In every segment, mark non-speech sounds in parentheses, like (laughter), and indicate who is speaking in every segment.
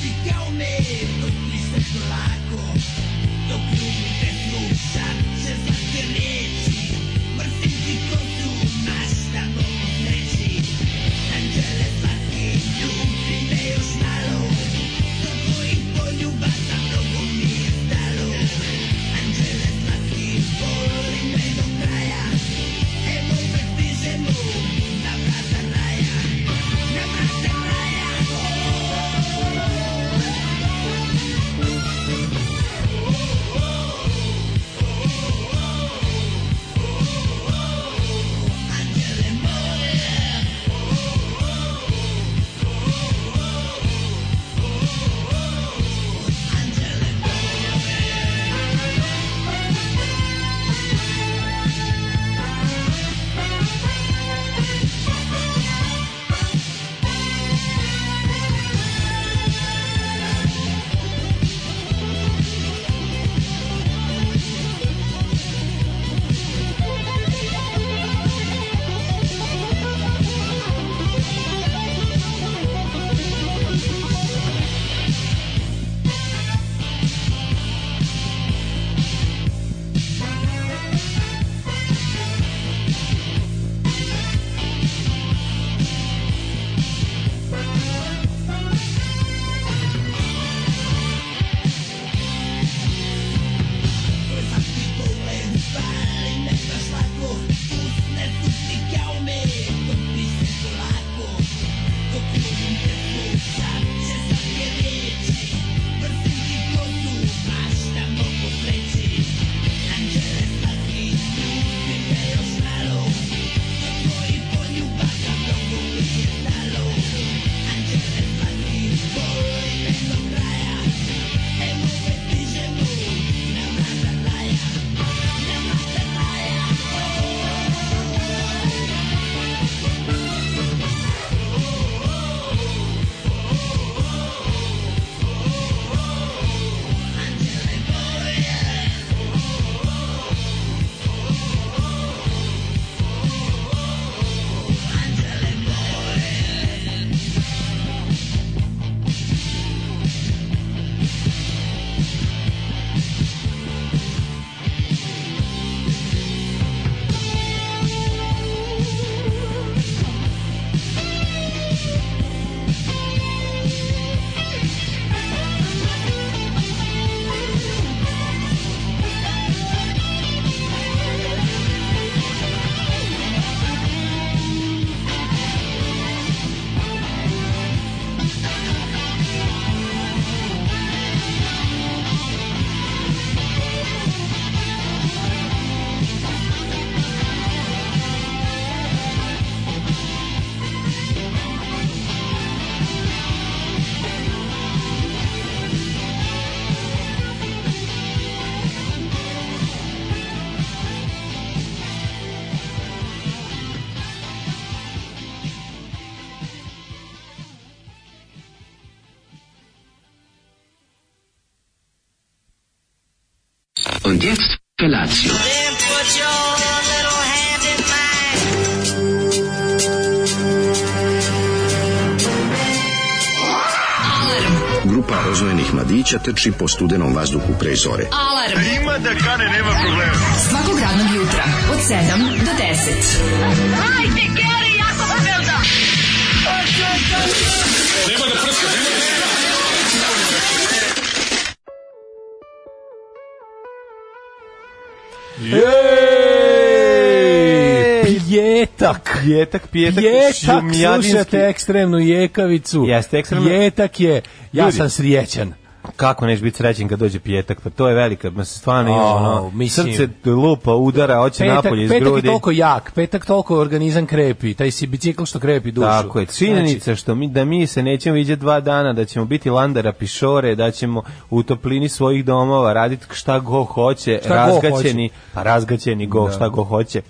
Speaker 1: nome dopli se polako Dok ljubite slušat će svake riječi Mrzim ti kosu, ma šta mogu reći Anđele slatki, ljubi me još malo Do tvojih poljubaca mnogo mi je stalo Anđele slatki, voli me do kraja Evo sve stižemo na vrata raja Na vrata raja, anđele moje
Speaker 2: Und jetzt Felatio.
Speaker 3: Then put your little hand in mine.
Speaker 4: Grupa rozvojenih mladića teči po studenom vazduhu pre zore.
Speaker 5: Alarm. A E, ima da kane, nema problema. Svakog radnog jutra, od 7 do 10.
Speaker 6: Ej,
Speaker 7: Pijetak.
Speaker 6: Pijetak, pijetak,
Speaker 7: Pijetak,
Speaker 6: šumjadinski.
Speaker 7: slušate ekstremnu jekavicu.
Speaker 6: Jeste, ekstremno-
Speaker 7: Pijetak je, ja
Speaker 6: Ljudi.
Speaker 7: sam srijećan.
Speaker 6: Kako neš biti srećen kad dođe pijetak? Pa to je velika, ma se stvarno ima
Speaker 7: Au,
Speaker 6: ono,
Speaker 7: mislim.
Speaker 6: srce lupa, udara, hoće
Speaker 7: Petak,
Speaker 6: napolje iz
Speaker 7: petak je
Speaker 6: grudi.
Speaker 7: toliko jak, petak toliko organizam krepi, taj si bicikl što krepi dušu. Znači,
Speaker 6: Tako je, činjenica što mi, da mi se nećemo vidjeti dva dana, da ćemo biti landara pišore, da ćemo u toplini svojih domova raditi šta go hoće,
Speaker 7: Šta go
Speaker 6: razgaćeni, pa razgaćeni go, šta go hoće.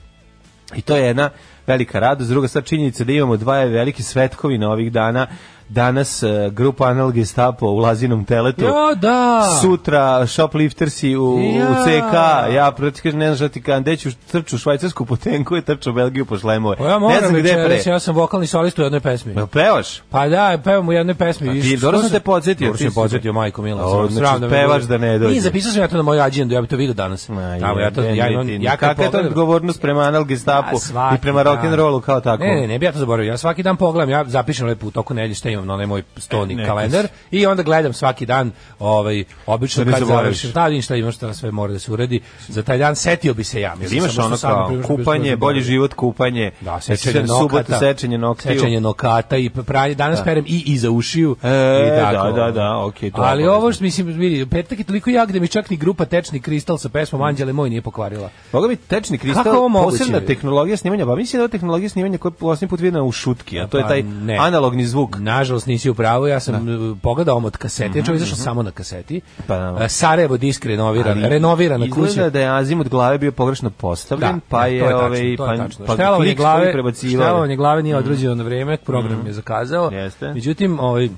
Speaker 6: I to je jedna velika radost. Druga stvar činjenica da imamo dva velike svetkovina ovih dana danas e, grupa Anal Gestapo u Lazinom teletu.
Speaker 7: Ja, da.
Speaker 6: Sutra shopliftersi u, u
Speaker 7: Ja.
Speaker 6: CK. Ja protiv kažem, ne znam šta ti kažem, gde ću trču u švajcarsku potenku i trču u Belgiju po šlemove.
Speaker 7: Pa ja
Speaker 6: ne
Speaker 7: moram
Speaker 6: znam gde pre.
Speaker 7: večeras, ja sam vokalni solist u jednoj pesmi.
Speaker 6: Jel pevaš?
Speaker 7: Pa da, pevam u jednoj pesmi.
Speaker 6: A ti,
Speaker 7: viš,
Speaker 6: dobro
Speaker 7: što
Speaker 6: sam te podsjetio,
Speaker 7: Dobro
Speaker 6: ti
Speaker 7: sam
Speaker 6: si-
Speaker 7: podsjetio, majko Mila.
Speaker 6: O,
Speaker 7: stvarno,
Speaker 6: znači,
Speaker 7: sramno me
Speaker 6: pevaš
Speaker 7: bude.
Speaker 6: da ne dođe.
Speaker 7: Nije, zapisao sam ja to na moju agendu, ja bi to vidio danas. Tamo, ja to, ja imam, ja kad
Speaker 6: Kakva je to
Speaker 7: pogledam-
Speaker 6: odgovornost prema Anal Gestapo
Speaker 7: A, svaki
Speaker 6: i prema
Speaker 7: dan.
Speaker 6: rock'n'rollu kao tako?
Speaker 7: Ne, ne, ne bi ja to zaboravio. Ja svaki dan pogledam, ja zapišem lepo u toku nedelje šta imam na onaj moj stoni
Speaker 6: Neka
Speaker 7: kalendar i onda gledam svaki dan, ovaj obično
Speaker 6: Šta ne
Speaker 7: kad
Speaker 6: zaboraviš?
Speaker 7: završim, da vidim šta imam šta sve mora da se uredi. Za taj dan setio bi se ja.
Speaker 6: Jel
Speaker 7: Mislim,
Speaker 6: imaš
Speaker 7: samo što
Speaker 6: ono
Speaker 7: sad, na
Speaker 6: kao
Speaker 7: primjer, što bi
Speaker 6: kupanje,
Speaker 7: zaboravio.
Speaker 6: bolji život, kupanje,
Speaker 7: Da,
Speaker 6: sve-
Speaker 7: sečenje nokata.
Speaker 6: subotu, E, sečenje noktiju.
Speaker 7: Sečenje nokata i pranje. Danas perem i iza ušiju.
Speaker 6: E,
Speaker 7: i ono.
Speaker 6: da, da, da, okej, to je
Speaker 7: Ali
Speaker 6: obavezno.
Speaker 7: ovo što mislim, vidi, petak je toliko jak da mi čak ni grupa Tečni kristal sa
Speaker 6: Mm.
Speaker 7: pesmom Anđele moj nije pokvarila.
Speaker 6: Mogu biti tečni
Speaker 7: Kako ovo
Speaker 6: kristal,
Speaker 7: moguće?
Speaker 6: posebna tehnologija snimanja, pa mislim da je ovo tehnologija snimanja koja je posljednji put vidjena u šutki, a to je
Speaker 7: Pa
Speaker 6: taj
Speaker 7: ne.
Speaker 6: analogni zvuk.
Speaker 7: Nažalost nisi u pravu, ja sam uh, pogledao omot kasete, ja čovjek izašao samo na kaseti.
Speaker 6: Mhm, Pa da.
Speaker 7: Uh, Sarajevo disk renoviran,
Speaker 6: Ali
Speaker 7: renovirana
Speaker 6: Izgleda
Speaker 7: kuća.
Speaker 6: da je azim od glave bio pogrešno postavljen,
Speaker 7: Da,
Speaker 6: pa
Speaker 7: da,
Speaker 6: je,
Speaker 7: to tačno,
Speaker 6: ovaj,
Speaker 7: to je tačno.
Speaker 6: pa, pa
Speaker 7: Štelovanje
Speaker 6: klik glave,
Speaker 7: glave,
Speaker 6: prebacivao.
Speaker 7: štelovanje glave nije odrađeno na vrijeme, program je zakazao.
Speaker 6: Mhm. Jeste.
Speaker 7: Međutim, ovaj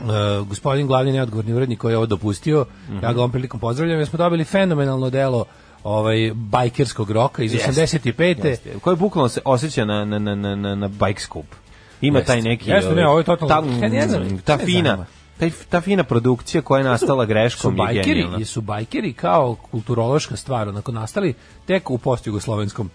Speaker 7: Uh, gospodin glavni neodgovorni urednik koji je ovo dopustio,
Speaker 6: Mhm.
Speaker 7: ja ga ovom prilikom pozdravljam, jer smo dobili fenomenalno delo ovaj, bajkerskog roka iz 85.
Speaker 6: Koji bukvalno se osjeća na, na, na, na, na, na bike scoop. Ima
Speaker 7: Jeste.
Speaker 6: taj neki...
Speaker 7: Jeste, ne,
Speaker 6: ovaj,
Speaker 7: ovo je totalno-
Speaker 6: Ta,
Speaker 7: Ja ne znam,
Speaker 6: ta
Speaker 7: ne
Speaker 6: fina,
Speaker 7: znam.
Speaker 6: taj, ta fina produkcija koja je nastala
Speaker 7: su
Speaker 6: greškom je
Speaker 7: bajkeri,
Speaker 6: genijalna.
Speaker 7: jesu bajkeri kao kulturološka stvar onako nastali tek u postjugoslovenskom.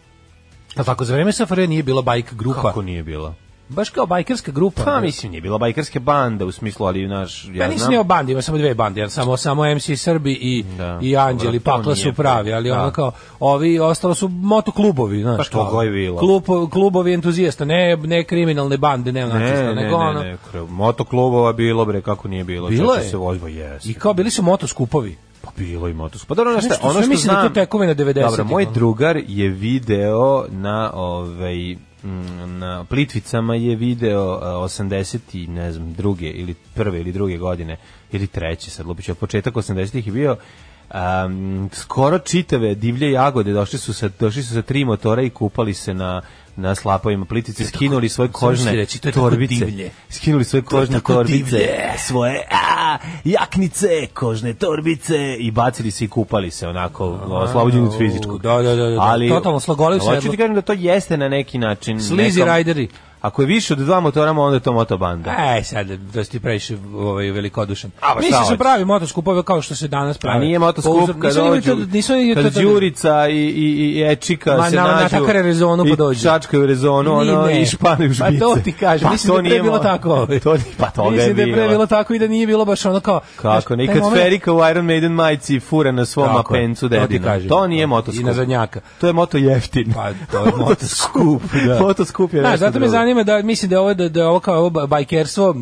Speaker 7: A tako za vreme SFRJ nije bila bajk grupa.
Speaker 6: Kako nije bilo?
Speaker 7: Baš kao bajkerska grupa.
Speaker 6: Pa
Speaker 7: ono.
Speaker 6: mislim, nije bila bajkarske bande u smislu, ali naš, ja,
Speaker 7: Ja
Speaker 6: znam.
Speaker 7: nisam Pa ni o bandi, ima samo dve bande, ja samo samo MC Srbi i
Speaker 6: Da.
Speaker 7: i Anđeli,
Speaker 6: Dobro, to
Speaker 7: pakla
Speaker 6: nije
Speaker 7: su pravi, ali
Speaker 6: da.
Speaker 7: ono kao ovi ostalo su moto klubovi, znaš.
Speaker 6: Pa što
Speaker 7: kao,
Speaker 6: goj vila.
Speaker 7: klupo- klubovi entuzijasta, ne ne kriminalne bande, ne
Speaker 6: Ne,
Speaker 7: onako,
Speaker 6: ne,
Speaker 7: nego
Speaker 6: ne,
Speaker 7: ono.
Speaker 6: ne, ne, kre- motoklubova bilo bre, kako nije bilo.
Speaker 7: Bilo
Speaker 6: često
Speaker 7: je.
Speaker 6: Se vozba, jes.
Speaker 7: I kao bili su moto skupovi.
Speaker 6: Pa bilo i motoklub. Pa dobro, ono
Speaker 7: Znaš
Speaker 6: što,
Speaker 7: što,
Speaker 6: ono
Speaker 7: sve
Speaker 6: što
Speaker 7: mislim da je to
Speaker 6: znam...
Speaker 7: tekovina 90-ih,
Speaker 6: Dobro, moj
Speaker 7: ono.
Speaker 6: drugar je video na ovaj mm, na Plitvicama je video e, 80 i ne znam druge ili prve ili druge godine ili treće sad lupiću početak 80-ih je bio um, skoro čitave divlje jagode došli su sa došli su sa tri motora i kupali se na na slapovima plitice skinuli svoje
Speaker 7: Samo
Speaker 6: kožne
Speaker 7: ću ti reći, to je tako
Speaker 6: torbice
Speaker 7: divlje.
Speaker 6: skinuli svoje kožne
Speaker 7: tako
Speaker 6: torbice
Speaker 7: divlje.
Speaker 6: svoje a, jaknice, kožne torbice i bacili se i kupali se onako ono, oslobođeni od fizičkog.
Speaker 7: Da, da, da, da, totalno slagolio se
Speaker 6: Hoću
Speaker 7: jedno.
Speaker 6: ti kažem da to jeste na neki način.
Speaker 7: Slizi
Speaker 6: nekom-
Speaker 7: rajderi.
Speaker 6: Ako je više od dva motora, onda je to motobanda.
Speaker 7: Aj, E, sad, da si ti previše ovaj, velikodušan.
Speaker 6: A, pa
Speaker 7: Mi
Speaker 6: šta
Speaker 7: se
Speaker 6: hoćeš?
Speaker 7: pravi motoskupove kao što se danas pravi. Pa
Speaker 6: A nije motoskup kad dođu, kad Đurica i, i, i Ečika
Speaker 7: Ma,
Speaker 6: se
Speaker 7: na- na
Speaker 6: nađu
Speaker 7: takare rezonu pa dođu.
Speaker 6: i čačkaju rezonu ono, i španuju
Speaker 7: Pa
Speaker 6: žbice.
Speaker 7: to ti kažem,
Speaker 6: Pa
Speaker 7: mislim
Speaker 6: to
Speaker 7: da je pre
Speaker 6: nije
Speaker 7: bilo
Speaker 6: mo-
Speaker 7: tako. ovaj.
Speaker 6: To, pa toga je
Speaker 7: Mislim da je pre
Speaker 6: bilo.
Speaker 7: bilo tako i da nije bilo baš ono kao...
Speaker 6: Kako ne, i
Speaker 7: taj
Speaker 6: kad
Speaker 7: moment-
Speaker 6: Ferika u Iron Maiden majici fura na svom
Speaker 7: Tako je,
Speaker 6: apencu
Speaker 7: to ti
Speaker 6: dedina.
Speaker 7: kažem.
Speaker 6: To nije
Speaker 7: I
Speaker 6: motoskup.
Speaker 7: na zadnjaka.
Speaker 6: To je moto jeftin.
Speaker 7: Pa, to je
Speaker 6: motoskup.
Speaker 7: da.
Speaker 6: Motoskup je
Speaker 7: Znaš,
Speaker 6: nešto
Speaker 7: zato me
Speaker 6: drugo.
Speaker 7: zanima da mislim da je ovo da, da je ovo kao ovo ba- bajkerstvo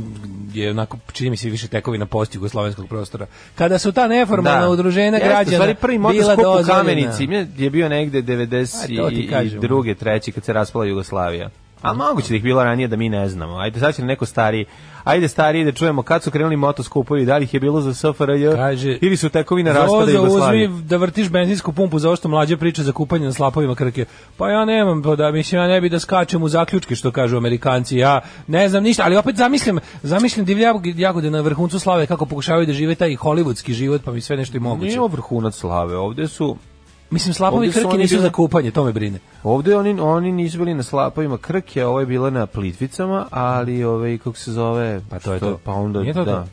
Speaker 7: je onako čini mi se više tekovina post jugoslovenskog prostora. Kada su ta neformalna ono, udruženja
Speaker 6: Jeste, u
Speaker 7: građana
Speaker 6: stvari prvi
Speaker 7: bila
Speaker 6: motoskop u
Speaker 7: dozvoljena.
Speaker 6: Kamenici mje- je bio negde
Speaker 7: A, to ti kažem.
Speaker 6: 92. treći kad se raspala Jugoslavija. A moguće da ih bilo ranije da mi ne znamo. Ajde, sad će nam neko stariji. Ajde stariji da čujemo kad su krenuli motoskupovi, da li ih je bilo za SFRJ
Speaker 7: Kaže,
Speaker 6: ili su tekovina raspada
Speaker 7: Zoza,
Speaker 6: Jugoslavije.
Speaker 7: uzmi da vrtiš benzinsku pumpu za ovo što mlađe priča za kupanje na slapovima krke. Pa ja nemam, pa da, mislim, ja ne bi da skačem u zaključke što kažu amerikanci. Ja ne znam ništa, ali opet zamislim, zamislim divlje jag- jagode na vrhuncu slave kako pokušavaju da žive taj hollywoodski život, pa mi sve nešto i moguće.
Speaker 6: Nije ovo vrhunac slave, ovde su
Speaker 7: Mislim, slapovi
Speaker 6: Ovdje su
Speaker 7: krke
Speaker 6: oni
Speaker 7: nisu
Speaker 6: bili- Mm,
Speaker 7: za kupanje, to me brine.
Speaker 6: Ovde oni oni nisu bili na slapovima Krke, a ovo je bila na Plitvicama, ali ovaj kako se zove,
Speaker 7: Pa to je
Speaker 6: što-
Speaker 7: to.
Speaker 6: Pa onda
Speaker 7: Nije to
Speaker 6: da.
Speaker 7: to?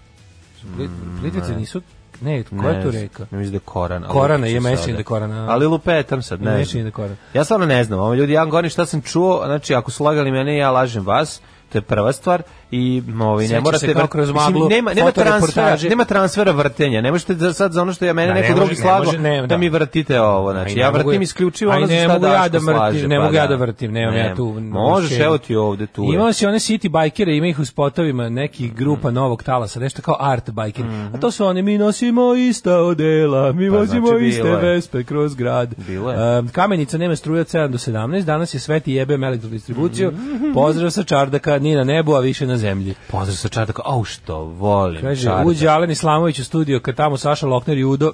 Speaker 7: Plit- Plitvice nisu, ne, koja
Speaker 6: Ne
Speaker 7: je tu
Speaker 6: znam,
Speaker 7: reka?
Speaker 6: Ne mislim da je Korana. ali
Speaker 7: Korana,
Speaker 6: lupetam
Speaker 7: je
Speaker 6: sada.
Speaker 7: Mešin da Korana.
Speaker 6: Ali lupetam sad, ne.
Speaker 7: Mešin
Speaker 6: znam.
Speaker 7: da Korana.
Speaker 6: Ja stvarno ne znam, ovo ljudi, ja vam govorim šta sam čuo, znači ako su lagali mene, ja lažem vas. To je prva stvar i ovaj ne
Speaker 7: Sjećam
Speaker 6: morate
Speaker 7: se kao
Speaker 6: vrt-
Speaker 7: kroz
Speaker 6: mislim,
Speaker 7: maglu
Speaker 6: nema nema transfera,
Speaker 7: fotoreportaže.
Speaker 6: nema transfera vrtenja. Ne možete za- sad za ono što ja mene
Speaker 7: Da, ne
Speaker 6: neko drugi
Speaker 7: može, ne
Speaker 6: slago
Speaker 7: može, ne,
Speaker 6: da.
Speaker 7: da.
Speaker 6: mi vrtite ovo,
Speaker 7: A
Speaker 6: znači
Speaker 7: i ne
Speaker 6: ja
Speaker 7: mogu
Speaker 6: vrtim
Speaker 7: ja-
Speaker 6: isključivo
Speaker 7: a i
Speaker 6: ono što
Speaker 7: ne
Speaker 6: šta
Speaker 7: mogu ja da
Speaker 6: Daško
Speaker 7: vrtim,
Speaker 6: slaže,
Speaker 7: ne
Speaker 6: pa
Speaker 7: mogu ja da vrtim, nemam ja
Speaker 6: Ne,
Speaker 7: tu-
Speaker 6: Možeš,
Speaker 7: šemu.
Speaker 6: evo ti ovde tu. je. Mm.
Speaker 7: Imao si one city bajkere, ima ih u spotovima nekih grupa novog talasa, nešto kao art bajkeri. A to su oni, mi nosimo ista odela, mi
Speaker 6: Mm-hmm. Pa,
Speaker 7: vozimo
Speaker 6: znači,
Speaker 7: iste
Speaker 6: bilo je.
Speaker 7: vespe kroz grad.
Speaker 6: Bilo je.
Speaker 7: Um, kamenica nema struje od 7 do 17, danas je sveti jebem elektrodistribuciju.
Speaker 6: Mm-hmm.
Speaker 7: Pozdrav sa čardaka, ni na nebu, a više na zemlji.
Speaker 6: Pozdrav sa Čardaka, au što volim
Speaker 7: Kaže,
Speaker 6: Čardak.
Speaker 7: uđe Alen Islamović u studio, kad tamo Saša Lokner i Udo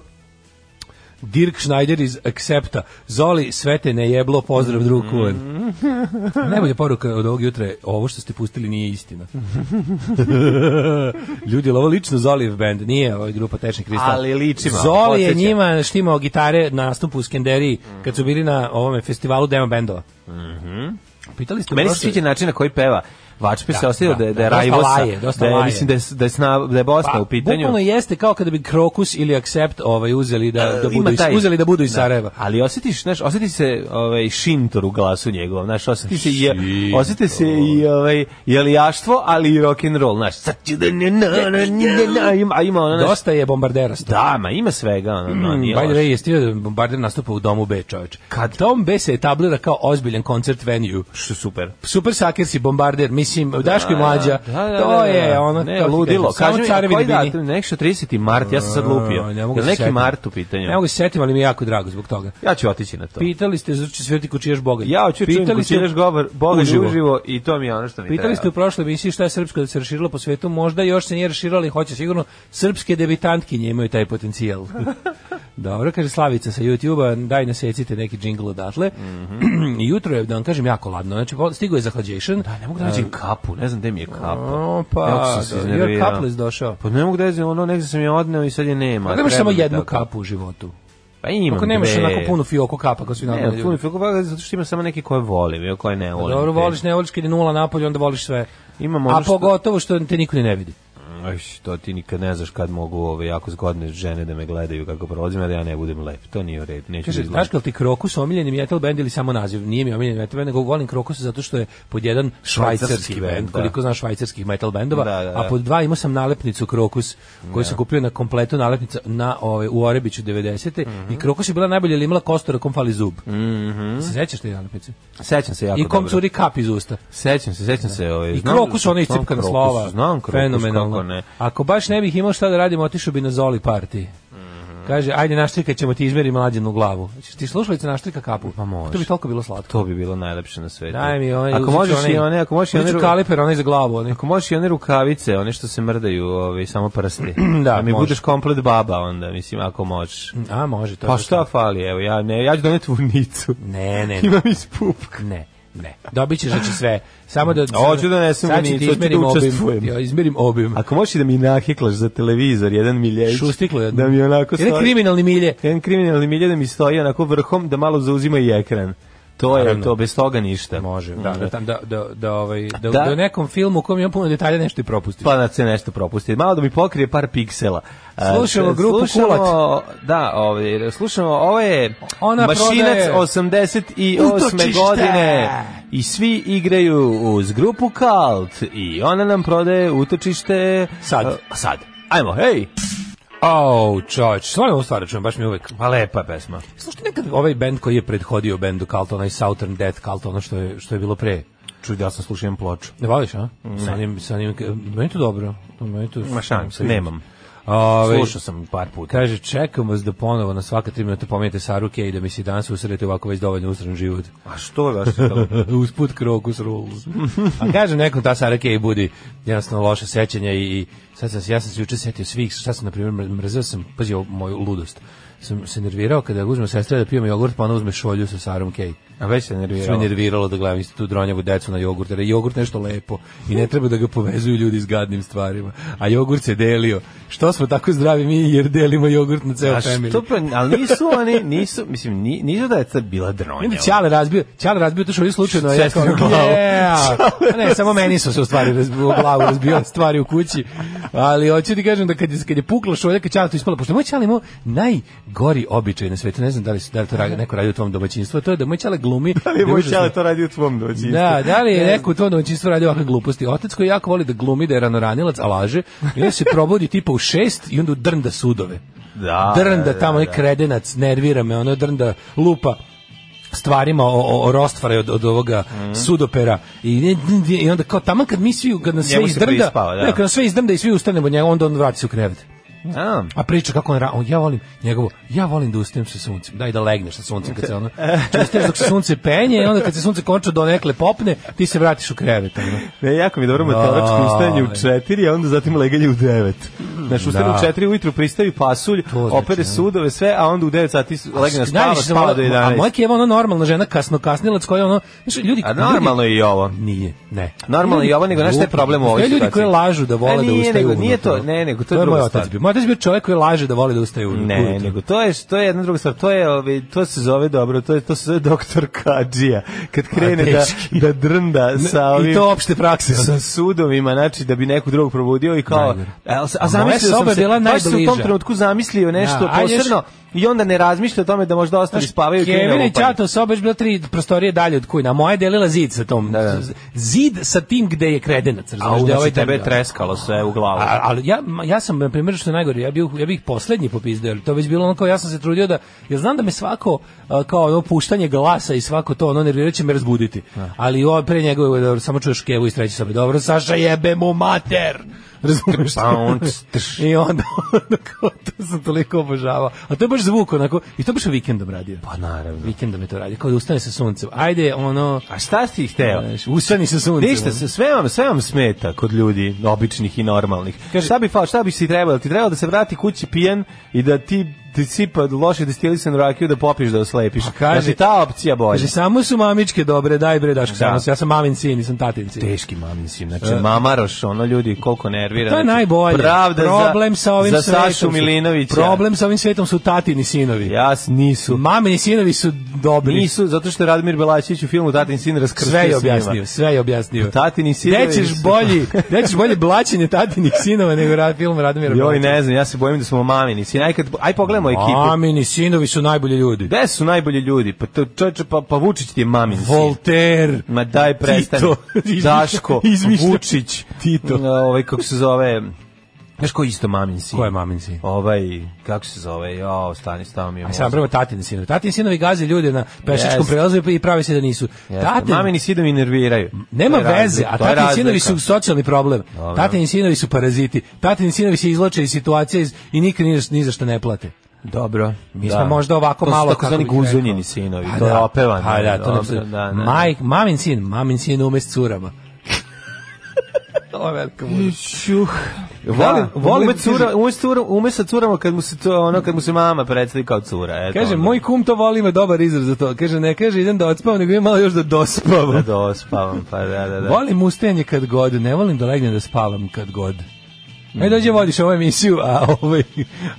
Speaker 7: Dirk Schneider iz Accepta. Zoli, sve te ne jeblo, pozdrav drug
Speaker 6: Mm-hmm. (laughs)
Speaker 7: kulen. Najbolja poruka od ovog jutra je ovo što ste pustili nije istina. (laughs) Ljudi, jel ovo lično Zolijev band, nije ovaj grupa Tečni kristal.
Speaker 6: Ali liči malo,
Speaker 7: Zoli je
Speaker 6: podsjeća.
Speaker 7: njima štimao gitare na nastupu u Skenderiji kad su bili na ovome festivalu demo bendova. Pitali ste
Speaker 6: Mhm. Meni se
Speaker 7: prošle-
Speaker 6: sviđa način na koji peva. Vačpe se
Speaker 7: Da,
Speaker 6: osjeća
Speaker 7: da,
Speaker 6: da, je- da
Speaker 7: da,
Speaker 6: je
Speaker 7: dosta
Speaker 6: Rajvosa,
Speaker 7: laje, dosta
Speaker 6: da je,
Speaker 7: laje.
Speaker 6: mislim da je, s- da je, sna, da je Bosna u
Speaker 7: Pa,
Speaker 6: pitanju.
Speaker 7: Bukvalno jeste kao kada bi Krokus ili Accept ovaj uzeli da da
Speaker 6: E, Ima
Speaker 7: budu iz,
Speaker 6: taj-
Speaker 7: uzeli da budu iz
Speaker 6: Da.
Speaker 7: Sarajeva.
Speaker 6: Ali osjetiš, znaš, osjeti se ovaj šintor u glasu njegovom, znaš, osjeti se i osjeti se i ovaj jelijaštvo, ali i rock and roll, znaš. Sad ću da ne na na na na ima a ima ona znaš,
Speaker 7: Dosta je bombardera sto.
Speaker 6: da, ma ima svega, ono, no, nije.
Speaker 7: By the
Speaker 6: loše.
Speaker 7: way, jeste vidio da bombarder nastupa u domu B, čoveč. Kad Tom B se etablira kao ozbiljan koncert venue.
Speaker 6: što je super.
Speaker 7: Super Sakers i bombarder, mislim, Daško i
Speaker 6: Da,
Speaker 7: mlađa.
Speaker 6: da, da, da,
Speaker 7: to
Speaker 6: da, da.
Speaker 7: je ono
Speaker 6: ne,
Speaker 7: kako ti
Speaker 6: ludilo.
Speaker 7: kažem, samo
Speaker 6: Kažem,
Speaker 7: carevi
Speaker 6: koji
Speaker 7: debini.
Speaker 6: datum? Nešto 30. mart, ja sam sad lupio.
Speaker 7: A,
Speaker 6: Ne
Speaker 7: ne mogu se
Speaker 6: neki
Speaker 7: setim.
Speaker 6: mart u pitanju.
Speaker 7: Ne mogu se setim, ali mi je jako drago zbog toga.
Speaker 6: Ja ću otići na to.
Speaker 7: Pitali ste zašto će svirati kučijaš Boga.
Speaker 6: Ja hoću čujem kućiraš gobar, Boga uživo. uživo i to mi je ono što
Speaker 7: E,
Speaker 6: mi
Speaker 7: Pitali ste u
Speaker 6: treba.
Speaker 7: prošloj emisiji šta je srpsko da se raširilo po svetu, možda još se nije raširilo, ali hoće sigurno. Srpske debitantkinje imaju taj
Speaker 6: (laughs)
Speaker 7: potencijal. Dobro, kaže Slavica sa YouTube-a, daj nasecite neki džingl odatle. (clears throat) Jutro je, da vam kažem, jako ladno. Znači, po- stigao je zahlađešan. Da,
Speaker 6: Ne mogu Mhm. da nađem kapu, ne znam gde mi je kapa.
Speaker 7: Opa,
Speaker 6: Jako sam se
Speaker 7: pa, da,
Speaker 6: iznervirao.
Speaker 7: je kaples došao.
Speaker 6: Pa ne mogu da je ono, negde sam je odneo i sad je nema.
Speaker 7: Pa nemaš
Speaker 6: Treba
Speaker 7: samo
Speaker 6: mi
Speaker 7: jednu
Speaker 6: tako.
Speaker 7: kapu u životu.
Speaker 6: Pa imam
Speaker 7: Ako nemaš
Speaker 6: dve.
Speaker 7: onako punu fioku kapa, kao svi
Speaker 6: Ne,
Speaker 7: normalni
Speaker 6: puno
Speaker 7: ljudi. Pa
Speaker 6: filmova, zato što ima samo neke koje volim, ili koje ne volim.
Speaker 7: Dobro,
Speaker 6: Te-
Speaker 7: voliš, ne voliš, kad je nula napolje, onda voliš sve.
Speaker 6: Imam ono
Speaker 7: A
Speaker 6: što-
Speaker 7: pogotovo što te niko ni ne vidi.
Speaker 6: Aj, to ti nikad ne znaš kad mogu ove jako zgodne žene da me gledaju kako prolazim, a da ja ne budem lep. To nije u redu, neću da
Speaker 7: Kaže,
Speaker 6: izgledam.
Speaker 7: znaš kao ti Krokus omiljeni metal band ili samo naziv? Nije mi omiljeni metal band, nego volim Krokus zato što je pod jedan švajcarski
Speaker 6: Švajcarski band,
Speaker 7: band,
Speaker 6: da.
Speaker 7: koliko znaš švajcarskih metal bendova,
Speaker 6: Da, da, da.
Speaker 7: a pod dva imao sam nalepnicu Krokus koju sam kupio na kompletu nalepnica na ove, u Orebiću 90.
Speaker 6: Mhm.
Speaker 7: i Krokus je bila najbolja jer je imala kostura kom fali zub. Mm Se sećaš te nalepnice?
Speaker 6: Sećam se jako
Speaker 7: I kom
Speaker 6: Mhm. Pa dobro.
Speaker 7: curi kap iz usta.
Speaker 6: Sećam se, sećam se. Ovaj,
Speaker 7: I
Speaker 6: znam-
Speaker 7: krokus, ona
Speaker 6: znam
Speaker 7: iscipkana
Speaker 6: Krokus,
Speaker 7: slova.
Speaker 6: Znam krokus,
Speaker 7: Fenomenalno.
Speaker 6: kako ne.
Speaker 7: Ako baš ne bih imao šta da radim, otišao bi na Zoli party. Kaže, ajde naštrika ćemo ti izmeri mlađenu glavu. Ćeš ti slušalice naštrika kapu?
Speaker 6: Pa može.
Speaker 7: To bi toliko bilo slatko.
Speaker 6: To bi bilo najlepše na svetu.
Speaker 7: Daj mi onaj,
Speaker 6: ako
Speaker 7: uzet ću
Speaker 6: možeš i one, ako možeš i one,
Speaker 7: uzet ću
Speaker 6: ru-
Speaker 7: kaliper, onaj za glavu. Onaj.
Speaker 6: ako možeš i one rukavice, one što se mrdaju, ovaj samo prsti.
Speaker 7: (clears throat) Da,
Speaker 6: mi
Speaker 7: može.
Speaker 6: budeš komplet baba onda, mislim ako možeš.
Speaker 7: A, može to.
Speaker 6: Pa
Speaker 7: je
Speaker 6: šta
Speaker 7: to.
Speaker 6: fali, evo ja ne, ja ću doneti vunicu.
Speaker 7: Ne,
Speaker 6: (laughs)
Speaker 7: ne, ne.
Speaker 6: Imam iz pupka.
Speaker 7: Ne, ne. Dobit ćeš znači sve. Samo da...
Speaker 6: Hoću da nesem
Speaker 7: Sad ću ti
Speaker 6: vinicu, hoću da
Speaker 7: izmerim obim.
Speaker 6: učestvujem.
Speaker 7: Ja izmerim obim.
Speaker 6: Ako možeš i da mi naheklaš za televizor jedan miljević.
Speaker 7: Šustiklo jedno.
Speaker 6: Da mi onako
Speaker 7: Jedan
Speaker 6: stoji.
Speaker 7: kriminalni milje.
Speaker 6: Jedan kriminalni milje da mi stoji onako vrhom da malo zauzima i ekran. To je
Speaker 7: Naravno.
Speaker 6: to, bez toga ništa. Mm,
Speaker 7: Može, da, da, tam- da, da, da, ovaj, da,
Speaker 6: Da.
Speaker 7: da, u nekom filmu u kojem ima puno detalja nešto i propustiš.
Speaker 6: Pa da se nešto propusti. Malo da mi pokrije par piksela. E,
Speaker 7: Slušamo grupu
Speaker 6: slušamo, Da, ovaj, slušamo, ovo je
Speaker 7: Ona
Speaker 6: Mašinac
Speaker 7: prodaje-
Speaker 6: 88.
Speaker 7: Utočište!
Speaker 6: godine i svi igraju uz grupu Kalt i ona nam prodaje utočište
Speaker 7: Sad.
Speaker 6: E, sad. Ajmo, hej!
Speaker 7: Au, čoveč, stvarno ovu stvar čujem, baš mi je uvek.
Speaker 6: Pa lepa je pesma.
Speaker 7: Slušaj nekad ovaj bend koji je prethodio bendu Cult, onaj Southern Death Cult, ono što je, što je bilo pre.
Speaker 6: Čuj, ja sam slušao jedan ploču.
Speaker 7: Ne voliš, a? Sa onim, sa onim, meni je to dobro. Meni je to,
Speaker 6: Ma šans, nemam.
Speaker 7: Ove,
Speaker 6: Slušao sam par puta.
Speaker 7: Kaže, čekam vas da ponovo na svaka tri minuta pomenete Saruke i da mi se i danas usredite ovako već dovoljno usran život.
Speaker 6: A što je vaš?
Speaker 7: (laughs) Usput krokus rules. A kažem, nekom ta Saruke i budi jednostavno loše sećanja i, i sad sam, se- ja sam se juče setio svih, šta sam, na primjer, mr- mrzeo sam, pazi ovo, moju ludost. Sam se nervirao kada uzmem sestra da pijemo jogurt, pa ona uzme šolju sa Sarum Kej.
Speaker 6: A već se
Speaker 7: Što me
Speaker 6: nervirao.
Speaker 7: nerviralo da gledam isto tu dronjavu decu na jogurt, jer je jogurt nešto lepo i ne treba da ga povezuju ljudi s gadnim stvarima. A jogurt se delio. Što smo tako zdravi mi jer delimo jogurt na ceo
Speaker 6: A što,
Speaker 7: family.
Speaker 6: pa, ali nisu oni, nisu, mislim, ni- nisu da je to bila dronja. (laughs)
Speaker 7: Vidim, Ćale razbio, Ćale razbio to što je slučajno, a ja kao,
Speaker 6: Sestri u glavu.
Speaker 7: yeah. A ne, samo meni su se u stvari razbio, u glavu razbio stvari u kući, ali hoću ti kažem da kad je, kad je pukla šolja, kad Ćale to ispala, pošto je moj Ćale imao najgori običaj na svetu, ne znam da li, da li to radi, neko radi u tvom domaćinstvu, a to je da moj Ćale glumi.
Speaker 6: Ali
Speaker 7: da je
Speaker 6: moj
Speaker 7: užasno-
Speaker 6: ćale to radi u tvom dođinstvu.
Speaker 7: Da, da li je neko u tom domaćinstvu radio ovakve gluposti? Otac koji jako voli da glumi da je ranoranilac, a laže, i onda se probudi tipa u šest i onda drnda sudove.
Speaker 6: Da, da,
Speaker 7: drnda
Speaker 6: da,
Speaker 7: tamo, onaj
Speaker 6: da.
Speaker 7: kredenac, nervira me, ono drnda lupa stvarima o, o, o rostvari od, od ovoga
Speaker 6: Mhm.
Speaker 7: sudopera i, i onda kao tamo kad mi svi kad nas sve
Speaker 6: Njemu se
Speaker 7: izdrnda
Speaker 6: prispava, da.
Speaker 7: ne, kad nas sve izdrnda i svi ustanemo od njega onda on vrati se u krevet
Speaker 6: A,
Speaker 7: a priča kako on, ra- on ja volim njegovo, ja volim da ustajem sa suncem, daj da legneš sa suncem kad se
Speaker 6: (laughs)
Speaker 7: ono, Znači, ustaješ dok se sunce penje i onda kad se sunce konča do nekle popne, ti se vratiš u krevet. Ono.
Speaker 6: E, ne, jako mi je dobro motelačko
Speaker 7: Da.
Speaker 6: ustajanje u četiri, a onda zatim leganje u devet. Znaš, ustane
Speaker 7: Da.
Speaker 6: u 4 ujutru, pristavi pasulj,
Speaker 7: To znači,
Speaker 6: opere
Speaker 7: da.
Speaker 6: sudove, sve, a onda u 9 sati su- legne na spava,
Speaker 7: Najviše sam
Speaker 6: spava do
Speaker 7: voleo- ono, A
Speaker 6: 11.
Speaker 7: moja keva ona normalna žena, kasno kasnilac koja ono, znaš, ljudi,
Speaker 6: A normalno je i ovo.
Speaker 7: Nije, ne.
Speaker 6: Normalno je i ovo, nego znaš šta je
Speaker 7: Glupi.
Speaker 6: problem u ovoj
Speaker 7: Postoje ljudi
Speaker 6: situaciji?
Speaker 7: koji lažu da
Speaker 6: A
Speaker 7: vole da
Speaker 6: nije,
Speaker 7: ustaju
Speaker 6: nego,
Speaker 7: ujutru.
Speaker 6: nije to, ne, nego to je
Speaker 7: je
Speaker 6: druga
Speaker 7: moj otac
Speaker 6: stvar.
Speaker 7: bio. Moj otac je bio čovjek koji laže da voli da ustaje ujutru.
Speaker 6: Ne, nego to je to je jedna druga stvar. To je ovaj to se zove dobro, to je to se zove doktor Kadžija. Kad krene da
Speaker 7: teški.
Speaker 6: da drnda sa ovim
Speaker 7: I to opšte prakse.
Speaker 6: sa sudovima, znači da bi nekog drugog probudio i kao
Speaker 7: Najgore.
Speaker 6: a, a,
Speaker 7: A
Speaker 6: zamislio
Speaker 7: moja
Speaker 6: sam
Speaker 7: soba
Speaker 6: se,
Speaker 7: je bila
Speaker 6: baš sam u tom
Speaker 7: najbliža.
Speaker 6: trenutku zamislio nešto
Speaker 7: Da, a još-
Speaker 6: posebno i onda ne razmišlja o tome da možda ostali (laughs) spavaju i krene
Speaker 7: Kevin i
Speaker 6: lupanje.
Speaker 7: Čato soba je bila tri prostorije dalje od kujna, a moja je delila zid sa tom.
Speaker 6: Da, da.
Speaker 7: Zid sa tim gde je kredenac.
Speaker 6: A
Speaker 7: razumeš,
Speaker 6: u
Speaker 7: gde je
Speaker 6: ovaj tebe je
Speaker 7: tamo-
Speaker 6: treskalo sve u glavu.
Speaker 7: A, ali ja, ma, ja sam, na primjer, što je najgore, ja bih, ja bih poslednji popizdeo, jer to je već bilo ono kao, ja sam se trudio da, ja znam da me svako, a, kao ono, puštanje glasa i svako to, ono, nervirao će me razbuditi. Ali ovo pre njegove, dobro, samo čuješ kevu i treće sobe, dobro, Saša jebe mu mater! Razumeš?
Speaker 6: Pa on tš,
Speaker 7: I onda, (laughs) onda kao, to sam toliko obožavao. A to je baš zvuk, onako, i to baš vikendom radio.
Speaker 6: Pa naravno.
Speaker 7: Vikendom je to radio, kao da ustane sa suncem. Ajde, ono,
Speaker 6: A šta si hteo?
Speaker 7: znaš, ustani sa suncem.
Speaker 6: Ništa,
Speaker 7: ono.
Speaker 6: se- sve vam, sve vam smeta kod ljudi, običnih i normalnih.
Speaker 7: Kaže-
Speaker 6: šta bi fal, šta bi si trebalo? Ti trebalo da se vrati kući pijen i da ti ti sipa loše destilisan rakiju da popiš da oslepiš.
Speaker 7: Pa kaže-
Speaker 6: znači, ta opcija bolja.
Speaker 7: Kaže, samo su mamičke dobre, daj bre, Daško,
Speaker 6: Da.
Speaker 7: samo se, ja sam mamin sin, nisam tatin sin.
Speaker 6: teški mamin sin, znači mamaroš, ono ljudi koliko nervira.
Speaker 7: E, To je
Speaker 6: znači,
Speaker 7: najbolje.
Speaker 6: Pravda
Speaker 7: problem
Speaker 6: za,
Speaker 7: sa ovim
Speaker 6: za
Speaker 7: svetom
Speaker 6: Sašu
Speaker 7: su-
Speaker 6: Milinovića.
Speaker 7: Problem sa ovim svetom su tatini sinovi.
Speaker 6: Jas nisu.
Speaker 7: Mamini sinovi su dobri.
Speaker 6: Nisu, zato što je Radimir Belačić u filmu Tatin sin raskrstio
Speaker 7: sve je
Speaker 6: s njima. Pa
Speaker 7: objasnio, sve je objasnio.
Speaker 6: Tatini sinovi
Speaker 7: Gde ćeš
Speaker 6: su-
Speaker 7: bolji, gde ćeš bolje blaćenje tatinih sinova nego ra- film Radomira
Speaker 6: Joj,
Speaker 7: Belačića?
Speaker 6: ne znam, ja se bojim da smo mamini sin. Aj, kad, aj pogledamo ekipu.
Speaker 7: Mamini sinovi su najbolji ljudi.
Speaker 6: Gde su najbolji ljudi? Pa to čoveče, pa, pa Vučić ti je mamin sin.
Speaker 7: Volter.
Speaker 6: Ma daj prestani.
Speaker 7: Tito.
Speaker 6: Daško,
Speaker 7: Izmišlja-
Speaker 6: Vučić,
Speaker 7: Tito.
Speaker 6: e, Ovaj kako se zove? Znaš ko je isto mamin sin?
Speaker 7: Ko je mamin sin?
Speaker 6: Ovaj kako se zove? Jo, stani, stao mi je.
Speaker 7: Aj sam prvo tatini sinovi. Tatini sinovi gaze ljude na pešačkom
Speaker 6: Jeste.
Speaker 7: prelazu i pravi se da nisu.
Speaker 6: Tate,
Speaker 7: Tatin,
Speaker 6: mamini sinovi nerviraju.
Speaker 7: Nema
Speaker 6: To je
Speaker 7: veze,
Speaker 6: razlika,
Speaker 7: a
Speaker 6: to je
Speaker 7: tatini sinovi
Speaker 6: razlika.
Speaker 7: su socijalni problem. Tatini sinovi su paraziti. Tatini sinovi se izloče iz situacije iz- i nikad ni, za- ni za što ne plate.
Speaker 6: Dobro.
Speaker 7: Mi smo možda ovako malo
Speaker 6: To su takozvani
Speaker 7: kako bih rekao.
Speaker 6: guzonjeni sinovi,
Speaker 7: Pa
Speaker 6: to je
Speaker 7: da.
Speaker 6: opevano.
Speaker 7: Pa da, to ne
Speaker 6: Dobro,
Speaker 7: postoji.
Speaker 6: da, da.
Speaker 7: Maj- mamin sin, mamin sin ume s (laughs) curama. Ovo je velika mudrost.
Speaker 6: Volim,
Speaker 7: Da.
Speaker 6: volim ume,
Speaker 7: Ume
Speaker 6: cura, ume, s cura, ume sa curama kad mu se to ono kad mu se mama predstavi kao cura. Eto,
Speaker 7: Kaže,
Speaker 6: onda.
Speaker 7: moj kum to voli, ima dobar izraz za to. Kaže, ne kaže, idem da odspavam, nego imam malo još da
Speaker 6: da
Speaker 7: dospavam.
Speaker 6: dospavam, pa da da da.
Speaker 7: (laughs) Volim ustajanje kad god, ne volim da legnem da spavam kad god. Ajde dođe vodiš ovu emisiju, a, ovaj,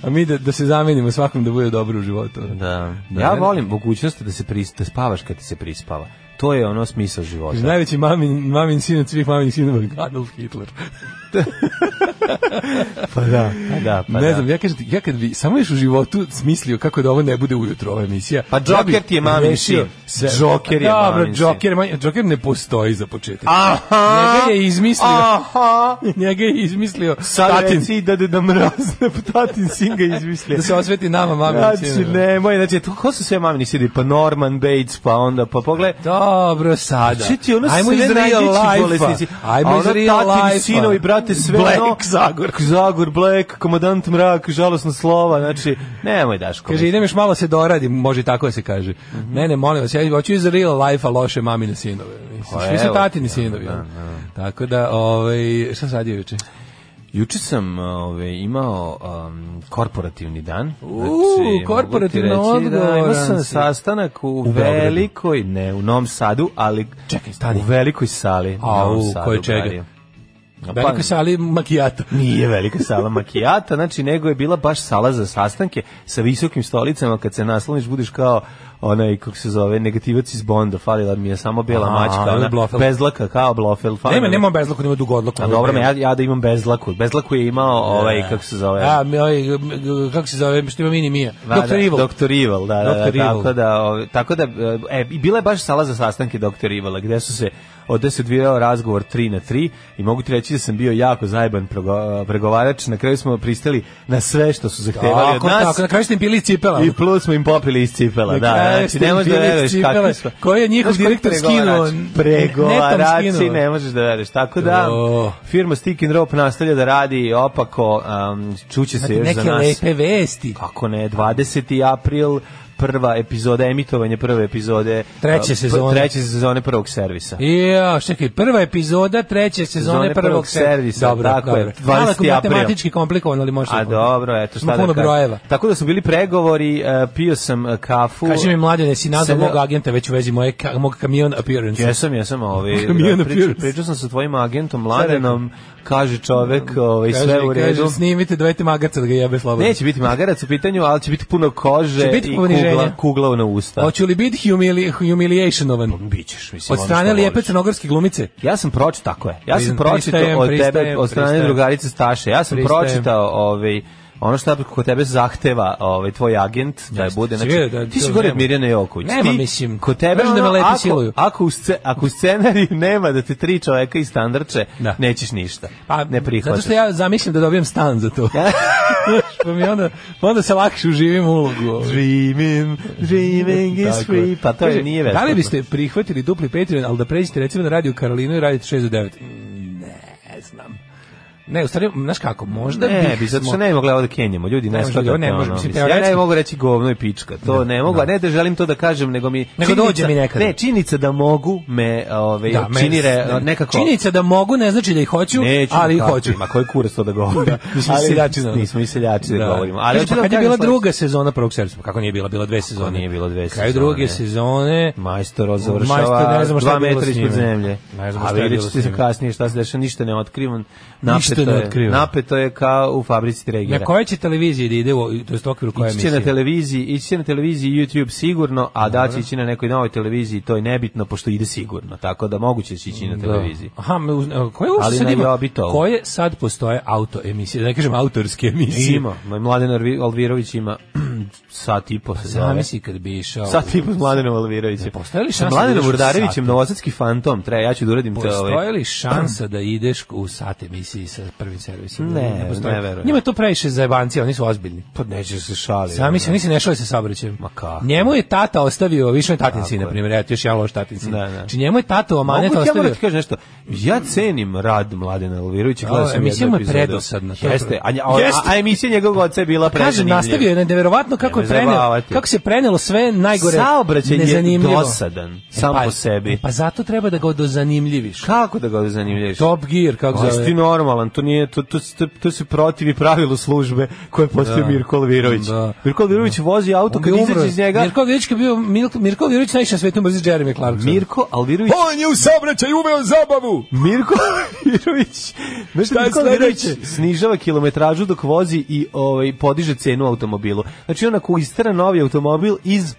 Speaker 7: a mi da, da se zamenimo svakom da bude dobro u životu.
Speaker 6: Da.
Speaker 7: Da,
Speaker 6: ja
Speaker 7: ne?
Speaker 6: volim mogućnost da se pris, da spavaš kad ti se prispava. To je ono smisao života.
Speaker 7: Kaže, Najveći mamin, mamin sin od svih mamin sinova je Adolf Hitler.
Speaker 6: pa da, pa da, pa
Speaker 7: ne
Speaker 6: da.
Speaker 7: znam, ja, kažem, ti, ja kad bi samo još u životu smislio kako da ovo ne bude ujutro ova emisija.
Speaker 6: Pa Joker
Speaker 7: ja bih
Speaker 6: ti je mamin
Speaker 7: rešio
Speaker 6: sin. Joker je
Speaker 7: Dobro,
Speaker 6: mamin sin.
Speaker 7: Joker, je mamin- Joker ne postoji za početak.
Speaker 6: Aha!
Speaker 7: Njega je izmislio.
Speaker 6: Aha!
Speaker 7: (laughs) Njega je izmislio
Speaker 6: Sad
Speaker 7: tatin.
Speaker 6: reci da da mraz, tatin singa izmislio.
Speaker 7: Da se osveti nama mamin
Speaker 6: Znači,
Speaker 7: sinovima.
Speaker 6: nemoj, znači, to, ko su sve mamini sidi? Pa Norman Bates, pa onda, pa pogled,
Speaker 7: Dobro, sada.
Speaker 6: Či ti ono
Speaker 7: Ajmo iz
Speaker 6: sve
Speaker 7: real
Speaker 6: najveći
Speaker 7: life-a.
Speaker 6: bolesnici. A
Speaker 7: Ajmo iz
Speaker 6: ono
Speaker 7: real
Speaker 6: tatini
Speaker 7: life-a.
Speaker 6: sinovi, brate, sve
Speaker 7: Black
Speaker 6: ono-
Speaker 7: Zagor.
Speaker 6: Zagor, Black, komadant mrak, žalosna slova, znači, nemoj Daško.
Speaker 7: Kaže, idem još malo se doradim, može i tako da se kaže.
Speaker 6: Mhm.
Speaker 7: Ne, ne, molim vas, ja hoću iz real life-a loše mamine sinove. Mislim,
Speaker 6: Pa
Speaker 7: Svi su
Speaker 6: evo,
Speaker 7: tatini
Speaker 6: da,
Speaker 7: sinovi.
Speaker 6: da,
Speaker 7: ono. Tako da, ovaj, šta sad je juče?
Speaker 6: Juče sam ove, imao um, korporativni dan. Znači,
Speaker 7: U,
Speaker 6: mogu ti
Speaker 7: korporativno
Speaker 6: reći Da, imao sam
Speaker 7: odgovoran si.
Speaker 6: sastanak u,
Speaker 7: Beogradu.
Speaker 6: velikoj, ne, u Novom Sadu, ali
Speaker 7: Čekaj, stani.
Speaker 6: u velikoj sali.
Speaker 7: A,
Speaker 6: u Novom
Speaker 7: u, koje čega?
Speaker 6: Barija. Pa,
Speaker 7: Veliko sali makijata.
Speaker 6: Nije velika sala makijata, znači nego je bila baš sala za sastanke sa visokim stolicama, kad se nasloniš budiš kao onaj, kako se zove, negativac iz Bonda, falila mi je samo bela
Speaker 7: A,
Speaker 6: mačka,
Speaker 7: ili
Speaker 6: ona
Speaker 7: Blofeld.
Speaker 6: bezlaka kao Blofeld. falila
Speaker 7: Nema,
Speaker 6: mi-
Speaker 7: nema bezlaku, nema dugodlaku.
Speaker 6: pa A Pa dobro, me, ja, ja da imam bezlaku. Bezlaku je imao ovaj, kako se zove,
Speaker 7: A, mi, ovaj, g- g- kako se zove, što ima mini Mija.
Speaker 6: Da,
Speaker 7: Doktor
Speaker 6: da,
Speaker 7: Evil.
Speaker 6: Dr. Evil, da, da,
Speaker 7: Dr.
Speaker 6: da,
Speaker 7: Evil.
Speaker 6: tako da, ovaj, tako da, e, i bila je baš sala za sastanke Dr. Evila, gde su se, ovde se odvijao razgovor 3 na 3 i mogu ti reći da sam bio jako zajeban prego- pregovarač, na kraju smo pristali na sve što su zahtevali
Speaker 7: Tako,
Speaker 6: od nas
Speaker 7: tako, na kraju ste im pili iz cipela. ono.
Speaker 6: i plus smo im popili iz cipela,
Speaker 7: Pa, Na
Speaker 6: da,
Speaker 7: kraju ste
Speaker 6: znači, ne
Speaker 7: im
Speaker 6: možeš da
Speaker 7: bili iz
Speaker 6: veruješ
Speaker 7: cipela.
Speaker 6: kakvi smo.
Speaker 7: Koji je njihov
Speaker 6: Znaš koji
Speaker 7: direktor
Speaker 6: pregovarač?
Speaker 7: skinuo? Netom
Speaker 6: Pregovarači,
Speaker 7: skinuo.
Speaker 6: ne možeš da veruješ, tako da,
Speaker 7: Jo.
Speaker 6: firma Stick and Rope nastavlja da radi opako, um, čuće se još za
Speaker 7: Neke
Speaker 6: nas. Pa.
Speaker 7: lepe vesti.
Speaker 6: Kako ne, 20. april prva epizoda, emitovanje prve epizode.
Speaker 7: Treće
Speaker 6: a, p-
Speaker 7: sezone.
Speaker 6: Treće sezone prvog servisa.
Speaker 7: Ja, čekaj, prva epizoda treće sezone
Speaker 6: Sezone
Speaker 7: prvog,
Speaker 6: prvog
Speaker 7: se-
Speaker 6: servisa,
Speaker 7: Dobro,
Speaker 6: tako je,
Speaker 7: dobro. Malo
Speaker 6: 20. april.
Speaker 7: matematički komplikovan, ali može.
Speaker 6: A dobro, eto šta
Speaker 7: Ima
Speaker 6: da
Speaker 7: puno
Speaker 6: kažem.
Speaker 7: brojeva.
Speaker 6: Tako da su bili pregovori, e, pio sam e, kafu.
Speaker 7: Kaži mi mlađe, si nazvao
Speaker 6: Sada-
Speaker 7: mog agenta već u vezi moje, ka- mog kamion appearance.
Speaker 6: Jesam, jesam,
Speaker 7: (laughs)
Speaker 6: ovaj,
Speaker 7: Kamion
Speaker 6: da, pričao,
Speaker 7: appearance.
Speaker 6: pričao sam sa tvojim agentom Mladenom, kaže čovek, ovaj,
Speaker 7: Kaže,
Speaker 6: sve u redu.
Speaker 7: Kaže, snimite, dajte magarca da ga jebe slobodno.
Speaker 6: Neće biti magarac u pitanju, ali će biti puno kože
Speaker 7: Će biti
Speaker 6: i
Speaker 7: poniženja.
Speaker 6: kugla, kugla na usta.
Speaker 7: Hoću li biti humili, humiliationovan?
Speaker 6: Bićeš, mislim,
Speaker 7: Od
Speaker 6: ono
Speaker 7: strane
Speaker 6: što
Speaker 7: lijepe
Speaker 6: voliš.
Speaker 7: crnogorske glumice?
Speaker 6: Ja sam pročitao, tako je. Ja sam
Speaker 7: Prizn-
Speaker 6: pročitao
Speaker 7: pristajem,
Speaker 6: od tebe,
Speaker 7: pristajem,
Speaker 6: od strane
Speaker 7: pristajem.
Speaker 6: drugarice Staše. Ja sam
Speaker 7: Pristajem.
Speaker 6: pročitao ovaj, ono što kod tebe zahteva ovaj, tvoj agent da je bude.
Speaker 7: Jeste,
Speaker 6: Znači,
Speaker 7: da-
Speaker 6: ti si
Speaker 7: to
Speaker 6: gore od
Speaker 7: nema.
Speaker 6: Mirjane Joković.
Speaker 7: Nema,
Speaker 6: Ti-
Speaker 7: mislim.
Speaker 6: Kod tebe,
Speaker 7: Možda da me
Speaker 6: ono,
Speaker 7: lepi
Speaker 6: ako,
Speaker 7: siluju.
Speaker 6: Ako, u sce- ako u scenariju nema da te tri čoveka istandrče,
Speaker 7: Da.
Speaker 6: nećeš ništa.
Speaker 7: Pa,
Speaker 6: ne prihvataš.
Speaker 7: Zato
Speaker 6: (laughs)
Speaker 7: što ja zamislim da dobijem stan za to. (laughs) pa mi onda, pa onda se lakše uživim u ulogu. ovaj.
Speaker 6: Dreaming, dreaming is
Speaker 7: Tako je.
Speaker 6: free. Pa to je
Speaker 7: Kaže,
Speaker 6: nije
Speaker 7: Da li
Speaker 6: besplatno.
Speaker 7: biste prihvatili dupli Patreon, ali da pređete recimo na Radio Karolinu i radite 6 do 9? Mm, Ne znam. Ne, u stvari, znaš kako, možda
Speaker 6: Ne,
Speaker 7: bih
Speaker 6: E, bi zato što
Speaker 7: smo-
Speaker 6: ne mogu gledati Kenjamo, ljudi
Speaker 7: Ne
Speaker 6: ne
Speaker 7: može,
Speaker 6: shvatate
Speaker 7: ne može,
Speaker 6: ono,
Speaker 7: mislim,
Speaker 6: mislim, Ja ne
Speaker 7: teoretski.
Speaker 6: mogu reći govno i pička, to ne mogu, a ne da želim to da kažem, nego mi
Speaker 7: Nego dođe mi nekada.
Speaker 6: Ne, činjenica da mogu me ovaj
Speaker 7: Da, me-
Speaker 6: čini re, nekako
Speaker 7: Činjenica da mogu ne znači da ih hoću,
Speaker 6: Neću,
Speaker 7: ali ih
Speaker 6: kako,
Speaker 7: hoću.
Speaker 6: Ma koji kurac to da
Speaker 7: (laughs)
Speaker 6: govori? Mi smo
Speaker 7: Ali-
Speaker 6: seljači, znaš. Nismo i seljaci da, govorimo. Ali
Speaker 7: Kaže,
Speaker 6: hoću
Speaker 7: pa
Speaker 6: da
Speaker 7: kad je
Speaker 6: kažem
Speaker 7: bila
Speaker 6: sledeće.
Speaker 7: druga sezona prvog servisa, kako nije bila, bila dve sezone.
Speaker 6: nije bilo dve
Speaker 7: Kraj
Speaker 6: sezone.
Speaker 7: druge sezone.
Speaker 6: Majstor završava
Speaker 7: Majstor, ne znamo šta je
Speaker 6: dva
Speaker 7: bilo
Speaker 6: metra
Speaker 7: s njime.
Speaker 6: ispod zemlje.
Speaker 7: Ne znamo
Speaker 6: A
Speaker 7: šta je
Speaker 6: vidjet
Speaker 7: bilo
Speaker 6: ćete
Speaker 7: s
Speaker 6: se
Speaker 7: njime.
Speaker 6: kasnije šta se dešava, ništa ne otkrivam.
Speaker 7: Ništa
Speaker 6: Napeto
Speaker 7: ne
Speaker 6: je-
Speaker 7: otkriva.
Speaker 6: Napeto je kao u fabrici Tregera.
Speaker 7: Na kojoj će televiziji da ide, u, to je okviru koje
Speaker 6: Ići će na
Speaker 7: emisije?
Speaker 6: televiziji, ići će na televiziji YouTube sigurno, a da će ići na nekoj novoj televiziji, to je nebitno, pošto ide sigurno, tako da moguće će ići na televiziji.
Speaker 7: Da. Aha, me uz- a, koje uopšte
Speaker 6: Ali
Speaker 7: sad
Speaker 6: ne
Speaker 7: ima-
Speaker 6: Jobitovu.
Speaker 7: Koje sad postoje auto emisije, da ne kažem autorske emisije?
Speaker 6: Ima, ma, Mladen Arvi- Alvirović ima (clears throat) sat i po se zove.
Speaker 7: Pa Zamisli kad bi išao.
Speaker 6: Sat i po s Mladenom Alvirovićem.
Speaker 7: postoji li
Speaker 6: Sa
Speaker 7: šansa da
Speaker 6: Mladenom
Speaker 7: ideš u
Speaker 6: Urdarevićem,
Speaker 7: sat?
Speaker 6: novosadski fantom, treba, ja ću da uradim to. ovaj-
Speaker 7: Postoji li šansa da ideš u sat emisiji sa prvim servisom?
Speaker 6: Ne,
Speaker 7: postoji.
Speaker 6: ne verujem.
Speaker 7: Njima je to previše za jebanci, oni su ozbiljni.
Speaker 6: Pa neće se šaliti.
Speaker 7: Sami se nisi nešao je sa saobraćajem.
Speaker 6: Ma kako?
Speaker 7: Njemu je tata ostavio, više je tatin sin,
Speaker 6: je.
Speaker 7: na primjer, eto još jedan loš tatin sin.
Speaker 6: Da, da.
Speaker 7: Znači njemu je tata
Speaker 6: Mogu
Speaker 7: omanet
Speaker 6: ti ja moram
Speaker 7: ostavio.
Speaker 6: da ti kažem nešto. Ja cenim rad Mladena Alvirovića, gledao
Speaker 7: A,
Speaker 6: sam
Speaker 7: emisija
Speaker 6: jednu
Speaker 7: mu je
Speaker 6: epizodu.
Speaker 7: predosadna, to je
Speaker 6: Jeste, a, nja- a,
Speaker 7: Jeste.
Speaker 6: a, a emisija njegovog oca je bila
Speaker 7: Kažem,
Speaker 6: prezanimljiva.
Speaker 7: nastavio je na neverovatno kako je
Speaker 6: Nemoj
Speaker 7: prenelo,
Speaker 6: zajebavati.
Speaker 7: kako se prenelo sve najgore.
Speaker 6: Saobraćaj je
Speaker 7: nezanimljivo.
Speaker 6: dosadan, sam po sebi.
Speaker 7: e, Pa zato treba da ga dozanimljiviš.
Speaker 6: Kako da ga zanimljaš?
Speaker 7: Top Gear, kako
Speaker 6: Pa
Speaker 7: zove.
Speaker 6: ti normalan, to nije to to to, to se protivi pravilu službe koje postoji Mirko Alvirović.
Speaker 7: Da.
Speaker 6: Mirko Alvirović vozi auto
Speaker 7: On
Speaker 6: kad
Speaker 7: bi
Speaker 6: izađe
Speaker 7: umro.
Speaker 6: iz njega. Mirko,
Speaker 7: Mirko Virović je bio Mirko, Mirko Virović najviše na svetu mrzi Jeremy Clarkson.
Speaker 6: Alvirović
Speaker 7: On je u saobraćaju uveo zabavu.
Speaker 6: Mirko Alvirović, znaš
Speaker 7: je
Speaker 6: Mirko Alvirović
Speaker 7: sledeće?
Speaker 6: snižava kilometražu dok vozi i ovaj podiže cenu automobilu. Znači onako istera novi automobil iz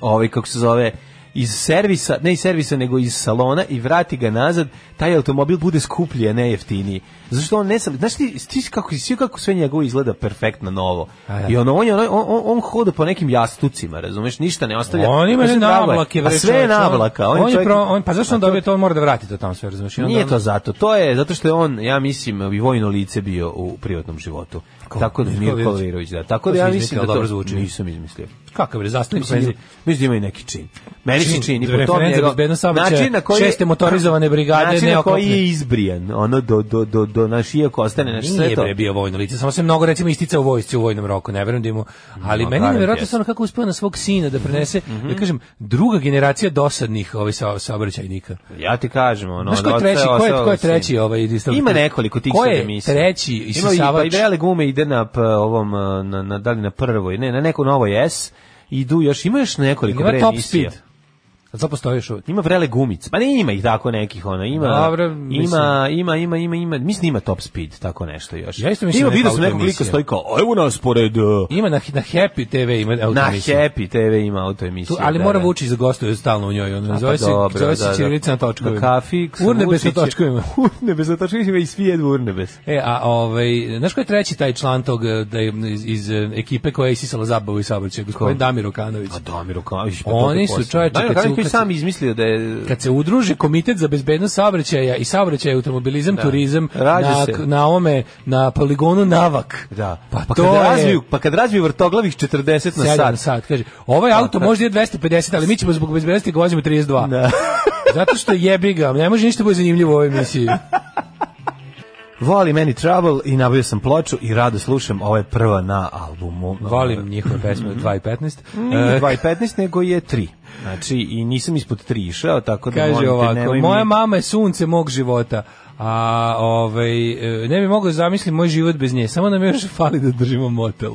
Speaker 6: ovaj kako se zove iz servisa, ne iz servisa, nego iz salona i vrati ga nazad, taj automobil bude skuplji, a ne jeftiniji. Zašto on ne sam, znaš ti, ti kako, svi kako sve njegovo izgleda perfektno novo.
Speaker 7: A da.
Speaker 6: I ono, on, je, ono- on, on, on hoda po nekim jastucima, razumeš, ništa ne ostavlja.
Speaker 7: On ima
Speaker 6: Mislim,
Speaker 7: ne
Speaker 6: drago je.
Speaker 7: navlake,
Speaker 6: A
Speaker 7: bre,
Speaker 6: sve je
Speaker 7: čoveče,
Speaker 6: navlaka.
Speaker 7: On,
Speaker 6: On,
Speaker 7: on, je
Speaker 6: čovjek-
Speaker 7: pro, on, pa zašto on
Speaker 6: A to-
Speaker 7: dobio to, on mora da vrati to tamo sve, razumiješ? ono-
Speaker 6: Nije to zato, to je zato što je on, ja mislim, i vojno lice bio u privatnom životu. Tako da
Speaker 7: Mirko
Speaker 6: Mirko
Speaker 7: Vidović?
Speaker 6: Virović, da. Tako
Speaker 7: To
Speaker 6: da ja
Speaker 7: si
Speaker 6: mislim
Speaker 7: izmislio,
Speaker 6: da to
Speaker 7: dobro zvuči.
Speaker 6: nisam izmislio.
Speaker 7: Kakav je, zastavim se.
Speaker 6: Mislim, da- mislim da ima i neki čin. Meni se
Speaker 7: Čin,
Speaker 6: čini po tom
Speaker 7: referenca
Speaker 6: njegov-
Speaker 7: bezbednost saobraćaja, šeste motorizovane brigade,
Speaker 6: način na koji
Speaker 7: neoklopne.
Speaker 6: je izbrijan, ono do do do do naš iako ostane naš sve
Speaker 7: Nije
Speaker 6: to.
Speaker 7: bre bio vojno lice, samo se mnogo recimo isticao u vojsci u vojnom roku, ne verujem da mu, ali
Speaker 6: Mm, Ma, Mhm.
Speaker 7: meni je
Speaker 6: barem
Speaker 7: nevjerojatno
Speaker 6: jeste.
Speaker 7: stvarno kako uspeo na svog sina da prenese, da kažem, druga generacija dosadnih ovaj sa, saobraćajnika.
Speaker 6: Ja ti kažem, ono,
Speaker 7: Znaš ko je
Speaker 6: od
Speaker 7: treći,
Speaker 6: oca-
Speaker 7: ko je,
Speaker 6: oca-
Speaker 7: ko je treći ovaj distributor?
Speaker 6: Ima nekoliko tih
Speaker 7: Ko
Speaker 6: sad
Speaker 7: je
Speaker 6: emisija.
Speaker 7: treći
Speaker 6: Ima i
Speaker 7: isisavač?
Speaker 6: pa i Vrele gume ide na p, ovom e, na na da li na prvoj, ne, na neko novoj S. Idu još, ima još nekoliko
Speaker 7: Ima
Speaker 6: bre
Speaker 7: top
Speaker 6: emisija.
Speaker 7: speed. Sad to postoji još uvijek.
Speaker 6: Ima vrele gumice. Pa ne ima ih tako nekih ona. Ima
Speaker 7: Dobro,
Speaker 6: ima
Speaker 7: mislim.
Speaker 6: ima ima ima ima mislim ima top speed tako nešto još.
Speaker 7: Ja isto mislim
Speaker 6: ima
Speaker 7: da je
Speaker 6: video sam
Speaker 7: neka
Speaker 6: nekog lika
Speaker 7: autoemisija.
Speaker 6: stoji kao "A evo nas pored uh,
Speaker 7: Ima na, na Happy TV ima auto
Speaker 6: na
Speaker 7: emisiju.
Speaker 6: Happy TV ima auto emisiju.
Speaker 7: Tu, ali
Speaker 6: da,
Speaker 7: mora
Speaker 6: da.
Speaker 7: Vučić da gostuje stalno u njoj.
Speaker 6: A,
Speaker 7: Ono,
Speaker 6: pa
Speaker 7: zove se,
Speaker 6: dobro,
Speaker 7: zove se
Speaker 6: da, da.
Speaker 7: Ćirilica na točkovima.
Speaker 6: Na kafi. sa
Speaker 7: Urne bez na
Speaker 6: Vučićem.
Speaker 7: točkovima.
Speaker 6: (laughs) Urne bez na točkovima i svi jedu urne bez.
Speaker 7: E, a ovaj, znaš ko je treći taj član tog eh, da je iz, iz eh, ekipe koja je isisala zabavu i saobraćaj, gospodin Damir Okanović.
Speaker 6: A Damir Okanović.
Speaker 7: Oni su, čoveče, kad
Speaker 6: Damir
Speaker 7: se
Speaker 6: Okanović koji
Speaker 7: ukaci-
Speaker 6: sam izmislio da je
Speaker 7: Kad se udruži komitet za bezbednost saobraćaja i saobraćaj automobilizam, turizam,
Speaker 6: Rađa
Speaker 7: na,
Speaker 6: se.
Speaker 7: na ome, na poligonu Navak.
Speaker 6: Da.
Speaker 7: Pa,
Speaker 6: pa
Speaker 7: to
Speaker 6: kad
Speaker 7: je...
Speaker 6: razviju, pa kad razviju vrtoglavih 40 na
Speaker 7: Sedam
Speaker 6: sat.
Speaker 7: sat, kaže. Ovaj auto može je 250, ali mi ćemo zbog bezbednosti ga vozimo 32. (laughs)
Speaker 6: Da.
Speaker 7: Zato što jebi ga, ne može ništa bude zanimljivo u ovoj emisiji.
Speaker 6: Volim meni Trouble i nabavio sam ploču i rado slušam, ovo je prva na albumu.
Speaker 7: Volim njihove pesme od (laughs) 2.15.
Speaker 6: Nije
Speaker 7: E,
Speaker 6: 2.15, nego je 3. Znači, i nisam ispod 3 išao, tako da
Speaker 7: Kaže
Speaker 6: E, molim te,
Speaker 7: ovako,
Speaker 6: nemoj
Speaker 7: moja
Speaker 6: mi...
Speaker 7: mama je sunce mog života, a ovaj, e, ne bi mogao zamisliti moj život bez nje, samo nam još fali da držimo motel.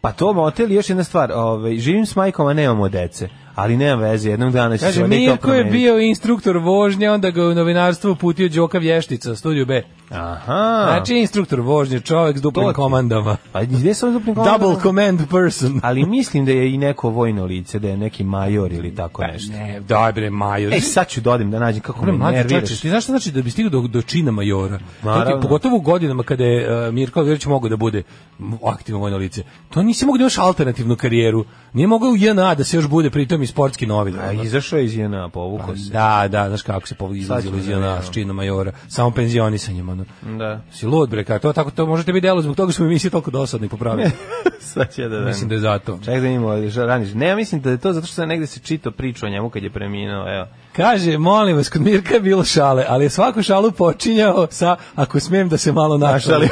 Speaker 6: Pa to motel je još jedna stvar. Ovaj živim s majkom, a nemamo dece. Ali nema veze, jednog dana će se
Speaker 7: Kaže,
Speaker 6: valjda i to
Speaker 7: Mirko Znači, je
Speaker 6: promeniti.
Speaker 7: bio instruktor vožnje, onda ga je u novinarstvo uputio Đoka Vještica, studiju B.
Speaker 6: Aha.
Speaker 7: Znači, instruktor vožnje, čovek s
Speaker 6: To
Speaker 7: duplim
Speaker 6: ti-
Speaker 7: komandama.
Speaker 6: pa gde sam duplim komandama?
Speaker 7: Double command person.
Speaker 6: Ali mislim da je i neko vojno lice, da je neki major ili tako nešto.
Speaker 7: Ne, daj bre, Majo.
Speaker 6: Ej, sad ću dodim da nađem kako
Speaker 7: E, Bre,
Speaker 6: me
Speaker 7: mlađe
Speaker 6: nerviraš.
Speaker 7: čovječe, ti znaš šta znači da bi stigao do, do čina majora? To
Speaker 6: Naravno.
Speaker 7: ti, pogotovo u godinama kada je uh, Mirko Vjerić mogao da bude m, aktivno vojno lice. To nisi mogao da imaš alternativnu karijeru. Nije mogao u JNA da se još bude pritom i sportski novinar.
Speaker 6: A,
Speaker 7: ono.
Speaker 6: izašao je iz JNA, povukao se.
Speaker 7: Da, da, znaš kako se povo- izlazilo
Speaker 6: ćemo
Speaker 7: iz
Speaker 6: da
Speaker 7: JNA
Speaker 6: vidimo.
Speaker 7: s činom majora, samo penzionisanjem. Ono.
Speaker 6: Da.
Speaker 7: Si lud bre, kao to, tako, to možete biti delo, zbog toga smo emisije toliko dosadni popravili.
Speaker 6: (laughs) sad će da
Speaker 7: Mislim da je zato.
Speaker 6: Čekaj da imamo ali šta radiš. Ne, ja mislim da je to zato što sam negde se čitao priču o njemu kad je preminuo, evo.
Speaker 7: Kaže, molim vas, kod Mirka je bilo šale, ali je svaku šalu počinjao sa, ako smem da se malo (laughs) našalim,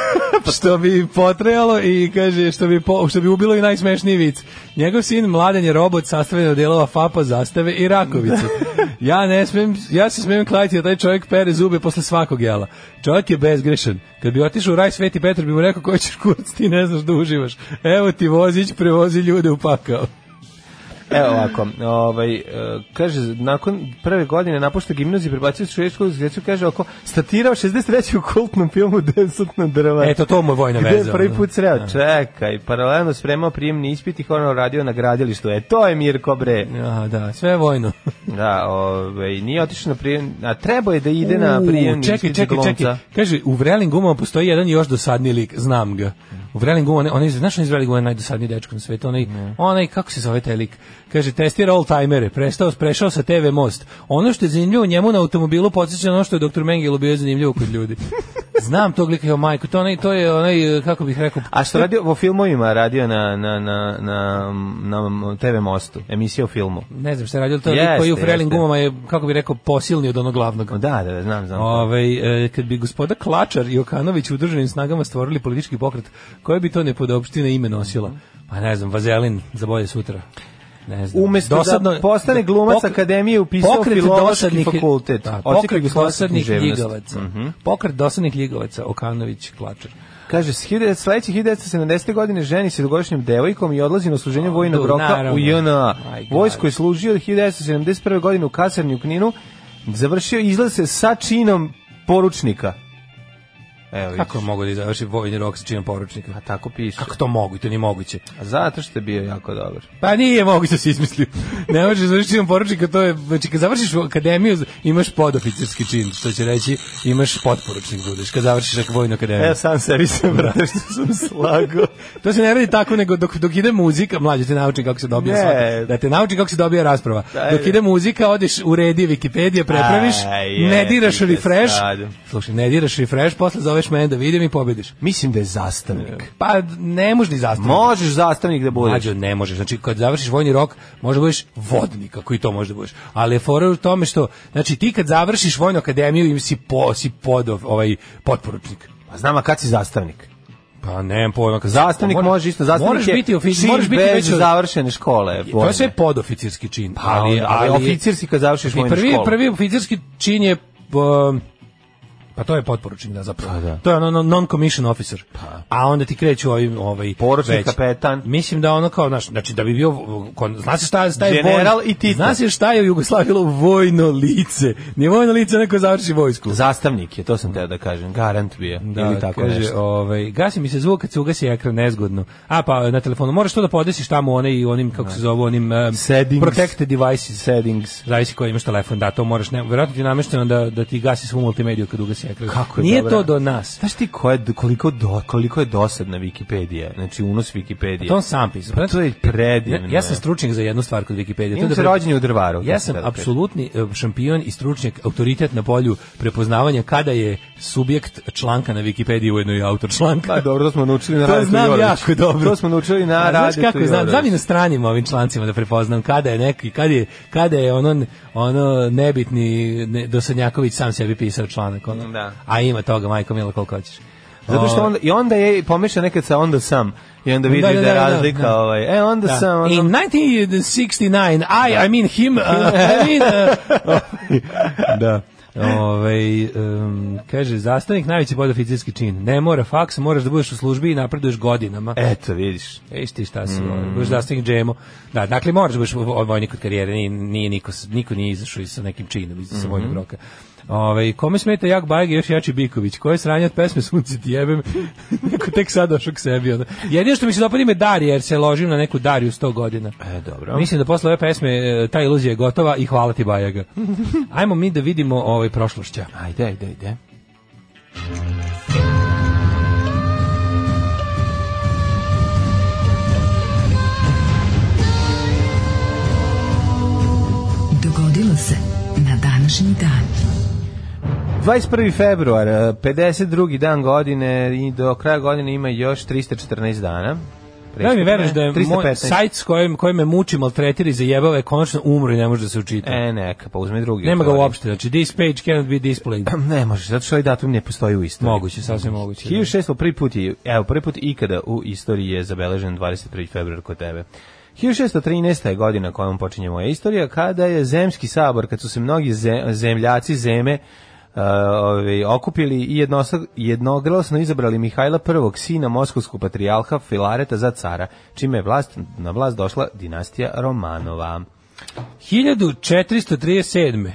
Speaker 7: što bi potrejalo i kaže, što bi, po, što bi ubilo i najsmešniji vic. Njegov sin Mladen je robot sastavljen od delova Fapa, Zastave i (laughs) Rakovice. Ja ne smem, ja se smem klajati da taj čovjek pere zube posle svakog jela. Čovjek je bezgrešan. Kad bi otišao u raj Sveti Petar bi mu rekao, koji ćeš kurac, ti ne znaš da uživaš. Evo ti vozić, prevozi ljude u pakao.
Speaker 6: Evo ovako, ovaj, e, kaže, nakon prve godine napušta gimnaziju, prebacio se u švedsku gdje kaže oko, statirao 63. u kultnom filmu Desut na drva.
Speaker 7: Eto, E, to mu je vojna
Speaker 6: Gde
Speaker 7: veza.
Speaker 6: je prvi
Speaker 7: ono.
Speaker 6: put sreo? Čekaj, paralelno spremao prijemni ispit i ono radio na gradilištu. E, to je Mirko, bre.
Speaker 7: Ja, da, sve je vojno. (laughs)
Speaker 6: Da, ovaj, nije otišao na prijem, a trebao je da ide na prijemni
Speaker 7: U, čekaj,
Speaker 6: ispit
Speaker 7: čekaj,
Speaker 6: glumca.
Speaker 7: čekaj. Kaže, u Vreling gumama postoji jedan još dosadniji lik, znam ga. U Vreling gumama, onaj, znaš onaj iz Vreling gumama je najdosadniji dečko na svetu, onaj, onaj, kako se zove taj lik? Kaže, testira all timere, prestao, prešao sa TV most. Ono što je zanimljivo njemu na automobilu podsjeća na ono što je dr. Mengele bio zanimljivo kod
Speaker 6: (laughs)
Speaker 7: ljudi. Znam tog lika, evo majko, to, onaj, to je onaj, kako bih rekao,
Speaker 6: A što radio po filmovima, radio na, na, na, na, na TV Mostu, emisija o filmu.
Speaker 7: ne znam šta je radio, ali to je lik
Speaker 6: Jeste,
Speaker 7: koji u Vreling
Speaker 6: jeste.
Speaker 7: gumama je, kako bih rekao, posilni od onog glavnog.
Speaker 6: Da, da, da, znam, znam.
Speaker 7: Ove, e, kad bi gospoda Klačar i Okanović u državnim snagama stvorili politički pokret, koje bi to nepodopštine ime nosila? Pa ne znam, Vazelin za bolje sutra. Ne znam.
Speaker 6: Umesto da postane glumac akademije, upisao
Speaker 7: pokret
Speaker 6: filološki
Speaker 7: dosadnih-
Speaker 6: fakultet.
Speaker 7: Da,
Speaker 6: Odsjeka
Speaker 7: pokret
Speaker 6: jugoslovenske
Speaker 7: dosadnih
Speaker 6: književnosti. Mhm.
Speaker 7: ljigavaca. Pokret dosadnih ljigavaca, Okanović, Klačar.
Speaker 6: Kaže, s hiljade- sledeće 1970. godine ženi se dugogodišnjom devojkom i odlazi na služenje vojnog
Speaker 7: Du-
Speaker 6: roka
Speaker 7: naravno.
Speaker 6: u JNA.
Speaker 7: Aj, God.
Speaker 6: Vojsko je služio od 1971. godine u kasarni u Kninu, završio izlaz se sa činom poručnika. Evo vidiš.
Speaker 7: Kako je mogo da završi vojni rok sa činom poručnika?
Speaker 6: A tako piše.
Speaker 7: Kako to mogu? To nije moguće.
Speaker 6: Zato što je bio jako dobar.
Speaker 7: Pa nije moguće da si izmislio. ne možeš završiti čin poručnika, to je, znači kad završiš akademiju, imaš podoficirski čin, što će reći, imaš potporučnik budeš kad završiš vojnu akademiju.
Speaker 6: Evo sam sebi sam vrata što sam (laughs) slago.
Speaker 7: To se ne radi tako, nego dok, dok ide muzika, mlađe te nauči kako se dobija
Speaker 6: Ne.
Speaker 7: svaka, da te nauči kako se dobija rasprava.
Speaker 6: Daj,
Speaker 7: Dok ide muzika, odeš u redi Wikipedia, prepraviš,
Speaker 6: Aj,
Speaker 7: ne
Speaker 6: jebi
Speaker 7: diraš
Speaker 6: te
Speaker 7: refresh,
Speaker 6: sad.
Speaker 7: slušaj, ne diraš refresh, posle zoveš mene da vidim i pobediš.
Speaker 6: Mislim da je zastavnik.
Speaker 7: Pa ne možeš ni zastaviti.
Speaker 6: E, Možeš zastavnik da budeš.
Speaker 7: Mlađo, ne možeš. Znači, kad završiš vojni rok, možda budeš vodnik, ako i to možda budeš. Ali je fora u tome što, znači, ti kad završiš vojnu akademiju, im si, po, si podov, ovaj, potporučnik.
Speaker 6: Pa znam, a kad si zastavnik?
Speaker 7: Pa nemam pojma. Kad
Speaker 6: Zastavnik
Speaker 7: moraš-
Speaker 6: može isto, zastavnik
Speaker 7: moraš
Speaker 6: je
Speaker 7: biti ofici,
Speaker 6: čin
Speaker 7: moraš biti
Speaker 6: bez
Speaker 7: već od-
Speaker 6: završene škole.
Speaker 7: To
Speaker 6: vojne.
Speaker 7: je sve podoficirski čin.
Speaker 6: Pa, ali oficirski kad završiš
Speaker 7: I
Speaker 6: vojnu
Speaker 7: prvi,
Speaker 6: školu.
Speaker 7: Prvi oficirski čin je... um, pa to je potporučnik, da, zapravo.
Speaker 6: Pa, da. Pa.
Speaker 7: To je ono no- non-commission officer. A onda ti kreću ovim, ovaj...
Speaker 6: Poručnik,
Speaker 7: veći.
Speaker 6: kapetan.
Speaker 7: Mislim da ono kao, znaš, znači da bi bio... kon- Zna se šta, je- šta je
Speaker 6: General
Speaker 7: vojno-
Speaker 6: i Tito.
Speaker 7: Zna se šta je u Jugoslavilo vojno lice. Nije vojno lice, neko završi vojsku.
Speaker 6: Zastavnik je, to sam teo da kažem. Garant bio.
Speaker 7: Da,
Speaker 6: ili tako
Speaker 7: kaže,
Speaker 6: nešto.
Speaker 7: ovaj, gasi mi se zvuk kad se ugasi ekran nezgodno. A pa na telefonu moraš to da podesiš tamo one i onim kako se zove onim um,
Speaker 6: Settings.
Speaker 7: protected devices.
Speaker 6: Settings.
Speaker 7: Zavisi koji imaš telefon, da, to moraš, ne, verovatno ti je namešteno da, da ti gasi svu multimediju kad ugasi ekran.
Speaker 6: Kako je
Speaker 7: Nije
Speaker 6: dobra.
Speaker 7: to do nas.
Speaker 6: Znaš ti koja, koliko, do, koliko je dosadna Wikipedia? Znači, unos Wikipedia.
Speaker 7: To on sam pisao.
Speaker 6: Pa to je predivno.
Speaker 7: ja, ja sam stručnjak za jednu stvar kod Wikipedije. to je
Speaker 6: Imam
Speaker 7: da
Speaker 6: se
Speaker 7: pre-
Speaker 6: rođenje u drvaru.
Speaker 7: Ja
Speaker 6: to
Speaker 7: sam
Speaker 6: tada kažem.
Speaker 7: apsolutni e, šampion i stručnjak, autoritet na polju prepoznavanja kada je subjekt članka na Wikipediji ujedno i autor članka.
Speaker 6: Pa dobro, to smo naučili na
Speaker 7: To
Speaker 6: Radetu
Speaker 7: znam
Speaker 6: Joroviću.
Speaker 7: jako dobro.
Speaker 6: To smo naučili na
Speaker 7: A
Speaker 6: Radetu
Speaker 7: Znaš kako znam,
Speaker 6: Joroviću.
Speaker 7: znam i na stranim ovim člancima da prepoznam kada je neki, kada je, kada je ono, ono nebitni ne, Dosadnjaković sam sebi pisao članak. Ono.
Speaker 6: Da.
Speaker 7: A ima toga, majko mila, koliko hoćeš. Ovaj,
Speaker 6: Zato što onda, i onda je pomeša nekad sa onda sam i onda vidi da, da, je razlika ovaj. E onda
Speaker 7: Da.
Speaker 6: sam
Speaker 7: In
Speaker 6: onda,
Speaker 7: 1969, I, I mean him, uh, I mean...
Speaker 6: (laughs)
Speaker 7: Uh, da. Ove, um, kaže, zastavnik najveći podoficirski čin. Ne mora faks, moraš da budeš u službi i napreduješ godinama.
Speaker 6: eto vidiš.
Speaker 7: Eš ti E, šta si, mm. budeš zastavnik džemo. Da, dakle, moraš da budeš vo- vojnik od karijere, nije, nije niko, s- niko nije izašao i sa nekim činom, iz sa vojnog roka. Ove, kome smeta Jak Bajeg i još Jači Biković, koje sranje od pesme Sunce ti jebem, (laughs) neko tek sad došao k sebi. Ono. Jedino što mi se dopada ime Darija, jer se ložim na neku Dariju 100 godina.
Speaker 6: E, dobro.
Speaker 7: Mislim da posle ove pesme e, ta iluzija je gotova i hvala ti (laughs) Bajaga. Ajmo mi da vidimo ovaj prošlošća.
Speaker 6: Ajde, ajde, ajde.
Speaker 5: Dogodilo se na današnji dan.
Speaker 6: 21. februar, eh, 52. dan godine i do kraja godine ima još 314 dana.
Speaker 7: Da mi veruješ da je moj
Speaker 6: 315.
Speaker 7: sajt s kojim, kojim me muči, maltretira i zajebava je konačno umro i ne može da se učita.
Speaker 6: E, neka, pa uzmi drugi.
Speaker 7: Nema ga
Speaker 6: otvori.
Speaker 7: uopšte, znači this page cannot be displayed.
Speaker 6: Ne možeš, zato što ovaj datum ne postoji u istoriji.
Speaker 7: Moguće, sasvim moguće. da.
Speaker 6: 1600 prvi put je, evo, prvi put ikada u istoriji je zabeležen 21. februar kod tebe. 1613. je godina kojom počinje moja istorija, kada je Zemski sabor, kad su se mnogi ze- zemljaci zeme uh, ovaj, okupili i jednosa- jednoglasno izabrali Mihajla I, sina moskovskog patrijarha Filareta za cara, čime je vlast, na vlast došla dinastija Romanova.
Speaker 7: 1437.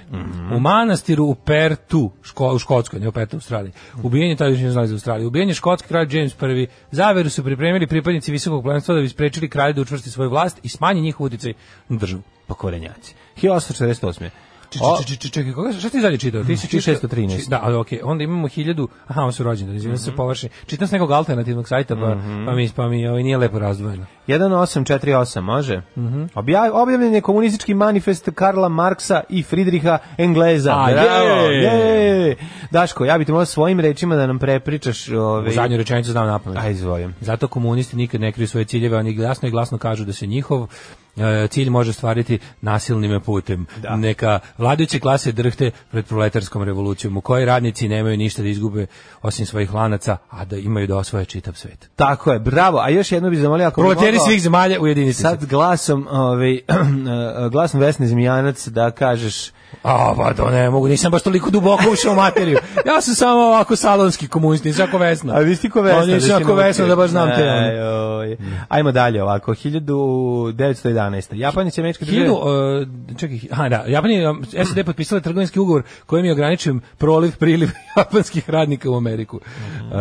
Speaker 7: U manastiru u Pertu, ško, u Škotskoj, ne u Pertu, u Australiji. Ubijen je tadašnji znali za Australiju. Ubijen je škotski kralj James I. Zaveru su pripremili pripadnici visokog plenstva da bi sprečili kralja da učvrsti svoju vlast i smanji njihov uticaj na državu.
Speaker 6: Pokorenjaci. 1848.
Speaker 7: Č-
Speaker 6: O-
Speaker 7: č- č- č- Čekaj, koga, šta ti dalje čitao? Ti si čitao-
Speaker 6: 1613.
Speaker 7: Da, ali okej, onda imamo 1000, aha, on su rođeni, izvinjam se površni. Čitam s nekog alternativnog sajta, pa, pa mi, pa mi ovaj, nije lepo razdvojeno.
Speaker 6: 1848 može.
Speaker 7: Mhm.
Speaker 6: Objav, objavljen je komunistički manifest Karla Marksa i Fridriha Engleza.
Speaker 7: A,
Speaker 6: Bravo,
Speaker 7: je!
Speaker 6: je! Daško, ja bi ti možda svojim rečima da nam prepričaš... Ove...
Speaker 7: U zadnju rečenicu znam na pamet.
Speaker 6: Aj, izvolim.
Speaker 7: Zato komunisti nikad ne kriju svoje ciljeve, oni jasno i glasno kažu da se njihov e, cilj može stvariti nasilnim putem. Neka vladajuće klase drhte pred proletarskom revolucijom u kojoj radnici nemaju ništa da izgube osim svojih lanaca, a da imaju da osvoje čitav svet.
Speaker 6: Tako je, bravo. A još jedno bih zamolio... Ako bi
Speaker 7: Proleteri
Speaker 6: mogao-
Speaker 7: svih zemalja ujedinite se.
Speaker 6: Sad glasom, ovaj, (clears throat) glasom Vesne Zmijanac da kažeš...
Speaker 7: A, pa to ne mogu, nisam baš toliko duboko ušao u materiju. Ja sam samo ovako salonski komunist, nisam ako vesna.
Speaker 6: A vi ste ko Vesna.
Speaker 7: Pa nisam
Speaker 6: si
Speaker 7: ako
Speaker 6: naučio.
Speaker 7: vesna da baš znam te. ono.
Speaker 6: Aj, oj. Ajmo dalje ovako. 1911. Japan i Sjemenička
Speaker 7: Hiljadu, uh, čekaj, aha, da, Japan je um, SAD potpisala trgovinski ugovor kojim je ograničen proliv, priliv (laughs) japanskih radnika u Ameriku.
Speaker 6: Mhm.
Speaker 7: Uh,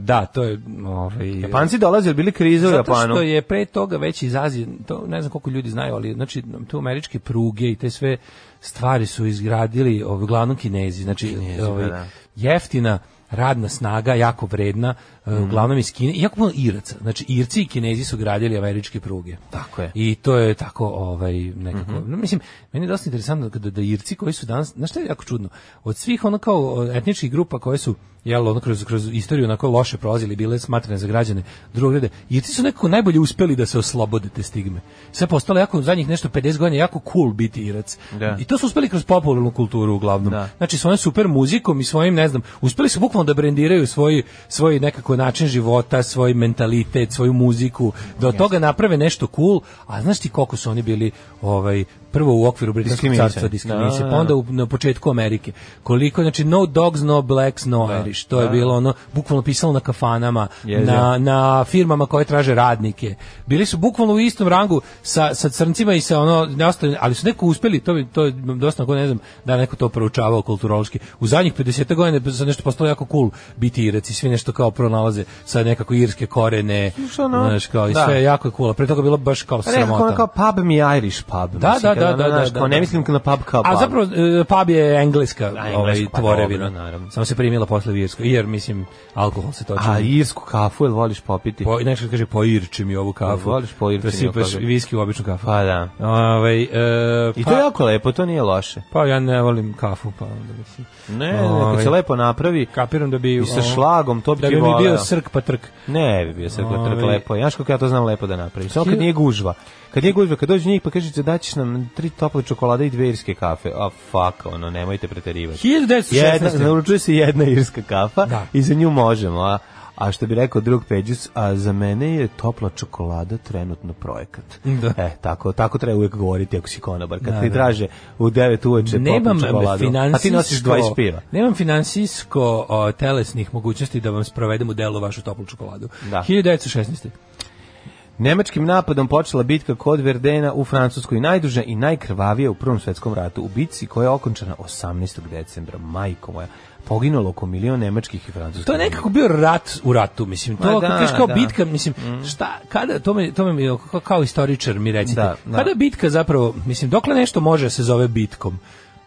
Speaker 7: da, to je... Ovaj,
Speaker 6: Japanci dolaze, jer bili krize u
Speaker 7: zato
Speaker 6: pa, Japanu.
Speaker 7: što je pre toga već iz Azije, to ne znam koliko ljudi znaju, ali znači tu američke pruge i te sve stvari su izgradili ovaj, uglavnom Kinezi, znači ovaj,
Speaker 6: pa da.
Speaker 7: jeftina radna snaga, jako vredna, eh,
Speaker 6: Mhm.
Speaker 7: uglavnom iz Kine, i jako puno Iraca. Znači, Irci i Kinezi su gradili američke pruge.
Speaker 6: Tako je.
Speaker 7: I to je tako ovaj nekako. no, mislim, meni je dosta interesantno kada da Irci koji su danas, znaš šta je jako čudno, od svih ono kao o, etničkih grupa koje su jel, ono kroz, kroz istoriju onako loše prolazili, bile smatrane za građane drugog reda, Irci su nekako najbolje uspeli da se oslobode te stigme. Sve postalo jako, zadnjih nešto 50 godina, jako cool biti Irac.
Speaker 6: Da.
Speaker 7: I to su uspeli kroz popularnu kulturu uglavnom.
Speaker 6: Da.
Speaker 7: Znači svojom super muzikom i svojim, ne znam, uspeli su bukvalno da brendiraju svoj, svoj nekako način života, svoj mentalitet, svoju muziku, da od toga naprave nešto cool, a znaš ti koliko su oni bili ovaj, prvo u okviru britanskog
Speaker 6: Diskriminisani.
Speaker 7: carstva diskriminice,
Speaker 6: Da, da,
Speaker 7: pa onda u, na početku Amerike. Koliko, znači, no dogs, no blacks, no Irish, to je bilo ono, bukvalno pisalo na kafanama,
Speaker 6: Jezivo.
Speaker 7: na na firmama koje traže radnike. Bili su bukvalno u istom rangu sa, sa crncima i sa ono neostalim, ali su neko uspeli, to, bi- to je dosta ako ne znam da je neko to proučavao kulturološki. U zadnjih 50 godina se nešto postalo jako cool biti Irac i svi nešto kao pronalaze sa nekako irske korene,
Speaker 6: Što ono?
Speaker 7: znaš, kao, i
Speaker 6: Da.
Speaker 7: sve je jako je cool. a Pre toga je bilo baš kao
Speaker 6: Pa nekako ono kao
Speaker 7: sramota.
Speaker 6: pub mi je Irish pub.
Speaker 7: Da, da, da,
Speaker 6: mislim, kad ono,
Speaker 7: da, da,
Speaker 6: znaš,
Speaker 7: da,
Speaker 6: kao
Speaker 7: da.
Speaker 6: Ne mislim na pub kao pub.
Speaker 7: A zapravo e, pub je engleska,
Speaker 6: engleska,
Speaker 7: ovaj,
Speaker 6: pa
Speaker 7: tvorevina.
Speaker 6: dobro, naravno.
Speaker 7: Samo se primila posle u Irsku, jer mislim alkohol se toči.
Speaker 6: A irsku kafu, jel voliš popiti?
Speaker 7: Po, nešto kaže poirči mi ovu kafu.
Speaker 6: Voliš poirči
Speaker 7: Da
Speaker 6: mi ovu
Speaker 7: sipaš
Speaker 6: kafu.
Speaker 7: viski u običnu kafu.
Speaker 6: Pa da.
Speaker 7: Ovaj, e,
Speaker 6: I
Speaker 7: pa,
Speaker 6: to je jako lepo, to nije loše.
Speaker 7: pa ja ne volim kafu, pa onda mislim.
Speaker 6: Ne, ne, kad se lepo napravi
Speaker 7: Kapiram da bi...
Speaker 6: i sa
Speaker 7: ono,
Speaker 6: šlagom, to bi
Speaker 7: da
Speaker 6: ti
Speaker 7: bi mi
Speaker 6: voleo.
Speaker 7: bio bio srk pa trk.
Speaker 6: Ne bi bio srkla trk
Speaker 7: Ovaj.
Speaker 6: lepo. je. Znaš kako ja to znam lepo da napravim. Samo kad nije gužva. Kad nije gužva, kad dođu njih pa kažete da ćeš nam tri tople čokolade i dve irske kafe. A fuck, ono, nemojte preterivati.
Speaker 7: 1916.
Speaker 6: Jedna, naručuje se jedna irska kafa
Speaker 7: Da.
Speaker 6: i za nju možemo. A, a što bi rekao drug Peđus, a za mene je topla čokolada trenutno projekat.
Speaker 7: Da.
Speaker 6: E, tako, tako treba uvijek govoriti ako si konobar. Kad
Speaker 7: Da,
Speaker 6: ti
Speaker 7: da.
Speaker 6: traže u 9 uveče toplu
Speaker 7: nemam
Speaker 6: čokoladu, a ti nosiš
Speaker 7: finansijsko-
Speaker 6: 20 piva.
Speaker 7: Nemam finansijsko o, telesnih mogućnosti da vam sprovedem u delu vašu toplu čokoladu.
Speaker 6: Da.
Speaker 7: 1916.
Speaker 6: Nemačkim napadom počela bitka kod Verdena u Francuskoj najduža i najkrvavija u Prvom svetskom ratu u bitci koja je okončana 18. decembra. Majko moja, poginulo oko milion nemačkih i francuskih.
Speaker 7: To je nekako bio rat u ratu, mislim. To
Speaker 6: Ma
Speaker 7: kad
Speaker 6: da,
Speaker 7: kažeš kao
Speaker 6: da. Mm.
Speaker 7: bitka, mislim, šta, kada, to me, to me kao, kao istoričar mi recite,
Speaker 6: Da, da.
Speaker 7: kada bitka zapravo, mislim, dokle nešto može da se zove bitkom?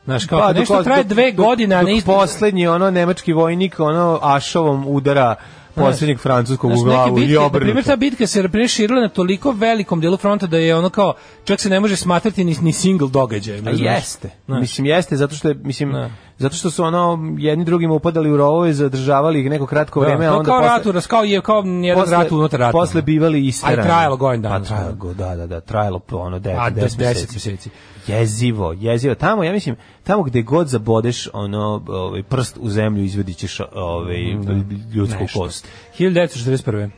Speaker 7: Znaš, kao
Speaker 6: Pa,
Speaker 7: kad
Speaker 6: dok-
Speaker 7: nešto traje
Speaker 6: dok-
Speaker 7: dve
Speaker 6: dok-
Speaker 7: godine, a
Speaker 6: dok
Speaker 7: ne isti-
Speaker 6: poslednji ono nemački vojnik ono ašovom udara posljednjeg francuskog u
Speaker 7: Znaš, neke
Speaker 6: glavu i
Speaker 7: bitke, na
Speaker 6: obrnuto.
Speaker 7: primjer, ta bitka se preširila na toliko velikom delu fronta da je ono kao, čak se ne može smatrati ni, ni single događaj.
Speaker 6: A jeste.
Speaker 7: Znaš.
Speaker 6: Mislim jeste zato što je mislim
Speaker 7: Da.
Speaker 6: zato što su ono jedni drugima upadali u rovove, zadržavali ih neko kratko vrijeme, a
Speaker 7: to
Speaker 6: onda
Speaker 7: kao
Speaker 6: posle-
Speaker 7: rat u ras- kao je kao jedan rat unutar rata. ono.
Speaker 6: Posle bivali isterani.
Speaker 7: A i trajalo godin dana.
Speaker 6: Pa trajalo, go- da, da, da, trajalo po ono 10
Speaker 7: A,
Speaker 6: 10
Speaker 7: 10
Speaker 6: meseci.
Speaker 7: meseci.
Speaker 6: Jezivo, jezivo. Tamo, ja mislim, tamo gde god zabodeš ono, ovaj, prst u zemlju, izvedićeš ovaj, ljudsku
Speaker 7: Nešto.
Speaker 6: kost.
Speaker 7: 1941.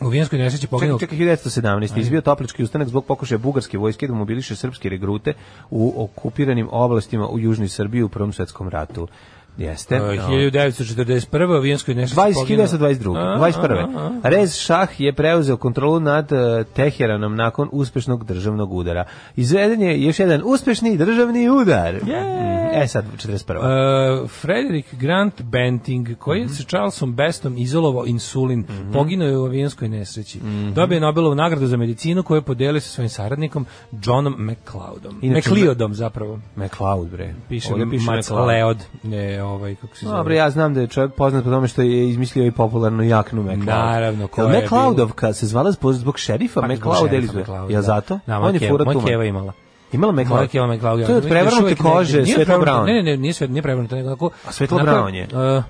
Speaker 7: U Vijenskoj nesreći
Speaker 6: Mhm. Čekaj,
Speaker 7: poginuo
Speaker 6: čekaj, 1917. Izbio toplički ustanak zbog pokušaja bugarske vojske da mobiliše srpske regrute u okupiranim oblastima u Južnoj Srbiji u Prvom svetskom ratu. Jeste.
Speaker 7: e, 1941. U Vijenskoj nesreći
Speaker 6: 20,
Speaker 7: poginuo-
Speaker 6: 1922.
Speaker 7: A,
Speaker 6: 21. Rez Šah je preuzeo kontrolu nad eh, Teheranom nakon uspešnog državnog udara. Izveden je još jedan uspešni državni udar. Mm, E sad, 41.
Speaker 7: E, Frederick Grant Benting, koji je sa Charlesom Bestom izolovao insulin, poginuo je u avijanskoj nesreći. Dobio je Nobelovu nagradu za medicinu koju je podelio sa svojim saradnikom Johnom McLeodom.
Speaker 6: Inače,
Speaker 7: McLeodom zapravo.
Speaker 6: McLeod, bre.
Speaker 7: Piše
Speaker 6: Ovdje
Speaker 7: ga
Speaker 6: McLeod.
Speaker 7: McLeod. Ne, ovaj, kako se zove.
Speaker 6: Dobro, ja znam da je čovjek poznat po tome što je izmislio i popularnu jaknu McLeod.
Speaker 7: Naravno, koja je
Speaker 6: je McLeodovka se zvala zbog, zbog šerifa
Speaker 7: Pa, zbog
Speaker 6: McLeod
Speaker 7: šerifa
Speaker 6: ili zbog...
Speaker 7: McLeod,
Speaker 6: Ja
Speaker 7: da.
Speaker 6: zato?
Speaker 7: Da,
Speaker 6: On je
Speaker 7: moja keva-
Speaker 6: fura
Speaker 7: moja
Speaker 6: tuman.
Speaker 7: keva je imala.
Speaker 6: Imala McLeod?
Speaker 7: Moja keva McLeod.
Speaker 6: E, To je od prevrnute kože,
Speaker 7: Nije
Speaker 6: svetlo
Speaker 7: prevrnuto,
Speaker 6: brown.
Speaker 7: Ne, ne, ne, nije svetlo, nije prevrnuto, nego onako...
Speaker 6: A svetlo
Speaker 7: onako,
Speaker 6: brown je.
Speaker 7: e,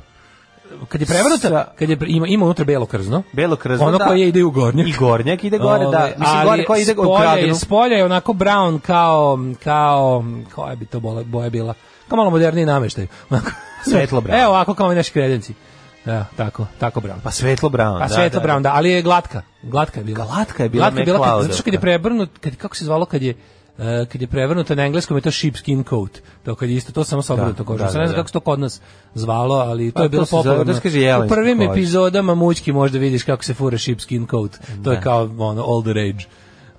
Speaker 7: kad je prevrnuta,
Speaker 6: Sa-
Speaker 7: kad je, pre- ima, ima unutra belo krzno.
Speaker 6: Belo krzno,
Speaker 7: Ono
Speaker 6: da.
Speaker 7: koje ide u gornjak.
Speaker 6: I gornjak ide gore, da.
Speaker 7: Ove,
Speaker 6: Mislim,
Speaker 7: ali
Speaker 6: gore koja ide u
Speaker 7: spolja
Speaker 6: kradnu.
Speaker 7: je- Spolja je onako brown kao, kao, koja bi to bola- boja bila? Kao malo moderniji nameštaj. Onako.
Speaker 6: Svetlo brown.
Speaker 7: Evo, ovako kao i naši kredenci. Da, tako, tako brown.
Speaker 6: Pa svetlo brown,
Speaker 7: Pa
Speaker 6: da,
Speaker 7: svetlo
Speaker 6: da,
Speaker 7: brown, da, ali je glatka. Glatka je bila.
Speaker 6: Glatka je bila
Speaker 7: kad,
Speaker 6: McLeodovka.
Speaker 7: zato što kad je prebrnut, kad, kako se zvalo kad je e, kad je prevrnuto na engleskom je to sheepskin coat. To kad je isto to samo sa obrutom kožom.
Speaker 6: da,
Speaker 7: Sad ne
Speaker 6: da,
Speaker 7: znam
Speaker 6: da.
Speaker 7: kako se to kod nas zvalo, ali to
Speaker 6: Pa
Speaker 7: je bilo
Speaker 6: to se zove,
Speaker 7: popularno.
Speaker 6: da se kaže jelenska
Speaker 7: U prvim
Speaker 6: koža.
Speaker 7: epizodama mućki možda vidiš kako se fura sheepskin coat. To je kao ono old rage.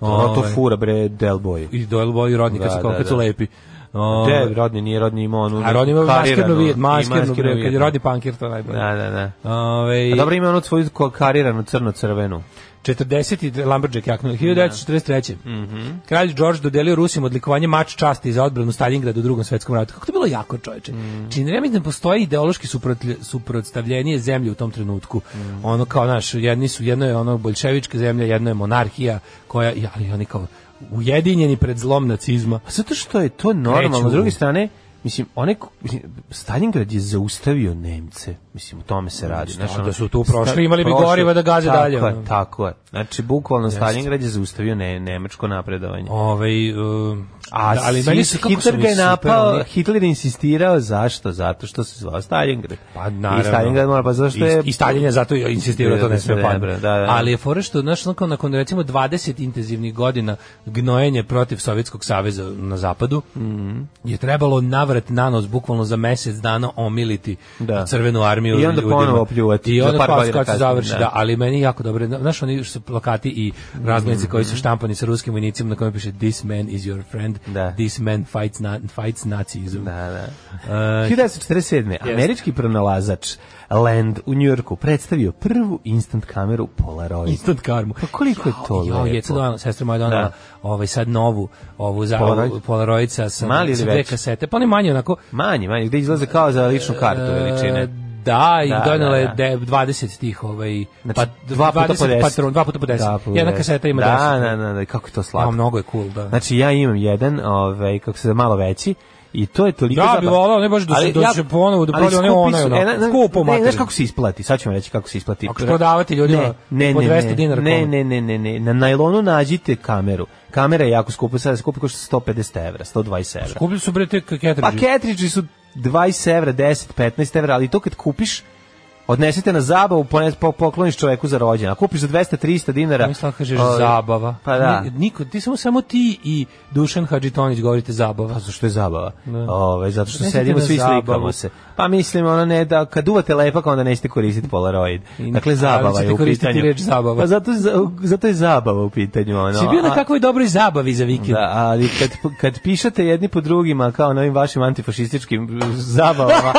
Speaker 6: Ono to
Speaker 7: Ovaj,
Speaker 6: fura, bre, Del Boy.
Speaker 7: i Doyle Boy i rodni
Speaker 6: Da,
Speaker 7: kad su kao
Speaker 6: da,
Speaker 7: kad su
Speaker 6: da.
Speaker 7: lepi. Ovaj,
Speaker 6: Te rodni nije rodni imao onu
Speaker 7: a rodni ima maskerno
Speaker 6: kariranu,
Speaker 7: vid,
Speaker 6: i
Speaker 7: maskerno vid, kad je
Speaker 6: vid.
Speaker 7: rodni pankir to najbolje.
Speaker 6: Da, da, da.
Speaker 7: Ovaj,
Speaker 6: A dobro ima onu svoju ko- kariranu crno-crvenu.
Speaker 7: 40. Lumberjack jaknu, 1943. Kralj George dodelio Rusima odlikovanje mač časti za odbranu Stalingrada u drugom svetskom ratu. Kako to je bilo jako, čoveče. Čini mi se da ne postoji ideološki suprotlje- suprotstavljenje zemlje u tom trenutku. Ono kao, naš, jedni su, jedno je ono bolševička zemlja, jedno je monarhija, koja, i- ali oni kao ujedinjeni pred zlom nacizma.
Speaker 6: Pa zato što je to normalno.
Speaker 7: Kreću.
Speaker 6: S druge strane, mislim, one, ko- mislim, Stalingrad je zaustavio Nemce. Mislim, u tome se radi. Znaš,
Speaker 7: Mm, da
Speaker 6: ono,
Speaker 7: su tu prošli,
Speaker 6: sta-
Speaker 7: imali bi
Speaker 6: prošli.
Speaker 7: goriva da gaze
Speaker 6: tako
Speaker 7: dalje, ono.
Speaker 6: Je, tako je. Znači, bukvalno Stalingrad je zaustavio ne, nemačko napredovanje.
Speaker 7: Ovaj, um,
Speaker 6: A
Speaker 7: da, ali
Speaker 6: svi
Speaker 7: meni
Speaker 6: su-
Speaker 7: se kako su
Speaker 6: Hitler
Speaker 7: mi
Speaker 6: ga je
Speaker 7: super
Speaker 6: napao,
Speaker 7: oni-
Speaker 6: Hitler je insistirao, zašto? Zato što se zvao Stalingrad.
Speaker 7: Pa naravno.
Speaker 6: I Stalingrad mora, pa zašto je...
Speaker 7: I, i Stalin je zato insistirao da to ne
Speaker 6: Da,
Speaker 7: sme
Speaker 6: da,
Speaker 7: padne.
Speaker 6: da, da.
Speaker 7: Ali je fora što znaš, ono kao nakon recimo 20 intenzivnih godina gnojenje protiv Sovjetskog saveza na zapadu
Speaker 6: Mhm.
Speaker 7: je trebalo navrat na nos bukvalno za mesec dana omiliti
Speaker 6: Da.
Speaker 7: crvenu armiju
Speaker 6: I onda
Speaker 7: ljudima.
Speaker 6: ponovo pljuvati
Speaker 7: I
Speaker 6: za
Speaker 7: onda
Speaker 6: par
Speaker 7: pa
Speaker 6: godina
Speaker 7: kad se
Speaker 6: kasnije,
Speaker 7: završi,
Speaker 6: da.
Speaker 7: da. ali meni je jako dobro. Znaš, oni su plakati i razglednice koji
Speaker 6: Mhm.
Speaker 7: su štampani sa ruskim vojnicima na kojem piše This man is your friend,
Speaker 6: Da.
Speaker 7: this man fights, na, fights Nazism.
Speaker 6: Da, da.
Speaker 7: (laughs) E,
Speaker 6: 1947. Američki pronalazač Land u Njujorku predstavio prvu instant kameru Polaroid.
Speaker 7: instant karmu.
Speaker 6: Pa koliko je to
Speaker 7: Jao,
Speaker 6: lepo?
Speaker 7: jao, jeca donala, sestra moja donala
Speaker 6: Da.
Speaker 7: ovaj, sad novu, ovu za,
Speaker 6: Polaroid?
Speaker 7: ovu Polaroid sa, sa,
Speaker 6: Mali ili
Speaker 7: sa dve
Speaker 6: veći?
Speaker 7: kasete. Pa oni manje onako...
Speaker 6: Manje, manje, gde izlaze kao za ličnu kartu
Speaker 7: e,
Speaker 6: veličine.
Speaker 7: Da, i
Speaker 6: Da,
Speaker 7: donela je
Speaker 6: da, da.
Speaker 7: de- 20 tih ovaj,
Speaker 6: Znači,
Speaker 7: pa,
Speaker 6: dva puta po 10.
Speaker 7: Patron, dva puta po 10.
Speaker 6: Da, po
Speaker 7: Jedna
Speaker 6: 10.
Speaker 7: kaseta ima
Speaker 6: da, Znači,
Speaker 7: 10.
Speaker 6: Da, da, da, kako je to
Speaker 7: Pa
Speaker 6: slatko.
Speaker 7: mnogo je cool, da.
Speaker 6: Znači ja imam jedan, ovaj kako se zove, malo veći I to je toliko
Speaker 7: Ja bi
Speaker 6: zabavno.
Speaker 7: volao, ne baš da se-
Speaker 6: Ali
Speaker 7: da se ponovo da
Speaker 6: ali
Speaker 7: prodaju, ne
Speaker 6: skupi
Speaker 7: onaj,
Speaker 6: su-
Speaker 7: ono,
Speaker 6: e, na-
Speaker 7: skupo
Speaker 6: ne,
Speaker 7: materijalno.
Speaker 6: Znaš kako se isplati? Sad ću vam reći kako se isplati.
Speaker 7: Ako ćeš prodavati ljudima po 200 dinara pa ono,
Speaker 6: Ne,
Speaker 7: komadu.
Speaker 6: ne, ne, ne, ne. Na najlonu nađite kameru. Kamera je jako skupa, sad skupi košta 150 evra, 120 evra.
Speaker 7: Kupili su bre te ketridži.
Speaker 6: Pa ketriči su 20 evra, 10, 15 evra, ali to kad kupiš, odnesete na zabavu, pones- po- pokloniš čoveku za rođena. Kupiš za 200, 300 dinara.
Speaker 7: Mislim kažeš
Speaker 6: Ovaj,
Speaker 7: zabava.
Speaker 6: Pa da.
Speaker 7: Ni- Niko, ti samo samo ti i Dušan Hadžitonić govorite zabava.
Speaker 6: Pa zašto je zabava?
Speaker 7: Da.
Speaker 6: Ove, zato što
Speaker 7: Odnesite
Speaker 6: sedimo
Speaker 7: na
Speaker 6: svi
Speaker 7: zabavu.
Speaker 6: slikamo se. Pa mislim ono ne da kad duvate lepak onda nećete koristiti Polaroid.
Speaker 7: I-
Speaker 6: Dakle
Speaker 7: ali
Speaker 6: zabava
Speaker 7: ćete
Speaker 6: je u
Speaker 7: koristiti
Speaker 6: pitanju.
Speaker 7: reč zabava.
Speaker 6: Pa zato za- zato je zabava u pitanju ono.
Speaker 7: Si bio na
Speaker 6: A-
Speaker 7: kakvoj dobroj zabavi za vikend?
Speaker 6: Da, ali kad, kad pišete jedni po drugima kao na ovim vašim antifašističkim zabavama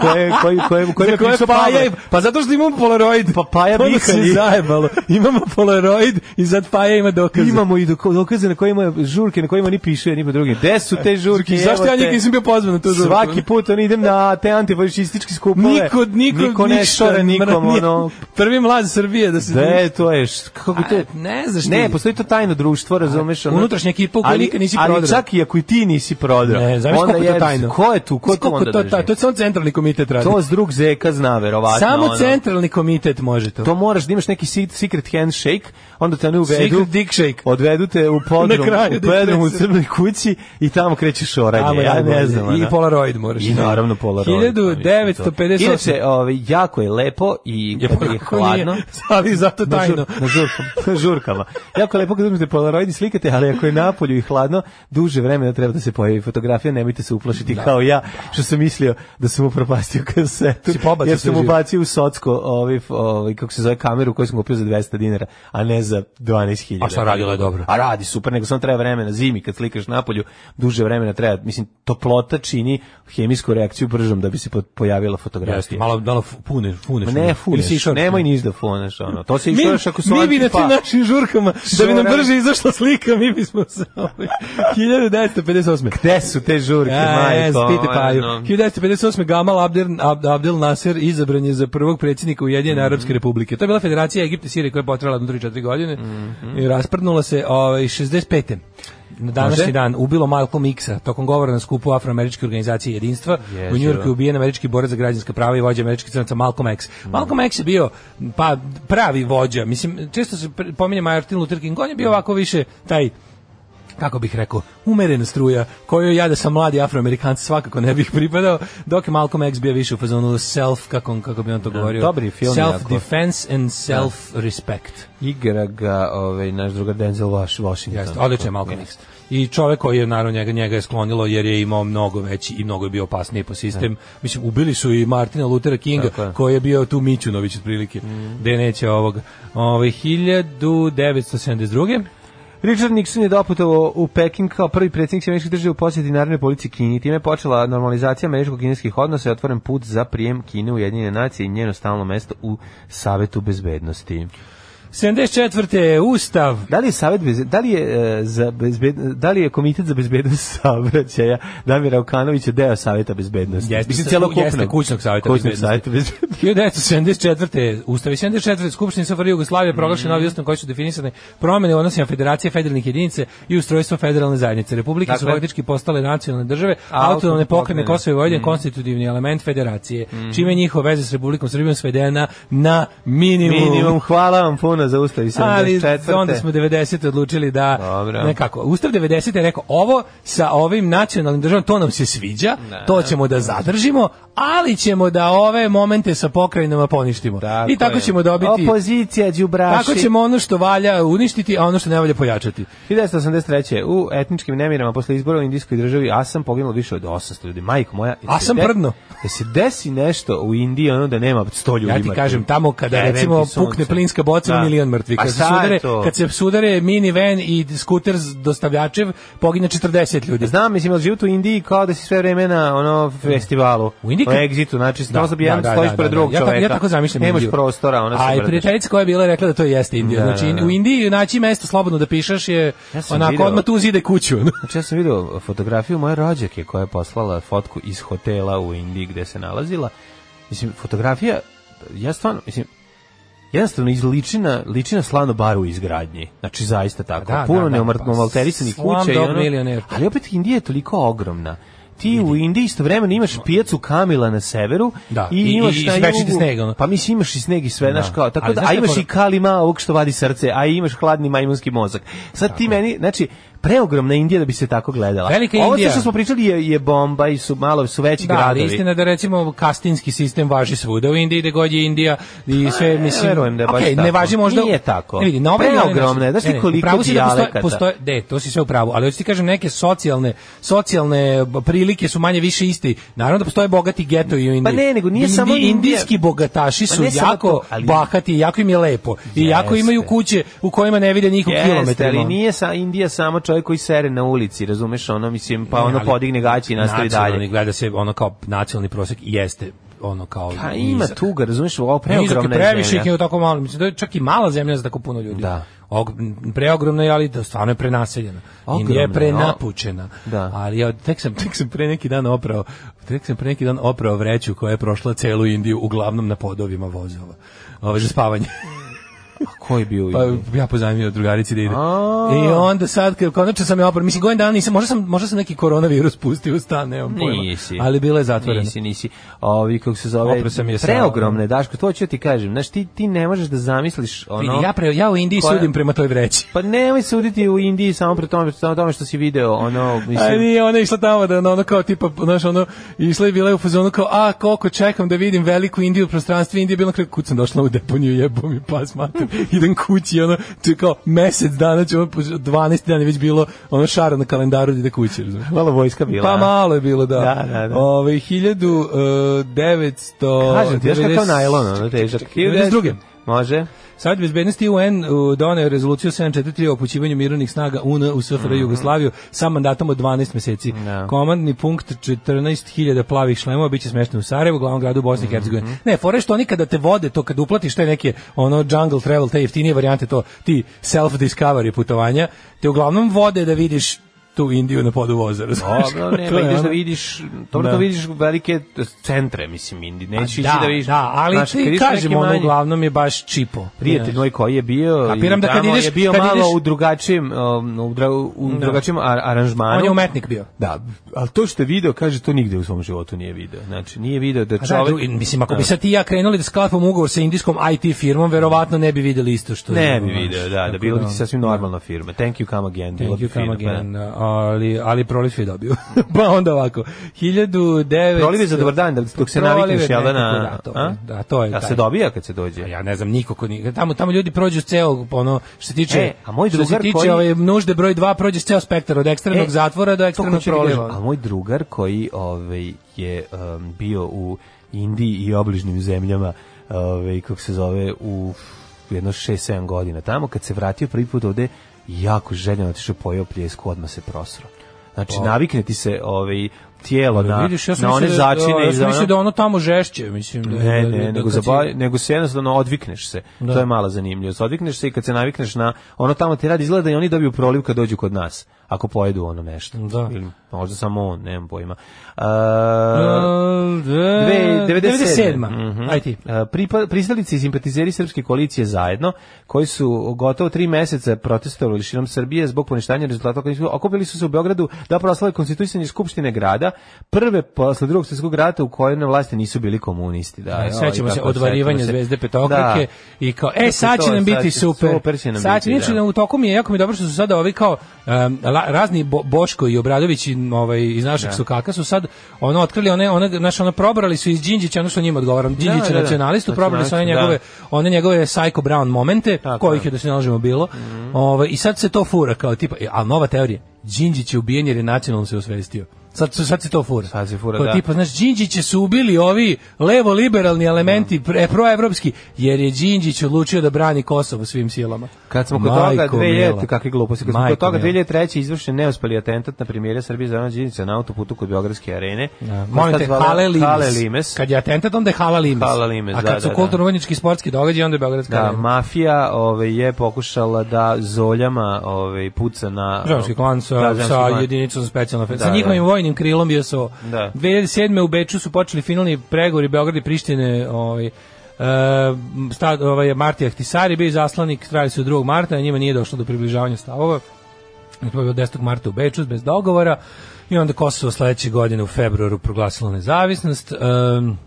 Speaker 6: koje, koje, koje, koje,
Speaker 7: Za koje Paja i- pa zato što imamo Polaroid.
Speaker 6: Pa Paja
Speaker 7: Onda
Speaker 6: Bihalj
Speaker 7: se
Speaker 6: i-
Speaker 7: zajebalo. Imamo Polaroid i sad Paja ima dokaze.
Speaker 6: Imamo i doko- dokaze na kojima je žurke, na kojima ni piše jedni po drugim. Gde su te žurke?
Speaker 7: I Znači, zašto
Speaker 6: evo
Speaker 7: ja
Speaker 6: te?
Speaker 7: nikad nisam bio pozvan na to žurku?
Speaker 6: Svaki put on idem na te antifašističke skupove.
Speaker 7: Niko, niko,
Speaker 6: niko ne
Speaker 7: ništa,
Speaker 6: šora nikom,
Speaker 7: mrnje.
Speaker 6: ono...
Speaker 7: Prvi mlad Srbije da se...
Speaker 6: De, to je, š- kako to
Speaker 7: A, ne znaš ti.
Speaker 6: Ne, pa postoji to tajno društvo, razumeš? ono-
Speaker 7: Unutrašnja ekipa u kojoj
Speaker 6: Ali-
Speaker 7: nikad nisi
Speaker 6: Ali
Speaker 7: prodrao.
Speaker 6: čak i ako i ti nisi prodrao.
Speaker 7: Ne, znaš
Speaker 6: onda
Speaker 7: koliko je to
Speaker 6: jebe se.
Speaker 7: tajno.
Speaker 6: Ko je tu? Ko
Speaker 7: Znaš
Speaker 6: tu
Speaker 7: koliko
Speaker 6: onda
Speaker 7: to,
Speaker 6: drži?
Speaker 7: taj- to je samo centralni komitet radi.
Speaker 6: To s drug zeka zna, verovatno.
Speaker 7: samo
Speaker 6: ono.
Speaker 7: centralni komitet može to.
Speaker 6: To moraš da imaš neki si- secret handshake, onda te ne uvedu.
Speaker 7: Secret dick shake.
Speaker 6: Odvedu te u podrum,
Speaker 7: Na kraju
Speaker 6: u podrum u
Speaker 7: distresa.
Speaker 6: crnoj kući i tamo krećeš oranje.
Speaker 7: Tamo je
Speaker 6: Ja ne
Speaker 7: najbolje.
Speaker 6: znam.
Speaker 7: I
Speaker 6: ono.
Speaker 7: Polaroid moraš.
Speaker 6: I naravno Polaroid. pa mislim,
Speaker 7: 1958.
Speaker 6: to. Inače, ovaj, jako je lepo i
Speaker 7: Je
Speaker 6: kad je,
Speaker 7: (laughs)
Speaker 6: hladno.
Speaker 7: ali zato
Speaker 6: Na, žur,
Speaker 7: tajno.
Speaker 6: na,
Speaker 7: (laughs)
Speaker 6: žurkama, na žurkama. Jako je lepo kad uzmete polaroid i slikate, ali ako je napolju i hladno, duže vremena treba da se pojavi fotografija, nemojte se uplašiti kao ja, što sam mislio da sam upropastio kasetu.
Speaker 7: Si pobacio
Speaker 6: jer sam
Speaker 7: sve živo.
Speaker 6: ubacio u socko ovaj, ovaj, kako se zove kameru koju sam kupio za 200 dinara, a ne za 12.000.
Speaker 7: A šta, radila je dobro?
Speaker 6: A radi super, nego samo treba vremena zimi kad slikaš napolju, duže vremena treba, mislim, toplota čini hemijsku reakciju bržom da bi se po- pojavila fotografija.
Speaker 7: Jeste, malo, malo fu- puneš, funeš.
Speaker 6: Ma ne, funeš,
Speaker 7: Ili si
Speaker 6: nemoj niš da funeš, ono. To se
Speaker 7: Mi,
Speaker 6: išao još ako su Pa-
Speaker 7: mi bi na tim
Speaker 6: antifa.
Speaker 7: našim žurkama, da bi nam
Speaker 6: Šora.
Speaker 7: brže izašla slika, mi bismo se... (laughs) ovaj, 1958.
Speaker 6: Gde su te žurke,
Speaker 7: Ja,
Speaker 6: majko?
Speaker 7: ja, spite
Speaker 6: ono?
Speaker 7: e, paju. 1958. Gamal Abdel, Ab- Abdel Nasser izabran je za prvog predsjednika Ujedinjene
Speaker 6: Mhm.
Speaker 7: Arapske republike. To je bila federacija Egipta i Sirije koja je potrala 3-4 godine
Speaker 6: Mhm.
Speaker 7: i rasprnula se ovaj, 65. Na današnji
Speaker 6: Može?
Speaker 7: dan ubilo Malcolm X-a tokom govora na skupu afroameričke organizacije jedinstva.
Speaker 6: Jezivo.
Speaker 7: U Njujorku je ubijen američki borac za građanska prava i vođa američkih crnaca Malcolm X.
Speaker 6: Mhm.
Speaker 7: Malcolm X je bio pa pravi vođa. Mislim, često se pr- pominje Martin Luther King. On je bio ovako više taj kako bih rekao, umerena struja koju ja da sam mladi afroamerikanac svakako ne bih pripadao, dok je Malcolm X bio više u fazonu self, kako, kako bi on to govorio,
Speaker 6: dobri film jako.
Speaker 7: self defense and self respect.
Speaker 6: Igra ga ovaj, naš drugar Denzel Wash- Washington.
Speaker 7: Jeste, odličan je Malcolm X. I čovjek koji je naravno njega njega je sklonilo jer je imao mnogo veći i mnogo je bio opasniji po sistem. Mislim ubili su i Martina Luthera Kinga
Speaker 6: Tako je.
Speaker 7: koji je bio tu Mićunović otprilike. Mm. Da neće ovog. Ovaj 1972.
Speaker 6: Richard Nixon je doputovao u Peking kao prvi predsjednik Sjemeničkih država u posjeti Narodnoj policiji Kini. Time je počela normalizacija američko-kineskih odnosa i otvoren put za prijem Kine u Jedinjene nacije i njeno stalno mesto u Savetu bezbednosti.
Speaker 7: 74. Ustav
Speaker 6: Da li je savet bez, da li je e, za bezbed, da li je komitet za bezbednost (laughs) saobraćaja Damira Okanovića deo saveta bezbednosti?
Speaker 7: Jeste,
Speaker 6: Mislim
Speaker 7: sa-
Speaker 6: celokupnog
Speaker 7: jeste, kućnog saveta
Speaker 6: Kućnog
Speaker 7: bezbednosti. (laughs)
Speaker 6: saveta bezbednosti.
Speaker 7: 1974. Ustav iz 74. Skupština SFRJ Jugoslavije proglašena
Speaker 6: Mhm.
Speaker 7: novi ustavom koji su definisane promene u odnosima Federacije federalnih jedinice i ustrojstvo federalne zajednice. Republike su
Speaker 6: Dakle-
Speaker 7: faktički postale nacionalne države,
Speaker 6: Autonomne
Speaker 7: autonomne pokrajine
Speaker 6: pokrajine. Mhm.
Speaker 7: Kosova i Vojvodine konstitutivni element federacije, čime je njihova veze s Republikom Srbijom svedena na minimum.
Speaker 6: Minimum, hvala vam puno za ustav iz 74.
Speaker 7: Ali onda smo 90. odlučili da
Speaker 6: Dobro.
Speaker 7: nekako. Ustav 90. je rekao ovo sa ovim nacionalnim državom to nam se sviđa, to ćemo da zadržimo, ali ćemo da ove momente sa pokrajinama poništimo. I tako
Speaker 6: je.
Speaker 7: ćemo dobiti
Speaker 6: Opozicija, džubraši.
Speaker 7: Tako ćemo ono što valja uništiti, a ono što ne valja pojačati.
Speaker 6: 1983. U etničkim nemirama posle izbora u indijskoj državi Asam poginulo više od 800 ljudi. Majko moja. jel se
Speaker 7: Asam
Speaker 6: de-
Speaker 7: prdno.
Speaker 6: jel se desi nešto u Indiji ono da nema 100 ljudi.
Speaker 7: Ja ti
Speaker 6: mrtvih?
Speaker 7: kažem, tamo kada
Speaker 6: Jebem
Speaker 7: recimo
Speaker 6: ti sunce.
Speaker 7: pukne plinska boca, da. milion mrtvih.
Speaker 6: Pa
Speaker 7: Kad se,
Speaker 6: šta je
Speaker 7: sudare,
Speaker 6: to?
Speaker 7: kad se sudare minivan i skuter s dostavljačev, pogine 40 ljudi.
Speaker 6: Znam, mislim, ali život u Indiji kao da si sve vreme na ono festivalu,
Speaker 7: U Indiji
Speaker 6: u
Speaker 7: kad-
Speaker 6: egzitu, znači da, bi jedan da, stojiš pored drugog
Speaker 7: ja, tako-
Speaker 6: čoveka.
Speaker 7: Ja tako zamišljam
Speaker 6: Nemaš
Speaker 7: Indiju.
Speaker 6: prostora, ona se
Speaker 7: A i
Speaker 6: brdaš.
Speaker 7: prijateljica koja je bila je rekla da to jeste Indija.
Speaker 6: Da,
Speaker 7: znači,
Speaker 6: da, da.
Speaker 7: u Indiji naći mesto slobodno da pišeš je
Speaker 6: Ja sam
Speaker 7: onako
Speaker 6: video-
Speaker 7: odmah tu zide kuću. ono.
Speaker 6: Znači ja sam video fotografiju moje rođake koja je poslala fotku iz hotela u Indiji gde se nalazila. Mislim, fotografija, ja stvarno, mislim, jednostavno iz ličina, ličina slano baru u izgradnji. Znači, zaista tako.
Speaker 7: Da, da,
Speaker 6: Puno
Speaker 7: da,
Speaker 6: neomrtno
Speaker 7: pa,
Speaker 6: malterisanih
Speaker 7: slumdog
Speaker 6: kuća. i ono-
Speaker 7: milioner.
Speaker 6: Ali opet Indija je toliko ogromna ti u Indiji istovremeno imaš pijacu Kamila na severu
Speaker 7: Da,
Speaker 6: i,
Speaker 7: i- i-
Speaker 6: imaš
Speaker 7: i
Speaker 6: na
Speaker 7: svečiti
Speaker 6: jugu.
Speaker 7: sneg, ono.
Speaker 6: Pa mislim imaš i sneg i sve, znaš kao, tako
Speaker 7: Ali
Speaker 6: da,
Speaker 7: znaš ono- šta
Speaker 6: a
Speaker 7: je
Speaker 6: imaš
Speaker 7: fora?
Speaker 6: i Kalima, ovog što vadi srce, a imaš hladni majmunski mozak. Sad ti meni, znači, preogromna Indija da bi se tako gledala.
Speaker 7: Velika
Speaker 6: Ovo sve
Speaker 7: Indija.
Speaker 6: što smo pričali je, je bomba i su malo su veći
Speaker 7: Da, ali
Speaker 6: gradovi.
Speaker 7: istina je da recimo kastinski sistem važi svuda u Indiji, gde god je Indija i sve, mislim...
Speaker 6: verujem da je baš
Speaker 7: Okej,
Speaker 6: tako.
Speaker 7: ne važi možda...
Speaker 6: Nije tako.
Speaker 7: Ne vidi, na ovaj ili onaj
Speaker 6: Preogromno je,
Speaker 7: način-
Speaker 6: znaš ti
Speaker 7: ne, ne, u
Speaker 6: koliko
Speaker 7: pravu si da postoje-
Speaker 6: dijalekata.
Speaker 7: Postoje, de, to si sve u pravu, ali hoću ti kažem, neke socijalne, socijalne prilike su manje više isti. Naravno da postoje bogati geto i u Indiji.
Speaker 6: Pa ne, nego nije
Speaker 7: Indi-
Speaker 6: samo Indija.
Speaker 7: Indijski bogataši
Speaker 6: Pa
Speaker 7: su
Speaker 6: ne samo
Speaker 7: jako
Speaker 6: to, ali-
Speaker 7: bahati, jako im je lepo. I jako
Speaker 6: Jeste.
Speaker 7: imaju kuće u kojima ne vide ono. nikog
Speaker 6: Jeste,
Speaker 7: kilometra.
Speaker 6: ali nije sa Indija samo čovjek koji sere na ulici, razumeš, ono mislim, pa
Speaker 7: Ne,
Speaker 6: ono
Speaker 7: ali
Speaker 6: podigne gaći i nastavi dalje.
Speaker 7: Nacionalni, Gleda se ono kao nacionalni prosek i jeste ono kao
Speaker 6: Pa ima
Speaker 7: nizak.
Speaker 6: tuga, razumeš, ovo
Speaker 7: Nizak je
Speaker 6: preogromna je
Speaker 7: previše ih je
Speaker 6: zemlja.
Speaker 7: u tako malo. Mislim, to je čak i mala zemlja za tako puno ljudi.
Speaker 6: Da.
Speaker 7: Og, preogromna je, ali da stvarno je prenaseljena.
Speaker 6: Ogromna,
Speaker 7: Indija je
Speaker 6: no.
Speaker 7: prenapučena.
Speaker 6: Da.
Speaker 7: Ali ja tek sam, tek sam pre neki dan oprao, tek sam pre neki dan oprao vreću koja je prošla celu Indiju, uglavnom na podovima vozova. Ove, za
Speaker 6: (laughs)
Speaker 7: spavanje.
Speaker 6: Ko je bio?
Speaker 7: Pa
Speaker 6: Indija?
Speaker 7: ja pozajmio drugarici da ide.
Speaker 6: A.
Speaker 7: I onda sad kad konačno sam ja oprao, mislim godin dana nisam, možda sam možda sam neki koronavirus pustio u stan, nemam pojma.
Speaker 6: Nisi.
Speaker 7: Ali bila je zatvorena.
Speaker 6: Nisi, nisi. Ovi, kako se zove,
Speaker 7: Oprao sam je sa-
Speaker 6: preogromne, Daško, to ću ti kažem. Znaš, ti, ti ne možeš da zamisliš ono...
Speaker 7: Vidi, ja pre, ja u Indiji
Speaker 6: Koja-
Speaker 7: sudim prema toj vreći.
Speaker 6: Pa nemoj suditi u Indiji samo pre tome, samo tome što si video, ono, mislim...
Speaker 7: A nije, ona je išla tamo da ono kao tipa, znaš, ono, išla je bila je u fazonu kao, a, koliko čekam da vidim veliku Indiju, prostranstvo Indije, bilo na kraju, kud sam došla u deponiju, jebo mi pas mater, (laughs) idem kući, ono, to je kao mesec dana, će ono, po 12 dana je već bilo, ono, šara na kalendaru da ide kući, razumiješ?
Speaker 6: Malo vojska bila.
Speaker 7: Pa
Speaker 6: a?
Speaker 7: malo je bilo, da. Ovaj, e,
Speaker 6: Da, da, da.
Speaker 7: Ove, 1900...
Speaker 6: Kažem ti, znaš kakav najlon, ono, težak.
Speaker 7: 1992.
Speaker 6: Može.
Speaker 7: Sad bezbednosti UN uh, doneo je rezoluciju 743 o upućivanju mirovnih snaga UN u SFRJ Jugoslaviju sa mandatom od 12 meseci.
Speaker 6: Mhm. Da.
Speaker 7: Komandni punkt 14.000 plavih šlemova biće smešten u Sarajevu, glavnom gradu
Speaker 6: Mhm.
Speaker 7: Bosne i Hercegovine. Ne, fore što oni kada te vode, to kada uplatiš te neke ono jungle travel, te jeftinije varijante, to ti self discovery putovanja, te uglavnom vode da vidiš tu Indiju na podu voza, razumiješ?
Speaker 6: Dobro, ne,
Speaker 7: (laughs) To
Speaker 6: pa
Speaker 7: je
Speaker 6: ideš
Speaker 7: ono-
Speaker 6: da vidiš, dobro
Speaker 7: Da. Pa
Speaker 6: da vidiš velike centre, mislim, Indi, nećeš ići
Speaker 7: da,
Speaker 6: da vidiš.
Speaker 7: da, ali
Speaker 6: znaš, kad
Speaker 7: ti
Speaker 6: ideš u neki
Speaker 7: kažem, ono
Speaker 6: manji-
Speaker 7: uglavnom je baš čipo.
Speaker 6: Prijatelj moj koji je bio,
Speaker 7: Kapiram
Speaker 6: i
Speaker 7: da kad
Speaker 6: tamo
Speaker 7: ideš-
Speaker 6: je bio
Speaker 7: kad
Speaker 6: malo
Speaker 7: ideš-
Speaker 6: u drugačijem, um, u, dra, u drugačijem ar, aranžmanu.
Speaker 7: On je umetnik bio.
Speaker 6: Da, ali to što je video, kaže, to nigde u svom životu nije video. Znači, nije video da
Speaker 7: A Pa Da,
Speaker 6: čovjek...
Speaker 7: drugi- mislim, ako bi sad ti i ja krenuli da sklapamo ugovor sa indijskom IT firmom, verovatno ne bi videli isto što... ono
Speaker 6: Ne bi
Speaker 7: znaš,
Speaker 6: video, da, da
Speaker 7: tako
Speaker 6: bilo bi ti sasvim normalna firma. Thank you, come again. bila
Speaker 7: Thank
Speaker 6: bi
Speaker 7: you, come
Speaker 6: firma, pa da.
Speaker 7: again. Ali, ali proliv je dobio. (laughs) pa onda ovako. 1900...
Speaker 6: Proliv je za dobar dan, da- dok se
Speaker 7: Proliv je
Speaker 6: navikneš, jel da na...
Speaker 7: nekako, da, to
Speaker 6: a?
Speaker 7: je- da, to je
Speaker 6: A se
Speaker 7: taj.
Speaker 6: dobija kad se dođe?
Speaker 7: Pa Ja ne znam niko ko ni tamo tamo ljudi prođu ceo ono što se tiče
Speaker 6: E, a moj
Speaker 7: što se
Speaker 6: drugar
Speaker 7: tiče
Speaker 6: koji-
Speaker 7: ove nužde broj 2 prođe ceo spektar od ekstremnog
Speaker 6: E,
Speaker 7: zatvora do ekstremnog
Speaker 6: hoću ti kažem, A
Speaker 7: proliva.
Speaker 6: moj drugar koji ovaj je um, bio u Indiji i obližnim zemljama, ovaj kako se zove u jedno 6-7 godina tamo kad se vratio prvi put ovde jako željan otišao pojeo pljesku odmah se prosro. Znači navikne ti se ovaj tijelo na
Speaker 7: Vidiš, ja sam
Speaker 6: na one
Speaker 7: mislio Pa da-
Speaker 6: začine
Speaker 7: ja
Speaker 6: i
Speaker 7: sam
Speaker 6: za ono-
Speaker 7: mislio da ono tamo žešće, mislim da
Speaker 6: Ne,
Speaker 7: Mm, da-
Speaker 6: ne,
Speaker 7: da-
Speaker 6: nego,
Speaker 7: kad si-
Speaker 6: zabavi, nego se jednostavno odvikneš se.
Speaker 7: Da.
Speaker 6: To je mala zanimljivost. Odvikneš se i kad se navikneš na ono tamo ti radi izgleda i oni dobiju proliv kad dođu kod nas. Ako pojedu ono nešto.
Speaker 7: Da.
Speaker 6: Ili možda samo on, nemam pojma.
Speaker 7: E,
Speaker 6: Uh,
Speaker 7: Dve-
Speaker 6: 97.
Speaker 7: 97.
Speaker 6: Mhm.
Speaker 7: Aj ti.
Speaker 6: E, pripa- Pristalice i simpatizeri srpske koalicije zajedno, koji su gotovo tri meseca protestovali širom Srbije zbog poništanja rezultata koji su okupili su se u Beogradu da proslave konstituisanje skupštine grada, prve posle drugog svjetskog rata u kojoj na vlasti nisu bili komunisti. Da,
Speaker 7: Da,
Speaker 6: joj,
Speaker 7: E, sećamo se
Speaker 6: kako,
Speaker 7: odvarivanja
Speaker 6: sećamo se.
Speaker 7: zvezde petokrake i kao e
Speaker 6: Kako
Speaker 7: sad će
Speaker 6: to,
Speaker 7: nam
Speaker 6: sad
Speaker 7: biti
Speaker 6: će-
Speaker 7: super.
Speaker 6: super će nam
Speaker 7: sad
Speaker 6: biti,
Speaker 7: inače
Speaker 6: da.
Speaker 7: u toku mi je jako mi je dobro što su sada ovi kao em, la- razni Bo- Boško i Obradović i ovaj iz našeg sokaka su sad ono otkrili one one naš ono probrali su iz Đinđića ono što njima odgovaram Đinđić
Speaker 6: da,
Speaker 7: je
Speaker 6: da.
Speaker 7: nacionalistu probrali su one
Speaker 6: Nacionalistu,
Speaker 7: njegove one njegove Psycho Brown momente
Speaker 6: Tako
Speaker 7: kojih
Speaker 6: je. Mhm.
Speaker 7: je da se ne lažemo bilo. Ovaj i sad se to fura kao tipa e, a nova teorija Đinđić je ubijen jer je nacionalno se osvestio. Sad, su- sad se to fura.
Speaker 6: Sad se fura,
Speaker 7: Kao
Speaker 6: da.
Speaker 7: tipa, znaš, Đinđiće su ubili ovi levo-liberalni elementi pre, proevropski, jer je Đinđić odlučio da brani Kosovo svim silama.
Speaker 6: Kad smo kod toga
Speaker 7: Majko mila.
Speaker 6: 2000 kakve gluposti, kad smo
Speaker 7: Majko
Speaker 6: kod toga
Speaker 7: mila.
Speaker 6: 2003 izvršen neuspeli atentat na premijera Srbije Zorana Đinđića na autoputu kod Beogradske arene.
Speaker 7: Da,
Speaker 6: Kako
Speaker 7: Molim
Speaker 6: se
Speaker 7: te,
Speaker 6: zvala?
Speaker 7: Hale Limes.
Speaker 6: Hale Limes.
Speaker 7: Kad je atentat, onda je Hala Limes.
Speaker 6: Hala Limes,
Speaker 7: A
Speaker 6: da,
Speaker 7: kad su
Speaker 6: da, da.
Speaker 7: kulturno-vojnički i sportski događaj, onda je Beogradska
Speaker 6: Da,
Speaker 7: arena.
Speaker 6: mafija ove, je pokušala da zoljama ove, puca na...
Speaker 7: Žanski klan sa,
Speaker 6: Da, Žanski
Speaker 7: sa
Speaker 6: klan.
Speaker 7: jedinicom za specijalna fe-
Speaker 6: Da,
Speaker 7: sa
Speaker 6: da.
Speaker 7: njihovim vojnim krilom bio su.
Speaker 6: Da.
Speaker 7: 2007. u Beču su počeli finalni pregovori Beograda i Prištine, ovaj Uh, sta, ovaj, Marti Ahtisari bio je zaslanik, trajali su 2. marta, na njima nije došlo do približavanja stavova. To je bilo 10. marta u Beču bez dogovora i onda Kosovo sledeće godine u februaru proglasilo nezavisnost. Um,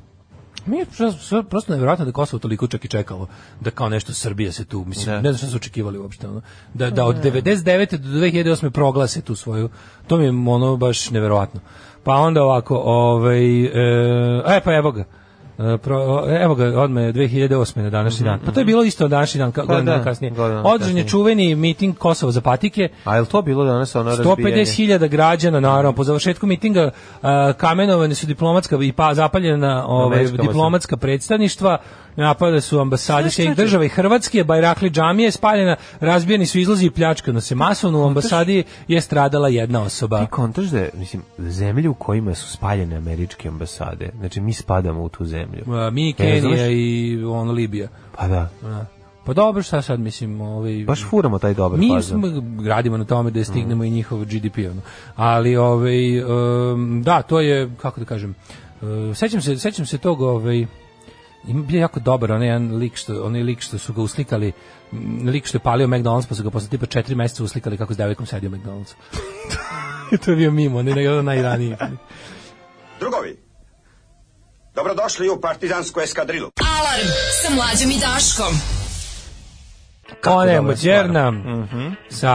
Speaker 7: mi je prosto, prosto nevjerojatno da je Kosovo toliko čak i čekalo da kao nešto Srbija se tu, mislim,
Speaker 6: Da.
Speaker 7: ne znam šta su očekivali uopšte, ono, da, da od 99. do 2008. proglase tu svoju, to mi je ono baš nevjerojatno. Pa onda ovako, ovaj, e, e pa evo ga, E, pro, evo ga, odme 2008. na današnji dan. Pa to je bilo isto današnji dan, ka, godinu
Speaker 6: Mhm. da,
Speaker 7: dana kasnije.
Speaker 6: godinu dana
Speaker 7: Održan je
Speaker 6: kasnije.
Speaker 7: čuveni miting Kosova za patike,
Speaker 6: A je li to bilo danas ono razbijanje?
Speaker 7: 150.000 građana naravno po završetku mitinga a, kamenovane su diplomatska i pa zapaljena ovaj
Speaker 6: Američka vojska.
Speaker 7: diplomatska predstavništva napale su ambasade
Speaker 6: Znaš šta
Speaker 7: svih
Speaker 6: će?
Speaker 7: država i Hrvatske Bajrakli džamija je spaljena razbijeni su izlazi i pljačkano se masovno u ambasadi je stradala jedna osoba
Speaker 6: Ti kontaš da, je, mislim, zemlje u kojima su spaljene američke ambasade, znači mi spadamo u tu zemlju.
Speaker 7: A, mi
Speaker 6: E, znaš-
Speaker 7: Kenija i on Libija
Speaker 6: Pa da,
Speaker 7: A. pa dobro šta sad mislim ovaj
Speaker 6: baš furamo taj dobar
Speaker 7: Mi
Speaker 6: fazon.
Speaker 7: smo gradimo na tome da stignemo i njihov GDP ono. Ali ovaj em, da, to je kako da kažem. e, sećam se sećam se tog ovaj im bio jako dobar onaj jedan lik što onaj lik što su ga uslikali m, lik što je palio McDonald's pa su ga posle tipa 4 meseca uslikali kako s devojkom sedi u McDonald's. (laughs) to je bio mimo, ne ono nego najraniji.
Speaker 2: Drugovi, dobrodošli u partizansku eskadrilu.
Speaker 5: Alarm sa mlađom i Daškom.
Speaker 7: Ona je
Speaker 6: dobra stvar.
Speaker 7: Mođerna sa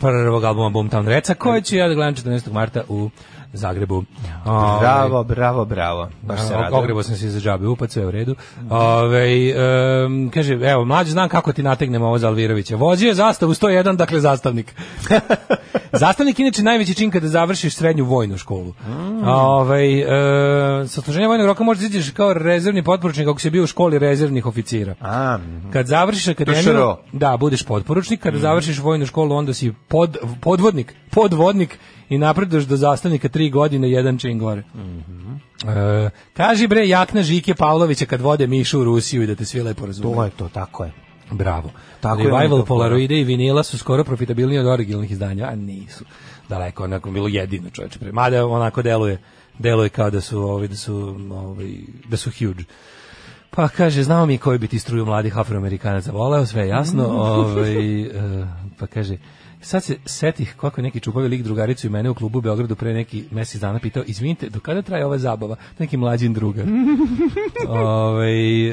Speaker 7: prvog albuma Boomtown Reca koji ću ja da gledam 14. marta u Zagrebu. Ovaj,
Speaker 6: Bravo, bravo, bravo. Baš se
Speaker 7: O-
Speaker 6: radujem.
Speaker 7: Ogrebao sam se za džabe, upad sve je u redu. Ove, kaže, evo, mlađe znam kako ti nategnemo ovo za Alvirovića. Vozio je zastavu 101, dakle zastavnik. (laughs) zastavnik je inače najveći čin kada završiš srednju vojnu školu.
Speaker 6: Mm.
Speaker 7: Ovaj, e, sa služenja vojnog roka možeš da izađeš kao rezervni potporučnik ako si bio u školi rezervnih oficira.
Speaker 6: A, mhm.
Speaker 7: Kad završiš akademiju,
Speaker 6: PŠRO.
Speaker 7: da, budeš podporučnik,
Speaker 6: Mhm.
Speaker 7: kada završiš vojnu školu, onda si pod, podvodnik, podvodnik i napreduješ do zastavnika tri godine, jedan čin gore.
Speaker 6: Mhm.
Speaker 7: E, kaži bre, jakna Žike Pavlovića kad vode Mišu u Rusiju i da te svi lepo
Speaker 6: to
Speaker 7: razume.
Speaker 6: je to, tako je.
Speaker 7: Bravo.
Speaker 6: Tako je
Speaker 7: Revival
Speaker 6: nekako,
Speaker 7: Polaroide i vinila su skoro profitabilniji od originalnih izdanja, a nisu. Daleko, onako bilo jedino čoveče. pre- Mada onako deluje, deluje kao da su, ovi, da su, ovi, da su huge. Pa kaže, znao mi koji bi ti struju mladih afroamerikanaca voleo, sve je jasno. ovaj, e, pa kaže, sad se setih kako je neki čupavi lik drugaricu i mene u klubu u Beogradu pre neki mesec dana pitao, izvinite, do kada traje ova zabava? Neki mlađin drugar. ovaj, e,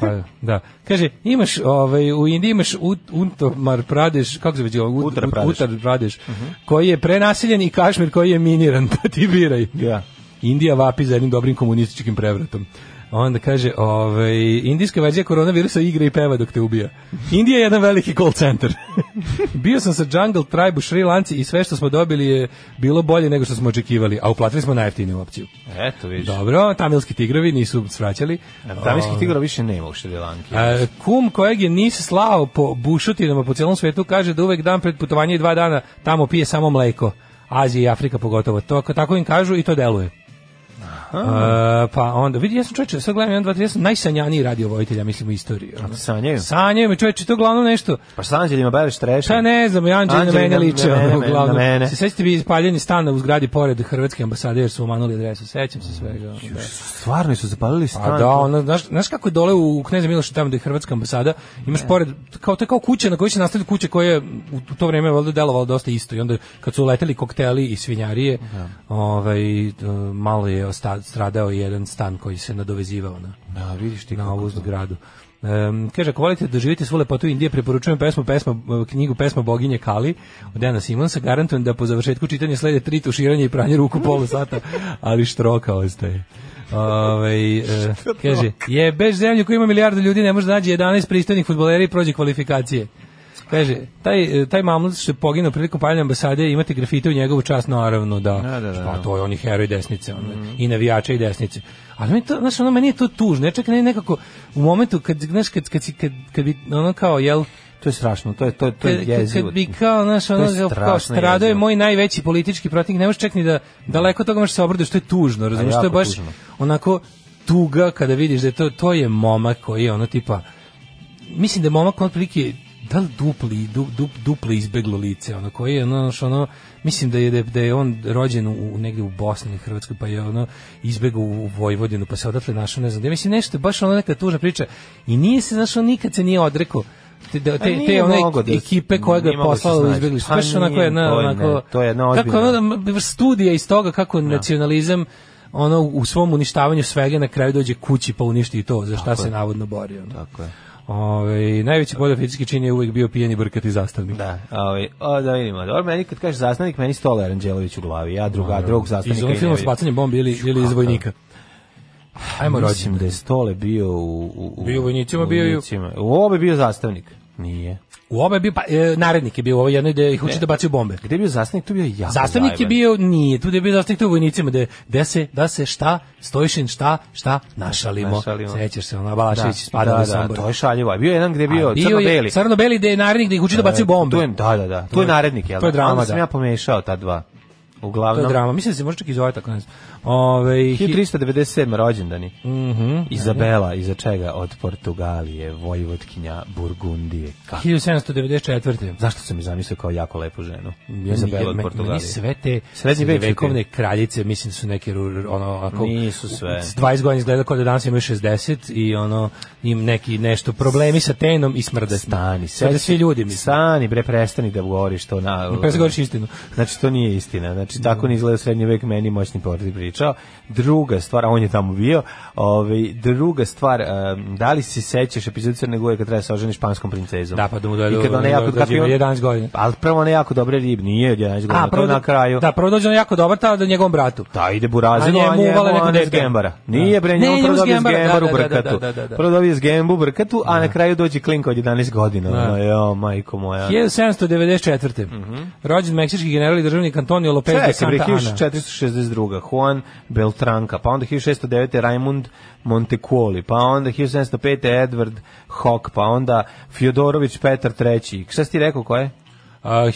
Speaker 7: pa, da. Kaže, imaš, ovaj, u Indiji imaš ut, Untomar Pradeš, kako se već zove? Ut-
Speaker 6: Uttar
Speaker 7: Ut-
Speaker 6: Pradeš.
Speaker 7: Uttar Pradeš, koji je prenaseljen i Kašmir koji je miniran, (laughs) pa ti biraj.
Speaker 6: Ja.
Speaker 7: Indija vapi za jednim dobrim komunističkim prevratom. Onda kaže, ovaj, indijska verzija koronavirusa igra i peva dok te ubija. Indija je jedan veliki call center. (laughs) Bio sam sa Jungle Tribe u Šri Lanci i sve što smo dobili je bilo bolje nego što smo očekivali, a uplatili smo najjeftiniju opciju.
Speaker 6: Eto, vidiš.
Speaker 7: Dobro, tamilski tigrovi nisu svraćali.
Speaker 6: Tamijskih tigora više nema u Šri Lanki.
Speaker 7: A, kum kojeg je nis slao po bušutinama po cijelom svetu kaže da uvek dan pred putovanje i dva dana tamo pije samo mleko. Azija i Afrika pogotovo. To, tako im kažu i to deluje. E, pa onda, vidi, ja sam čovječe, sad gledam 1, 2, 3, ja sam najsanjaniji radiovojitelj, ja mislim, u istoriji. ono.
Speaker 6: sanjaju?
Speaker 7: Sanjaju mi, čovječe, to je uglavnom nešto.
Speaker 6: Pa šta anđeljima baveš trešnje?
Speaker 7: Pa ne znam, i Anđeli na
Speaker 6: Anđeli
Speaker 7: mene
Speaker 6: na-
Speaker 7: liče.
Speaker 6: na
Speaker 7: ono,
Speaker 6: mene, na
Speaker 7: uglavnom.
Speaker 6: mene.
Speaker 7: Se sećate vi ispaljeni stana u zgradi pored Hrvatske ambasade jer su umanuli adresu. Sećam se svega. ono, da.
Speaker 6: Stvarno su zapalili stan.
Speaker 7: A da, ono, znaš, znaš kako je dole u Kneza Miloša tamo gde je Hrvatska ambasada, imaš pored, kao, to je kao kuća na kojoj se nastavlja kuće koja je u u to vrijeme valjda delovala dosta isto i onda kad su leteli kokteli i svinjarije, ovaj, e, malo je osta- stradao i jedan stan koji se nadovezivao na,
Speaker 6: Da, vidiš ti
Speaker 7: na
Speaker 6: kako
Speaker 7: ovu
Speaker 6: to.
Speaker 7: zgradu. Em, kaže, ako volite da živite svu lepotu Indije, preporučujem pesmu, pesma, knjigu pesma Boginje Kali od Dana Simonsa. Garantujem da po završetku čitanja slede tri tuširanja i pranje ruku pola sata, (laughs) ali štroka ostaje. Ovaj, e, kaže, je bez zemlju koja ima milijardu ljudi ne može da nađe 11 pristojnih futbolera i prođe kvalifikacije. Kaže, taj, e, taj mamlut što je poginuo prilikom paljenja ambasade, imate grafite u njegovu čast, naravno, da.
Speaker 6: Da, da, da. Mhm.
Speaker 7: Pa to je on i heroj desnice, on, i navijača i desnice. Ali meni to, znaš, ono, meni je to tužno. Ja čak ne nekako, u momentu kad, znaš, kad, kad, si- kad, kad bi, ono kao, jel,
Speaker 6: To je strašno, to je to je to je
Speaker 7: kad, kad-
Speaker 6: jezivo.
Speaker 7: kad bi kao, znaš,
Speaker 6: je
Speaker 7: ono, kao,
Speaker 6: strašno
Speaker 7: kao stradao je
Speaker 6: jezivo.
Speaker 7: moj najveći politički protivnik, ne možeš čak ni da, daleko od toga možeš se obraditi, što je tužno, razumiješ, to je
Speaker 6: jako
Speaker 7: baš
Speaker 6: tužno.
Speaker 7: onako tuga kada vidiš da je to, to je momak koji je ono tipa, mislim da je momak on otprilike da li dupli, du, du, dupli izbeglo lice, ono koji je, ono, znaš, ono, mislim da je, da je- da je on rođen u, u- negdje u Bosni ili Hrvatskoj, pa je ono izbegao u Vojvodinu, pa se odatle našao, ne znam, gde. mislim nešto, je baš ono neka tužna priča i nije se, znaš, on nikad se nije odrekao te, te,
Speaker 6: A
Speaker 7: te,
Speaker 6: nije
Speaker 7: te one
Speaker 6: mogao da-
Speaker 7: ekipe koje ga
Speaker 6: nije
Speaker 7: je
Speaker 6: mogao da se
Speaker 7: poslala u
Speaker 6: snađe.
Speaker 7: izbjeglištvo.
Speaker 6: Pa
Speaker 7: Baš onako
Speaker 6: nije,
Speaker 7: jedna,
Speaker 6: to je
Speaker 7: onako,
Speaker 6: ne, to je jedna
Speaker 7: kako
Speaker 6: ozbiljna-
Speaker 7: ono, m, studija iz toga kako nacionalizam ono u svom uništavanju svega na kraju dođe kući pa uništi i to za šta se navodno borio. ono.
Speaker 6: Tako je.
Speaker 7: Ovaj najveći podoficijski čin je uvek bio pijeni brkati zastavnik.
Speaker 6: Da, ovaj, o, da vidimo. Dobro, meni kad kažeš zastavnik, meni stola Aranđelović u glavi. Ja druga, drugog zastavnika.
Speaker 7: Iz onog
Speaker 6: i ne
Speaker 7: filma s
Speaker 6: vidim.
Speaker 7: bacanjem bombi ili, ili iz vojnika. Ajmo rođen.
Speaker 6: Mislim da je Stole bio u... u, u
Speaker 7: Bio u vojnicima, bio i u-
Speaker 6: vojnicima. U obe je bio zastavnik. Nije.
Speaker 7: U oba je bio, pa, e, narednik je bio u ovoj jednoj gde ih uči da bacaju bombe.
Speaker 6: Gde je bio zastavnik, tu je bio jako
Speaker 7: Zastavnik je
Speaker 6: zajeban.
Speaker 7: bio, nije, tu je bio zastavnik tu u vojnicima, gde, gde se, da se šta, Stojšin šta, šta, našalimo.
Speaker 6: Našalimo.
Speaker 7: Sećaš se, ono, Balašević
Speaker 6: Da,
Speaker 7: spada
Speaker 6: da,
Speaker 7: u
Speaker 6: da,
Speaker 7: Sambor.
Speaker 6: to je šaljivo. A Bio je jedan gde je bio,
Speaker 7: A bio
Speaker 6: crno-beli.
Speaker 7: je Crno-beli gde je narednik da ih uči da bacaju bombe.
Speaker 6: Tu je, da, da, da. Tu je narednik, jel?
Speaker 7: to je drama,
Speaker 6: Onda sam
Speaker 7: da.
Speaker 6: ja pa- pomešao ta dva.
Speaker 7: To je
Speaker 6: Uglavnom,
Speaker 7: drama, mislim da se može čak i zove tako, ne znam. Ove, Mhm.
Speaker 6: 1397. rođendani. Izabela, iza čega? Od Portugalije, Vojvodkinja, Burgundije. Kako?
Speaker 7: 1794.
Speaker 6: Zašto sam je zamislio kao jako lepu ženu?
Speaker 7: Ja
Speaker 6: Izabela od
Speaker 7: meni-
Speaker 6: Portugalije.
Speaker 7: Meni sve te
Speaker 6: Srednji vek su ti.
Speaker 7: vekovne kraljice, mislim da su neke ru- ono ako
Speaker 6: Nisu sve.
Speaker 7: 20 godina izgleda kao da danas imaju 60 i ono im neki nešto problemi sa tenom i smrde.
Speaker 6: Stani,
Speaker 7: sve da
Speaker 6: sećaj-
Speaker 7: svi ljudi mislim.
Speaker 6: Stani, bre, prestani da govoriš to na...
Speaker 7: Pa se govoriš istinu.
Speaker 6: Znači, to nije istina. Znači, tako ne izgleda srednji vek, meni moćni porti pričao. Druga stvar, a on je tamo bio, ovaj, druga stvar, em, da li se sećaš epizodu Crne Gore kad treba da se oženi španskom princezom?
Speaker 7: Da, pa da mu dođe-
Speaker 6: I kad ona
Speaker 7: dođe-
Speaker 6: jako...
Speaker 7: dođe
Speaker 6: kad je on- Pa,
Speaker 7: 11 godina.
Speaker 6: Ali prvo ona jako dobra rib, nije 11 godina, to je
Speaker 7: do-
Speaker 6: na kraju.
Speaker 7: Da, prvo dođe on jako dobar ta da njegovom bratu.
Speaker 6: Da, ide burazino,
Speaker 7: A
Speaker 6: a
Speaker 7: njemu
Speaker 6: njemu,
Speaker 7: uvale neko
Speaker 6: a ne s
Speaker 7: detka.
Speaker 6: gembara.
Speaker 7: Da.
Speaker 6: Nije bre,
Speaker 7: Ne,
Speaker 6: njemu
Speaker 7: njemu
Speaker 6: prvo
Speaker 7: s
Speaker 6: dobije s
Speaker 7: gembara, da,
Speaker 6: gembaru
Speaker 7: da, da,
Speaker 6: brkatu.
Speaker 7: da, da, da, da.
Speaker 6: Prvo dobije s gembu brkatu, a na kraju dođe klinka od 11 godina.
Speaker 7: Da.
Speaker 6: Ono, jo, majko moja.
Speaker 7: 1794. Rođen meksički general i državnik Antonio Lopez de
Speaker 6: Mhm. Čekaj, bre,
Speaker 7: Santa Ana.
Speaker 6: 1462. Juan Beltranka, pa onda 1609. Raimund Montecuoli, pa onda 1705. Edward Hock, pa onda Fjodorović Petar III. Šta si ti rekao, ko je?
Speaker 7: A,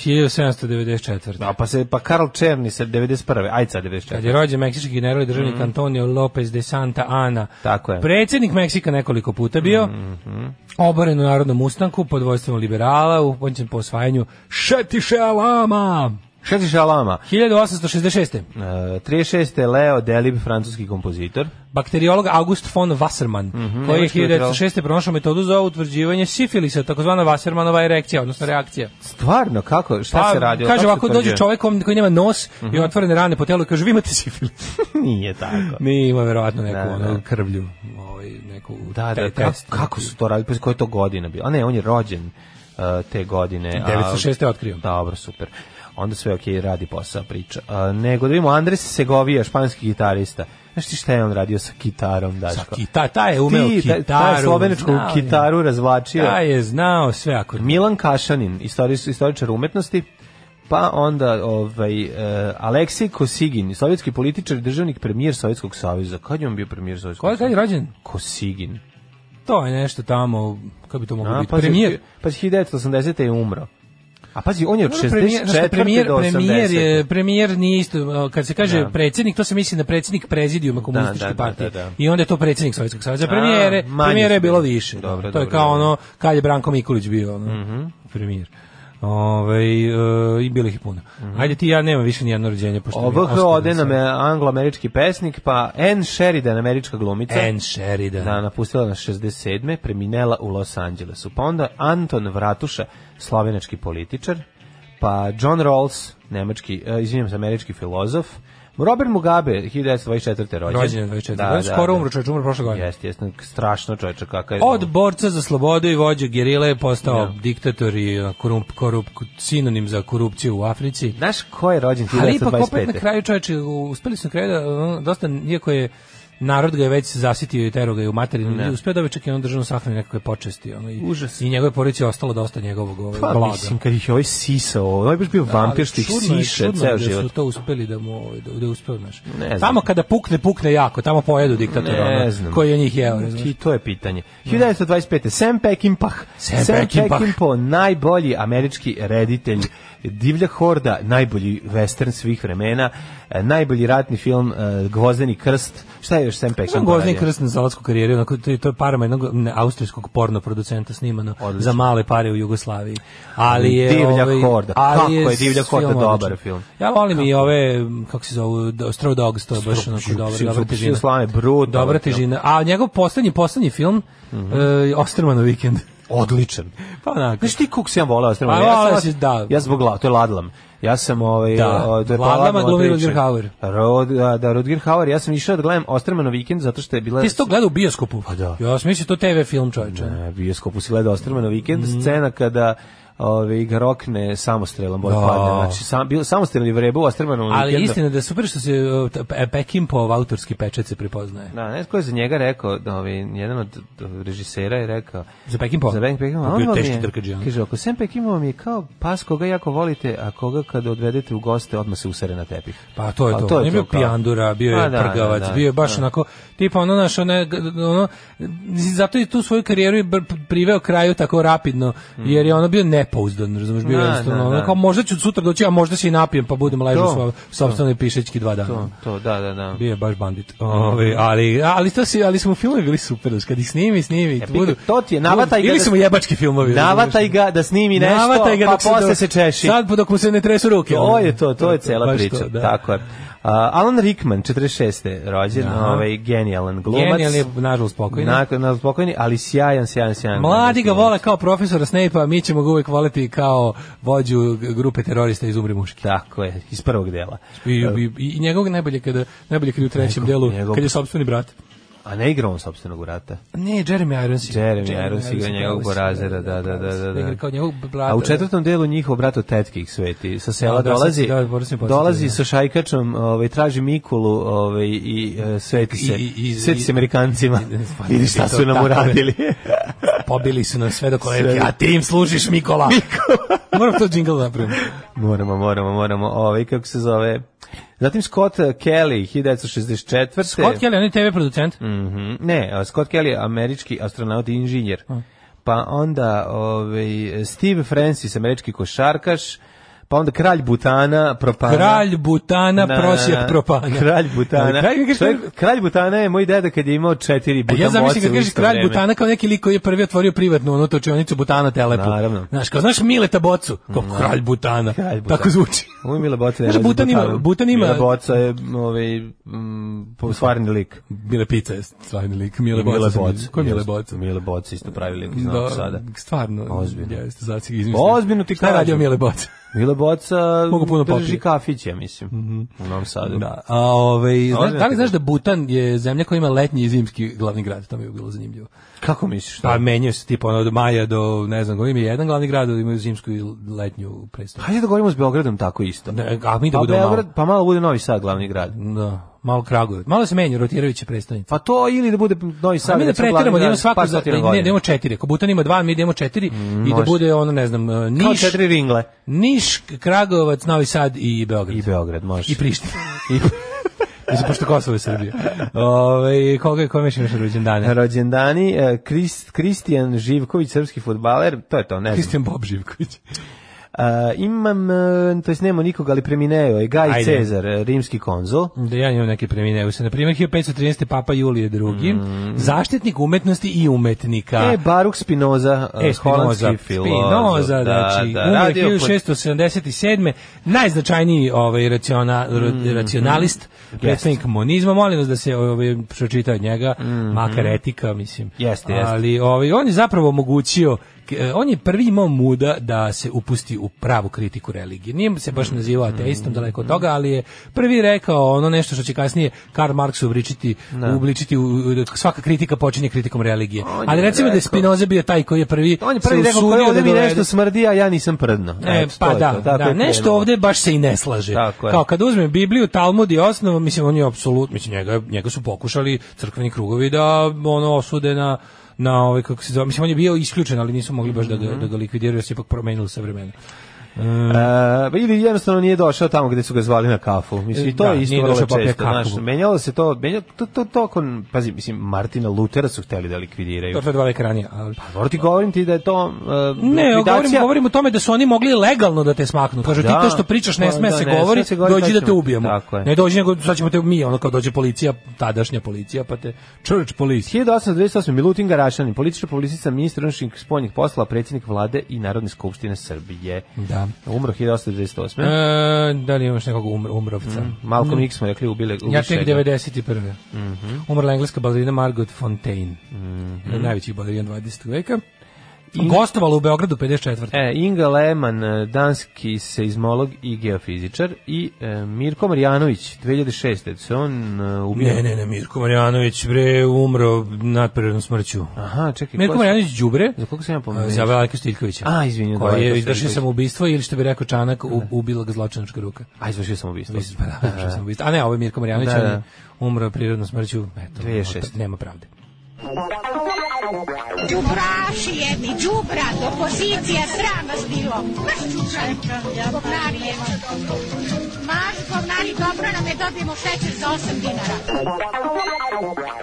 Speaker 7: 1794.
Speaker 6: Da, pa, se, pa Karl Černi sa 91. Ajca 94.
Speaker 7: Kad je rođen meksički general i državnik Antonio Lopez de Santa Ana.
Speaker 6: Mhm. Tako je. Mhm.
Speaker 7: Predsjednik Meksika nekoliko puta bio. Oboren u narodnom ustanku pod vojstvom liberala, upođen po osvajanju Šetiše Alama.
Speaker 6: Šta ti šalama?
Speaker 7: 1866.
Speaker 6: E, 36. Leo Delib, francuski kompozitor.
Speaker 7: Bakteriolog August von Wassermann, koji je
Speaker 6: Mhm, nemački
Speaker 7: 1906. pronašao metodu za utvrđivanje sifilisa, takozvana Wassermannova erekcija, odnosno reakcija.
Speaker 6: Stvarno, kako? Šta se radi? Kako
Speaker 7: kaže,
Speaker 6: se
Speaker 7: ovako Pa, dođe
Speaker 6: utvrđuje? Mhm.
Speaker 7: čovjek kom- koji nema nos i otvorene rane po telu i kaže, vi imate sifilis.
Speaker 6: (laughs) Nije tako.
Speaker 7: Nije ima verovatno neku
Speaker 6: Da,
Speaker 7: ono,
Speaker 6: da.
Speaker 7: krvlju, ovaj, neku
Speaker 6: Da, da,
Speaker 7: te-
Speaker 6: kako,
Speaker 7: test-
Speaker 6: kako su to radili? Pa koje je to godine bilo? A ne, on je rođen uh, te godine. a-
Speaker 7: 906. je otkrio.
Speaker 6: Dobro, super. Onda sve ok, radi posao, priča. A, nego da vidimo, Andres Segovija, španski gitarista. Znaš ti šta je on radio sa kitarom, Daško?
Speaker 7: Sa kita, ta je umeo
Speaker 6: Pa. Ti,
Speaker 7: kitaru.
Speaker 6: ta- Ta je sloveničku
Speaker 7: znao je.
Speaker 6: kitaru razvlačio.
Speaker 7: Ta je znao sve ako...
Speaker 6: Milan Kašanin, istorijs- istoričar umetnosti, pa onda ovaj, e, Aleksej Kosigin, sovjetski političar i državnik premijer Sovjetskog saveza. Kad je on bio premijer Sovjetskog
Speaker 7: Ko je kad je rođen?
Speaker 6: Kosigin.
Speaker 7: To je nešto tamo, kako bi to moglo
Speaker 6: A,
Speaker 7: biti?
Speaker 6: pazi,
Speaker 7: Premijer.
Speaker 6: Pazi, 1980. je umro. A pazi, on je od
Speaker 7: Dobro, premijer, znaš šta,
Speaker 6: 64.
Speaker 7: premijer,
Speaker 6: do 80.
Speaker 7: premijer, je, premijer nije isto, kad se kaže
Speaker 6: Da.
Speaker 7: predsjednik, to se misli na predsjednik prezidijuma komunističke
Speaker 6: da, da,
Speaker 7: partije.
Speaker 6: da, da.
Speaker 7: I onda je to predsjednik Sovjetskog saveza. Premijere,
Speaker 6: manje
Speaker 7: premijere je
Speaker 6: su
Speaker 7: bilo
Speaker 6: bili.
Speaker 7: više.
Speaker 6: Dobro,
Speaker 7: to je
Speaker 6: dobro,
Speaker 7: kao
Speaker 6: dobro. Mhm.
Speaker 7: ono, kad je Branko Mikulić bio ono, premijer. Ove, I bilo ih je puno. Ajde ti, ja nemam više nijedno rođenje. pošto mi je
Speaker 6: OBH
Speaker 7: oskudno
Speaker 6: Mhm. ode
Speaker 7: sad.
Speaker 6: nam je anglo-američki pesnik, pa Anne Sheridan, američka glumica.
Speaker 7: Anne Sheridan.
Speaker 6: Da, napustila nas 67. preminela u Los Angelesu. Pa onda Anton Vratuša, slovenački političar, pa John Rawls, nemački, e, izvinjam se, američki filozof, Robert Mugabe, 1924. rođen.
Speaker 7: Rođen je 24. Da, Skoro umro čovječ, umro prošle godine.
Speaker 6: Jeste, jeste, strašno čovječe, kakav je.
Speaker 7: Od borca za slobodu i vođe gerile je postao diktator i uh, korump, korup, sinonim za korupciju u Africi.
Speaker 6: Znaš ko je rođen 1925.
Speaker 7: Ali ipak opet na kraju čoveče, uspeli su na kraju da, ono, dosta, iako je narod ga je već zasitio i tero ga je u materinu, ne. uspio da bi čak i on državno sahrani nekakve počesti. Ono, i,
Speaker 6: Užas.
Speaker 7: I njegove porodice je ostalo dosta njegovog ovaj,
Speaker 6: Pa
Speaker 7: blaga.
Speaker 6: mislim, kad ih je ovaj sisao, ovaj je baš bio vampir što ih
Speaker 7: Ali čudno je-
Speaker 6: siše
Speaker 7: čudno je
Speaker 6: ceo
Speaker 7: da
Speaker 6: život.
Speaker 7: su to uspeli da mu ovaj, da, da je uspeo, znaš.
Speaker 6: Ne znam.
Speaker 7: Tamo kada pukne, pukne jako, tamo pojedu diktator,
Speaker 6: Ne
Speaker 7: ono,
Speaker 6: znam.
Speaker 7: koji je njih jeo, razumeš?
Speaker 6: I to je pitanje. 1925. Sam Peckinpah.
Speaker 7: Sam Peckinpah.
Speaker 6: najbolji američki reditelj Divlja horda, najbolji western svih vremena, e, najbolji ratni film e, Gvozdeni krst. Šta je još Sam Peckinpah?
Speaker 7: Sam Gozni
Speaker 6: radio?
Speaker 7: krst na zalatsku karijeru, onako, to, je- to je parama jednog ne, austrijskog porno producenta snimano
Speaker 6: Odlično.
Speaker 7: za male pare u Jugoslaviji. Ali je,
Speaker 6: Divlja
Speaker 7: ovaj,
Speaker 6: horda.
Speaker 7: ali
Speaker 6: Kako je Divlja
Speaker 7: s-
Speaker 6: horda
Speaker 7: film
Speaker 6: dobar
Speaker 7: odličan.
Speaker 6: film?
Speaker 7: Ja volim i ove, m, kako se zovu, do- Straw Dogs, to je baš onako
Speaker 6: Psu-
Speaker 7: dobro,
Speaker 6: psu-
Speaker 7: dobra
Speaker 6: psu-
Speaker 7: težina.
Speaker 6: slane, brutalan
Speaker 7: Dobra
Speaker 6: film. Mhm. (laughs)
Speaker 7: težina. A njegov poslednji, poslednji film, e, Ostermanov vikend.
Speaker 6: odličan.
Speaker 7: Pa onako.
Speaker 6: Znaš ti kuk sam ja volao Ostrema?
Speaker 7: Pa,
Speaker 6: ja sam-
Speaker 7: volao si, da.
Speaker 6: Ja zbog la, to je Ladlam. Ja sam ovaj
Speaker 7: Da.
Speaker 6: o, to je
Speaker 7: Ladlama
Speaker 6: Ladlam
Speaker 7: glumi
Speaker 6: odličan.
Speaker 7: Rutger Hauer.
Speaker 6: Rod, a, da Rutger Hauer, ja sam išao da gledam Ostremano vikend zato što je bila
Speaker 7: Ti si to gledao u bioskopu?
Speaker 6: Pa da.
Speaker 7: Ja sam mislio to TV film, čovječe.
Speaker 6: E, bioskopu si gledao Ostrmano vikend,
Speaker 7: Mhm.
Speaker 6: scena kada ove, ga rokne samostrelom, boj
Speaker 7: Da.
Speaker 6: padne. Znači, sam, bio, samostrelni vrebu Ostrmano vikendu.
Speaker 7: Ali istina da je super što se uh, t- Pe- Pekinpov autorski pečet se prepoznaje.
Speaker 6: Da, ne znam ko je za njega rekao, da, ovaj, jedan od od režisera je rekao...
Speaker 7: Za Pekinpova?
Speaker 6: Za Ben Pekinpova.
Speaker 7: To je
Speaker 6: on
Speaker 7: bio
Speaker 6: vam
Speaker 7: teški
Speaker 6: je-
Speaker 7: trkač, ja.
Speaker 6: Kaže, ako Sam Pekinpova mi je kao pas koga jako volite, a koga kada odvedete u goste, odmah se usere na tepih.
Speaker 7: Pa to je
Speaker 6: A
Speaker 7: to. to je bio
Speaker 6: kao-
Speaker 7: pijandura, bio
Speaker 6: Pa
Speaker 7: je
Speaker 6: da,
Speaker 7: prgavac,
Speaker 6: da, da,
Speaker 7: bio je baš
Speaker 6: da.
Speaker 7: onako tipa ono naš ono, ono zato je tu svoju karijeru i br- priveo kraju tako rapidno jer je ono bio nepouzdan, razumeš, bio
Speaker 6: Da,
Speaker 7: je jednostavno
Speaker 6: da,
Speaker 7: ono,
Speaker 6: da.
Speaker 7: kao možda ću sutra doći, a možda se i napijem pa budem ležao
Speaker 6: To,
Speaker 7: u svom- sopstvenoj pišećki dva dana.
Speaker 6: To, to, da, da, da.
Speaker 7: Bio je baš bandit. Ove, ali, ali, to si, ali smo filmovi bili super, znaš, kad ih snimi, snimi.
Speaker 6: E, pika, to ti je, navataj ga
Speaker 7: Ili
Speaker 6: da-
Speaker 7: su mu jebački filmovi.
Speaker 6: Navataj
Speaker 7: razumeš?
Speaker 6: ga da snimi nešto,
Speaker 7: Navataj ga
Speaker 6: pa
Speaker 7: dok
Speaker 6: posle
Speaker 7: dok-
Speaker 6: se češi.
Speaker 7: Sad dok mu se ne tresu ruke.
Speaker 6: To
Speaker 7: ono.
Speaker 6: je to, to je cela
Speaker 7: Baš
Speaker 6: priča.
Speaker 7: to, da.
Speaker 6: Tako je. Uh, Alan Rickman, 46. rođen, ovaj genijalan glumac.
Speaker 7: Genijalni je, nažalost, pokojni.
Speaker 6: Nakon na spokojni, ali sjajan, sjajan, sjajan.
Speaker 7: Mladi ga
Speaker 6: glumac.
Speaker 7: vole kao profesora Snape-a, a mi ćemo ga uvek voleti kao vođu g- grupe terorista iz Umri muški.
Speaker 6: Tako je, iz prvog dela.
Speaker 7: I, i, i njegov najbolje kada najbolje kad je u trećem
Speaker 6: Njegov-
Speaker 7: delu
Speaker 6: njegov-
Speaker 7: kad je sopstveni brat.
Speaker 6: A ne igra on sopstvenog rata.
Speaker 7: Ne, Jeremy Irons. igra.
Speaker 6: Jeremy Irons igra njegovog
Speaker 7: pravo si,
Speaker 6: Borazera, da, da, da, da, da.
Speaker 7: Igra kao njegovog brata.
Speaker 6: A u četvrtom delu njihov brat od tetke ih sveti. Sa sela
Speaker 7: A, da, sad
Speaker 6: dolazi,
Speaker 7: si- da, moram se podsjetiti,
Speaker 6: dolazi
Speaker 7: da.
Speaker 6: sa šajkačom, ovaj, traži Mikulu ovaj, i e, sveti se.
Speaker 7: I- i- i-
Speaker 6: sveti se Amerikancima.
Speaker 7: (laughs) Pa,
Speaker 6: Vidi šta
Speaker 7: to
Speaker 6: su nam
Speaker 7: tako je.
Speaker 6: uradili. (laughs)
Speaker 7: eh, Pobili su nas sve do kolevke,
Speaker 6: Sve.
Speaker 7: a ti im služiš
Speaker 6: (laughs)
Speaker 7: Mikola. Mikola. Moram to džingl napravim.
Speaker 6: moramo, moramo, moramo. Ovaj, kako se zove... Zatim Scott Kelly, 1964.
Speaker 7: Scott Kelly, on je TV producent.
Speaker 6: Mhm. Ne, a Scott Kelly je američki astronaut i inženjer.
Speaker 7: Hmm.
Speaker 6: Pa onda ovaj, Steve Francis, američki košarkaš, pa onda kralj Butana, propana.
Speaker 7: Kralj Butana,
Speaker 6: Na, na, na.
Speaker 7: prosjak propana.
Speaker 6: Kralj Butana.
Speaker 7: Kralj, mi kažeš,
Speaker 6: Čovjek- kralj Butana je moj deda kad je imao četiri
Speaker 7: A
Speaker 6: butamoce
Speaker 7: ja zamislim kad
Speaker 6: u
Speaker 7: kažeš
Speaker 6: isto
Speaker 7: kralj
Speaker 6: vreme.
Speaker 7: Butana kao neki lik koji je prvi otvorio privatnu ono točionicu Butana telepu.
Speaker 6: Naravno.
Speaker 7: Znaš, kao znaš Mileta Bocu, kao kralj Butana.
Speaker 6: Kralj Butana.
Speaker 7: Tako zvuči.
Speaker 6: Ovo je Mile Boca.
Speaker 7: Znaš, Butan ima- Butan ima-
Speaker 6: Mile Boca je ovaj, mm, stvarni lik.
Speaker 7: Mile Pica je stvarni lik, Mile
Speaker 6: Mile
Speaker 7: Boca.
Speaker 6: Boca.
Speaker 7: sam- Ko je Mile
Speaker 6: Jeste,
Speaker 7: Boca?
Speaker 6: Mile Boca isto pravi lik iz
Speaker 7: Da,
Speaker 6: Novog Sada.
Speaker 7: stvarno.
Speaker 6: Ozbiljno.
Speaker 7: Jeste, sad si ga izmislio.
Speaker 6: Ozbiljno ti
Speaker 7: Šta je radio
Speaker 6: kažem.
Speaker 7: Mile Boca?
Speaker 6: Mile Boca
Speaker 7: Mogu puno
Speaker 6: drži
Speaker 7: popiti.
Speaker 6: kafić, ja mislim, u Novom Sadu.
Speaker 7: Da, a ovaj, znaš,
Speaker 6: Ozbiljno
Speaker 7: da li
Speaker 6: ti
Speaker 7: znaš da Butan je zemlja koja ima letnji i zimski glavni grad? To mi je bilo zanimljivo.
Speaker 6: Kako misliš?
Speaker 7: Pa menjaju se tipa ono od maja do ne znam, ima jedan glavni grad, imaju zimsku i letnju predstavu.
Speaker 6: Hajde da govorimo s Beogradom tako isto.
Speaker 7: Ne, a mi da
Speaker 6: pa
Speaker 7: budemo malo.
Speaker 6: Beograd, pa malo bude Novi Sad glavni grad.
Speaker 7: Da, malo Kragujevac. Malo se menja rotirajuće predstavnice.
Speaker 6: Pa to ili da bude Novi
Speaker 7: A
Speaker 6: Sad.
Speaker 7: mi da
Speaker 6: recimo,
Speaker 7: preteramo,
Speaker 6: glavni
Speaker 7: da imamo
Speaker 6: grad,
Speaker 7: svaku
Speaker 6: par
Speaker 7: za,
Speaker 6: stotina
Speaker 7: ne, da
Speaker 6: godina.
Speaker 7: imamo četiri. Ako Butan ima dva, mi idemo četiri i da
Speaker 6: može.
Speaker 7: bude ono, ne znam, e,
Speaker 6: Kao
Speaker 7: Niš,
Speaker 6: četiri ringle.
Speaker 7: Niš, Kragujevac, Novi Sad i Beograd.
Speaker 6: I Beograd, može.
Speaker 7: I
Speaker 6: (laughs)
Speaker 7: Priština. (laughs) Mislim, pošto Kosovo je Srbija. Ove, koga je, kome ćemo još rođen dane?
Speaker 6: Rođendani, eh, Krist, Kristijan Živković, srpski futbaler, to je to, ne znam.
Speaker 7: Kristijan Bob Živković.
Speaker 6: Eh, imam, eh, to jest nemamo nikoga, ali premineo je Gaj
Speaker 7: Ajde.
Speaker 6: Cezar, eh, rimski konzul.
Speaker 7: Da ja imam neke premineu se. Na primjer, 1513. Papa Julije II. Zaštitnik umetnosti i umetnika.
Speaker 6: Mhm. E, Baruk Spinoza, eh,
Speaker 7: E,
Speaker 6: holandski
Speaker 7: Spinoza,
Speaker 6: filozof.
Speaker 7: Spinoza, znači,
Speaker 6: da,
Speaker 7: umro je
Speaker 6: radio pod-
Speaker 7: 1677. Najznačajniji ovaj, raciona,
Speaker 6: Mhm,
Speaker 7: ra- racionalist, predstavnik monizma, molim vas da se ovaj, pročita od njega, makar etika, mislim.
Speaker 6: Mhm. Jeste, jeste.
Speaker 7: Ali ovaj, on je zapravo omogućio, k- eh, on je prvi imao muda da se upusti u pravu kritiku religije. Nije se baš
Speaker 6: Mhm.
Speaker 7: nazivao ateistom, daleko od toga, ali je prvi rekao ono nešto što će kasnije Karl Marx uvričiti, uobličiti u- u- svaka kritika počinje kritikom religije.
Speaker 6: On
Speaker 7: Ali
Speaker 6: je
Speaker 7: recimo da je
Speaker 6: rekao-
Speaker 7: Spinoza bio taj koji je prvi
Speaker 6: On je prvi
Speaker 7: se
Speaker 6: rekao,
Speaker 7: usudio
Speaker 6: "Ko je ovde
Speaker 7: da
Speaker 6: mi
Speaker 7: dovede-
Speaker 6: nešto smrdi, a ja nisam prdno.
Speaker 7: E,
Speaker 6: Eto, to
Speaker 7: pa
Speaker 6: je
Speaker 7: da,
Speaker 6: to, tako
Speaker 7: da,
Speaker 6: je
Speaker 7: nešto
Speaker 6: krenulo.
Speaker 7: ovde baš se i ne slaže.
Speaker 6: Tako je.
Speaker 7: Kao kad uzmem Bibliju, Talmud i osnovu, mislim on je apsolutno, mislim njega, njega su pokušali crkveni krugovi da ono osude na na ovaj kako se zove, mislim on je bio isključen, ali nisu mogli baš da ga, da ga likvidiraju, jer se ipak promenilo sa vremena.
Speaker 6: E, pa ili jednostavno nije došao tamo gde su ga zvali na kafu. Mislim, i to
Speaker 7: Da,
Speaker 6: je isto
Speaker 7: nije
Speaker 6: vrlo
Speaker 7: došao popio
Speaker 6: često.
Speaker 7: kafu.
Speaker 6: Znaš, menjalo se to, menjalo, to, to, to, kon- pazi, mislim, Martina Lutera su hteli da likvidiraju.
Speaker 7: To je dva veka ranije. ali-
Speaker 6: Dobro ti govorim ti da je to uh,
Speaker 7: Ne, govorim, govorim o tome da su oni mogli legalno da te smaknu. Kažu
Speaker 6: da.
Speaker 7: ti to što pričaš
Speaker 6: Pa
Speaker 7: ne sme
Speaker 6: da,
Speaker 7: se
Speaker 6: ne sme
Speaker 7: govori,
Speaker 6: se govori,
Speaker 7: dođi
Speaker 6: sad
Speaker 7: da te
Speaker 6: ćemo-
Speaker 7: ubijemo.
Speaker 6: Tako je.
Speaker 7: Ne dođi nego sad ćemo te mi, ono kao dođe policija, tadašnja policija, pa te church police.
Speaker 6: 1828. Milutin Garašanin, politička publicista, ministar unutrašnjih spoljnih poslova, predsjednik vlade i Narodne skupštine Srbije.
Speaker 7: Da.
Speaker 6: Umro 1828.
Speaker 7: E, da li imaš nekog umr, umrovca?
Speaker 6: Malcolm X smo rekli ubile.
Speaker 7: Ja tek
Speaker 6: ubiše ga.
Speaker 7: 91. Mhm. Umrla engleska balerina Margot Fontaine. Mm Najveći balerijan 20. veka. Gostovala u Beogradu 54.
Speaker 6: E, Inga Leman, e, danski seizmolog i geofizičar i e, Mirko Marjanović, 2006. Se on e, ubio.
Speaker 7: Ne, ne, ne, Mirko Marjanović bre umro nadprirodnom smrću.
Speaker 6: Aha, čekaj.
Speaker 7: Mirko
Speaker 6: ko je-
Speaker 7: Marjanović Đubre
Speaker 6: Za koliko sam ja
Speaker 7: a,
Speaker 6: pomenuo?
Speaker 7: za Veliko Stiljkovića.
Speaker 6: A, izvinjam, da,
Speaker 7: Koji
Speaker 6: Veljko
Speaker 7: je izvršio
Speaker 6: Stiljković.
Speaker 7: samoubistvo ili što bi rekao Čanak, u, ubila ga zločinačka ruka.
Speaker 6: A, izvršio sam ubistvo.
Speaker 7: Mislim, pa da, izvršio samoubistvo. A ne, ovo je Mirko Marjanović,
Speaker 6: Da,
Speaker 7: on je
Speaker 6: da.
Speaker 7: umro prirodnom smrću. Eto,
Speaker 6: 2006.
Speaker 7: nema pravde.
Speaker 8: Đubraši jedni, đubra, opozicija, sram vas bilo. Maš čučaj, govnari jedni. Maš govnari, dobro nam je, dobijemo šećer za 8 dinara.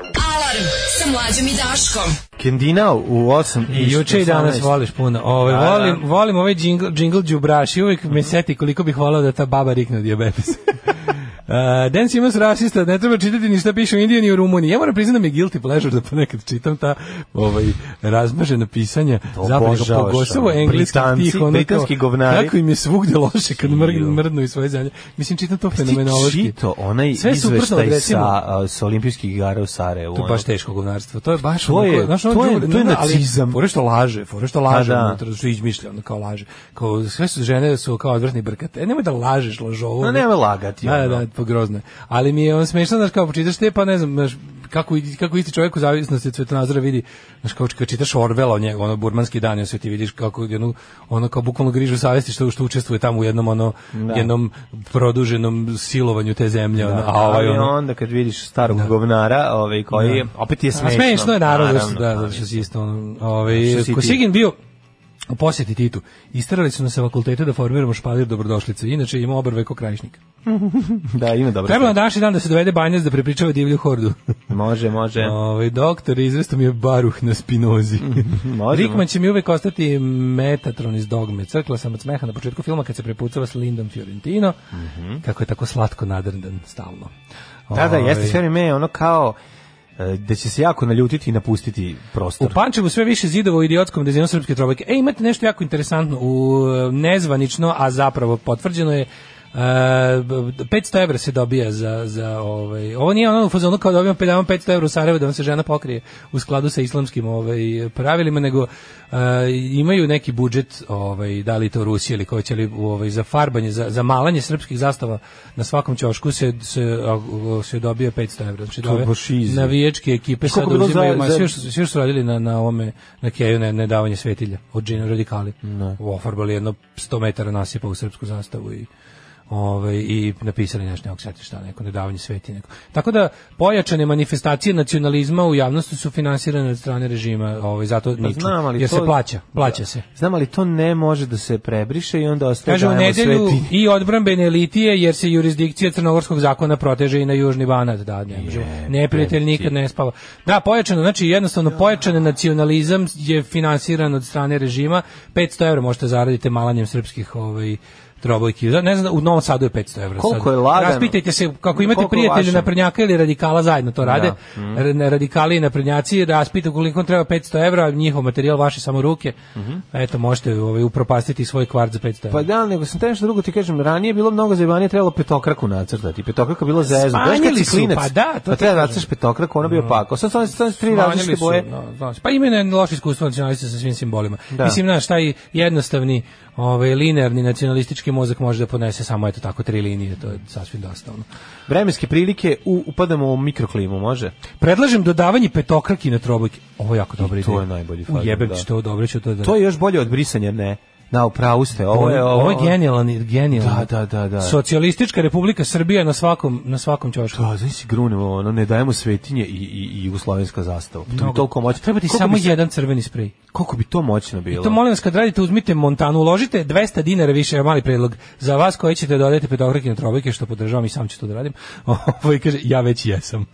Speaker 5: Alarm sa mlađom i Daškom.
Speaker 6: Kendinao u 8
Speaker 7: I juče i danas
Speaker 6: 18.
Speaker 7: voliš puno. Ove,
Speaker 6: Da, Mhm. da.
Speaker 7: volim, volim ovaj džingl, džingl đubraši, uvijek me seti koliko bih volao da ta baba rikne od diabetes. (laughs) Uh, Dan Simons rasista, ne treba čitati ni šta piše u Indiji ni u Rumuniji. Ja moram priznati da mi je guilty pleasure da ponekad čitam ta ovaj, razmažena pisanja
Speaker 6: To
Speaker 7: zapadnog,
Speaker 6: obožavaš,
Speaker 7: pogotovo
Speaker 6: ono,
Speaker 7: engleskih
Speaker 6: Britanci,
Speaker 7: tih. ono kao-
Speaker 6: britanski govnari.
Speaker 7: Kako im je svugde loše kad
Speaker 6: Fiju.
Speaker 7: mrgnu, mrdnu i svoje zemlje. Mislim, čitam to fenomenološki.
Speaker 6: Pa Ti čito onaj
Speaker 7: Sve suprotno od,
Speaker 6: izveštaj
Speaker 7: recimo-
Speaker 6: sa, a, sa olimpijskih igara u Sarajevu.
Speaker 7: To je
Speaker 6: ono.
Speaker 7: baš teško govnarstvo. To je baš
Speaker 6: To je-
Speaker 7: znaš,
Speaker 6: to je-
Speaker 7: đubre,
Speaker 6: to je
Speaker 7: ne, ne, ali
Speaker 6: nacizam.
Speaker 7: Fore što laže, fore što laže,
Speaker 6: Pa da.
Speaker 7: unutra, što izmišlja, ono kao laže. Kao sve su žene su kao odvrtni brkate. E, nemoj da lažeš, lažovo.
Speaker 6: Ma
Speaker 7: ono.
Speaker 6: nemoj lagati,
Speaker 7: Da, da,
Speaker 6: ono.
Speaker 7: da, pa grozno. je. Ali mi je on smešno, znaš, kao počitaš te, pa ne znam, znaš, kako, kako isti čovjek u zavisnosti od svetonazora vidi, znaš, kao kad čitaš Orvela o njega, ono, burmanski dan, i sve ti vidiš kako, je ono, ono kao bukvalno grižu savesti što, što učestvuje tamo u jednom, ono, jednom produženom silovanju te zemlje, ono, a ovaj,
Speaker 6: ali
Speaker 7: ono,
Speaker 6: onda kad vidiš starog govnara, ovaj koji
Speaker 7: Da.
Speaker 6: opet je
Speaker 7: A
Speaker 6: smešno.
Speaker 7: Smešno je naravno, zato što- da,
Speaker 6: naravno,
Speaker 7: zato što
Speaker 6: ali-
Speaker 7: si isto ono, ovaj
Speaker 6: Što si ti?
Speaker 7: Kosigin bio u posjeti Titu. Isterali su nas sa fakulteta da formiramo špalir dobrodošlice. Inače ima obrve ko krajišnik.
Speaker 6: Da, ima dobro.
Speaker 7: Treba na današnji dan da se dovede Banjac da prepričava divlju hordu.
Speaker 6: (laughs) Može, može.
Speaker 7: Ovaj doktor izvesto mi je baruh na spinozi.
Speaker 6: (laughs) možemo.
Speaker 7: Rikman će mi uvek ostati metatron iz dogme. Crkla sam od smeha na početku filma kad se prepucava s Lindom Fiorentino. Kako je tako slatko nadrndan stalno.
Speaker 6: Mhm. Da, da, jeste
Speaker 7: Ovaj,
Speaker 6: sve vreme je ono kao e, da će se jako naljutiti i napustiti prostor.
Speaker 7: U Pančevu sve više zidova u idiotskom dizajnu srpske trobojke. E, imate nešto jako interesantno, u e, nezvanično, a zapravo potvrđeno je, e, b- 500 evra se dobija za, za ovaj, ovo nije ono u fazonu kao dobijamo 500 evra u Sarajevo da vam se žena pokrije u skladu sa islamskim ovaj, pravilima, nego e, imaju neki budžet, ovaj, da li to Rusija ili koji će li ovaj, za farbanje, za, za malanje srpskih zastava na svakom ćošku se, se, a, se dobija 500 evra. Znači,
Speaker 6: To je
Speaker 7: ove
Speaker 6: baš easy.
Speaker 7: navijačke ekipe
Speaker 6: Koliko
Speaker 7: sad
Speaker 6: bi bilo
Speaker 7: uzimaju,
Speaker 6: za-
Speaker 7: ma,
Speaker 6: za-
Speaker 7: svi što su- svi što su radili na, na ovome, na keju, na nedavanje svetilja od džina radikali. U ofarbali jedno 100 metara nasipa u srpsku zastavu i ovaj i napisali nešto nekog sati šta neko nedavanje sveti neko. Tako da pojačane manifestacije nacionalizma u javnosti su finansirane od strane režima, ovaj zato niču,
Speaker 6: Pa znam, ali
Speaker 7: jer
Speaker 6: to-
Speaker 7: se plaća, plaća se.
Speaker 6: Znam, ali to ne može da se prebriše i onda ostaje
Speaker 7: Kaže u
Speaker 6: dajemo
Speaker 7: nedelju
Speaker 6: sveti.
Speaker 7: i odbrambene elitije jer se jurisdikcija crnogorskog zakona proteže i na južni Banat, da, ne možemo. Neprijatelj nikad ne spava. Da, pojačano, znači jednostavno pojačan nacionalizam je finansiran od strane režima. 500 evra možete zaraditi malanjem srpskih ovaj trobojki. Da, Ne znam, u Novom Sadu je 500 evra.
Speaker 6: Koliko
Speaker 7: sad.
Speaker 6: je lagano.
Speaker 7: Raspitajte se, kako imate
Speaker 6: Koliko
Speaker 7: prijatelje
Speaker 6: vaše?
Speaker 7: naprednjaka ili radikala zajedno to rade,
Speaker 6: Mhm.
Speaker 7: ra- na radikali i naprednjaci, raspitajte koliko vam treba 500 evra, njihov materijal, vaše samo ruke. Eto, možete ovaj, upropastiti svoj kvart za 500 evra.
Speaker 6: Mhm. Pa da, nego sam te nešto drugo ti kažem, ranije je bilo mnogo zajebanije, trebalo petokraku nacrtati. Petokraka je bila zezna. Znaš kad
Speaker 7: Smanjili
Speaker 6: si
Speaker 7: su,
Speaker 6: klinac,
Speaker 7: pa da, to
Speaker 6: pa
Speaker 7: ti
Speaker 6: treba
Speaker 7: kažem.
Speaker 6: da nacrtaš petokraku, ona bi opako. Sad sam sad su tri
Speaker 7: Smanjili
Speaker 6: različite
Speaker 7: su,
Speaker 6: boje.
Speaker 7: no, znaš, pa imaju ne- loše iskustvo nacionalista sa svim simbolima.
Speaker 6: Da.
Speaker 7: Mislim, znaš, taj jednostavni, ovaj, linearni nacionalistički mozak može da podnese samo, eto tako, tri linije, to je sasvim dosta. Ono.
Speaker 6: Vremenske prilike, u, upadamo u mikroklimu, može?
Speaker 7: Predlažem dodavanje petokraki na trobojke. Ovo je jako dobra
Speaker 6: to
Speaker 7: ideja.
Speaker 6: je najbolji fazon,
Speaker 7: Ujebem
Speaker 6: da.
Speaker 7: ću to, dobro ću to da...
Speaker 6: To je još bolje od brisanja, ne? Na, u pravu ste, ovo je...
Speaker 7: ovo je genijalan, genijalan.
Speaker 6: Da, da, da, da.
Speaker 7: Socijalistička republika Srbija na svakom, na svakom ćošku.
Speaker 6: Da, znaš si grunemo, ono, ne dajemo svetinje i, i, i jugoslovenska zastava. Pa To bi
Speaker 7: Mnogo.
Speaker 6: toliko moćno.
Speaker 7: Treba ti
Speaker 6: Koliko
Speaker 7: samo
Speaker 6: bi se-
Speaker 7: jedan crveni sprej.
Speaker 6: Koliko bi to moćno bilo?
Speaker 7: To molim vas kad radite uzmite Montanu, uložite 200 dinara više, evo mali predlog za vas koji ćete dodati petokrake na trobojke što podržavam i sam ću to da radim. (laughs) Ovaj kaže ja već jesam.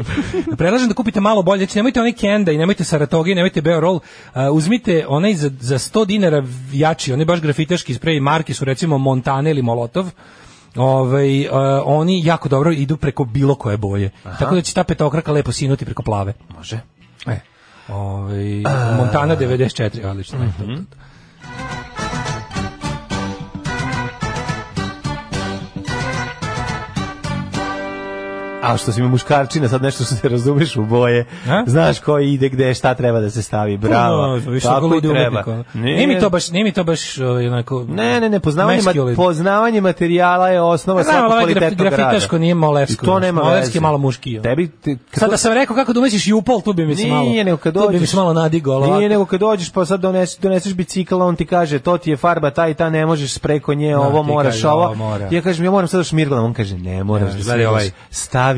Speaker 7: (laughs) Predlažem da kupite malo bolje, znači nemojte onaj Kenda i nemojte Saratogi, nemojte Beorol, a, uzmite onaj za, za 100 dinara jači, onaj baš grafitaški sprej, marke su recimo Montane ili Molotov. Ovaj, a, oni jako dobro idu preko bilo koje boje. Tako da će ta petokraka lepo sinuti preko plave.
Speaker 6: Može.
Speaker 7: E. Ovaj Montana 94, odlično. to, to, to.
Speaker 6: a što si mi muškarčina, sad nešto što se razumeš u boje,
Speaker 7: A?
Speaker 6: znaš ko ide gde, šta treba da se stavi, bravo,
Speaker 7: Puno, Ono, više
Speaker 6: tako
Speaker 7: tako
Speaker 6: i treba.
Speaker 7: treba.
Speaker 6: Ne,
Speaker 7: ono. Nije mi to baš, nije mi to baš ovaj, onako...
Speaker 6: Ne, ne, ne, poznavanje,
Speaker 7: mehki
Speaker 6: ma,
Speaker 7: olid.
Speaker 6: poznavanje materijala je osnova
Speaker 7: Znam, ali
Speaker 6: svakog
Speaker 7: ovaj graf-
Speaker 6: kvalitetnog rada.
Speaker 7: grafitaško nije molevsko,
Speaker 6: I to
Speaker 7: znaš,
Speaker 6: nema
Speaker 7: molevski
Speaker 6: veze.
Speaker 7: je malo muški, ono.
Speaker 6: Tebi, te, kad
Speaker 7: Sad
Speaker 6: to-
Speaker 7: da sam rekao kako da misliš i upal, tu bi mi se malo...
Speaker 6: Nije, nego kad
Speaker 7: Tu bi mi
Speaker 6: dođeš-
Speaker 7: se malo nadigo, ali
Speaker 6: Nije
Speaker 7: ovako.
Speaker 6: nego kad dođeš pa sad doneseš, doneseš bicikl, a on ti kaže to ti je farba ta i ta, ne možeš preko nje, ovo
Speaker 7: ti
Speaker 6: moraš
Speaker 7: kaže,
Speaker 6: ovo.
Speaker 7: ovo mora.
Speaker 6: Ja kažem ja moram sad da šmirglam, on kaže ne moraš,
Speaker 7: Ne,
Speaker 6: da
Speaker 7: gledaj
Speaker 6: svirgaš.
Speaker 7: ovaj.
Speaker 6: stavi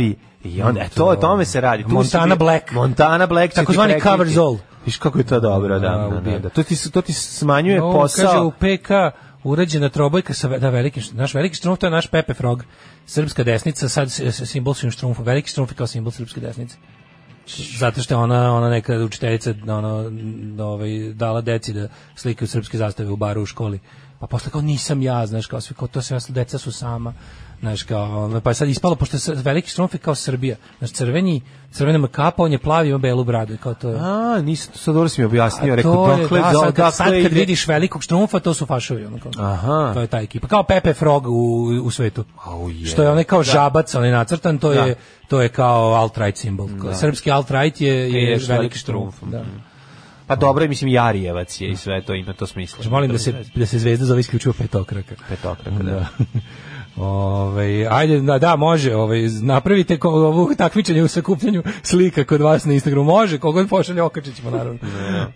Speaker 6: i onda e, to o tome se radi. Tu
Speaker 7: Montana
Speaker 6: si ti-
Speaker 7: Black.
Speaker 6: Montana Black će ti
Speaker 7: Takozvani
Speaker 6: prekriti.
Speaker 7: cover's all.
Speaker 6: Viš kako je to dobro, da,
Speaker 7: Da,
Speaker 6: da, da,
Speaker 7: ubija.
Speaker 6: da. To ti s- to ti smanjuje
Speaker 7: Ovo Kaže
Speaker 6: posao.
Speaker 7: u PK urađena trobojka sa ve- da veliki š- naš veliki štrumf to je naš Pepe Frog. Srpska desnica sad s- s- simbol svim štrumfu, veliki štrumf je kao simbol srpske desnice. Zato što je ona ona neka učiteljica ono n- ovaj dala deci da slikaju srpske zastave u baru u školi. Pa posle kao nisam ja, znaš, kao svi kao to se deca su sama. Znaš, kao, ono, pa je sad ispalo, pošto je s- veliki štrumf je kao Srbija. Znaš, crveni, crvena mu kapa, on je plavi, ima belu bradu. Kao to je.
Speaker 6: A, nisam to sad dobro si mi objasnio,
Speaker 7: A
Speaker 6: rekao
Speaker 7: to je,
Speaker 6: dokle,
Speaker 7: da,
Speaker 6: do-
Speaker 7: sad, kad,
Speaker 6: dokle
Speaker 7: sad kad
Speaker 6: ide-
Speaker 7: vidiš velikog štrumfa, to su fašovi. Onako.
Speaker 6: Aha.
Speaker 7: To je ta ekipa. Kao Pepe Frog u, u svetu.
Speaker 6: Au, je.
Speaker 7: Što je onaj kao žabac, onaj nacrtan, to, je, to je kao alt-right simbol. Kao Srpski alt-right je, je,
Speaker 6: Je veliki
Speaker 7: veliki
Speaker 6: štrumf.
Speaker 7: štrumf. Da. Znači,
Speaker 6: Pa dobro, je, mislim Jarijevac je i sve to ima to smisla.
Speaker 7: Znači, molim da se, da se zvezda zove isključivo petokraka.
Speaker 6: petokraka, da.
Speaker 7: (laughs) Ove, ajde, da, da, može, ove, napravite ko, ovu takmičenje u sakupljanju slika kod vas na Instagramu, može, koliko god pošalje, okačit ćemo, naravno.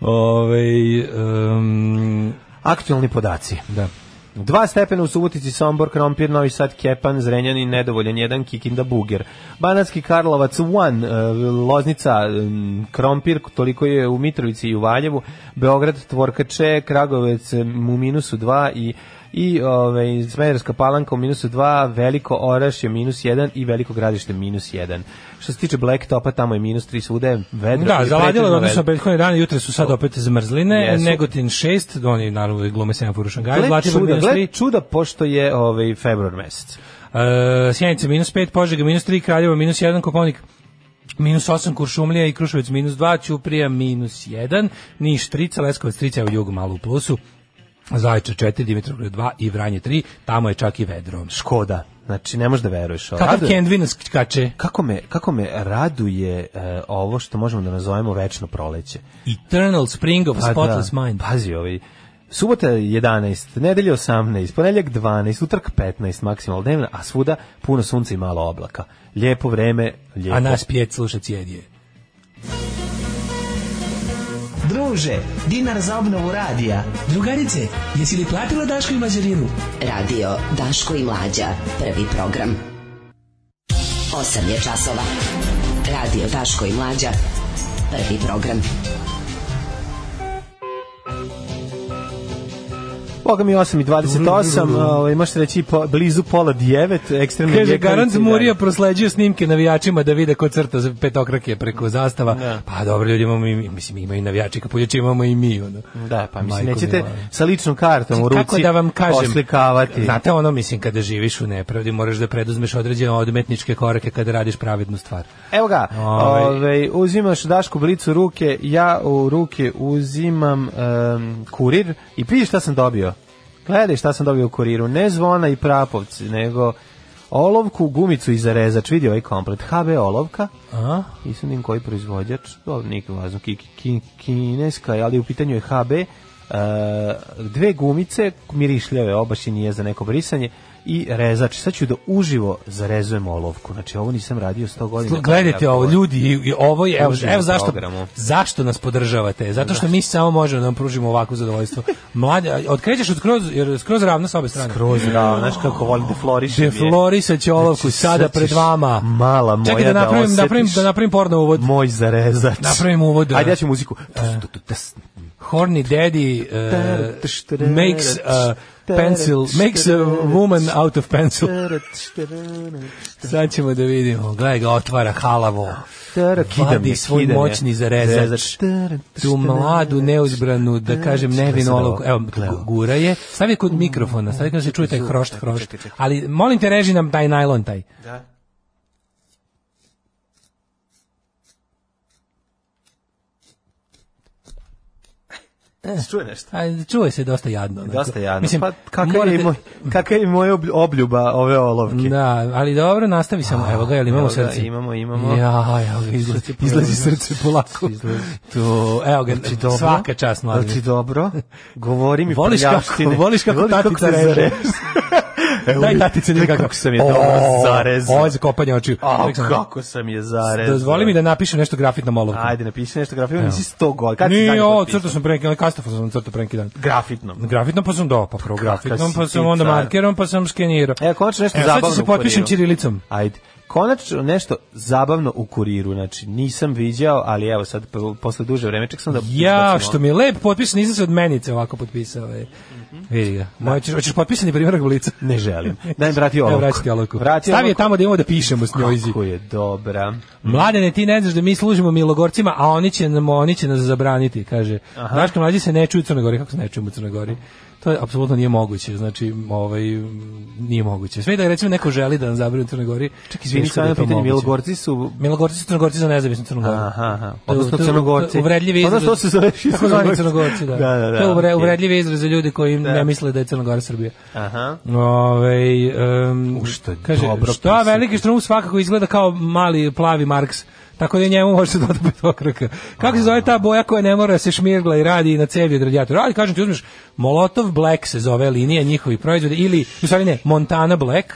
Speaker 7: Ovaj, Ove, um,
Speaker 6: Aktualni podaci.
Speaker 7: da.
Speaker 6: Dva stepena u Subotici, Sombor, Krompir, Novi Sad, Kepan, Zrenjanin, Nedovoljan, jedan, Kikinda, Buger. Banatski Karlovac, One, e, Loznica, m, Krompir, toliko je u Mitrovici i u Valjevu, Beograd, Tvorkače, Kragovec m, u minusu dva i i ovaj Smederska Palanka u minusu 2, Veliko Orašje minus 1 i Veliko Gradište minus 1. Što se tiče Black Topa, tamo je minus 3 svuda, je vedro.
Speaker 7: Da,
Speaker 6: Dakle, i
Speaker 7: zaladilo je
Speaker 6: pretežno
Speaker 7: odnosno
Speaker 6: vedro.
Speaker 7: prethodne dane, jutre su sad opet zmrzline,
Speaker 6: Jesu.
Speaker 7: Negotin 6, oni naravno uvijek glume 7 Furušan Gaj,
Speaker 6: Gle
Speaker 7: Zlatibor
Speaker 6: čuda,
Speaker 7: minus
Speaker 6: gle
Speaker 7: 3,
Speaker 6: čuda pošto je ovaj februar mesec.
Speaker 7: uh, Sjenica minus 5, Požega minus 3, Kraljevo minus 1, Koponik minus 8, Kuršumlija i Kruševac minus 2, Ćuprija minus 1, Niš 3, Leskovac 3, u jugu malo u plusu, Zajče 4, Dimitrovgrad 2 i Vranje 3, tamo je čak i vedro.
Speaker 6: Škoda. Znači, ne možeš da veruješ. Ovo.
Speaker 7: Kakav
Speaker 6: Raduje-
Speaker 7: Kendvin nas kače?
Speaker 6: kako, me, kako me raduje e, ovo što možemo da nazovemo večno proleće. Pa
Speaker 7: Eternal Spring of Spotless
Speaker 6: da,
Speaker 7: Mind.
Speaker 6: Pazi, ovaj, subota 11, nedelje 18, ponedjeljak 12, utrk 15 maksimalno dnevno, a svuda puno sunca i malo oblaka. Lijepo vreme, lijepo.
Speaker 7: A nas pjet sluša cijedije.
Speaker 9: Druže, dinar za obnovu radija. Drugarice, jesi li platila Daško i Mađarinu?
Speaker 5: Radio Daško i Mlađa. Prvi program. 8 je časova. Radio Daško i Mlađa. Prvi program.
Speaker 6: Boga mi 8 i
Speaker 7: (laughs)
Speaker 6: 28, ovaj, možete reći po, blizu pola 9, ekstremne
Speaker 7: Kaže,
Speaker 6: ljekavice
Speaker 7: Garant
Speaker 6: i dalje.
Speaker 7: Murija prosleđuje snimke navijačima da vide ko crta za petokrake preko zastava. Pa dobro, ljudi, imamo i mi, mislim, imaju i navijači kapuljači, imamo i mi. Ono.
Speaker 6: Da, pa mislim,
Speaker 7: Majko
Speaker 6: nećete
Speaker 7: mila.
Speaker 6: sa ličnom kartom u ruci
Speaker 7: Kako da vam kažem,
Speaker 6: oslikavati.
Speaker 7: Znate ono, mislim, kada živiš u nepravdi, moraš da preduzmeš određene odmetničke korake kada radiš pravednu stvar.
Speaker 6: Evo ga,
Speaker 7: Ovaj.
Speaker 6: ovaj, uzimaš Dašku blicu u ruke, ja u ruke uzimam em, kurir i vidi šta sam dobio. Gledaj šta sam dobio u kuriru, ne zvona i prapovci, nego olovku, gumicu i zarezač, vidi ovaj komplet, HB olovka,
Speaker 7: A?
Speaker 6: i sam vidim koji proizvođač, to nije važno, ki, ki- kineska je, ali u pitanju je HB, e, dve gumice, mirišljave, obaš i nije za neko brisanje, i rezač. Sad ću da uživo zarezujem olovku. Znači, ovo nisam radio 100 godina.
Speaker 7: Slu- Gledajte ovo, ljudi, i- i ovo je, evo,
Speaker 6: Uživo
Speaker 7: evo
Speaker 6: u
Speaker 7: zašto,
Speaker 6: programu.
Speaker 7: zašto nas podržavate, zato što mi samo možemo da vam pružimo ovakvo zadovoljstvo. Mlađa, otkrećeš od skroz, jer skroz ravno sa obe strane.
Speaker 6: Kroz rao, znaš kako volim da florišem. je.
Speaker 7: Deflorisat će olovku
Speaker 6: Znači,
Speaker 7: sada
Speaker 6: sad ćeš,
Speaker 7: pred vama.
Speaker 6: Mala moja
Speaker 7: Čekaj da napravim,
Speaker 6: da,
Speaker 7: napravim,
Speaker 6: osjetiš
Speaker 7: da napravim porno uvod.
Speaker 6: Moj zarezač.
Speaker 7: Napravim E. uvod, da.
Speaker 6: Ajde, ja ću muziku. Tu, tu, tu, tes.
Speaker 7: Horny daddy uh, makes uh, pencil, makes a woman out of pencil. Sad ćemo da vidimo. Gledaj ga, otvara halavo.
Speaker 6: Tara, kidam
Speaker 7: Vadi
Speaker 6: je,
Speaker 7: svoj
Speaker 6: kidam je.
Speaker 7: moćni zarezač.
Speaker 6: Zarezač.
Speaker 7: Tu madu, neuzbranu, da kažem, nevinu
Speaker 6: Gledaj sad
Speaker 7: olovku.
Speaker 6: ovo. Mm,
Speaker 7: Evo,
Speaker 6: Gledaj ovo.
Speaker 7: gura je. Stavi je kod mikrofona, stavi kad se čuje taj hrošt, hrošt. Ali, molim te, reži nam taj najlon taj.
Speaker 6: Čuje nešto.
Speaker 7: A, čuje se dosta jadno. onako.
Speaker 6: Dosta jadno.
Speaker 7: E. Mislim,
Speaker 6: pa kakav je
Speaker 7: morate-
Speaker 6: moj kakav je moj ob- obljuba ove olovke.
Speaker 7: Da, ali dobro, nastavi samo. Evo ga, jel imamo
Speaker 6: Evo ga,
Speaker 7: srce?
Speaker 6: imamo, imamo.
Speaker 7: Ja, evo ga, izlazi, izlazi srce polako. To, evo ga,
Speaker 6: Znači, dobro? Znači,
Speaker 7: svaka čast
Speaker 6: Jel
Speaker 7: mlađe.
Speaker 6: ti dobro? Govori mi
Speaker 7: Voliš kako-
Speaker 6: prljavštine.
Speaker 7: voliš kako tatica
Speaker 6: sam
Speaker 7: reže.
Speaker 6: zarez. (laughs) Evo,
Speaker 7: Daj tatice
Speaker 6: vidi
Speaker 7: nekako.
Speaker 6: Kako sam je dobro zarezao.
Speaker 7: Ovo je za kopanje očiju.
Speaker 6: A,
Speaker 7: Aleksandar,
Speaker 6: kako sam je zarezao.
Speaker 7: Dozvoli mi da napišem nešto grafitnom olovkom.
Speaker 6: Ajde, napiši nešto grafitno, nisi sto godina. Kad si
Speaker 7: Nije,
Speaker 6: zadnji
Speaker 7: o,
Speaker 6: potpisao?
Speaker 7: crtao sam pre neki, onaj kastafor sam crtao pre neki dan.
Speaker 6: Grafitno.
Speaker 7: Grafitno pa sam do, pa prvo grafitno,
Speaker 6: si
Speaker 7: pa sam
Speaker 6: ti
Speaker 7: onda
Speaker 6: car.
Speaker 7: markerom, pa sam skenirao.
Speaker 6: Evo, konačno nešto
Speaker 7: E, sad ću
Speaker 6: zabavno
Speaker 7: se
Speaker 6: u kuriru.
Speaker 7: potpišem ćirilicom.
Speaker 6: Ajde. Konačno nešto zabavno u kuriru, znači nisam viđao, ali evo sad po- posle duže vreme ček sam da
Speaker 7: Ja,
Speaker 6: izbacim
Speaker 7: što mi je lep potpis, nisam se od menice ovako potpisao. E. Vidi ga. Moje, ćeš, hoćeš potpisani primjerak blica?
Speaker 6: ovo. Mhm. Ne želim. Daj mi
Speaker 7: (laughs)
Speaker 6: vrati
Speaker 7: Evo
Speaker 6: olovku.
Speaker 7: vraćati olovku.
Speaker 6: Vrati
Speaker 7: Stavi je
Speaker 6: olovku.
Speaker 7: tamo da imamo da pišemo s njojzi.
Speaker 6: Kako je dobra.
Speaker 7: Mladene, ti ne znaš da mi služimo milogorcima, a oni će, nam, oni će nas zabraniti, kaže. Daško mlađi se ne čuju u Crnoj Gori, kako se ne čujemo u Crnoj Gori? To je apsolutno nije moguće, znači, ovaj, nije moguće. Sve i da recimo neko želi da nam zabrani u Crnoj Gori.
Speaker 6: Ček, izvini,
Speaker 7: teško da je
Speaker 6: sad jedno
Speaker 7: to
Speaker 6: pitanje,
Speaker 7: moguće.
Speaker 6: Milogorci su
Speaker 7: Milogorci su Crnogorci za nezavisnu Crnogoru.
Speaker 6: Aha, aha.
Speaker 7: To je-
Speaker 6: Odnosno
Speaker 7: Pa to je
Speaker 6: Crnogorci.
Speaker 7: Uvredljivi
Speaker 6: Odnosno
Speaker 7: izraz.
Speaker 6: što se
Speaker 7: (laughs)
Speaker 6: zove
Speaker 7: Tako zvani
Speaker 6: Crnogorci.
Speaker 7: Crnogorci, da.
Speaker 6: Da, da, da,
Speaker 7: To je uvre-
Speaker 6: okej.
Speaker 7: uvredljivi izraz za ljude koji ne misle da je Crna Gora Srbija. Ove, um,
Speaker 6: što je
Speaker 7: kaže,
Speaker 6: dobro
Speaker 7: šta
Speaker 6: pisano.
Speaker 7: veliki štrum svakako izgleda kao mali plavi Marks. Tako da i njemu može da odbe okraka. Kako se zove ta boja koja ne mora da se šmirgla i radi na cevi od radijatora? Ali kažem ti uzmeš Molotov Black se zove linija njihovih proizvoda ili u stvari ne, Montana Black,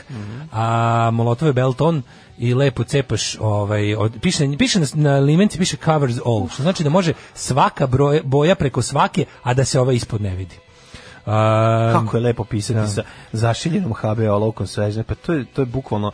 Speaker 7: a Molotov je Belton i lepo cepaš ovaj od, piše piše na, na limenci piše covers all što znači da može svaka broje- boja preko svake a da se ova ispod ne vidi. A,
Speaker 6: Kako je lepo pisati sa zašiljenom HB olovkom svežne, pa to je, to je bukvalno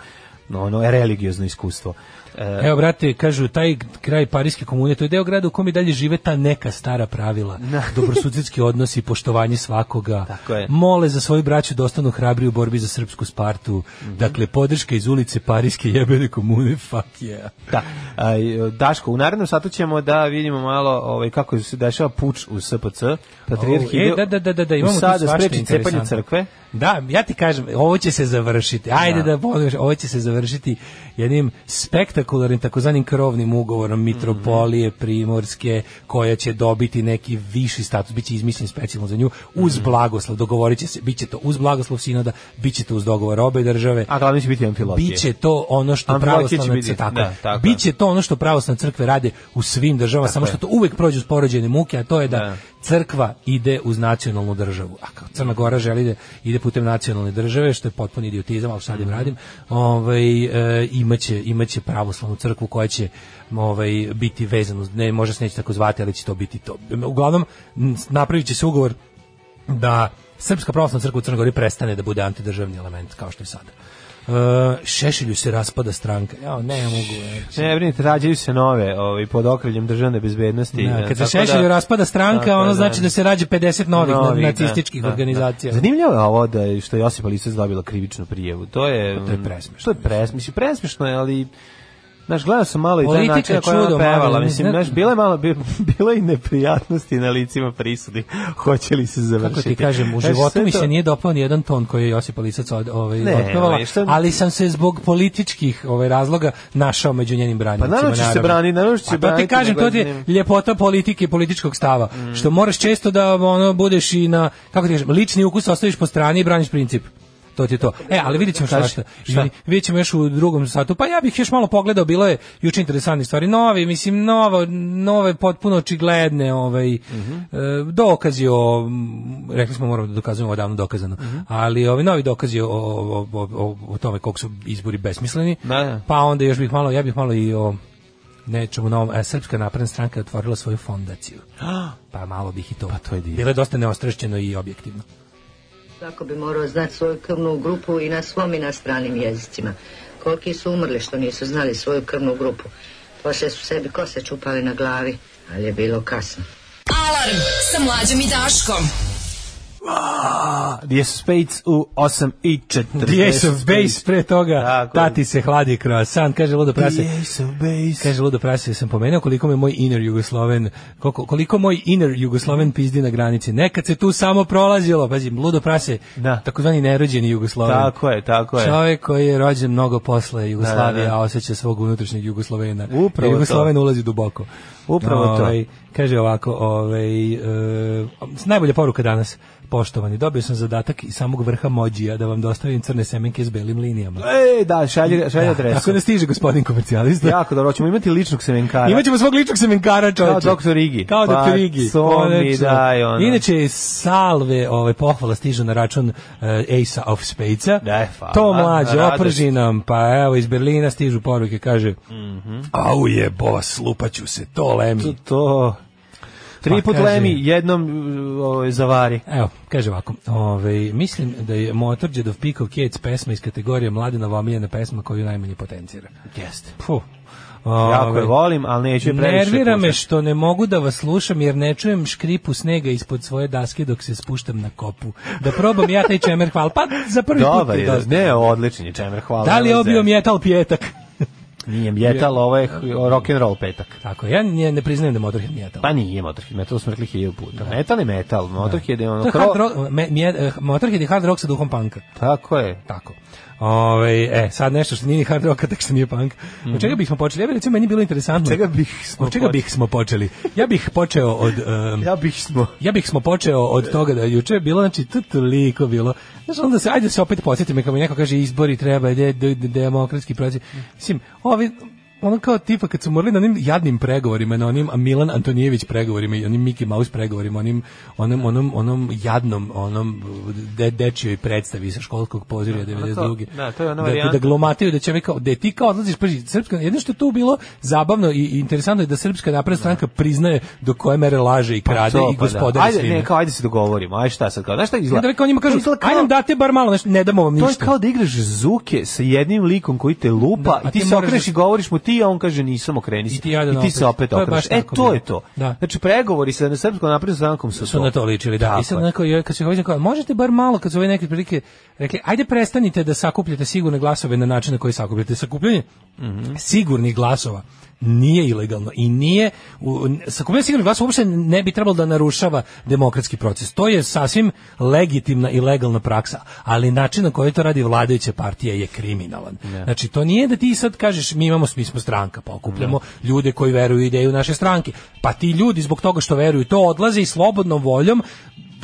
Speaker 6: no, ono, religiozno iskustvo. E,
Speaker 7: Evo, brate, kažu, taj kraj Parijske komune, to je deo grada u kom i dalje žive ta neka stara pravila. (laughs) Dobrosucetski odnosi, poštovanje svakoga.
Speaker 6: Tako je.
Speaker 7: Mole za svoju braću da ostanu hrabri u borbi za srpsku Spartu.
Speaker 6: Mhm.
Speaker 7: Dakle, podrška iz ulice Parijske jebene komune, fuck yeah.
Speaker 6: Da. Aj, Daško, u narednom satu ćemo da vidimo malo ovaj, kako se dešava puč u SPC. Patrijarh
Speaker 7: O, e,
Speaker 6: ide
Speaker 7: da, da, da, da, da,
Speaker 6: u
Speaker 7: imamo tu
Speaker 6: sad
Speaker 7: svašta
Speaker 6: spreči cepanje
Speaker 7: interesantno.
Speaker 6: crkve.
Speaker 7: Da, ja ti kažem, ovo će se završiti. Ajde
Speaker 6: Da.
Speaker 7: da, ponovim, ovo će se završiti jednim spektakularnim takozvanim krovnim ugovorom Mitropolije Primorske koja će dobiti neki viši status, biće izmišljen specijalno za nju uz blagoslov, dogovorit će se, biće to uz blagoslov sinoda, biće to uz dogovor obe države.
Speaker 6: A glavni će biti amfilotije.
Speaker 7: Biće to ono što
Speaker 6: Amfilotije će
Speaker 7: pravoslavna
Speaker 6: biti,
Speaker 7: crkva tako,
Speaker 6: da,
Speaker 7: je.
Speaker 6: tako je.
Speaker 7: biće to ono što pravoslavne crkve rade u svim državama, samo što to uvek prođe uz porođene muke, a to je da,
Speaker 6: Da.
Speaker 7: crkva ide uz nacionalnu državu. A kao Crna Gora želi da ide putem nacionalne države, što je potpuni idiotizam, ali
Speaker 6: Mhm.
Speaker 7: sad im radim. Ovaj e, imaće imaće pravoslavnu crkvu koja će ovaj biti vezana, uz- ne može se neće tako zvati, ali će to biti to. Uglavnom m, napraviće se ugovor da Srpska pravoslavna crkva u Crnoj Gori prestane da bude antidržavni element kao što je sada. E, šešelju se raspada stranka. Ja ne mogu. e.
Speaker 6: Ne brinite, rađaju se nove ovaj, pod okriljem državne bezbednosti.
Speaker 7: Da,
Speaker 6: e,
Speaker 7: kad se
Speaker 6: tako da-
Speaker 7: šešelju raspada stranka,
Speaker 6: tako
Speaker 7: ono
Speaker 6: da-
Speaker 7: znači da se rađe 50 novih,
Speaker 6: Novih,
Speaker 7: nacističkih
Speaker 6: da, da,
Speaker 7: organizacija.
Speaker 6: da. Zanimljivo je ovo da je- što je Josipa Lisac dobila krivičnu prijavu. To je
Speaker 7: Pa to je presmešno.
Speaker 6: To je presmešno, mislim, presmešno je, ali Znaš, gledao sam malo i taj
Speaker 7: Politika
Speaker 6: način na koji je
Speaker 7: čudo,
Speaker 6: ona pevala.
Speaker 7: malo,
Speaker 6: Mislim,
Speaker 7: ne-
Speaker 6: znaš, bila je malo, bi- (laughs) bila je i neprijatnosti na licima prisudi. (laughs) Hoće li se završiti?
Speaker 7: Kako ti kažem, u
Speaker 6: Znaš,
Speaker 7: životu
Speaker 6: sve
Speaker 7: mi
Speaker 6: to-
Speaker 7: se nije dopao ni jedan ton koji je Josipa Lisac od, ovaj,
Speaker 6: Ne,
Speaker 7: otpevala,
Speaker 6: ovaj, šta-
Speaker 7: ali sam se zbog političkih ovaj, razloga našao među njenim
Speaker 6: Pa
Speaker 7: branjicima.
Speaker 6: naravno će se brani, naravno će
Speaker 7: Pa
Speaker 6: se
Speaker 7: to
Speaker 6: braniti. Mm.
Speaker 7: ti kažem,
Speaker 6: nego
Speaker 7: to ti je
Speaker 6: ne-
Speaker 7: ljepota politike i političkog stava. Što moraš često da ono, budeš i na, kako ti kažem, lični ukus ostaviš po strani i braniš princip. To ti je to. E, ali vidit ćemo šta,
Speaker 6: Kaži,
Speaker 7: šta.
Speaker 6: šta?
Speaker 7: Vidjet ćemo još u drugom satu. Pa ja bih još malo pogledao, bilo je juče interesantnih stvari. Novi, mislim, novo, nove potpuno očigledne ovaj,
Speaker 6: Mhm.
Speaker 7: e, dokazi o, m, rekli smo moramo da dokazujemo odavno dokazano,
Speaker 6: Mhm.
Speaker 7: ali ovi novi dokazi o, o, o, o, o tome koliko su izbori besmisleni.
Speaker 6: Da, da.
Speaker 7: Pa onda još bih malo, ja bih malo i o nečemu novom. E, Srpska napredna stranka je otvorila svoju fondaciju.
Speaker 6: (gasps)
Speaker 7: Pa malo bih i to. Pa
Speaker 6: to je divno.
Speaker 7: Bilo je dosta neostrašćeno i objektivno.
Speaker 10: Svako bi morao znati svoju krvnu grupu i na svom i na stranim jezicima. Koliki su umrli što nisu znali svoju krvnu grupu. Poslije su sebi kose čupali na glavi, ali je bilo kasno.
Speaker 5: Alarm sa mlađom i Daškom.
Speaker 6: The Ace of Spades u 8 i 40.
Speaker 7: The Ace of Base pre toga,
Speaker 6: Tako je.
Speaker 7: tati se hladi croissant, kaže Ludo Prase.
Speaker 6: The Ace of Base.
Speaker 7: Kaže Ludo Prase, sam pomenuo koliko me moj inner Jugosloven, koliko, koliko moj inner Jugosloven pizdi na granici. Nekad se tu samo prolazilo, pazi, Ludo Prase,
Speaker 6: Da.
Speaker 7: takozvani nerođeni Jugosloven.
Speaker 6: Tako je, tako je.
Speaker 7: Čovjek koji je rođen mnogo posle Jugoslavije,
Speaker 6: Da, da, da.
Speaker 7: a osjeća svog unutrašnjeg Jugoslovena.
Speaker 6: Upravo
Speaker 7: Jer Jugosloven
Speaker 6: to.
Speaker 7: ulazi duboko.
Speaker 6: Upravo to.
Speaker 7: Ovaj, Kaže ovako, ovaj, e, najbolja poruka danas, poštovani, dobio sam zadatak iz samog vrha mođija da vam dostavim crne semenke s belim linijama.
Speaker 6: Ej, E, da, šalje, šalje adresu.
Speaker 7: Tako da stiže gospodin komercijalista.
Speaker 6: Jako dobro, hoćemo imati ličnog semenkara.
Speaker 7: Imaćemo svog ličnog semenkara, čovječe.
Speaker 6: Kao doktor Igi.
Speaker 7: Kao
Speaker 6: Pa,
Speaker 7: doktor Igi.
Speaker 6: to mi
Speaker 7: konačno.
Speaker 6: daj, ono.
Speaker 7: Inače, salve ove, pohvala stižu na račun uh, Ace of Spacea.
Speaker 6: Da, E, hvala.
Speaker 7: To mlađe,
Speaker 6: Radost.
Speaker 7: oprži nam. Pa evo, iz Berlina stižu poruke, kaže
Speaker 6: Mhm.
Speaker 7: Au je, bos, lupaću se, to lemi.
Speaker 6: to. Tri
Speaker 7: Pa,
Speaker 6: put
Speaker 7: kaže-
Speaker 6: lemi, jednom uh, ovaj, zavari.
Speaker 7: Evo, kaže ovako, ove, mislim da je Motorđedov Pico Kids pesma iz kategorije mladinova omiljena pesma koju najmanje potencira.
Speaker 6: Jeste.
Speaker 7: Puh.
Speaker 6: Jako je
Speaker 7: Ove,
Speaker 6: Ovaj, volim, ali neću je previše.
Speaker 7: Nervira me
Speaker 6: puštati.
Speaker 7: što ne mogu da vas slušam jer ne čujem škripu snega ispod svoje daske dok se spuštam na kopu. Da probam ja taj čemer, hvala. Pa za prvi put
Speaker 6: Dobar
Speaker 7: mi
Speaker 6: je,
Speaker 7: dosta.
Speaker 6: ne, odličan je čemer, hvala.
Speaker 7: Da li je
Speaker 6: Evo,
Speaker 7: obio
Speaker 6: zem.
Speaker 7: metal pijetak?
Speaker 6: Nije mjetal, ovo je h- rock and roll petak.
Speaker 7: Tako, je, ja ne, ne priznajem da je Motorhead metal.
Speaker 6: Pa nije Motorhead, metal smo rekli hiljadu puta. Metal je metal, Motorhead je
Speaker 7: To
Speaker 6: ono
Speaker 7: je hard
Speaker 6: kro...
Speaker 7: rock, me, mje- eh, Motorhead je hard rock sa duhom panka.
Speaker 6: Tako je.
Speaker 7: Tako. Ove, e, sad nešto što nije ni hard rock, a tako što nije punk. Od čega bismo počeli? Ja bih recimo, meni bilo interesantno.
Speaker 6: Mhm. Od čega bih smo
Speaker 7: Od čega
Speaker 6: počeli?
Speaker 7: bih smo počeli? Ja bih počeo od... em,
Speaker 6: Ja bih smo...
Speaker 7: Ja bih smo počeo od toga da je juče bilo, znači, to toliko bilo. Znači, onda se, ajde se opet podsjetim, kako mi neko kaže izbori treba, de, de, de- demokratski proces. Mislim, ovi, ono kao tipa kad su morali na onim jadnim pregovorima, na onim Milan Antonijević pregovorima i onim Mickey Mouse pregovorima, onim, onom, onom, onom jadnom, onom de, dečjoj predstavi sa školskog pozirja 92.
Speaker 6: da, ono to je ona
Speaker 7: Da-
Speaker 6: varijanta.
Speaker 7: da, glumataju da će ovi kao da je ti kao odlaziš prvi srpska jedno što je tu bilo zabavno i, i interesantno je da srpska napredna stranka priznaje do koje mere laže i krade
Speaker 6: To,
Speaker 7: i
Speaker 6: pa da.
Speaker 7: gospodare
Speaker 6: Ajde,
Speaker 7: svime.
Speaker 6: ne, kao, ajde se dogovorimo, ajde šta sad, kao, znaš šta
Speaker 7: I
Speaker 6: izgleda?
Speaker 7: onda rekao njima kažu,
Speaker 6: To izgleda kao-
Speaker 7: ajde nam date bar malo nešto, ne damo vam
Speaker 6: To
Speaker 7: ništa.
Speaker 6: je kao da igraš zuke sa jednim likom koji te lupa
Speaker 7: Da, a
Speaker 6: i
Speaker 7: ti
Speaker 6: ti, se
Speaker 7: moraš
Speaker 6: okreneš
Speaker 7: da-
Speaker 6: i govoriš mu ti, a on kaže nisam okreni se.
Speaker 7: I ti jadan opet.
Speaker 6: se opet
Speaker 7: To je
Speaker 6: okreneš.
Speaker 7: baš
Speaker 6: E,
Speaker 7: tako
Speaker 6: to
Speaker 7: bilo.
Speaker 6: je to.
Speaker 7: Da.
Speaker 6: Znači, pregovori sa srpskom naprednom strankom su,
Speaker 7: su na to ličili, da.
Speaker 6: Tako
Speaker 7: I sad
Speaker 6: je.
Speaker 7: neko je, kad se hoće, kao, možete bar malo, kad su ove neke prilike rekli, ajde prestanite da sakupljate sigurne glasove na način na koji sakupljate. Sakupljanje sigurnih glasova nije ilegalno i nije u, n- sakupljanje sigurnih glasova uopšte ne bi trebalo da narušava demokratski proces. To je sasvim legitimna i legalna praksa, ali način na koji to radi vladajuća partija je kriminalan. Znači to nije da ti sad kažeš mi imamo mi smo stranka pa okupljamo ljude koji veruju u ideju naše stranke. Pa ti ljudi zbog toga što veruju to odlaze i slobodnom voljom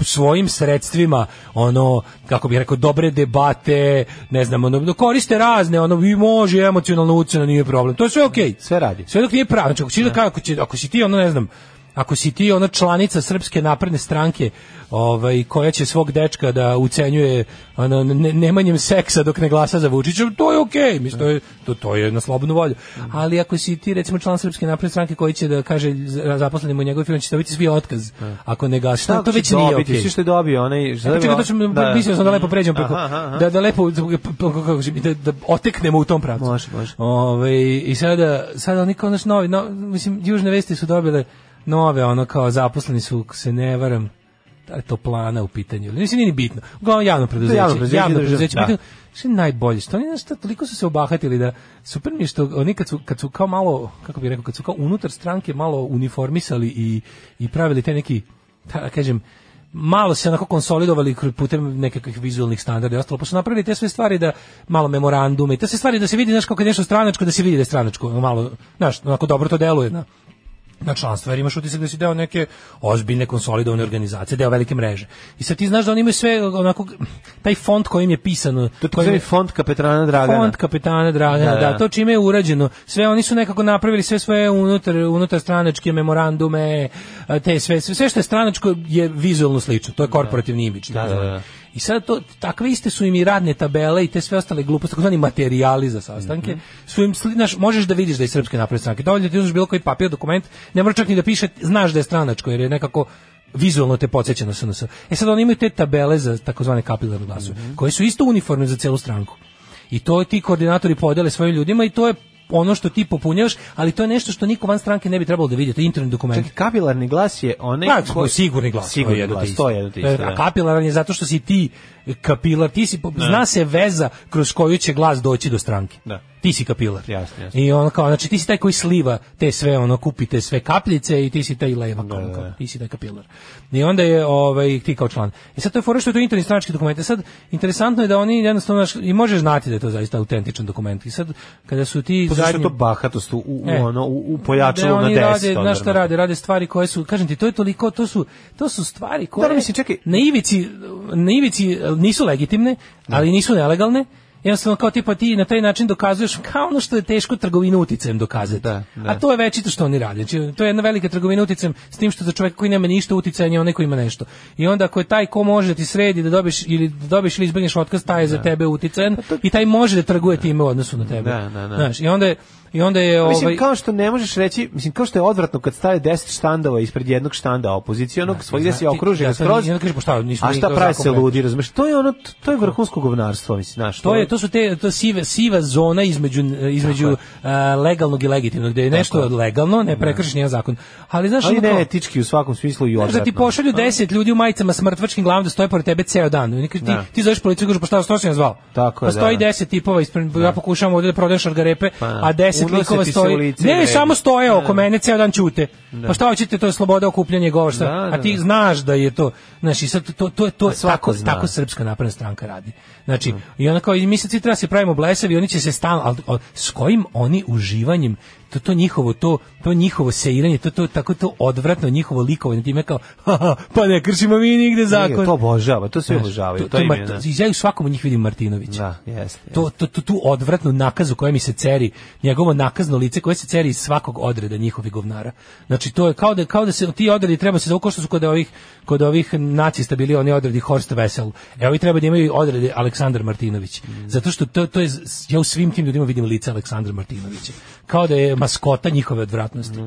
Speaker 7: svojim sredstvima ono kako bih rekao dobre debate ne znam ono koriste razne ono vi može emocionalno ucena nije problem to je sve okej
Speaker 6: Sve radi.
Speaker 7: sve dok nije pravo znači ako si, da ka- ako, će- ako si ti ono ne znam ako si ti ona članica srpske napredne stranke ovaj koja će svog dečka da ucenjuje ono, ne, nemanjem seksa dok ne glasa za Vučića to je okej mislim to je to, to je na slobodnu volju ali ako si ti recimo član srpske napredne stranke koji će da kaže za- zaposlenima u njegovoj firmi će dobiti svi otkaz ako ne glasa
Speaker 6: Šta
Speaker 7: to
Speaker 6: će
Speaker 7: već nije
Speaker 6: dobiti?
Speaker 7: okej
Speaker 6: Svi što je dobio, onaj...
Speaker 7: E, pa čekaj, to ćemo, da, mislim sam da lepo pređemo preko,
Speaker 6: Aha, aha, aha.
Speaker 7: da, da lepo, kako kažem, da, da oteknemo u tom pravcu.
Speaker 6: Može, može.
Speaker 7: Ove, I sada, sada oni kao naš novi, no, mislim, južne vesti su dobile nove, ono kao zaposleni su, ako se ne varam, da je to plana u pitanju, ili mislim, nije ni bitno. Uglavnom javno preduzeće,
Speaker 6: javno
Speaker 7: javno
Speaker 6: preduzeće,
Speaker 7: preduzeće,
Speaker 6: država, da.
Speaker 7: pitanju, što je najbolje, što oni, znaš šta, toliko su se obahatili da super mi je što oni kad su, kad su kao malo, kako bih rekao, kad su kao unutar stranke malo uniformisali i, i pravili te neki, da kažem, malo se onako konsolidovali kroz- putem nekakvih vizualnih standarda i ostalo, pa su napravili te sve stvari da malo memorandume i te sve stvari da se vidi, znaš, kako je nešto stranačko, da se vidi da je stranačko, ono malo, znaš, onako dobro to deluje na, na članstvo, jer imaš utisak da si deo neke ozbiljne konsolidovane organizacije, deo velike mreže. I sad ti znaš da oni imaju sve onako, taj font kojim je pisano,
Speaker 6: To je
Speaker 7: kojim
Speaker 6: takozvani font kapetrana Dragana.
Speaker 7: Fond kapetana Dragana,
Speaker 6: Da,
Speaker 7: da,
Speaker 6: da.
Speaker 7: to čime je urađeno. Sve oni su nekako napravili sve svoje unutar unutar stranačke memorandume, a, te sve sve, sve što je stranačko je vizuelno slično. To je korporativni imidž.
Speaker 6: Da, da, da.
Speaker 7: I sad to takve iste su im i radne tabele i te sve ostale gluposti, takozvani materijali za sastanke, su im sli- znaš, možeš da vidiš da je srpske napredne stranke. Dovoljno ti uzmeš bilo koji papir, dokument, ne mora čak ni da piše, znaš da je stranačko jer je nekako vizualno te podsjeća na SNS. E sad oni imaju te tabele za takozvane kapilarne glasove, koje su isto uniformne za celu stranku. I to ti koordinatori podele svojim ljudima i to je ono što ti popunjavaš, ali to je nešto što niko van stranke ne bi trebalo da vidi, to je interni dokument.
Speaker 6: Čekaj, kapilarni glas je onaj...
Speaker 7: Pa,
Speaker 6: koji-
Speaker 7: sigurni glas. to je
Speaker 6: Sigurni
Speaker 7: jedno te
Speaker 6: glas,
Speaker 7: isto. E,
Speaker 6: to je jedno te isto.
Speaker 7: A
Speaker 6: da.
Speaker 7: kapilaran je zato što si ti kapilar, ti si, zna se veza kroz koju će glas doći do stranke.
Speaker 6: Da.
Speaker 7: Ti si kapilar.
Speaker 6: Jasno, jasno.
Speaker 7: I ono kao, znači ti si taj koji sliva te sve, ono, kupite sve kapljice i ti si taj levak, ono, kao, ti si taj kapilar. I onda je, ovaj, ti kao član. I sad to je fora što je to interni stranački dokument. E sad, interesantno je da oni jednostavno, znaš, i možeš znati da je to zaista autentičan dokument. I sad, kada su ti
Speaker 6: Pa zašto je
Speaker 7: zadnji-
Speaker 6: to bahatost u, u,
Speaker 7: E.
Speaker 6: u ono, u, u pojačalu
Speaker 7: da
Speaker 6: na ono.
Speaker 7: oni
Speaker 6: 10.
Speaker 7: Rade, znaš šta
Speaker 6: odvrno.
Speaker 7: rade, rade stvari koje su, kažem ti, to je toliko, to su, to su stvari koje
Speaker 6: Da, ali mislim, čekaj.
Speaker 7: na ivici, na ivici eh, nisu legitimne, ali nisu nelegalne. Jednostavno kao tipa ti na taj način dokazuješ kao ono što je teško trgovinu uticajem dokazati.
Speaker 6: Da, da.
Speaker 7: A to je već što oni rade. Znači, to je jedna velika trgovina uticajem s tim što za čovjeka koji nema ništa uticaja njemu neko ima nešto. I onda ako je taj ko može da ti sredi da dobiš ili da dobiš ili izbegneš otkaz, taj je za tebe uticajan i taj može da trguje time u odnosu na tebe.
Speaker 6: Pa Da, da, da.
Speaker 7: Znaš, i onda je, i onda je ovaj
Speaker 6: Mislim, kao što ne možeš reći, mislim, kao što je odvratno kad staje 10 štandova ispred jednog štanda opozicijonog, svoj gde
Speaker 7: zna-
Speaker 6: si okružen
Speaker 7: Znači, ja
Speaker 6: ja,
Speaker 7: sad
Speaker 6: skroz,
Speaker 7: nisam da kažem, pa šta, nismo
Speaker 6: a
Speaker 7: mi
Speaker 6: šta
Speaker 7: kao
Speaker 6: pravi se
Speaker 7: zakon
Speaker 6: ludi, razumeš? To je ono, to je vrhunsko govnarstvo, mislim, znaš.
Speaker 7: To je to su te to je siva siva zona između između a, legalnog i legitimnog, gde je nešto legalno, ne prekršiš nijedan zakon. Ali znaš
Speaker 6: Ali
Speaker 7: ono kao-
Speaker 6: ne etički u svakom smislu i
Speaker 7: Znaš
Speaker 6: odvratno.
Speaker 7: da ti pošalju 10 ljudi u majicama s mrtvačkim glavom da stoje pored tebe ceo dan. I oni kažu, ti,
Speaker 6: Da.
Speaker 7: ti zoveš policiju i kažeš, pa šta, što si nas zvao?
Speaker 6: Tako
Speaker 7: pa
Speaker 6: je,
Speaker 7: stoji
Speaker 6: da.
Speaker 7: 10 tipova ispred, ja pokušavam ovdje da prodajem šargarepe,
Speaker 6: Pa da.
Speaker 7: a 10
Speaker 6: Unose
Speaker 7: likova
Speaker 6: ti se
Speaker 7: stoji.
Speaker 6: u lice i
Speaker 7: ne,
Speaker 6: vređa.
Speaker 7: samo stoje oko mene, ceo dan ćute. Pa šta hoćete, to je sloboda okupljanja i govor. šta?
Speaker 6: Da, da,
Speaker 7: a ti
Speaker 6: da.
Speaker 7: znaš da je to, znaš, i sad to, to, to, to
Speaker 6: A svako
Speaker 7: tako,
Speaker 6: zna.
Speaker 7: tako srpska napredna stranka radi. Znači, i ona kao, i mi sad svi treba se pravimo blesavi, i oni će se stalno, ali ali s kojim oni uživanjem, to, to njihovo, to, to njihovo seiranje, to, to, tako to odvratno njihovo likovanje, time kao, "Ha, ha, pa ne kršimo mi nigde zakon.
Speaker 6: Nije, to obožava, to sve
Speaker 7: Znaš,
Speaker 6: obožavaju,
Speaker 7: to-
Speaker 6: to
Speaker 7: to
Speaker 6: im je,
Speaker 7: Mart-
Speaker 6: da.
Speaker 7: Ja u svakom od njih vidim Martinovića.
Speaker 6: Da, jeste.
Speaker 7: To, to, to, tu odvratnu nakazu koja mi se ceri, njegovo nakazno lice koje se ceri iz svakog odreda njihovih govnara. Znači, to je kao da, kao da se ti odredi treba se, kao što su kod ovih, kod ovih nacista bili oni odredi Horst Wessel. E, ovi treba da imaju odrede Aleksandar Martinović. Zato što to, to je, ja u svim tim ljudima vidim lice Aleksandra Martinovića. Kao da je maskota njihove odvratnosti.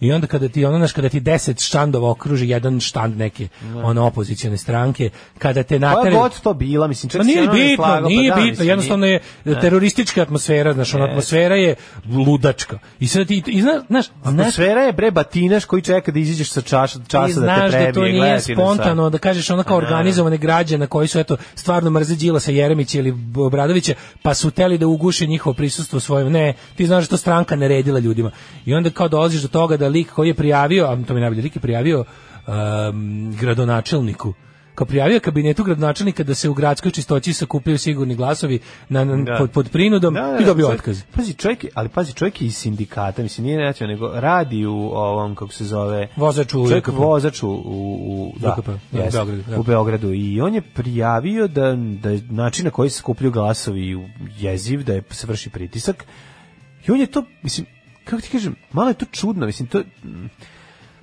Speaker 7: I onda kada ti ono znaš, kada ti 10 štandova okruži jedan štand neke ono opozicione stranke, kada te
Speaker 6: Koja
Speaker 7: nateraju
Speaker 6: god to bila, mislim, čak
Speaker 7: Ma
Speaker 6: se
Speaker 7: nije
Speaker 6: ono ne
Speaker 7: bitno,
Speaker 6: slagao, pa
Speaker 7: nije
Speaker 6: da,
Speaker 7: bitno,
Speaker 6: mislim,
Speaker 7: jednostavno je teroristička atmosfera, znaš, ona atmosfera je ludačka. I sad ti, i znaš, znaš, znaš,
Speaker 6: Atmosfera je bre batinaš koji čeka da izađeš sa čaša,
Speaker 7: ti
Speaker 6: časa da te
Speaker 7: znaš
Speaker 6: prebije.
Speaker 7: da to nije
Speaker 6: gledati na sajt.
Speaker 7: spontano, da kažeš ono kao organizovane građe na koji su eto stvarno mrze Đilasa Jeremića ili Obradovića, pa su teli da uguše njihovo prisustvo svojim. Ne, ti znaš da to stranka naredila ljudima. I onda kao dolaziš do toga da lik koji je prijavio, a to mi je najbolje, lik je prijavio um, gradonačelniku kao prijavio kabinetu gradonačelnika da se u gradskoj čistoći sakupljaju sigurni glasovi na, na-
Speaker 6: Da.
Speaker 7: pod, pod prinudom
Speaker 6: Da, da,
Speaker 7: i dobio
Speaker 6: čovjek-
Speaker 7: otkaz.
Speaker 6: Pazi, čovjek, je- ali pazi, čovjek je iz sindikata, mislim, nije nećeo, nego radi u ovom, kako se zove...
Speaker 7: Vozač u
Speaker 6: Čovjek
Speaker 7: VKP.
Speaker 6: vozač u, u, u, da,
Speaker 7: VKP, da, u
Speaker 6: jeste,
Speaker 7: Beogradu, da.
Speaker 6: u Beogradu. I on je prijavio da, da je način na koji se skupljaju glasovi u- jeziv, da je, se vrši pritisak. I on je to, mislim, kako ti kažem, malo je to čudno, mislim, to...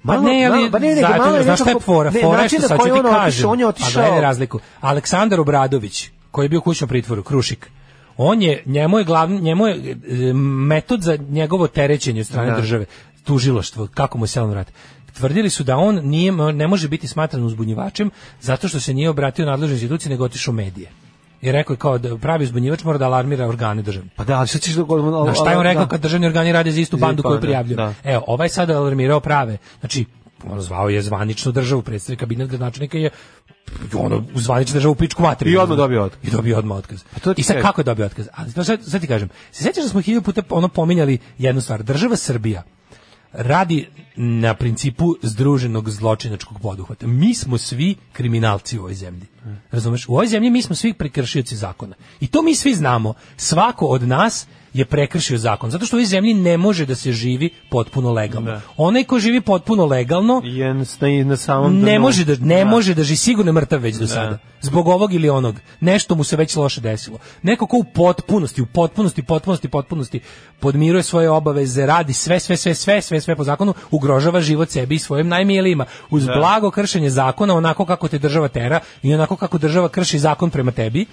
Speaker 7: Pa ne, ali
Speaker 6: pa
Speaker 7: zato,
Speaker 6: nego malo je
Speaker 7: znaš šta je
Speaker 6: nekako-
Speaker 7: fora?
Speaker 6: ne,
Speaker 7: fora je
Speaker 6: način
Speaker 7: što
Speaker 6: na
Speaker 7: sad ću
Speaker 6: koji
Speaker 7: ti
Speaker 6: on otišao,
Speaker 7: kažem.
Speaker 6: On je otišao...
Speaker 7: A gledaj razliku. Aleksandar Obradović, koji je bio u kućnom pritvoru, Krušik, on je, njemu je, glavni, njemu je e, metod za njegovo terećenje od strane
Speaker 6: Da.
Speaker 7: države, tužilaštvo, kako mu je selno vrat. Tvrdili su da on nije, ne može biti smatran uzbunjivačem zato što se nije obratio nadležnoj instituciji nego otišao u medije. I rekao je kao da pravi uzbunjivač mora da alarmira organe države.
Speaker 6: Pa da, ali sad ćeš... da-
Speaker 7: Na šta je on
Speaker 6: da.
Speaker 7: rekao kad državni organi rade za istu
Speaker 6: Za
Speaker 7: bandu
Speaker 6: istu
Speaker 7: koju
Speaker 6: bandu,
Speaker 7: prijavljuju?
Speaker 6: da.
Speaker 7: Evo, ovaj sada alarmirao prave. Znači, ono zvao je zvaničnu državu, predstavnik kabinet gradonačelnika je ono zvaničnu državu u pičku materiju.
Speaker 6: I odmah dobio otkaz. Pa
Speaker 7: I dobio odmah otkaz.
Speaker 6: to ti
Speaker 7: I sad
Speaker 6: kažem.
Speaker 7: kako je dobio otkaz? Ali to sad, sad ti kažem, se sjećaš da smo hiljadu puta ono pominjali jednu stvar. Država Srbija radi na principu združenog zločinačkog poduhvata. Mi smo svi kriminalci u ovoj zemlji. Razumeš? U ovoj zemlji mi smo svi prekršioci zakona. I to mi svi znamo. Svako od nas je prekršio zakon. Zato što u ovoj zemlji ne može da se živi potpuno legalno. Onaj ko živi potpuno legalno
Speaker 6: Je na, na samom
Speaker 7: ne
Speaker 6: dnu.
Speaker 7: može da ne može da živi sigurno je mrtav već do sada. Zbog ovog ili onog. Nešto mu se već loše desilo. Neko ko u potpunosti, u potpunosti, potpunosti, potpunosti podmiruje svoje obaveze, radi sve, sve, sve, sve, sve, sve po zakonu, ugrožava život sebi i svojim najmilijima. Uz blago kršenje zakona, onako kako te država tera i onako kako država krši zakon prema tebi,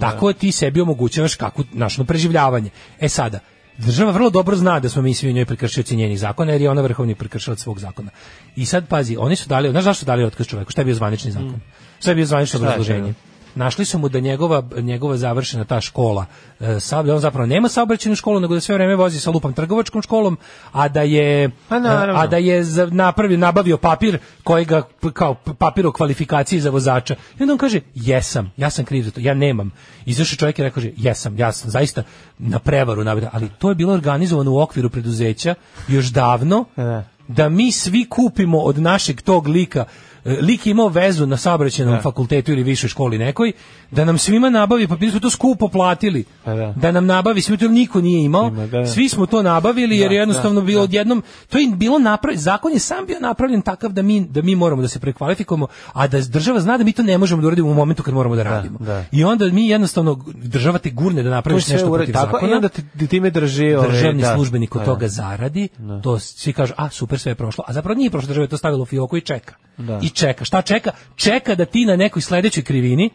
Speaker 7: tako ti sebi omogućavaš kako našno preživljavanje. E sada, Država vrlo dobro zna da smo mi svi u njoj prekršioci njenih zakona, jer je ona vrhovni prekršilac svog zakona. I sad pazi, oni su dali, znaš zašto su dali otkaz čoveku? Mm. Šta je bio zvanični zakon? Šta je bio zvanično obrazloženje? Našli su mu da njegova, njegova završena ta škola, e, saob- da on zapravo nema saobraćenu školu, nego da sve vreme vozi sa lupom trgovačkom školom, a da je,
Speaker 6: Pa naravno.
Speaker 7: a da je za- napravio, nabavio papir koji ga p- kao p- papir o kvalifikaciji za vozača. I onda on kaže, jesam, ja sam kriv za to, ja nemam. Izašao čovjek i rekao, kaže, jesam, ja sam zaista na prevaru nabavio. Ali to je bilo organizovano u okviru preduzeća još davno,
Speaker 6: Da.
Speaker 7: da mi svi kupimo od našeg tog lika e, lik je imao vezu na
Speaker 6: E.
Speaker 7: saobraćajnom fakultetu ili višoj školi nekoj, da nam svima nabavi, pa mi smo to skupo platili,
Speaker 6: Pa da.
Speaker 7: nam nabavi, svi to nije niko nije imao,
Speaker 6: Ima, da, da.
Speaker 7: svi smo to nabavili jer je jednostavno bilo odjednom, to je bilo napravljeno, zakon je sam bio napravljen takav da mi, da mi moramo da se prekvalifikujemo, a da država zna da mi to ne možemo da uradimo u momentu kad moramo da radimo.
Speaker 6: da.
Speaker 7: I onda mi jednostavno, država te gurne da
Speaker 6: To je
Speaker 7: napraviš
Speaker 6: sve
Speaker 7: nešto
Speaker 6: uradi
Speaker 7: protiv
Speaker 6: tako
Speaker 7: zakona
Speaker 6: i onda ti, time drži ovaj,
Speaker 7: državni
Speaker 6: da.
Speaker 7: službenik od
Speaker 6: Da.
Speaker 7: toga zaradi, to svi kažu, a super, sve je prošlo. A zapravo nije prošlo, država je to stavila u fioku i čeka.
Speaker 6: Da.
Speaker 7: I čeka. Šta čeka? Čeka da ti na nekoj sledećoj krivini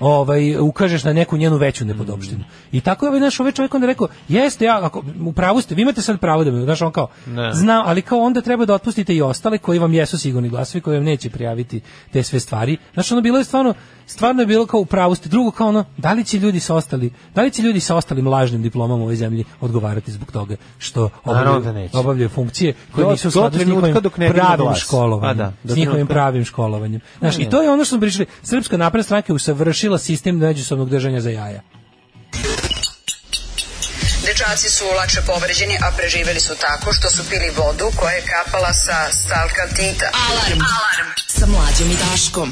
Speaker 7: ovaj ukažeš na neku njenu veću nepodopštinu.
Speaker 6: Mm.
Speaker 7: I tako je ovaj naš ovaj čovjek onda rekao, jeste ja, ako u pravu ste, vi imate sad pravo da me, znaš, on kao,
Speaker 6: Ne.
Speaker 7: znam, ali kao onda treba da otpustite i ostale koji vam jesu sigurni glasovi, koji vam neće prijaviti te sve stvari. Znaš, ono bilo je stvarno, stvarno je bilo kao u pravu ste. Drugo kao ono, da li će ljudi sa ostali, da li će ljudi sa ostalim lažnim diplomama u ovoj zemlji odgovarati zbog toga što
Speaker 6: Naravno da
Speaker 7: obavljaju,
Speaker 6: neće.
Speaker 7: obavljaju funkcije koje
Speaker 6: Do-
Speaker 7: nisu u
Speaker 6: do
Speaker 7: skladu s
Speaker 6: trenutka
Speaker 7: njihovim
Speaker 6: dok ne digne
Speaker 7: pravim
Speaker 6: glas.
Speaker 7: školovanjem.
Speaker 6: Pa da, do
Speaker 7: s njihovim
Speaker 6: trenutka.
Speaker 7: pravim školovanjem. Znaš, i to je ono što smo pričali. Srpska napredna stranka je usavršila sistem međusobnog držanja za jaja.
Speaker 11: Dečaci su lakše povređeni, a preživeli su tako što su pili vodu koja je kapala sa stalka Tita. Alarm! Alarm!
Speaker 5: Sa mlađom i Daškom.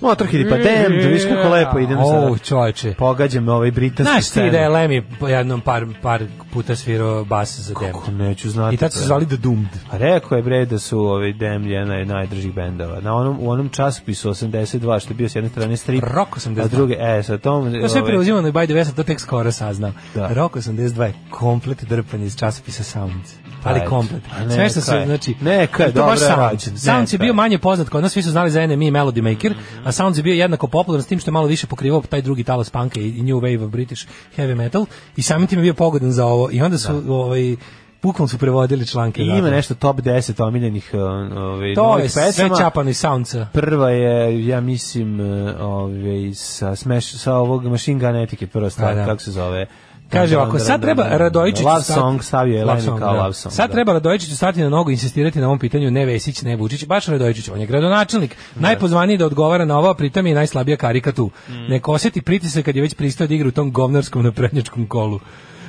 Speaker 6: Motorhead i pa damn, da viš kako lepo idem
Speaker 7: O,
Speaker 6: sada.
Speaker 7: čoveče.
Speaker 6: Pogađam ovaj britanski
Speaker 7: Znaš ti
Speaker 6: scenu.
Speaker 7: da je Lemi jednom par, par puta svirao bas za demo.
Speaker 6: Kako neću znati.
Speaker 7: I tad su
Speaker 6: bre.
Speaker 7: se zvali The Doomed.
Speaker 6: A rekao je bre da su ovaj Damn jedna od najdržih bendova. Na onom, u onom časopisu 82 što je bio s jedne strane strip.
Speaker 7: Rock
Speaker 6: A
Speaker 7: 82.
Speaker 6: druge, e, sa tom...
Speaker 7: To sve
Speaker 6: ovaj,
Speaker 7: preuzimano i by the way, ja sam to tek skoro saznao.
Speaker 6: Da.
Speaker 7: Rock 82 je komplet drpan iz časopisa Sounds.
Speaker 6: Pa
Speaker 7: Ali
Speaker 6: eto.
Speaker 7: komplet.
Speaker 6: A
Speaker 7: Sve što
Speaker 6: neka
Speaker 7: se,
Speaker 6: je.
Speaker 7: znači...
Speaker 6: Neka je
Speaker 7: to baš
Speaker 6: dobro
Speaker 7: Sounds.
Speaker 6: rađen,
Speaker 7: Sounds je
Speaker 6: neka
Speaker 7: bio
Speaker 6: je.
Speaker 7: manje poznat kod nas, svi su znali za NME i Melody Maker, a Sounds je bio jednako popularan s tim što je malo više pokrivao taj drugi talas punka i i New Wave of British Heavy Metal i samim tim je bio pogodan za ovo. I onda su, ovaj, bukvalno su prevodili članke.
Speaker 6: I ima
Speaker 7: zato.
Speaker 6: nešto top 10 omiljenih uh, ovaj,
Speaker 7: To je
Speaker 6: novih pesama.
Speaker 7: sve čapano iz Soundsa.
Speaker 6: Prva je, ja mislim, eh, ovaj, sa, smeš, sa ovog Machine Gun Etike, prva stvar,
Speaker 7: A, da.
Speaker 6: kako se zove.
Speaker 7: Kaže
Speaker 6: Dun,
Speaker 7: ovako,
Speaker 6: dun,
Speaker 7: sad
Speaker 6: dun,
Speaker 7: treba
Speaker 6: dun, dun.
Speaker 7: Radojičiću
Speaker 6: Love
Speaker 7: stati-
Speaker 6: Song stavio je
Speaker 7: Love
Speaker 6: Eleni
Speaker 7: song,
Speaker 6: kao
Speaker 7: da.
Speaker 6: Love Song.
Speaker 7: Sad
Speaker 6: da.
Speaker 7: treba Radojičiću stati na nogu i insistirati na ovom pitanju, ne Vesić, ne Vučić, baš Radojičić, on je gradonačelnik. Najpozvaniji da odgovara na ovo, a pritom je i najslabija karika tu. Nek osjeti pritisak kad je već pristao da igra u tom govnarskom naprednjačkom kolu.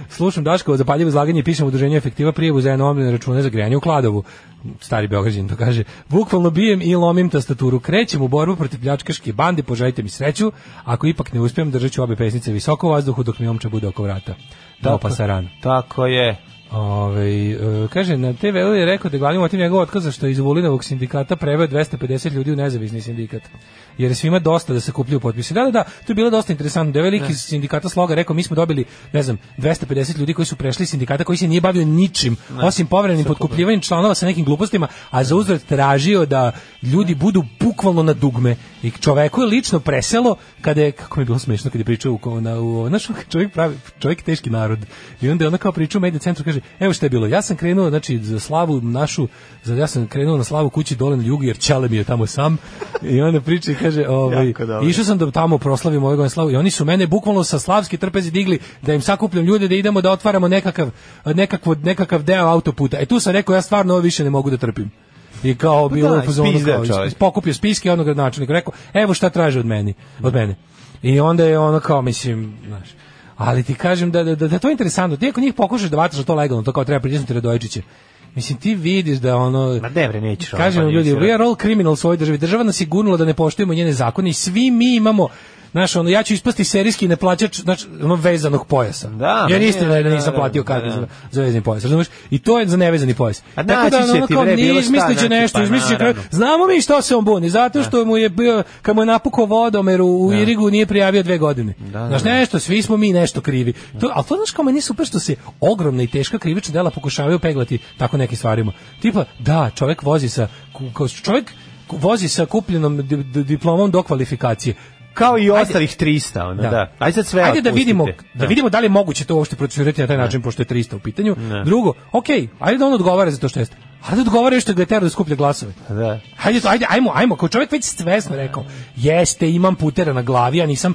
Speaker 7: Slušam Daškovo zapaljivo izlaganje i pišem udruženje efektiva prijevu za enormne račune za grijanje u Kladovu. Stari Beograđan to kaže. Bukvalno bijem i lomim tastaturu. Krećem u borbu protiv pljačkaške bande, poželite mi sreću. Ako ipak ne uspijem, držat ću obe pesnice visoko u vazduhu dok mi omča bude oko vrata. Da, pa saran.
Speaker 6: Tako je.
Speaker 7: Ove, e, kaže, na TV je rekao da je glavni motiv njegov otkaza što je iz Vulinovog sindikata preveo 250 ljudi u nezavisni sindikat. Jer je svima dosta da se kupljuju potpisi. Da, da, da, to je bilo dosta interesantno. Da je veliki iz sindikata sloga rekao, mi smo dobili, ne znam, 250 ljudi koji su prešli iz sindikata koji se nije bavio ničim, osim povremenim potkupljivanjem članova sa nekim glupostima, a za uzvrat tražio da ljudi budu bukvalno na dugme. I čoveku je lično preselo kada je, kako mi je bilo smešno kad je pričao u, ko- na, u znaš, (laughs) čovjek pravi, čovjek je teški narod. I onda je ona kao priča u mediju centru, kaže, evo šta je bilo, ja sam krenuo, znači, za slavu našu, za, ja sam krenuo na slavu kući dole na jugu, jer Ćale mi je tamo sam. I onda priča i
Speaker 6: (laughs)
Speaker 7: kaže, ovaj,
Speaker 6: Jako dobro.
Speaker 7: i išao sam da tamo proslavim ovaj godin slavu i oni su mene bukvalno sa slavski trpezi digli da im sakupljam ljude da idemo da otvaramo nekakav nekakvo nekakav deo autoputa. E tu sam rekao ja stvarno ovo više ne mogu da trpim. I kao bilo
Speaker 6: Pa da,
Speaker 7: je u fazonu
Speaker 6: ispizdeo
Speaker 7: kao,
Speaker 6: čovjek.
Speaker 7: pokupio spiske onog gradonačelnika rekao evo šta traže od meni, od mene. I onda je ono kao mislim, znaš, ali ti kažem da, da, da, da to je interesantno. Ti ako njih pokušaš da vataš na to legalno, to kao treba pritisnuti Radojičiće. Mislim, ti vidiš da ono...
Speaker 6: Ma ne bre, nećeš. ono,
Speaker 7: Kažem
Speaker 6: pa
Speaker 7: vam ljudi,
Speaker 6: nećeš,
Speaker 7: we are all criminals u ovoj državi. Država nas je gurnula da ne poštujemo njene zakone i svi mi imamo Znaš, ono, ja ću ispasti serijski neplaćač znači, ono, vezanog pojasa.
Speaker 6: Da,
Speaker 7: Jer
Speaker 6: ma
Speaker 7: istina
Speaker 6: nije,
Speaker 7: je da
Speaker 6: da,
Speaker 7: nisam
Speaker 6: da,
Speaker 7: platio
Speaker 6: da,
Speaker 7: kartu
Speaker 6: da.
Speaker 7: za, za vezani pojas. Razumeš? I to je za nevezani pojas. ono,
Speaker 6: A naći će ti,
Speaker 7: kao,
Speaker 6: bre,
Speaker 7: ni
Speaker 6: bilo šta,
Speaker 7: izmislit će
Speaker 6: znači,
Speaker 7: nešto,
Speaker 6: pa
Speaker 7: izmislit će kraj-
Speaker 6: naravno.
Speaker 7: Znamo mi što se on buni, zato što mu je bio, kad mu je napukao vodomer u, u Irigu nije prijavio dve godine.
Speaker 6: da,
Speaker 7: znaš,
Speaker 6: da.
Speaker 7: nešto, svi smo mi nešto krivi. To, ali to znaš kao meni je super što se ogromna i teška krivična dela pokušavaju peglati tako nekim stvarima. Tipa, da, čovjek vozi sa, ku- kao, čovjek vozi sa kupljenom di- di- diplomom do kvalifikacije.
Speaker 6: Kao i
Speaker 7: Ajde.
Speaker 6: ostalih 300, ono, da. Ajde sad sve
Speaker 7: Ajde da
Speaker 6: otpustite.
Speaker 7: vidimo, da vidimo da li je moguće to uopšte procesuirati na taj način pošto je 300 u pitanju. Drugo, okej, ajde da on odgovara za to što jeste. Ali da odgovore što ga je terao da skuplja glasove.
Speaker 6: Da.
Speaker 7: Hajde, to, ajde, ajmo, ajmo, kao čovjek već svesno rekao, jeste, imam putera na glavi, a nisam...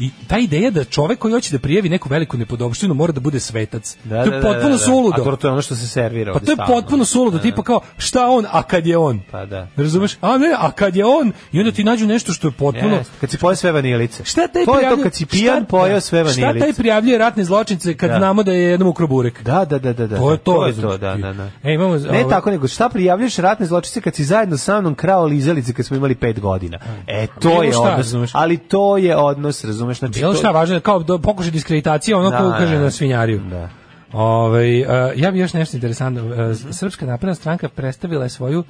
Speaker 7: I ta ideja da čovjek koji hoće da prijavi neku veliku nepodobštinu mora da bude svetac.
Speaker 6: Da,
Speaker 7: to
Speaker 6: da,
Speaker 7: je
Speaker 6: da,
Speaker 7: potpuno
Speaker 6: da, da.
Speaker 7: suludo.
Speaker 6: A to, to je ono što se servira
Speaker 7: Pa
Speaker 6: ovde
Speaker 7: to je
Speaker 6: stalno.
Speaker 7: potpuno suludo, tipa kao šta on, a kad je on.
Speaker 6: Pa da.
Speaker 7: Razumeš? A ne, a kad je on, i onda ti nađu nešto što je potpuno...
Speaker 6: Jeste, kad si pojeo sve vanilice.
Speaker 7: Šta taj
Speaker 6: to je to
Speaker 7: prijavljuje-
Speaker 6: kad si pijan
Speaker 7: šta-
Speaker 6: pojeo sve
Speaker 7: šta taj
Speaker 6: vanilice.
Speaker 7: prijavljuje ratne zločince kad
Speaker 6: Da.
Speaker 7: znamo da je jednom ukro burek?
Speaker 6: Da, da, da, da, da.
Speaker 7: To je to,
Speaker 6: to, je
Speaker 7: razumeš
Speaker 6: to da,
Speaker 7: ti.
Speaker 6: da, da.
Speaker 7: E, imamo-
Speaker 6: ne
Speaker 7: ovaj-
Speaker 6: tako, nego šta prijavljaš ratne zločice kad si zajedno sa mnom krao lizalice kad smo imali pet godina. E, to
Speaker 7: Bilo
Speaker 6: je
Speaker 7: Hm. šta,
Speaker 6: odnos.
Speaker 7: razumeš.
Speaker 6: Ali to je odnos, razumeš? Znači,
Speaker 7: Bilo
Speaker 6: to-
Speaker 7: šta važno, je kao do, pokušaj diskreditacije, ono
Speaker 6: Da,
Speaker 7: ko ukaže
Speaker 6: da.
Speaker 7: na svinjariju.
Speaker 6: Da.
Speaker 7: Ovaj, e, ja bi još nešto interesantno. E, Srpska napredna stranka predstavila je svoju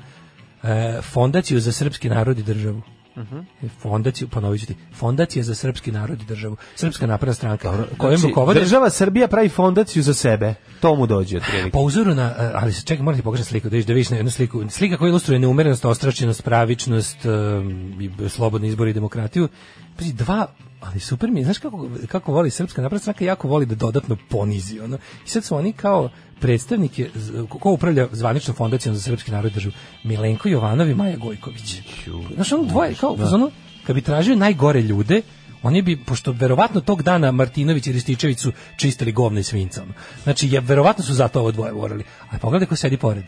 Speaker 7: e, fondaciju za srpski narod i državu.
Speaker 6: Mhm.
Speaker 7: E, Fondaciju, ponovit ću ti, fondacija za srpski narod i državu. Srpska napredna stranka. kojom
Speaker 6: znači,
Speaker 7: rukovode-
Speaker 6: država Srbija pravi fondaciju za sebe. To mu dođe otprilike.
Speaker 7: Po uzoru na, e, ali se čekaj, morate pokažem sliku, da vidiš, da vidiš na jednu sliku. Slika koja ilustruje neumerenost, ostračenost, pravičnost, em, i b- slobodni izbor i demokratiju. Pazi, dva, ali super mi je, znaš kako, kako voli srpska napredna stranka, jako voli da dodatno ponizi. Ono. I sad su oni kao predstavnike, z- ko upravlja zvaničnom fondacijom za srpski narod i državu, Milenko Jovanov i Maja Gojković. Znaš, ono dvoje, kao, ono, kad bi tražio najgore ljude, oni bi, pošto verovatno tog dana Martinović i Rističević su čistili govna i svinca. ono. Znači, je, verovatno su zato ovo dvoje morali. A pogledaj ko sedi pored.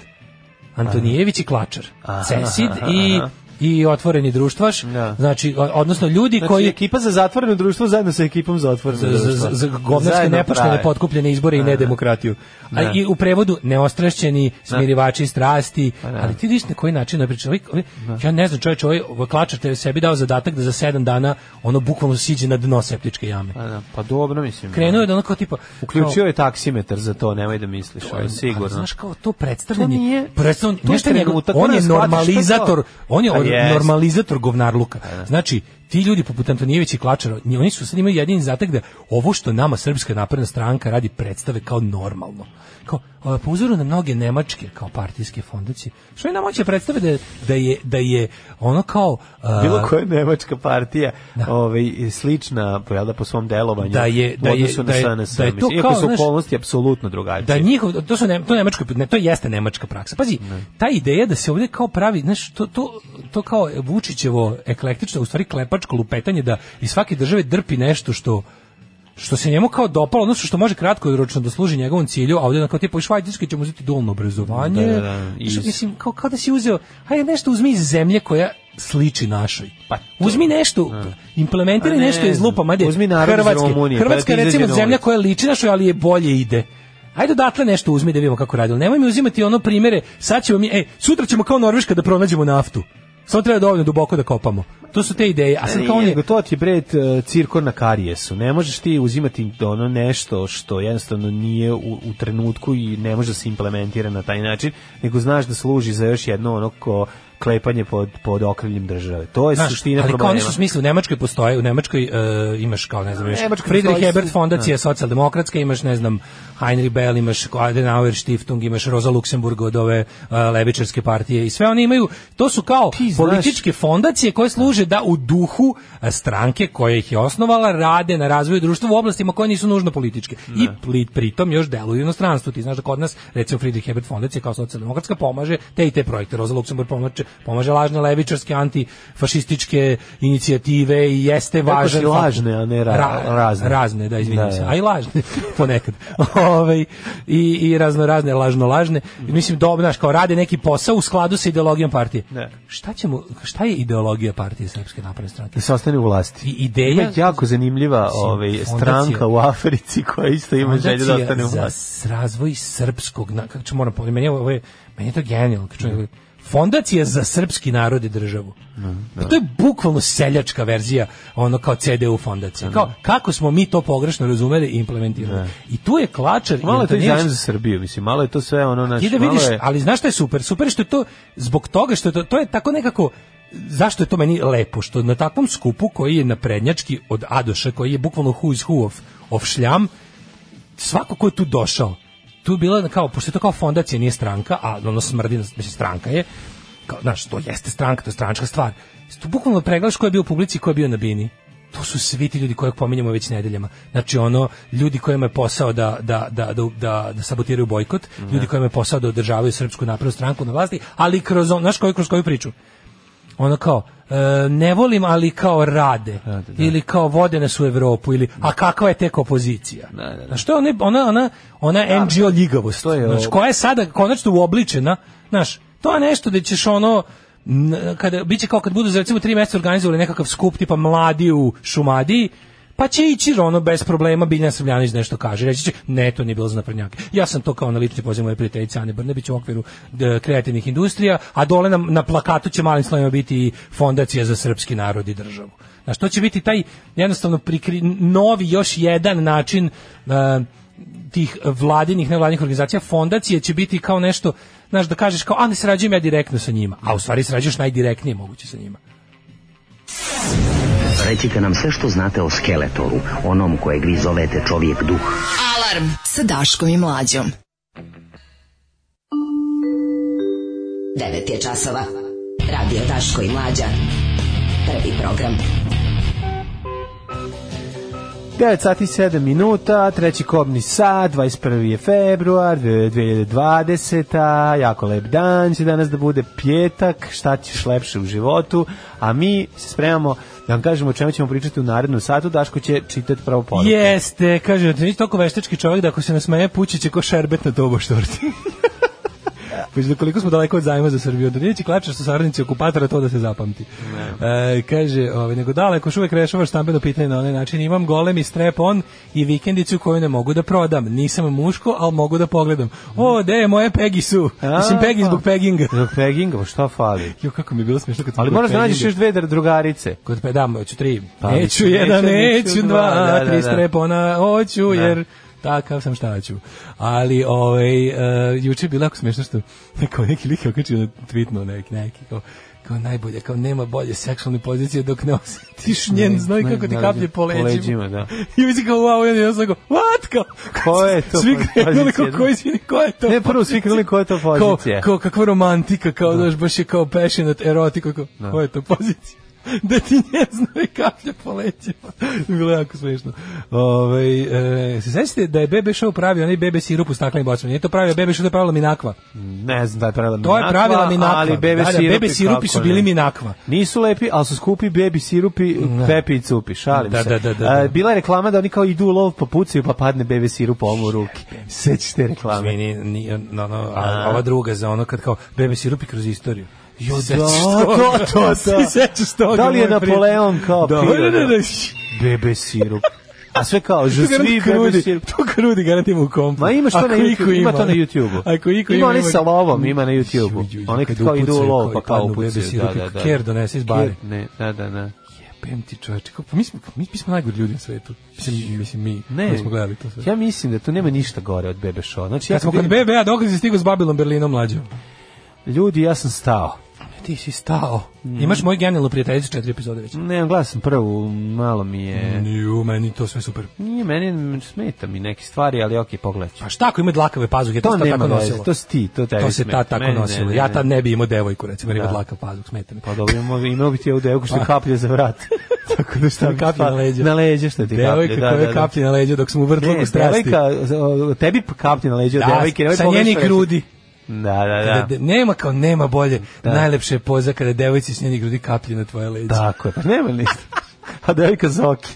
Speaker 7: Antonijević i Klačar.
Speaker 6: Aha,
Speaker 7: Cesid
Speaker 6: aha,
Speaker 7: i
Speaker 6: aha.
Speaker 7: i otvoreni društvaš,
Speaker 6: Da.
Speaker 7: znači o- odnosno ljudi
Speaker 6: Znači,
Speaker 7: koji
Speaker 6: ekipa za zatvoreno društvo zajedno sa ekipom za otvoreno
Speaker 7: za,
Speaker 6: društvo.
Speaker 7: za, za govnarske
Speaker 6: Zajedno
Speaker 7: nepoštene
Speaker 6: prave.
Speaker 7: potkupljene izbore i nedemokratiju. A
Speaker 6: Da.
Speaker 7: i u prevodu neostrašćeni, smirivači strasti,
Speaker 6: da.
Speaker 7: ali ti vidiš na koji način je pričao. Ovaj- ovaj- Ja ne znam, čovječ, ovaj klačar te je sebi dao zadatak da za sedam dana ono bukvalno siđe na dno septičke jame.
Speaker 6: Pa, da, pa dobro, mislim.
Speaker 7: Krenuo je da ono kao tipa...
Speaker 6: Uključio je taksimetar za to, nemoj da misliš,
Speaker 7: kao-
Speaker 6: ovo je sigurno.
Speaker 7: ali znaš kao to predstavljanje
Speaker 6: To nije-
Speaker 7: predstavljanje-
Speaker 6: to je
Speaker 7: znaš šta je njegov-
Speaker 6: trenutak,
Speaker 7: on je
Speaker 6: moraš shvatiti
Speaker 7: normalizator
Speaker 6: šta je to.
Speaker 7: on je
Speaker 6: Pa
Speaker 7: or-
Speaker 6: jest. Pa
Speaker 7: normalizator govnarluka znači ti ljudi poput Antonijevića i Klačara nji- oni su sad imaju jedini zatak da ovo što nama srpska napredna stranka radi predstave kao normalno kao a, po uzoru na mnoge nemačke kao partijske fondacije što je nam hoće predstave da, da je da je ono kao a,
Speaker 6: bilo koja nemačka partija ovaj je slična jel da po svom delovanju
Speaker 7: Da je- da je-
Speaker 6: u odnosu na
Speaker 7: da je-
Speaker 6: SNS
Speaker 7: da je to
Speaker 6: mislim, iako
Speaker 7: kao,
Speaker 6: su
Speaker 7: znaš,
Speaker 6: okolnosti apsolutno drugačije
Speaker 7: da njihov to su ne, to nemačko ne, to jeste nemačka praksa. Pazi, ta ideja da se ovdje kao pravi, znaš, to to to kao Vučićevo eklektično, u stvari klepačko lupetanje da iz svake države drpi nešto što što se njemu kao dopalo, odnosno što može kratkoročno da služi njegovom cilju, a ovdje na kao tipa u Švajcarskoj ćemo uzeti dualno obrazovanje.
Speaker 6: Da, da, da,
Speaker 7: Znaš,
Speaker 6: iz-
Speaker 7: mislim, kao, kao da si uzeo, hajde nešto uzmi iz zemlje koja sliči našoj.
Speaker 6: Pa to-
Speaker 7: uzmi nešto, implementiraj
Speaker 6: A ne
Speaker 7: nešto iz
Speaker 6: znam.
Speaker 7: lupa, ajde,
Speaker 6: Uzmi narod iz
Speaker 7: Hrvatske.
Speaker 6: Rumunije, pa da
Speaker 7: Hrvatska
Speaker 6: ti
Speaker 7: je
Speaker 6: izađe
Speaker 7: recimo
Speaker 6: na
Speaker 7: zemlja
Speaker 6: ulicu.
Speaker 7: koja liči našoj, ali je bolje ide. Ajde odatle nešto uzmi da vidimo kako radi. Ali Nemoj mi uzimati ono primere, sad ćemo mi, e, sutra ćemo kao Norveška da pronađemo naftu. Samo treba dovoljno duboko da kopamo. To su te ideje. A sad
Speaker 6: Nije,
Speaker 7: kao on je,
Speaker 6: nego to ti je bre t- cirkor na karijesu. Ne možeš ti uzimati ono nešto što jednostavno nije u, u trenutku i ne može da se implementira na taj način, nego znaš da služi za još jedno ono ko klepanje pod, pod okriljem države. To je
Speaker 7: Znaš,
Speaker 6: suština
Speaker 7: ali kao
Speaker 6: problema.
Speaker 7: oni su smisli, u Nemačkoj postoje, u Nemačkoj e, imaš kao, ne znam, još
Speaker 6: Nemačkoj
Speaker 7: Friedrich
Speaker 6: postoji
Speaker 7: Ebert
Speaker 6: su-
Speaker 7: fondacija socijaldemokratska, imaš, ne znam, Heinrich Bell, imaš Adenauer Stiftung, imaš Rosa Luxemburg od ove e, levičarske partije i sve oni imaju, to su kao
Speaker 6: Ti znaš-
Speaker 7: političke fondacije koje služe da u duhu e, stranke koja ih je osnovala rade na razvoju društva u oblastima koje nisu nužno političke. I pli- pritom još deluju u inostranstvu. Ti znaš da kod nas, recimo Friedrich Ebert fondacija kao socijaldemokratska pomaže te i te projekte. Roza Luksemburg pomaže, pomaže lažne levičarske antifašističke inicijative i jeste
Speaker 6: Rekao
Speaker 7: važan...
Speaker 6: si
Speaker 7: faktor-
Speaker 6: lažne, a ne ra- razne.
Speaker 7: Razne, da, izvinim
Speaker 6: Da,
Speaker 7: se.
Speaker 6: da.
Speaker 7: A i lažne, (laughs) ponekad. Ovaj, i, I razno razne, lažno lažne. Mislim, dobro, znaš, kao rade neki posao u skladu sa ideologijom partije.
Speaker 6: Ne.
Speaker 7: Šta, ćemo, šta je ideologija partije Srpske napredne stranke?
Speaker 6: da se ostane u vlasti.
Speaker 7: I ideja
Speaker 6: Ima jako zanimljiva
Speaker 7: Mislim,
Speaker 6: ovaj,
Speaker 7: fondacija-
Speaker 6: stranka u Africi koja isto ima želje da
Speaker 7: Fondacija
Speaker 6: ostane u
Speaker 7: za
Speaker 6: vlasti.
Speaker 7: s- razvoj srpskog, na, kako ću moram povedati, meni, je ovo- ovo je- meni je to genijalno. kad čujem- Fondacija za srpski narod i državu.
Speaker 6: Mm,
Speaker 7: Pa To je bukvalno seljačka verzija ono kao CDU fondacija. Kao, kako smo mi to pogrešno razumeli i implementirali. I tu je Klačar i
Speaker 6: Malo je to i
Speaker 7: Antonijević-
Speaker 6: zajem za Srbiju, mislim, malo je to sve ono naš...
Speaker 7: ti da vidiš,
Speaker 6: malo je-
Speaker 7: ali znaš šta je super? Super je što je to zbog toga što je to, to je tako nekako zašto je to meni lepo što na takvom skupu koji je naprednjački od Adoša koji je bukvalno who's who of, of šljam svako ko je tu došao tu je bila kao pošto je to kao fondacija nije stranka a ono smrdi mislim stranka je kao znaš to jeste stranka to je stranačka stvar tu bukvalno pregledaš ko je bio u publici ko je bio na bini to su svi ti ljudi koje pominjamo već nedeljama. Znači ono ljudi kojima je posao da da da da da, da sabotiraju bojkot, ljudi kojima je posao da održavaju srpsku naprednu stranku na vlasti, ali kroz on, znaš koju kroz koju priču. Ono kao e, ne volim, ali kao rade. Ili kao vode nas u Evropu. Ili, a kakva je tek opozicija? Znaš, to je ono, ona, ona, ona, ona ono NGO ljigavost. Znaš, Znači, koja je sada konačno uobličena. Znaš, to je nešto da ćeš ono, n- kada biće kao kad budu za recimo tri mjeseca organizovali nekakav skup tipa mladi u Šumadiji pa će ići ono bez problema Biljana Srbljanić nešto kaže reći će ne to nije bilo za naprednjake ja sam to kao na lični poziv moje prijateljice Ane Brnebić u okviru e, kreativnih industrija a dole na, na plakatu će malim slovima biti i fondacija za srpski narod i državu Znaš, to će biti taj jednostavno prikri- novi još jedan način e, tih vladinih, nevladinih organizacija, fondacije će biti kao nešto, znaš, da kažeš kao, a ne srađujem ja direktno sa njima, a u stvari srađuješ najdirektnije moguće sa njima.
Speaker 4: Recite nam sve što znate o Skeletoru, onom kojeg vi zovete čovjek duh.
Speaker 12: Alarm sa Daškom i Mlađom.
Speaker 5: 9 je časova. Radio Daško i Mlađa. Prvi program.
Speaker 6: 9 sati i 7 minuta, treći kobni sat, 21. je februar 2020. Jako lep dan će danas da bude pjetak, šta ćeš lepše u životu, a mi se spremamo da vam kažemo o čemu ćemo pričati u narednu satu, Daško će čitati pravo poruku.
Speaker 7: Jeste, kaže, ti nisi toliko veštački čovjek da ako se nasmeje pući će ko šerbet na tobo (laughs) štorti. Već do koliko smo daleko od zajma za Srbiju, da neće klačaš sa saradnici okupatora, to da se zapamti. E, kaže, ovaj, nego daleko, još uvek rešavaš stambeno pitanje na onaj način, imam golemi strep on i vikendicu koju ne mogu da prodam. Nisam muško, ali mogu da pogledam. O, de, moje pegi su. Mislim, pegi zbog peginga.
Speaker 6: pa. Zbog peginga, pa šta fali?
Speaker 7: pa. Jo, kako mi je bilo smiješno kad smo
Speaker 6: Ali
Speaker 7: kod
Speaker 6: moraš da nađeš
Speaker 7: peginga.
Speaker 6: još dve dr- drugarice.
Speaker 7: Kod pe, da, hoću tri.
Speaker 6: Pa,
Speaker 7: neću
Speaker 6: mislim,
Speaker 7: jedan,
Speaker 6: neću,
Speaker 7: neću,
Speaker 6: neću
Speaker 7: dva,
Speaker 6: dva, da, da, da.
Speaker 7: tri strepona, hoću, jer takav sam šta ću. Ali, ovaj, uh, juče je bilo jako smiješno što (laughs) kao neki lik je okačio na tweetno neki, neki, kao, kao najbolje, kao nema bolje seksualne pozicije dok ne osjetiš njen, znoj
Speaker 6: Ne,
Speaker 7: kako ti
Speaker 6: ne,
Speaker 7: kaplje po leđima.
Speaker 6: leđima, da.
Speaker 7: (laughs) I mi se kao, wow, jedan je kao, what, kao,
Speaker 6: Ko
Speaker 7: (laughs)
Speaker 6: je to
Speaker 7: Svi
Speaker 6: pozicija,
Speaker 7: krenuli, kao,
Speaker 6: da?
Speaker 7: ko, izvini, ko je to?
Speaker 6: Ne, prvo svi krenuli koja je to
Speaker 7: kao,
Speaker 6: pozicija.
Speaker 7: kao kakva romantika, kao daš baš je kao passionate erotika, kao,
Speaker 6: Da.
Speaker 7: koja je to pozicija? (laughs) da ti ne zna kaplja po lećima. (laughs) Bilo je jako smešno. Ovaj e, se sećate da je bebe show pravio onaj bebe sirup u staklenim bocama? Nije to pravio bebe show, to je pravila Minakva.
Speaker 6: Ne znam da je pravila
Speaker 7: To je
Speaker 6: Minakva,
Speaker 7: pravila Minakva.
Speaker 6: Ali bebe,
Speaker 7: Da, da,
Speaker 6: sirupi,
Speaker 7: bebe sirupi
Speaker 6: kako
Speaker 7: su bili
Speaker 6: ne.
Speaker 7: Minakva.
Speaker 6: Nisu lepi, ali su skupi bebi sirupi, pepi i cupi, šalim
Speaker 7: Da,
Speaker 6: se.
Speaker 7: da, da, da, da.
Speaker 6: E, bila je reklama da oni kao idu u lov pa pucaju pa padne bebe sirup ovom u ruki. Sećaš te reklame?
Speaker 7: Meni, ni, no, no, a, ova druga za ono kad kao bebe sirupi kroz istoriju. Jo,
Speaker 6: da, to,
Speaker 7: (laughs)
Speaker 6: to, to.
Speaker 7: Sećaš toga.
Speaker 6: Da li je
Speaker 7: moje prijatelje?
Speaker 6: Napoleon kao
Speaker 7: Da,
Speaker 6: pio,
Speaker 7: ne, ne,
Speaker 6: da?
Speaker 7: ne.
Speaker 6: Bebe sirup. A
Speaker 7: (laughs)
Speaker 6: sve kao,
Speaker 7: To
Speaker 6: že svi
Speaker 7: garant
Speaker 6: bebe
Speaker 7: krudi,
Speaker 6: sirup.
Speaker 7: to krudi garantimo u kompu.
Speaker 6: Ma imaš to
Speaker 7: Ako
Speaker 6: na
Speaker 7: iko
Speaker 6: YouTube, ima
Speaker 7: ima.
Speaker 6: to na YouTubeu.
Speaker 7: Ako iko
Speaker 6: ima
Speaker 7: ima,
Speaker 6: oni sa lovom, ima na YouTubeu. Oni kad kao idu u lov pa kao upucaju. Da, da, da.
Speaker 7: Ker donese iz bare.
Speaker 6: Ker, Ne, da, da, da.
Speaker 7: Jebem ti čoveče, kako pa mi smo mi, mi smo najgori ljudi na svetu. Mislim mislim mi
Speaker 6: Ne,
Speaker 7: koji smo gledali to sve.
Speaker 6: Ja mislim da tu nema ništa gore od bebe show. Znači, ja
Speaker 7: Kad smo
Speaker 6: kad
Speaker 7: kod BBA dok se stigao s Babilom Berlinom mlađom.
Speaker 6: Ljudi, ja sam stao.
Speaker 7: Ti si stao. Mm. Imaš moj genijalno prijateljicu četiri epizode već.
Speaker 6: Nemam glasom prvu, malo mi je...
Speaker 7: Ju, meni to sve super.
Speaker 6: Nije, meni smeta mi neke stvari, ali ok, pogledat ću.
Speaker 7: Pa šta ako ima dlakave pazuhe, to,
Speaker 6: To
Speaker 7: se tad
Speaker 6: nema
Speaker 7: tako
Speaker 6: veze,
Speaker 7: nosilo.
Speaker 6: to si ti, to tebi
Speaker 7: To se
Speaker 6: smeta.
Speaker 7: tad tako
Speaker 6: Meni ne,
Speaker 7: nosilo.
Speaker 6: ne,
Speaker 7: Ja
Speaker 6: ne.
Speaker 7: tad ne bi imao devojku, recimo, jer ima
Speaker 6: Da.
Speaker 7: dlakav pazuh, smeta mi.
Speaker 6: Pa dobro, imao, imao bi ti ovu devojku što
Speaker 7: Pa.
Speaker 6: ti kaplje za
Speaker 7: (laughs)
Speaker 6: vrat. (laughs) Tako da šta
Speaker 7: Šta
Speaker 6: bi
Speaker 7: kaplje na
Speaker 6: pa-
Speaker 7: leđa.
Speaker 6: Na leđa što ti kaplje.
Speaker 7: Devojka
Speaker 6: da,
Speaker 7: koja
Speaker 6: da, da.
Speaker 7: kaplje na leđa dok smo u vrtlogu
Speaker 6: Ne,
Speaker 7: strasti.
Speaker 6: devojka, o, tebi kaplje na leđa od
Speaker 7: Da,
Speaker 6: devojke. nemoj
Speaker 7: sa
Speaker 6: pogrešno
Speaker 7: njenih
Speaker 6: reći.
Speaker 7: grudi.
Speaker 6: Da, da,
Speaker 7: Da.
Speaker 6: da.
Speaker 7: de- nema kao nema bolje. Najlepše je poza kada devojci s njenih grudi kaplje na tvoje leđe.
Speaker 6: Tako je, pa nema ništa. A devojka
Speaker 7: (laughs)
Speaker 6: Zoki.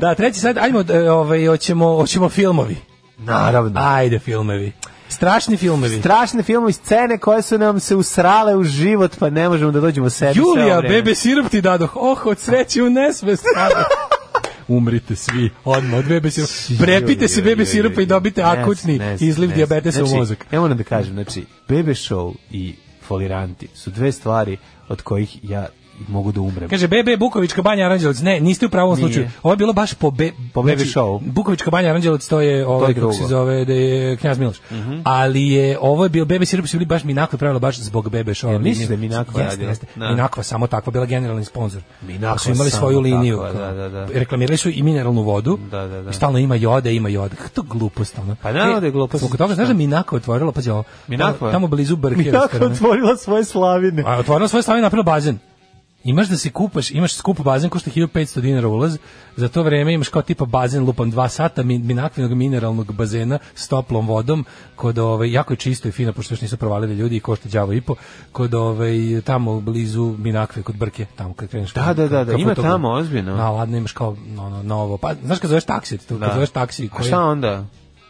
Speaker 7: Da, treći sad, ajmo, e, ovaj, hoćemo, hoćemo filmovi.
Speaker 6: Naravno.
Speaker 7: Ajde filmovi. Strašni filmovi.
Speaker 6: strašne filmove i scene koje su nam se usrale u život, pa ne možemo da dođemo sebi.
Speaker 7: Julija,
Speaker 6: sve vreme.
Speaker 7: bebe sirup ti dadoh. Oh, od sreće u nesvest.
Speaker 6: (laughs)
Speaker 7: Umrite svi, odmah od bebe sirupa. Prepite se
Speaker 6: Joj, joj,
Speaker 7: bebe
Speaker 6: joj,
Speaker 7: sirupa
Speaker 6: joj.
Speaker 7: i dobite
Speaker 6: Ne znam,
Speaker 7: akutni
Speaker 6: ne znam,
Speaker 7: izliv
Speaker 6: ne znam.
Speaker 7: dijabetesa u
Speaker 6: Znači,
Speaker 7: mozak.
Speaker 6: Ja moram da kažem, znači, bebe show i foliranti su dve stvari od kojih ja mogu da umrem.
Speaker 7: Kaže BB Bukovička banja Aranđelovac. Ne, niste u pravom
Speaker 6: Nije.
Speaker 7: slučaju. Ovo je bilo baš po be,
Speaker 6: Po BB showu.
Speaker 7: Znači, Bukovička banja Aranđelovac to je ovaj kako
Speaker 6: drugo.
Speaker 7: se zove da je Knjaz Miloš. Ali je ovo je bio BB Sirup su bili baš Minakva pravila baš zbog BB showa.
Speaker 6: Jel
Speaker 7: Liniju.
Speaker 6: misliš da je Minakva
Speaker 7: Jeste,
Speaker 6: radila?
Speaker 7: jeste.
Speaker 6: Da.
Speaker 7: Minakva samo takva bila generalni sponsor.
Speaker 6: Minakva
Speaker 7: Pa su imali
Speaker 6: samo
Speaker 7: svoju liniju.
Speaker 6: takva,
Speaker 7: kao.
Speaker 6: da, da, da.
Speaker 7: Reklamirali su i mineralnu vodu.
Speaker 6: Da, da, da.
Speaker 7: I stalno ima joda, ima joda. Kako to glupost ono.
Speaker 6: Pa naravno da je glupost.
Speaker 7: Zbog toga znaš da Minakva otvorila pa
Speaker 6: Minakva?
Speaker 7: Tamo blizu Brkija.
Speaker 6: Mi tako otvorila svoje slavine.
Speaker 7: Pa, A otvorila svoje stave i napravila bazen. Imaš da se kupaš, imaš skup bazen košta 1500 dinara ulaz, za to vreme imaš kao tipa bazen lupan 2 sata min- minakvinog mineralnog bazena s toplom vodom, kod ove, jako je čisto i fino, pošto još nisu provalili ljudi i košta đavo i po, kod ove, tamo blizu minakve, kod Brke, tamo kad kreneš.
Speaker 6: Da, da, da, da,
Speaker 7: ka
Speaker 6: ima
Speaker 7: Futogu.
Speaker 6: tamo, ozbiljno.
Speaker 7: Na, ladno imaš kao no, no, novo, pa znaš kad zoveš taksi, tu, kad
Speaker 6: Da.
Speaker 7: zoveš taksi.
Speaker 6: A šta onda?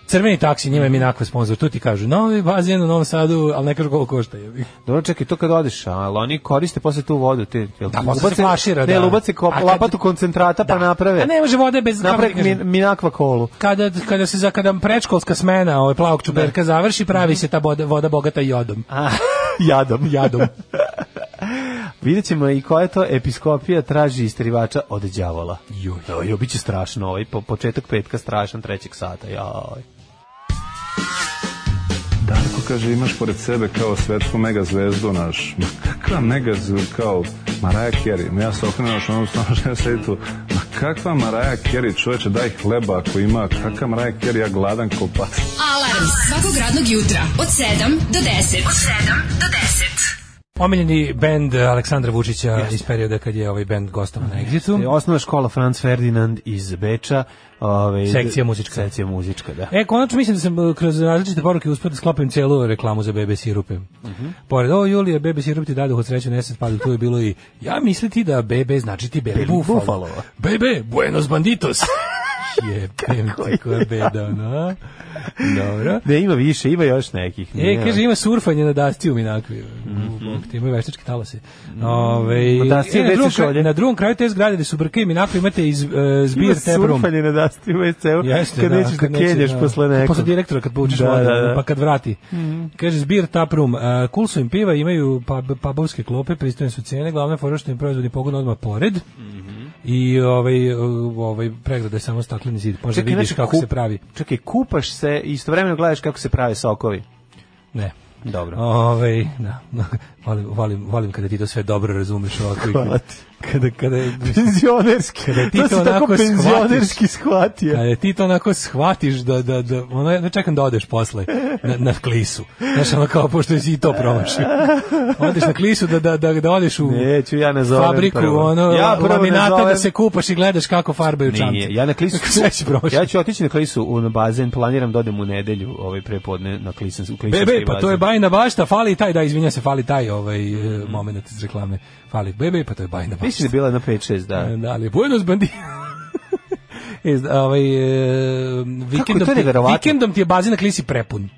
Speaker 7: Crveni taksi, njima je Minakve sponsor, tu ti kažu, novi bazen u Novom Sadu, ali ne kažu koliko košta. jebi.
Speaker 6: Dobro, čekaj, to kad odeš, ali oni koriste posle tu vodu. Te, jel,
Speaker 7: Da, posle se
Speaker 6: ubace-
Speaker 7: flašira,
Speaker 6: Ne,
Speaker 7: da.
Speaker 6: ubace ko,
Speaker 7: A kad-
Speaker 6: lapatu koncentrata pa naprave.
Speaker 7: A ne može vode bez kako
Speaker 6: Naprave
Speaker 7: ti kažem?
Speaker 6: min, minakva kolu.
Speaker 7: kada, kada se za kada predškolska smena ovaj plavog čuberka završi, pravi se ta voda, voda bogata jodom.
Speaker 6: (laughs) Jadom.
Speaker 7: Jadom.
Speaker 6: Vidjet ćemo i koja to episkopija traži istrivača od đavola.
Speaker 7: Joj.
Speaker 6: Joj, bit će strašno ovaj po, početak petka strašan trećeg sata. Joj.
Speaker 13: Darko kaže imaš pored sebe kao svetsku megazvezdu naš. Ma kakva megazvezdu kao Maraja Kerry. Ma ja se okrenem naš onom stanu (laughs) što ja sedi tu. Ma kakva Maraja Kerry čoveče daj hleba ako ima. Kakva Maraja Kerry ja gladan ko pas.
Speaker 12: Alarm svakog radnog jutra od 7 do 10. Od 7 do 10.
Speaker 7: Omiljeni bend Aleksandra Vučića iz perioda kad je ovaj bend gostom na Exitu.
Speaker 6: E, Osnovna škola Franz Ferdinand iz Beča. Ovaj,
Speaker 7: Sekcija muzička.
Speaker 6: Sekcija muzička, da.
Speaker 7: E, konačno mislim da sam e, kroz različite poruke uspio da sklopim celu reklamu za bebe sirupe.
Speaker 6: Mhm.
Speaker 7: Pored ovo Julije, bebe sirup ti dadu od sreće neset, pa tu je bilo i ja misli ti da bebe znači ti bebe
Speaker 6: Bebe
Speaker 7: bufalo.
Speaker 6: bufalo.
Speaker 7: Bebe, buenos
Speaker 6: (laughs)
Speaker 7: banditos. Jebem ti koja beda, ono, a? Dobro.
Speaker 6: Ne, ima više, ima još nekih.
Speaker 7: E,
Speaker 6: Ne,
Speaker 7: kaže, ima surfanje na dasci u Minakvi. Bog ti, imaju veštačke talase. Ove,
Speaker 6: Mhm. Na Dasti
Speaker 7: e,
Speaker 6: je
Speaker 7: na, drugom
Speaker 6: veće šolje.
Speaker 7: kraju, na drugom kraju te zgrade gde su brke i Minakvi imate iz, e,
Speaker 6: Ima
Speaker 7: zbir tebrum.
Speaker 6: surfanje na dasti u WC-u,
Speaker 7: Jeste,
Speaker 6: kad
Speaker 7: da,
Speaker 6: nećeš da
Speaker 7: kad nećeš,
Speaker 6: kenješ
Speaker 7: da. Pa
Speaker 6: posle nekog.
Speaker 7: Posle direktora kad povučeš
Speaker 6: Da,
Speaker 7: vodu,
Speaker 6: da, da.
Speaker 7: pa kad vrati. Kaže, zbir taprum, uh, cool su im piva, imaju pub, pubovske klope, pristojne su cene, glavna fora što im proizvodni pogon odmah pored.
Speaker 6: Mhm.
Speaker 7: I ovaj, uh, ovaj pregrada je samo stakleni zid, možda
Speaker 6: Čekaj,
Speaker 7: vidiš
Speaker 6: znači,
Speaker 7: kako
Speaker 6: kup-
Speaker 7: se pravi.
Speaker 6: Čekaj, kupaš se i istovremeno gledaš kako se prave sokovi.
Speaker 7: Ne.
Speaker 6: Dobro.
Speaker 7: Ovaj, da. (laughs) volim, volim, volim kada ti to sve dobro razumeš ovako. i kada-
Speaker 6: (laughs) Hvala ti.
Speaker 7: Kada, kada,
Speaker 6: Penzionerski.
Speaker 7: Kada ti to
Speaker 6: to si tako
Speaker 7: onako shvatiš.
Speaker 6: penzionerski shvatio.
Speaker 7: Kada E, ti to onako shvatiš da, da, da ono, ja čekam da odeš posle na, na klisu. Znaš, ono kao, pošto si i to promašio. Odeš na klisu da, da, da, da odeš u
Speaker 6: Neću, ja ne zovem
Speaker 7: fabriku,
Speaker 6: prvo.
Speaker 7: ono,
Speaker 6: Ja prvo ne
Speaker 7: laminata
Speaker 6: zovem.
Speaker 7: da se kupaš i gledaš kako farbaju čamce.
Speaker 6: Nije, (laughs) ja na klisu
Speaker 7: (laughs) Sve si promašio.
Speaker 6: Ja ću otići na klisu u na bazen, planiram da odem u nedelju, ovaj prepodne na klisan u klisanski
Speaker 7: Bebe, pa to je
Speaker 6: bazen.
Speaker 7: bajna bašta, fali i taj, da, izvinja se, fali taj ovaj eh, moment iz reklame. Fali, bebe, pa to je bajna bašta.
Speaker 6: Mislim da je bila na 5-6, da.
Speaker 7: E, Da, ali Buenos (laughs) Bandi. Iz, ovaj, e, vikendom,
Speaker 6: to je
Speaker 7: ti,
Speaker 6: neverovatno?
Speaker 7: vikendom ti je bazin na klisi prepun.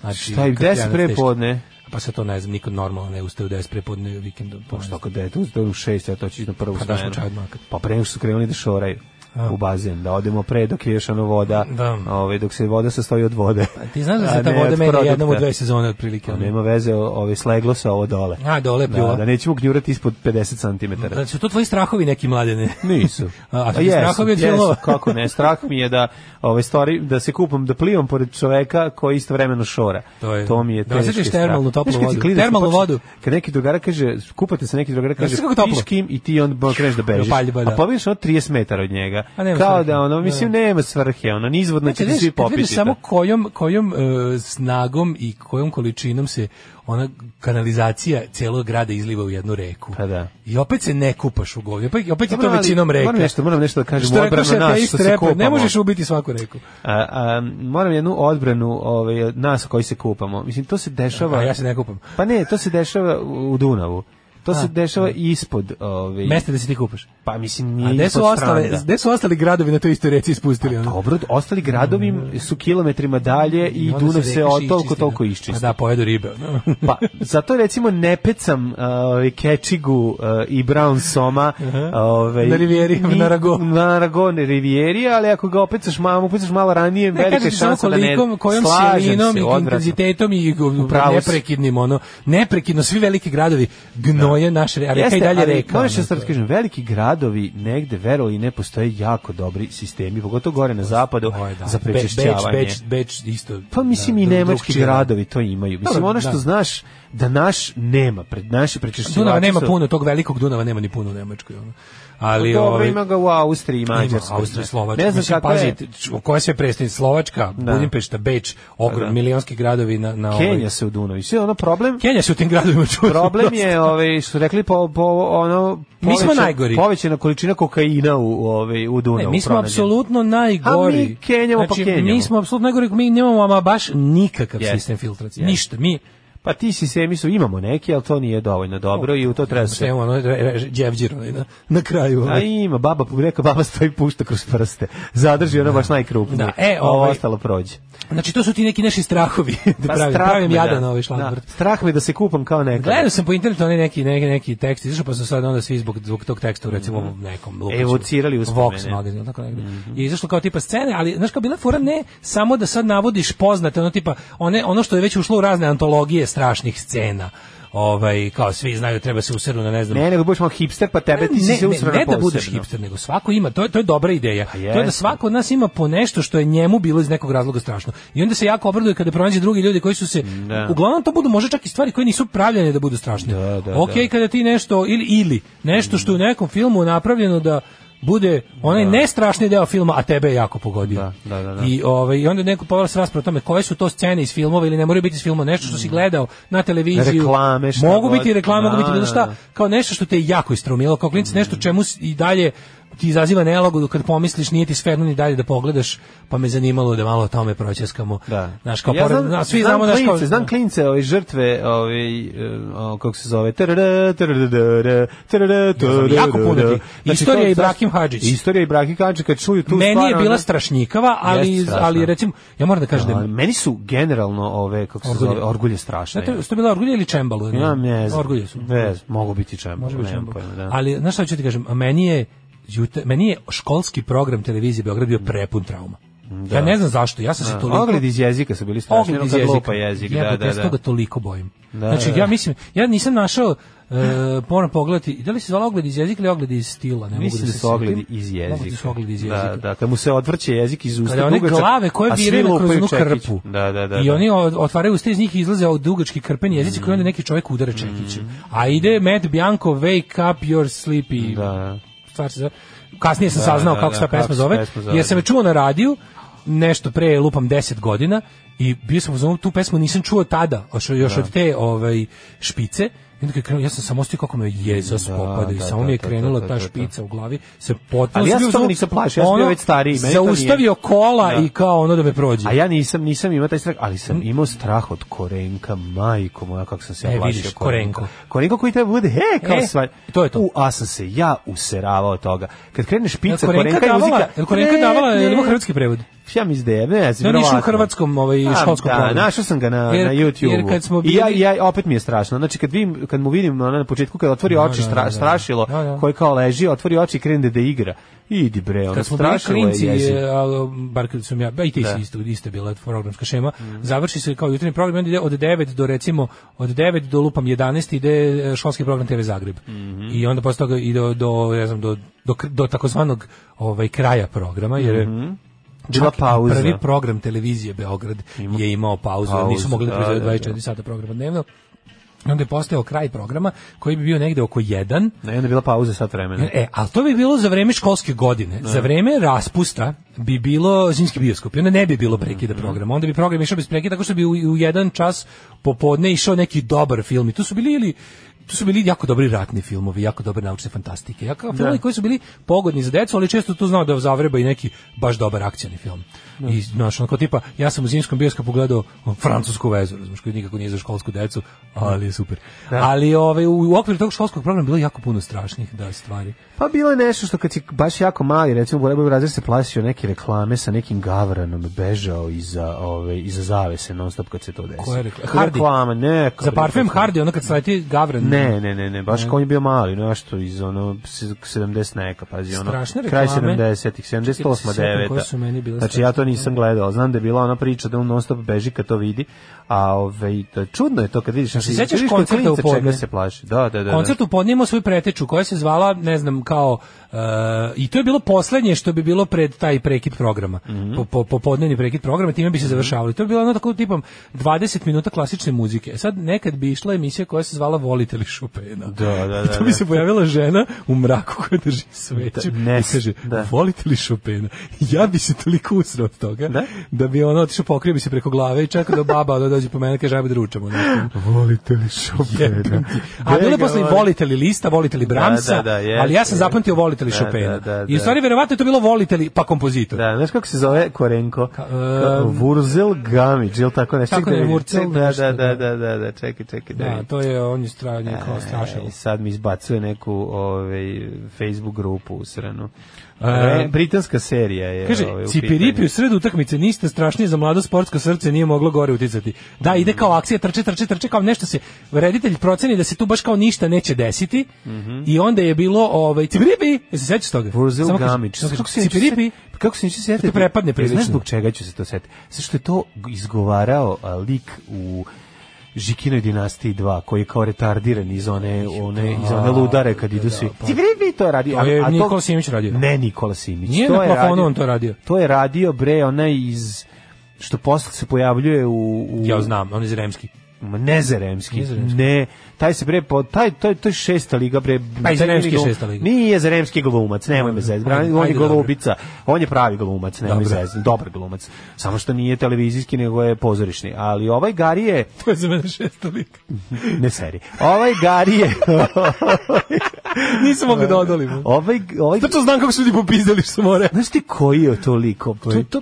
Speaker 7: Znači,
Speaker 6: Šta je,
Speaker 7: kad
Speaker 6: gde
Speaker 7: ti
Speaker 6: si
Speaker 7: ja
Speaker 6: prepodne?
Speaker 7: teško. Pa sad to ne znam, niko normalno ne ustaje u 10 prepodne vikendom. Pa
Speaker 6: Što kad je tu da u 6, ja to ću ići na prvu
Speaker 7: Pa da,
Speaker 6: smenu.
Speaker 7: smo čaj odmakli.
Speaker 6: Pa pre nego što su krenuli da šoraju
Speaker 7: A.
Speaker 6: u bazen, da odemo pre dok je još ono voda,
Speaker 7: Da.
Speaker 6: ovaj, dok se voda sastoji od vode.
Speaker 7: Ti znaš da
Speaker 6: A
Speaker 7: se ta
Speaker 6: ne
Speaker 7: voda
Speaker 6: od
Speaker 7: meni
Speaker 6: produkta.
Speaker 7: jednom u dve sezone otprilike.
Speaker 6: Pa
Speaker 7: ono.
Speaker 6: nema veze, o- ovaj, sleglo se ovo dole.
Speaker 7: A, dole
Speaker 6: Da,
Speaker 7: pljula.
Speaker 6: da nećemo gnjurati ispod 50 cm.
Speaker 7: Da su to tvoji strahovi neki
Speaker 6: (laughs)
Speaker 7: mladene?
Speaker 6: Znači, Nisu.
Speaker 7: (laughs) A, a
Speaker 6: A jesu,
Speaker 7: strahovi od
Speaker 6: jesu,
Speaker 7: filmova?
Speaker 6: kako ne, strah mi je da ovaj stvari da se kupam da plivam pored čoveka koji istovremeno šora.
Speaker 7: To je-
Speaker 6: mi je
Speaker 7: da
Speaker 6: teški
Speaker 7: osjetiš
Speaker 6: strah.
Speaker 7: termalnu toplu
Speaker 6: Znaš kad ti
Speaker 7: vodu?
Speaker 6: klinac
Speaker 7: Termalnu
Speaker 6: počne-
Speaker 7: vodu?
Speaker 6: Kad neki drugara kaže kupate se neki drugara kaže
Speaker 7: Znaš kako toplo?
Speaker 6: "Piš kim i ti on bo kreneš da bežiš.
Speaker 7: Paljba, da.
Speaker 6: A pobiješ od 30 metara od njega.
Speaker 7: A nema
Speaker 6: Kao
Speaker 7: svrhe.
Speaker 6: da ono mislim nema svrhe, ono nizvodno će ti
Speaker 7: Znači, vidiš-
Speaker 6: svi
Speaker 7: kad vidiš
Speaker 6: popiti.
Speaker 7: samo
Speaker 6: to.
Speaker 7: kojom, kojom e, snagom i kojom količinom se ona kanalizacija celog grada izliva u jednu reku.
Speaker 6: Pa da.
Speaker 7: I opet se ne kupaš u govnju. Opet, opet je
Speaker 6: Dobro,
Speaker 7: to
Speaker 6: ali
Speaker 7: većinom reka.
Speaker 6: Moram nešto, moram nešto da kažem u
Speaker 7: Što
Speaker 6: odbranu
Speaker 7: rekoše
Speaker 6: nas
Speaker 7: ateist
Speaker 6: što se
Speaker 7: reper, ne
Speaker 6: kupamo.
Speaker 7: možeš ubiti svaku reku.
Speaker 6: A, a, moram jednu odbranu ovaj, nas koji se kupamo. Mislim, to se dešava...
Speaker 7: A ja se ne kupam.
Speaker 6: Pa ne, to se dešava u u Dunavu. To
Speaker 7: A.
Speaker 6: se dešava ispod... Ovaj,
Speaker 7: Meste da se ti kupaš.
Speaker 6: Pa mislim,
Speaker 7: A
Speaker 6: nije
Speaker 7: gde su,
Speaker 6: ispod
Speaker 7: ostale,
Speaker 6: Stranda. Pa
Speaker 7: gde su ostali gradovi na toj istoj reci ispustili? ono?
Speaker 6: Dobro, ostali gradovi su kilometrima dalje i,
Speaker 7: onda
Speaker 6: Dunav se
Speaker 7: reka
Speaker 6: od
Speaker 7: še
Speaker 6: toliko
Speaker 7: iščisti,
Speaker 6: toliko
Speaker 7: ono.
Speaker 6: iščisti.
Speaker 7: Pa da, pojedu ribe.
Speaker 6: (laughs)
Speaker 7: ono.
Speaker 6: Pa, zato recimo ne pecam ovaj Kečigu ovaj, i Brown Soma ovaj,
Speaker 7: Na Rivijeri,
Speaker 6: ni-
Speaker 7: na Aragon.
Speaker 6: Na Aragon Rivijeri, ali ako ga opecaš mamu, opecaš malo ranije,
Speaker 7: Ne,
Speaker 6: velika je
Speaker 7: kažete samo
Speaker 6: šansa da ne...
Speaker 7: kolikom, kojom
Speaker 6: Slažem
Speaker 7: silinom
Speaker 6: se,
Speaker 7: i
Speaker 6: odvratno.
Speaker 7: intenzitetom i
Speaker 6: pravu si.
Speaker 7: neprekidnim, ono, neprekidno, svi veliki gradovi gnoje naš, re- a reka i dalje
Speaker 6: ali
Speaker 7: reka.
Speaker 6: Moraš
Speaker 7: ono,
Speaker 6: da sad
Speaker 7: to je.
Speaker 6: kažem, veliki gradovi negde, verovali ili ne, postoje jako dobri sistemi, pogotovo gore na zapadu,
Speaker 7: Ovo je, da.
Speaker 6: za
Speaker 7: Be- Beč-
Speaker 6: prečišćavanje.
Speaker 7: Beč, Beč, isto.
Speaker 6: Pa mislim
Speaker 7: da,
Speaker 6: i
Speaker 7: dru-
Speaker 6: nemački
Speaker 7: drugčije.
Speaker 6: gradovi to imaju. Mislim
Speaker 7: Dobro,
Speaker 6: ono što
Speaker 7: da.
Speaker 6: znaš da naš nema, pred naši prečišćivači.
Speaker 7: Dunava nema
Speaker 6: su-
Speaker 7: puno, tog velikog Dunava nema ni puno u Nemačkoj. Ono. ali
Speaker 6: Dobro,
Speaker 7: ovaj,
Speaker 6: ima ga u Austriji i Mađarskoj.
Speaker 7: Ima Austrija,
Speaker 6: Ne.
Speaker 7: Slovačka.
Speaker 6: Ne znam
Speaker 7: Mislim,
Speaker 6: kakva je-
Speaker 7: pazi, t- koja sve predstavnica, Slovačka,
Speaker 6: Da.
Speaker 7: Budimpešta, Beč, ogrom,
Speaker 6: Da.
Speaker 7: milionski gradovi na, na ovaj-
Speaker 6: Kenja se u Dunavi. Sve ono problem.
Speaker 7: Kenja se u tim gradovima čuje.
Speaker 6: Problem
Speaker 7: (laughs)
Speaker 6: je, ovaj što su rekli po, po ono
Speaker 7: Mi smo
Speaker 6: poveća-
Speaker 7: najgori.
Speaker 6: Povećana količina kokaina u ovaj u Dunavu.
Speaker 7: Ne, Ono, mi smo
Speaker 6: pronađena.
Speaker 7: apsolutno najgori.
Speaker 6: A mi Kenjamo pa
Speaker 7: znači,
Speaker 6: Kenjamo.
Speaker 7: Mi smo apsolutno najgori, mi nemamo ama baš nikakav
Speaker 6: Jeste,
Speaker 7: sistem filtracije.
Speaker 6: jeste.
Speaker 7: Ništa, mi
Speaker 6: pa ti sistemi su imamo neki, ali to nije dovoljno dobro i u to treba se
Speaker 7: sve ono re- re- đevđir onaj na, na kraju.
Speaker 6: A
Speaker 7: ovaj.
Speaker 6: ima, baba, reka, baba stoji pušta kroz prste. Zadrži ono baš najkrupnije.
Speaker 7: Da, e,
Speaker 6: Ovo
Speaker 7: ovaj-
Speaker 6: ostalo prođe.
Speaker 7: Znači to su ti neki naši strahovi (laughs) da
Speaker 6: Pa
Speaker 7: pravim,
Speaker 6: strah
Speaker 7: pravim
Speaker 6: me,
Speaker 7: jadan
Speaker 6: da.
Speaker 7: ovaj šlagvort.
Speaker 6: Da, strah me da se kupam kao nekada.
Speaker 7: Gledao sam po internetu onaj neki neki neki tekst, izašao pa su sad onda svi zbog zbog tog teksta u recimo ovom nekom lupiću.
Speaker 6: Evocirali uspomene.
Speaker 7: Vox magazin, tako negde. I izašlo kao tipa scene, ali znaš kao bila je fora ne samo da sad navodiš poznate, ono tipa one ono što je već ušlo u razne antologije strašnih scena. Ovaj kao svi znaju treba se useru na ne znam
Speaker 6: Ne, nego budeš malo hipster, pa tebe ti si se usrao
Speaker 7: ne,
Speaker 6: na
Speaker 7: ne da budeš
Speaker 6: posebno. Pa
Speaker 7: hipster, nego svako ima, to je, to je dobra ideja. To je da
Speaker 6: jeste.
Speaker 7: svako od nas ima po nešto što je njemu bilo iz nekog razloga strašno. I onda se jako obraduje kada pronađe drugi ljudi koji su se,
Speaker 6: Da.
Speaker 7: uglavnom to budu možda čak i stvari koje nisu pravljene da budu strašne.
Speaker 6: da,
Speaker 7: ok,
Speaker 6: da.
Speaker 7: kada ti nešto, ili, ili nešto što je u nekom filmu napravljeno da bude onaj nestrašni deo filma, a tebe je jako pogodio.
Speaker 6: Da, da, da.
Speaker 7: I ovaj i onda neko povela se rasprava o tome koje su to scene iz filmova ili ne moraju biti iz filmova, nešto što si gledao na televiziju.
Speaker 6: Reklame, šta
Speaker 7: mogu
Speaker 6: god.
Speaker 7: biti reklame, mogu
Speaker 6: Da,
Speaker 7: biti bilo
Speaker 6: da,
Speaker 7: šta,
Speaker 6: da.
Speaker 7: kao nešto što te je jako istrumilo, kao klinic, nešto
Speaker 6: Mm.
Speaker 7: čemu s- i dalje ti izaziva nelagodu kad pomisliš nije ti sferno ni dalje da pogledaš, pa me zanimalo da malo o tome proćeskamo. Da. Znaš, kao pored, na, svi znamo znaš, kao,
Speaker 6: klince, znam klince, ove žrtve, ove, e, o, kako se zove, tarara, tarara, tarara, tarara,
Speaker 7: jako puno tih.
Speaker 6: Znači,
Speaker 7: Istorija
Speaker 6: to-
Speaker 7: Ibrahim Hadžić.
Speaker 6: Istorija Ibrahim Hadžić, kad čuju tu
Speaker 7: meni je
Speaker 6: stvar,
Speaker 7: bila
Speaker 6: ono-
Speaker 7: strašnjikava, ali,
Speaker 6: Jeste strašna.
Speaker 7: ali recimo, ja moram da kažem da
Speaker 6: A,
Speaker 7: je
Speaker 6: meni su generalno ove, kako se
Speaker 7: Orgulje.
Speaker 6: zove, orgulje strašne.
Speaker 7: Znate, su to bila orgulje ili čembalo?
Speaker 6: Ja ne znam.
Speaker 7: Orgulje su.
Speaker 6: Ne znam, mogu biti čemu.
Speaker 7: Može biti
Speaker 6: nemam
Speaker 7: čembalo.
Speaker 6: pojma, da.
Speaker 7: Ali, znaš šta ću ti kažem, a meni je, jute- meni je školski program televizije Beograd bio prepun trauma. Ja ne znam zašto, ja sam se
Speaker 6: Da.
Speaker 7: toliko...
Speaker 6: Ogled iz jezika su bili strašni,
Speaker 7: Ogled
Speaker 6: ono
Speaker 7: iz
Speaker 6: kad
Speaker 7: jezika.
Speaker 6: lupa jezik, da,
Speaker 7: Jebote,
Speaker 6: da,
Speaker 7: ja se
Speaker 6: da.
Speaker 7: toga toliko bojim.
Speaker 6: Da,
Speaker 7: znači,
Speaker 6: da.
Speaker 7: ja mislim, ja nisam našao, e, moram pogledati, da li se zvala ogled iz jezika ili ogled iz stila? Ne
Speaker 6: Mislim
Speaker 7: mogu
Speaker 6: da
Speaker 7: da
Speaker 6: su
Speaker 7: se
Speaker 6: ogledi
Speaker 7: setim.
Speaker 6: iz
Speaker 7: Moguće da
Speaker 6: jezika.
Speaker 7: su ogledi iz
Speaker 6: Da,
Speaker 7: jezika.
Speaker 6: da, kad mu se odvrće jezik iz usta.
Speaker 7: Kada one
Speaker 6: dugačak,
Speaker 7: glave koje
Speaker 6: a svi
Speaker 7: viraju kroz
Speaker 6: lupaju
Speaker 7: onu
Speaker 6: čekić.
Speaker 7: krpu.
Speaker 6: Da, da, da.
Speaker 7: I
Speaker 6: da. Mm.
Speaker 7: oni od- otvaraju usta iz njih i izlaze od dugački krpeni jezici koji onda neki čovjek udara čekićem. A ide Matt Bianco, Wake Up Your Sleepy.
Speaker 6: Da.
Speaker 7: Stvar se zove. Kasnije sam
Speaker 6: Da,
Speaker 7: saznao
Speaker 6: da,
Speaker 7: kako
Speaker 6: da,
Speaker 7: se ta
Speaker 6: kako
Speaker 7: pesma
Speaker 6: se
Speaker 7: zove,
Speaker 6: pesma zove,
Speaker 7: jer sam je čuo na radiju, nešto pre lupam 10 godina i bio sam u zonu, tu pesmu nisam čuo tada, još, još od te ovaj, špice, i onda kad je krenuo, ja sam samo ostio kako me jeza spopada i
Speaker 6: da,
Speaker 7: samo
Speaker 6: da,
Speaker 7: mi je
Speaker 6: da,
Speaker 7: krenula
Speaker 6: da, da,
Speaker 7: ta
Speaker 6: da, da.
Speaker 7: špica u glavi, se potpuno...
Speaker 6: Ali ja
Speaker 7: sam bio
Speaker 6: se
Speaker 7: u
Speaker 6: toga
Speaker 7: zonu,
Speaker 6: nisam plašio, ja sam bio
Speaker 7: ono,
Speaker 6: već stariji, meni to nije.
Speaker 7: Zaustavio kola
Speaker 6: Da.
Speaker 7: i kao ono da me prođe.
Speaker 6: A ja nisam, nisam imao taj strah, ali sam imao strah od korenka, majko moja, kako sam se
Speaker 7: E,
Speaker 6: ja plašio
Speaker 7: vidiš,
Speaker 6: korenka.
Speaker 7: korenko.
Speaker 6: Korenko koji treba bude, he, kao
Speaker 7: E,
Speaker 6: sva-
Speaker 7: to je to.
Speaker 6: U, a sam se ja useravao od toga. Kad kreneš
Speaker 7: Jel
Speaker 6: pica,
Speaker 7: korenka
Speaker 6: korenka, i
Speaker 7: davala-
Speaker 6: muzika.
Speaker 7: jel korenka
Speaker 6: Ne,
Speaker 7: davala-
Speaker 6: ne.
Speaker 7: jel ima hrvatski prevod?
Speaker 6: Ja mi izde, ne znam,
Speaker 7: Ne, on je išao u
Speaker 6: verovatno.
Speaker 7: hrvatskom, ovaj,
Speaker 6: A,
Speaker 7: školskom
Speaker 6: da,
Speaker 7: programu.
Speaker 6: našao sam ga na,
Speaker 7: Jer-
Speaker 6: na YouTube.
Speaker 7: jer kad smo
Speaker 6: I ja,
Speaker 7: bili-
Speaker 6: ja, opet mi je strašno. Znači, kad, vidim, kad mu vidim ona, na početku, kad otvori oči,
Speaker 7: da,
Speaker 6: stra-
Speaker 7: da.
Speaker 6: strašilo,
Speaker 7: Da, da.
Speaker 6: koje kao leži, otvori oči i krene da igra. Idi bre, ono,
Speaker 7: kad smo bili
Speaker 6: strašilo
Speaker 7: klinci,
Speaker 6: je jezivo.
Speaker 7: je, al, bar kad sam ja, ba, i ti
Speaker 6: Da. Mm.
Speaker 7: si isto, isto je bila programska šema, završi se kao jutarnji program, i onda ide od 9 do recimo, od 9 do lupam 11 ide e, školski program TV Zagreb.
Speaker 6: Mhm.
Speaker 7: I onda posle toga ide do, do, ne znam, do, do, kr- do takozvanog ovaj, kraja programa, jer je
Speaker 6: Mhm. Bila
Speaker 7: čak i
Speaker 6: pauza.
Speaker 7: Prvi program televizije Beograd je imao pauzu, jer nisu
Speaker 6: pauzu,
Speaker 7: mogli da
Speaker 6: da,
Speaker 7: proizvode
Speaker 6: da,
Speaker 7: 24 sata programa dnevno. I onda je postao kraj programa koji bi bio negde oko 1
Speaker 6: Ne, onda je bila pauza sat vremena.
Speaker 7: E, ali to bi bilo za vreme školske godine. Za vreme raspusta bi bilo zimski bioskop. I onda ne bi bilo prekida programa. Onda bi program išao bez prekida, tako što bi u, u jedan čas popodne išao neki dobar film. I tu su bili ili tu su bili jako dobri ratni filmovi, jako dobre naučne fantastike. Ja kao filmovi koji su bili pogodni za decu, ali često tu znao da zavreba i neki baš dobar akcijni film. I znaš, onako tipa, ja sam u zimskom bioskopu gledao o, francusku vezu, razumiješ, koji nikako nije za školsku decu, ali je super. Ali ovaj, u, u okviru tog školskog programa bilo je jako puno strašnih da, stvari.
Speaker 6: Pa bilo je nešto što kad si baš jako mali, recimo Bolebo Brazir se plašio neke reklame sa nekim gavranom, bežao iza, ove, iza zavese non stop kad se to desi.
Speaker 7: Koja rekla-
Speaker 6: Koja
Speaker 7: Hardy?
Speaker 6: Reklama, ne.
Speaker 7: Za parfem Hardy, ono kad sleti Gavran.
Speaker 6: Ne, ne, ne, ne, baš kao on je bio mali, nešto iz ono se- 70 neka, pazi, ono,
Speaker 7: Strašne
Speaker 6: kraj
Speaker 7: reklame.
Speaker 6: 70-ih, 78
Speaker 7: Čekaj da se setim
Speaker 6: 9
Speaker 7: koje su meni bile
Speaker 6: Znači
Speaker 7: strašne
Speaker 6: ja to nisam
Speaker 7: reklame.
Speaker 6: gledao, znam da je bila ona priča da on non stop beži kad to vidi, a ovaj, da, čudno je to kad vidiš, znači,
Speaker 7: sećaš
Speaker 6: vidiš kod
Speaker 7: koncerta
Speaker 6: klinca
Speaker 7: u podne?
Speaker 6: čega se plaši, da, da, da. da.
Speaker 7: Koncert u podne imao svoju preteču koja se zvala, ne znam, kao e, i to je bilo poslednje što bi bilo pred taj prekid programa.
Speaker 6: Mhm.
Speaker 7: Po, po, popodnevni prekid programa, time bi se završavali. To je bilo ono tako tipom 20 minuta klasične muzike. E Sad nekad bi išla emisija koja se zvala Volite li šupena.
Speaker 6: Da, da, da,
Speaker 7: Tu bi
Speaker 6: da.
Speaker 7: se pojavila žena u mraku koja drži sveću
Speaker 6: Da, nes,
Speaker 7: i kaže,
Speaker 6: da.
Speaker 7: volite li šupena? Ja bi se toliko usrao od toga da, bi ono otišao pokrio bi se preko glave i čekao da baba ono dođe po mene i kaže, ajmo da ručamo.
Speaker 6: Volite li (laughs) Chopina?
Speaker 7: A bilo je posle i volite li lista, volite li Bramsa,
Speaker 6: Da, da, da, jeste,
Speaker 7: ali ja sam zapamtio volite li
Speaker 6: Da,
Speaker 7: Chopina.
Speaker 6: da, da,
Speaker 7: I u
Speaker 6: da.
Speaker 7: stvari verovatno je to bilo volite li pa kompozitor.
Speaker 6: Da, znaš kako se zove Korenko? Ka-
Speaker 7: em,
Speaker 6: Vurzel Gamić, ili tako nešto?
Speaker 7: Tako
Speaker 6: Čekaj da
Speaker 7: ne,
Speaker 6: vidim.
Speaker 7: Vurzel
Speaker 6: Čekaj, Da,
Speaker 7: nešto,
Speaker 6: da, da, da, da, da, čekaj, čekaj. Da,
Speaker 7: Da,
Speaker 6: vidim.
Speaker 7: to je on je stra- neko strašilo.
Speaker 6: E, sad mi izbacuje neku ovaj, Facebook grupu usranu.
Speaker 7: E,
Speaker 6: E, Britanska serija je
Speaker 7: Kaže,
Speaker 6: ovaj, u
Speaker 7: Cipiripi u sredu utakmice niste strašnije za mlado sportsko srce, nije moglo gore uticati. Da, ide kao akcija, trče, trče, trče, kao nešto se, reditelj proceni da se tu baš kao ništa neće desiti
Speaker 6: Mhm.
Speaker 7: i onda je bilo, ovaj, Cipiripi, jel se sećaš toga?
Speaker 6: Brazil
Speaker 7: Samo kaže-
Speaker 6: Gamić.
Speaker 7: samo kaže,
Speaker 6: Kako se neću
Speaker 7: Cipiripi,
Speaker 6: setiti- kako se neću setiti?
Speaker 7: To te prepadne prilično.
Speaker 6: Znaš zbog čega ću se to setiti? Zato što je to izgovarao a, lik u Žikinoj dinastiji 2, koji je kao retardiran iz one, one, iz one ludare kad idu svi. Ti bi to radi.
Speaker 7: pa. To je Nikola Simić radio.
Speaker 6: Ne Nikola Simić.
Speaker 7: Nije
Speaker 6: to
Speaker 7: na
Speaker 6: je
Speaker 7: plafonu
Speaker 6: radio-
Speaker 7: on to radio.
Speaker 6: To je radio, bre, onaj iz što posle se pojavljuje u... u
Speaker 7: Ja znam, on je Zremski.
Speaker 6: Ma Ne Zeremski,
Speaker 7: Nije Zaremski.
Speaker 6: ne, taj se bre, po, taj, to, to je šesta liga bre.
Speaker 7: Pa i
Speaker 6: taj
Speaker 7: Zaremski
Speaker 6: nije
Speaker 7: je
Speaker 6: glum-
Speaker 7: šesta liga.
Speaker 6: Nije Zeremski glumac, nemoj me zezati,
Speaker 7: Ajde,
Speaker 6: on je
Speaker 7: ajde,
Speaker 6: golubica, on je pravi glumac, nemoj me
Speaker 7: Dobro.
Speaker 6: zezati, dobar glumac, samo što nije televizijski nego je pozorišni, ali ovaj Gari je,
Speaker 7: (laughs) To je za mene šesto lik.
Speaker 6: ne seri, ovaj Gari
Speaker 7: (laughs)
Speaker 6: je,
Speaker 7: Nisam mogu da odolim.
Speaker 6: ovaj, ovaj,
Speaker 7: Zato znam (laughs) kako su ljudi popizdali što more.
Speaker 6: Znaš ti koji je to lik? To, to,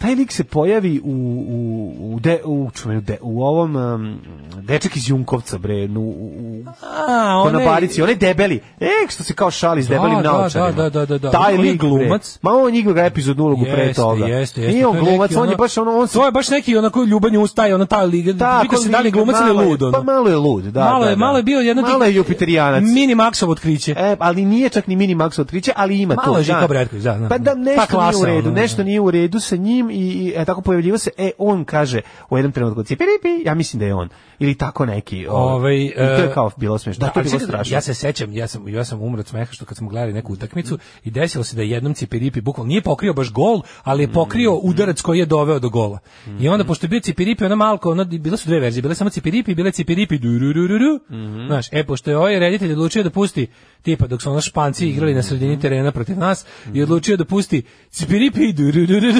Speaker 6: taj lik se pojavi u u u de, u, čuvenu de, u ovom um, dečak iz Junkovca bre nu u,
Speaker 7: A,
Speaker 6: u
Speaker 7: onaj-
Speaker 6: na barici onaj debeli e što se kao šali s
Speaker 7: Da,
Speaker 6: debelim
Speaker 7: da,
Speaker 6: naočarima
Speaker 7: da, da, da, da.
Speaker 6: taj
Speaker 7: On je
Speaker 6: lik bre.
Speaker 7: glumac.
Speaker 6: ma on igra epizodnu ulogu pre toga
Speaker 7: Jeste, jeste.
Speaker 6: nije on
Speaker 7: To je neki
Speaker 6: glumac on
Speaker 7: ono-
Speaker 6: je baš ono on se
Speaker 7: To je baš neki onako ljubanje ustaje, ona ta liga.
Speaker 6: Tako,
Speaker 7: vidi se da li je
Speaker 6: liga,
Speaker 7: glumac ili
Speaker 6: malo je-
Speaker 7: lud. ono.
Speaker 6: Pa malo je lud, da.
Speaker 7: malo,
Speaker 6: da,
Speaker 7: je,
Speaker 6: da.
Speaker 7: malo je bio jedan
Speaker 6: Malo je Jupiterianac.
Speaker 7: Mini Maxov otkriće.
Speaker 6: E, ali nije čak ni mini Max otkriće, ali ima to.
Speaker 7: Malo je Žika Bretković, da, znam.
Speaker 6: Pa da,
Speaker 7: Ta
Speaker 6: nešto
Speaker 7: klasa,
Speaker 6: nije u redu,
Speaker 7: ono, da.
Speaker 6: nešto nije u redu sa njim i, i e, tako pojavljivo se, e, on kaže u jednom trenutku, cipiripi, ja mislim da je on. Ili tako neki. ovaj.
Speaker 7: Ovaj,
Speaker 6: I to je
Speaker 7: e,
Speaker 6: kao bilo smešno. Da, to je
Speaker 7: ali
Speaker 6: bilo
Speaker 7: čekaj,
Speaker 6: strašno.
Speaker 7: Ja se sećam, ja sam ja sam umro od smeha što kad smo gledali neku utakmicu i desilo se da je jednom Cipiripi bukvalno nije pokrio baš gol, ali
Speaker 6: Mm,
Speaker 7: je pokrio udarac koji je doveo do gola. I onda pošto je bio Cipiripi, ona malko, ona bila su dve verzije, bile samo Cipiripi, i bile Cipiripi durururu.
Speaker 6: Mhm.
Speaker 7: Znaš, e pošto je ovaj reditelj odlučio da pusti tipa dok su ono Španci igrali na
Speaker 6: Mhm.
Speaker 7: sredini terena protiv nas i odlučio da pusti Cipiripi i
Speaker 6: (laughs)
Speaker 7: durururu.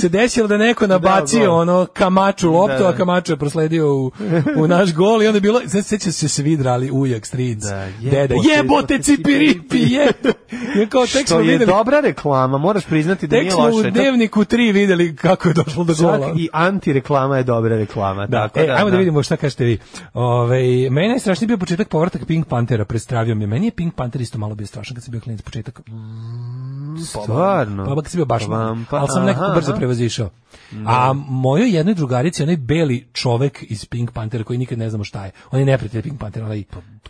Speaker 7: se desilo da neko nabacio
Speaker 6: gol.
Speaker 7: ono kamaču loptu,
Speaker 6: Da, da.
Speaker 7: a Kamačo je prosledio u, u naš gol i onda je bilo, se seća se svi drali ujak, stric, deda, jebote cipiripi, je! Je kao, Pa tek
Speaker 6: Što
Speaker 7: smo
Speaker 6: je
Speaker 7: videli,
Speaker 6: dobra reklama, moraš priznati da
Speaker 7: tek
Speaker 6: nije
Speaker 7: smo u
Speaker 6: loše. To-
Speaker 7: dnevniku 3 videli kako je došlo do
Speaker 6: Čak
Speaker 7: gola.
Speaker 6: i antireklama je dobra reklama.
Speaker 7: Da,
Speaker 6: tako
Speaker 7: e, ajmo da, vidimo šta kažete vi. Ove, meni je najstrašniji bio početak povratak Pink Pantera, prestravio me. Meni je Pink Panter isto malo bio strašan kad sam bio klinac početak.
Speaker 6: Stvarno.
Speaker 7: Pa bak si bio baš mlad,
Speaker 6: Vam, pa,
Speaker 7: ali sam nekako
Speaker 6: aha,
Speaker 7: brzo
Speaker 6: aha.
Speaker 7: prevazišao. A mojoj jednoj drugarici, onaj beli čovek iz Pink Pantera koji nikad ne znamo šta je. On je neprijatelj Pink Pantera, onaj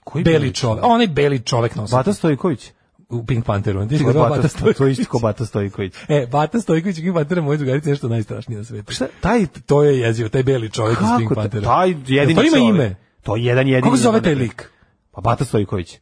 Speaker 7: koji beli,
Speaker 6: Pa, beli
Speaker 7: čovek. Onaj beli čovek nosi
Speaker 6: Bata Stojković.
Speaker 7: u Pink Panteru. On ti
Speaker 6: Ko
Speaker 7: je
Speaker 6: je
Speaker 7: zvao Bata
Speaker 6: Bata Stojković? To je isto ko
Speaker 7: Stojković.
Speaker 6: Bata Stojković.
Speaker 7: E, Bata Stojković i Pink Pantera, moja drugarica je nešto najstrašnije na svetu.
Speaker 6: Šta? Taj
Speaker 7: To Pa je jezivo, taj beli čovek iz Pink
Speaker 6: Kako to?
Speaker 7: Pantera.
Speaker 6: Taj jedini
Speaker 7: To ima
Speaker 6: čovek.
Speaker 7: ime.
Speaker 6: To je jedan jedini.
Speaker 7: Kako se zove taj
Speaker 6: jedan.
Speaker 7: lik?
Speaker 6: Pa Bata Stojković.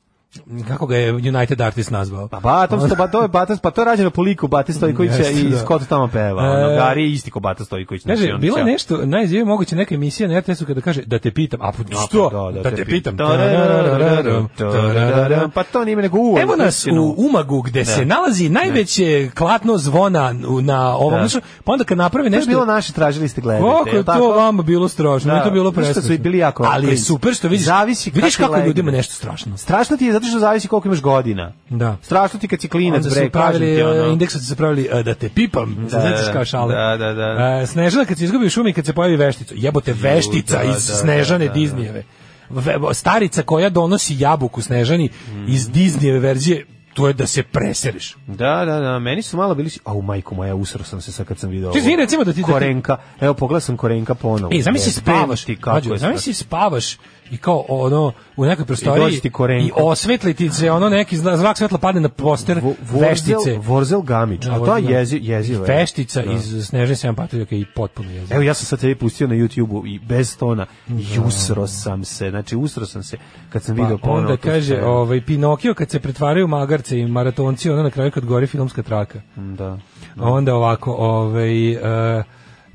Speaker 7: Kako ga je United Artist nazvao?
Speaker 6: Pa Batom sto, pa to je Bata, pa to je rađeno po liku Bate Stojkovića
Speaker 7: Jeste,
Speaker 6: i
Speaker 7: da.
Speaker 6: Scott tamo peva. Ono,
Speaker 7: E,
Speaker 6: Gari je isti ko Bata Stojković. znači,
Speaker 7: Kaže,
Speaker 6: ono,
Speaker 7: bilo je
Speaker 6: ća.
Speaker 7: nešto, najzivije moguće neka emisija na RTS-u kada kaže da te pitam, a
Speaker 6: A, pa
Speaker 7: pa što?
Speaker 6: da,
Speaker 7: Da te pitam.
Speaker 6: Tararararam, tararararam. Pa to nije nego uvod.
Speaker 7: Evo nas u Umagu gde se nalazi najveće klatno zvona u- na
Speaker 6: Da.
Speaker 7: ovom, znaš, pa onda kad naprave
Speaker 6: To je
Speaker 7: nešto...
Speaker 6: bilo naše, tražili ste gledati.
Speaker 7: Kako je to vama bilo strašno,
Speaker 6: Da,
Speaker 7: meni to bilo
Speaker 6: znaš šta su
Speaker 7: presno.
Speaker 6: i bili jako
Speaker 7: Ali je
Speaker 6: klinci.
Speaker 7: super što vidiš,
Speaker 6: Zavisi
Speaker 7: vidiš
Speaker 6: kako
Speaker 7: kako je
Speaker 6: legne.
Speaker 7: ljudima nešto strašno.
Speaker 6: Strašno ti je zato što zavisi koliko imaš godina.
Speaker 7: Da.
Speaker 6: Strašno ti kad si klinac,
Speaker 7: Onda
Speaker 6: bre,
Speaker 7: su
Speaker 6: kažem ti
Speaker 7: pravili,
Speaker 6: ono.
Speaker 7: e, indeksa su se pravili e, da te pipam,
Speaker 6: Da,
Speaker 7: da,
Speaker 6: da,
Speaker 7: znaš kao šale.
Speaker 6: da, da, da.
Speaker 7: E, Snežana kad se izgubi u šumi i kad se pojavi veštica. Jebote, veštica
Speaker 6: da,
Speaker 7: iz
Speaker 6: da,
Speaker 7: Snežane
Speaker 6: da, da,
Speaker 7: Diznijeve. Ve- Starica koja donosi jabuku Snežani
Speaker 6: Mm.
Speaker 7: iz Diznijeve verzije, to je da se preseriš.
Speaker 6: Da, da, da, meni su malo bili, au majko moja, usro sam se sad kad sam video.
Speaker 7: Ti izvini, recimo da ti- da ti-
Speaker 6: Korenka. Evo pogledao sam Korenka ponovo.
Speaker 7: E, zamisli
Speaker 6: Jebem
Speaker 7: spavaš,
Speaker 6: ti kako
Speaker 7: mađo,
Speaker 6: je
Speaker 7: zamisli spavaš i kao ono u nekoj prostoriji
Speaker 6: dođe ti korenka.
Speaker 7: i osvetli ti se ono neki zna- zrak svetla padne na poster
Speaker 6: Vorzel-
Speaker 7: veštice.
Speaker 6: Vorzel Gamić, a to je jezi, jezivo. je.
Speaker 7: Veštica
Speaker 6: Da.
Speaker 7: iz Snežne sedam patuljaka i potpuno jezivo.
Speaker 6: Evo ja sam sad tebi pustio na YouTubeu i bez tona i usro sam se, znači usro sam se kad sam video
Speaker 7: Pa,
Speaker 6: E, ponovo.
Speaker 7: onda
Speaker 6: tu
Speaker 7: kaže,
Speaker 6: scenu.
Speaker 7: ovaj Pinokio kad se pretvaraju u magarce i ono maratonci, onda na kraju kad gori filmska traka.
Speaker 6: Da.
Speaker 7: A onda ovako, ovaj e,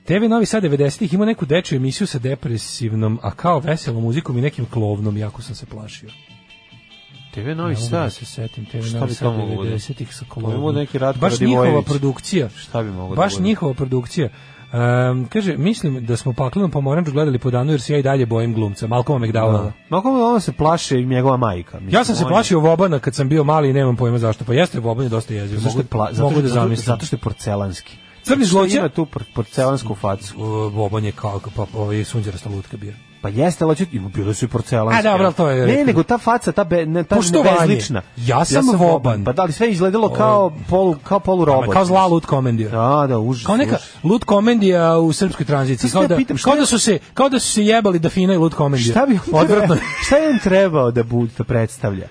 Speaker 7: TV Novi Sad 90-ih imao neku dečju emisiju sa depresivnom, a kao veselom muzikom i nekim klovnom, jako sam se plašio.
Speaker 6: TV Novi
Speaker 7: Ne mogu
Speaker 6: Sad.
Speaker 7: da se setim, TV
Speaker 6: Šta
Speaker 7: Novi
Speaker 6: bi
Speaker 7: Sad
Speaker 6: to moglo da bude?
Speaker 7: 90-ih sa
Speaker 6: To bi
Speaker 7: kolonom.
Speaker 6: mogao neki Ratko
Speaker 7: Baš njihova
Speaker 6: Radivojević.
Speaker 7: produkcija.
Speaker 6: Šta bi moglo da
Speaker 7: Baš
Speaker 6: bude?
Speaker 7: njihova produkcija. Um, kaže, mislim da smo paklenom pomoranđu gledali po danu jer se ja i dalje bojim glumca. Malcolma McDowella.
Speaker 6: Da. Malko ono se plaše i njegova majka. Mislim,
Speaker 7: Ja sam se
Speaker 6: on je-
Speaker 7: plašio Vobana kad sam bio mali i nemam pojma zašto. Pa jeste, Voban je dosta jezio.
Speaker 6: Zašto
Speaker 7: Mogu,
Speaker 6: je pla, zato,
Speaker 7: mogu da
Speaker 6: zato-
Speaker 7: zamislim.
Speaker 6: Zato što je porcelanski.
Speaker 7: Crni
Speaker 6: Zato što
Speaker 7: zloće-
Speaker 6: Ima tu por- porcelansku facu.
Speaker 7: Voban je kao, pa ovaj sunđerasta lutka bio.
Speaker 6: Pa jeste, ali ću- ima, bile su i porcelanske.
Speaker 7: A, dobro, ali to je-
Speaker 6: Ne, nego ta faca, ta, be, ne, ta
Speaker 7: Poštovanje.
Speaker 6: nebezlična.
Speaker 7: Ja sam Voban.
Speaker 6: Pa da, ali sve je izgledalo kao polu, kao polu
Speaker 7: Pa
Speaker 6: robot.
Speaker 7: Kao zla Lut Komendija.
Speaker 6: Da, da, užas.
Speaker 7: Kao neka
Speaker 6: užas.
Speaker 7: Lut Komendija u srpskoj tranziciji.
Speaker 6: Sad se
Speaker 7: Kao
Speaker 6: ja
Speaker 7: da,
Speaker 6: pitam, šta
Speaker 7: kao
Speaker 6: je-
Speaker 7: da su se, kao da su se jebali da Fina i Lut Komendija.
Speaker 6: Šta bi on
Speaker 7: Odvratno
Speaker 6: trebao,
Speaker 7: je.
Speaker 6: šta je on trebao da bude, da predstavlja?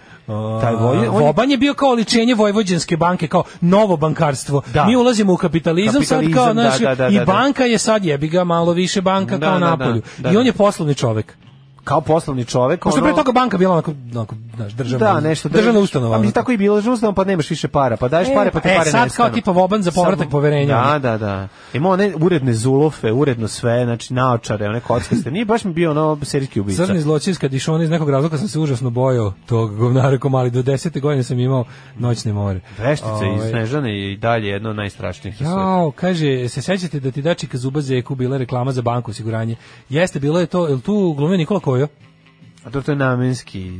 Speaker 6: Taj voj, Pa, on je-
Speaker 7: Voban je bio kao ličenje Vojvođanske banke, kao novo bankarstvo.
Speaker 6: Da.
Speaker 7: Mi ulazimo u kapitalizam,
Speaker 6: Kapitalizam,
Speaker 7: sad kao
Speaker 6: da,
Speaker 7: naš,
Speaker 6: da, da,
Speaker 7: i
Speaker 6: da.
Speaker 7: banka je sad jebi ga malo više banka
Speaker 6: Da,
Speaker 7: kao
Speaker 6: da, da,
Speaker 7: napolju.
Speaker 6: da,
Speaker 7: I
Speaker 6: da.
Speaker 7: on je poslovni čovek.
Speaker 6: kao poslovni čovek.
Speaker 7: Pošto
Speaker 6: ono-
Speaker 7: pre toga banka bila onako, onako znaš, državna,
Speaker 6: da, nešto
Speaker 7: državna ustanova.
Speaker 6: Pa mi
Speaker 7: onako.
Speaker 6: tako i bilo državna ustanova, pa nemaš više para, pa daješ
Speaker 7: E,
Speaker 6: pare, pa te
Speaker 7: e,
Speaker 6: pare
Speaker 7: sad kao
Speaker 6: nestanu.
Speaker 7: tipa Voban za povratak
Speaker 6: Sad-
Speaker 7: poverenja.
Speaker 6: Da, da, da. Ima one uredne zulofe, uredno sve, znači naočare, one kockaste. Nije baš mi bio ono serijski ubica.
Speaker 7: Crni zločin kad išao on iz nekog razloga sam se užasno bojao tog govnara komali do 10. godine sam imao noćne more.
Speaker 6: Veštice
Speaker 7: Ovaj,
Speaker 6: i Snežane je i dalje jedno od najstrašnijih. na svetu.
Speaker 7: Jao, kaže, se sećate da ti dačika zuba zeku bila reklama za banku osiguranje? Jeste, bilo je to, jel tu glumio Nikola Kojo?
Speaker 6: A to, to je namenski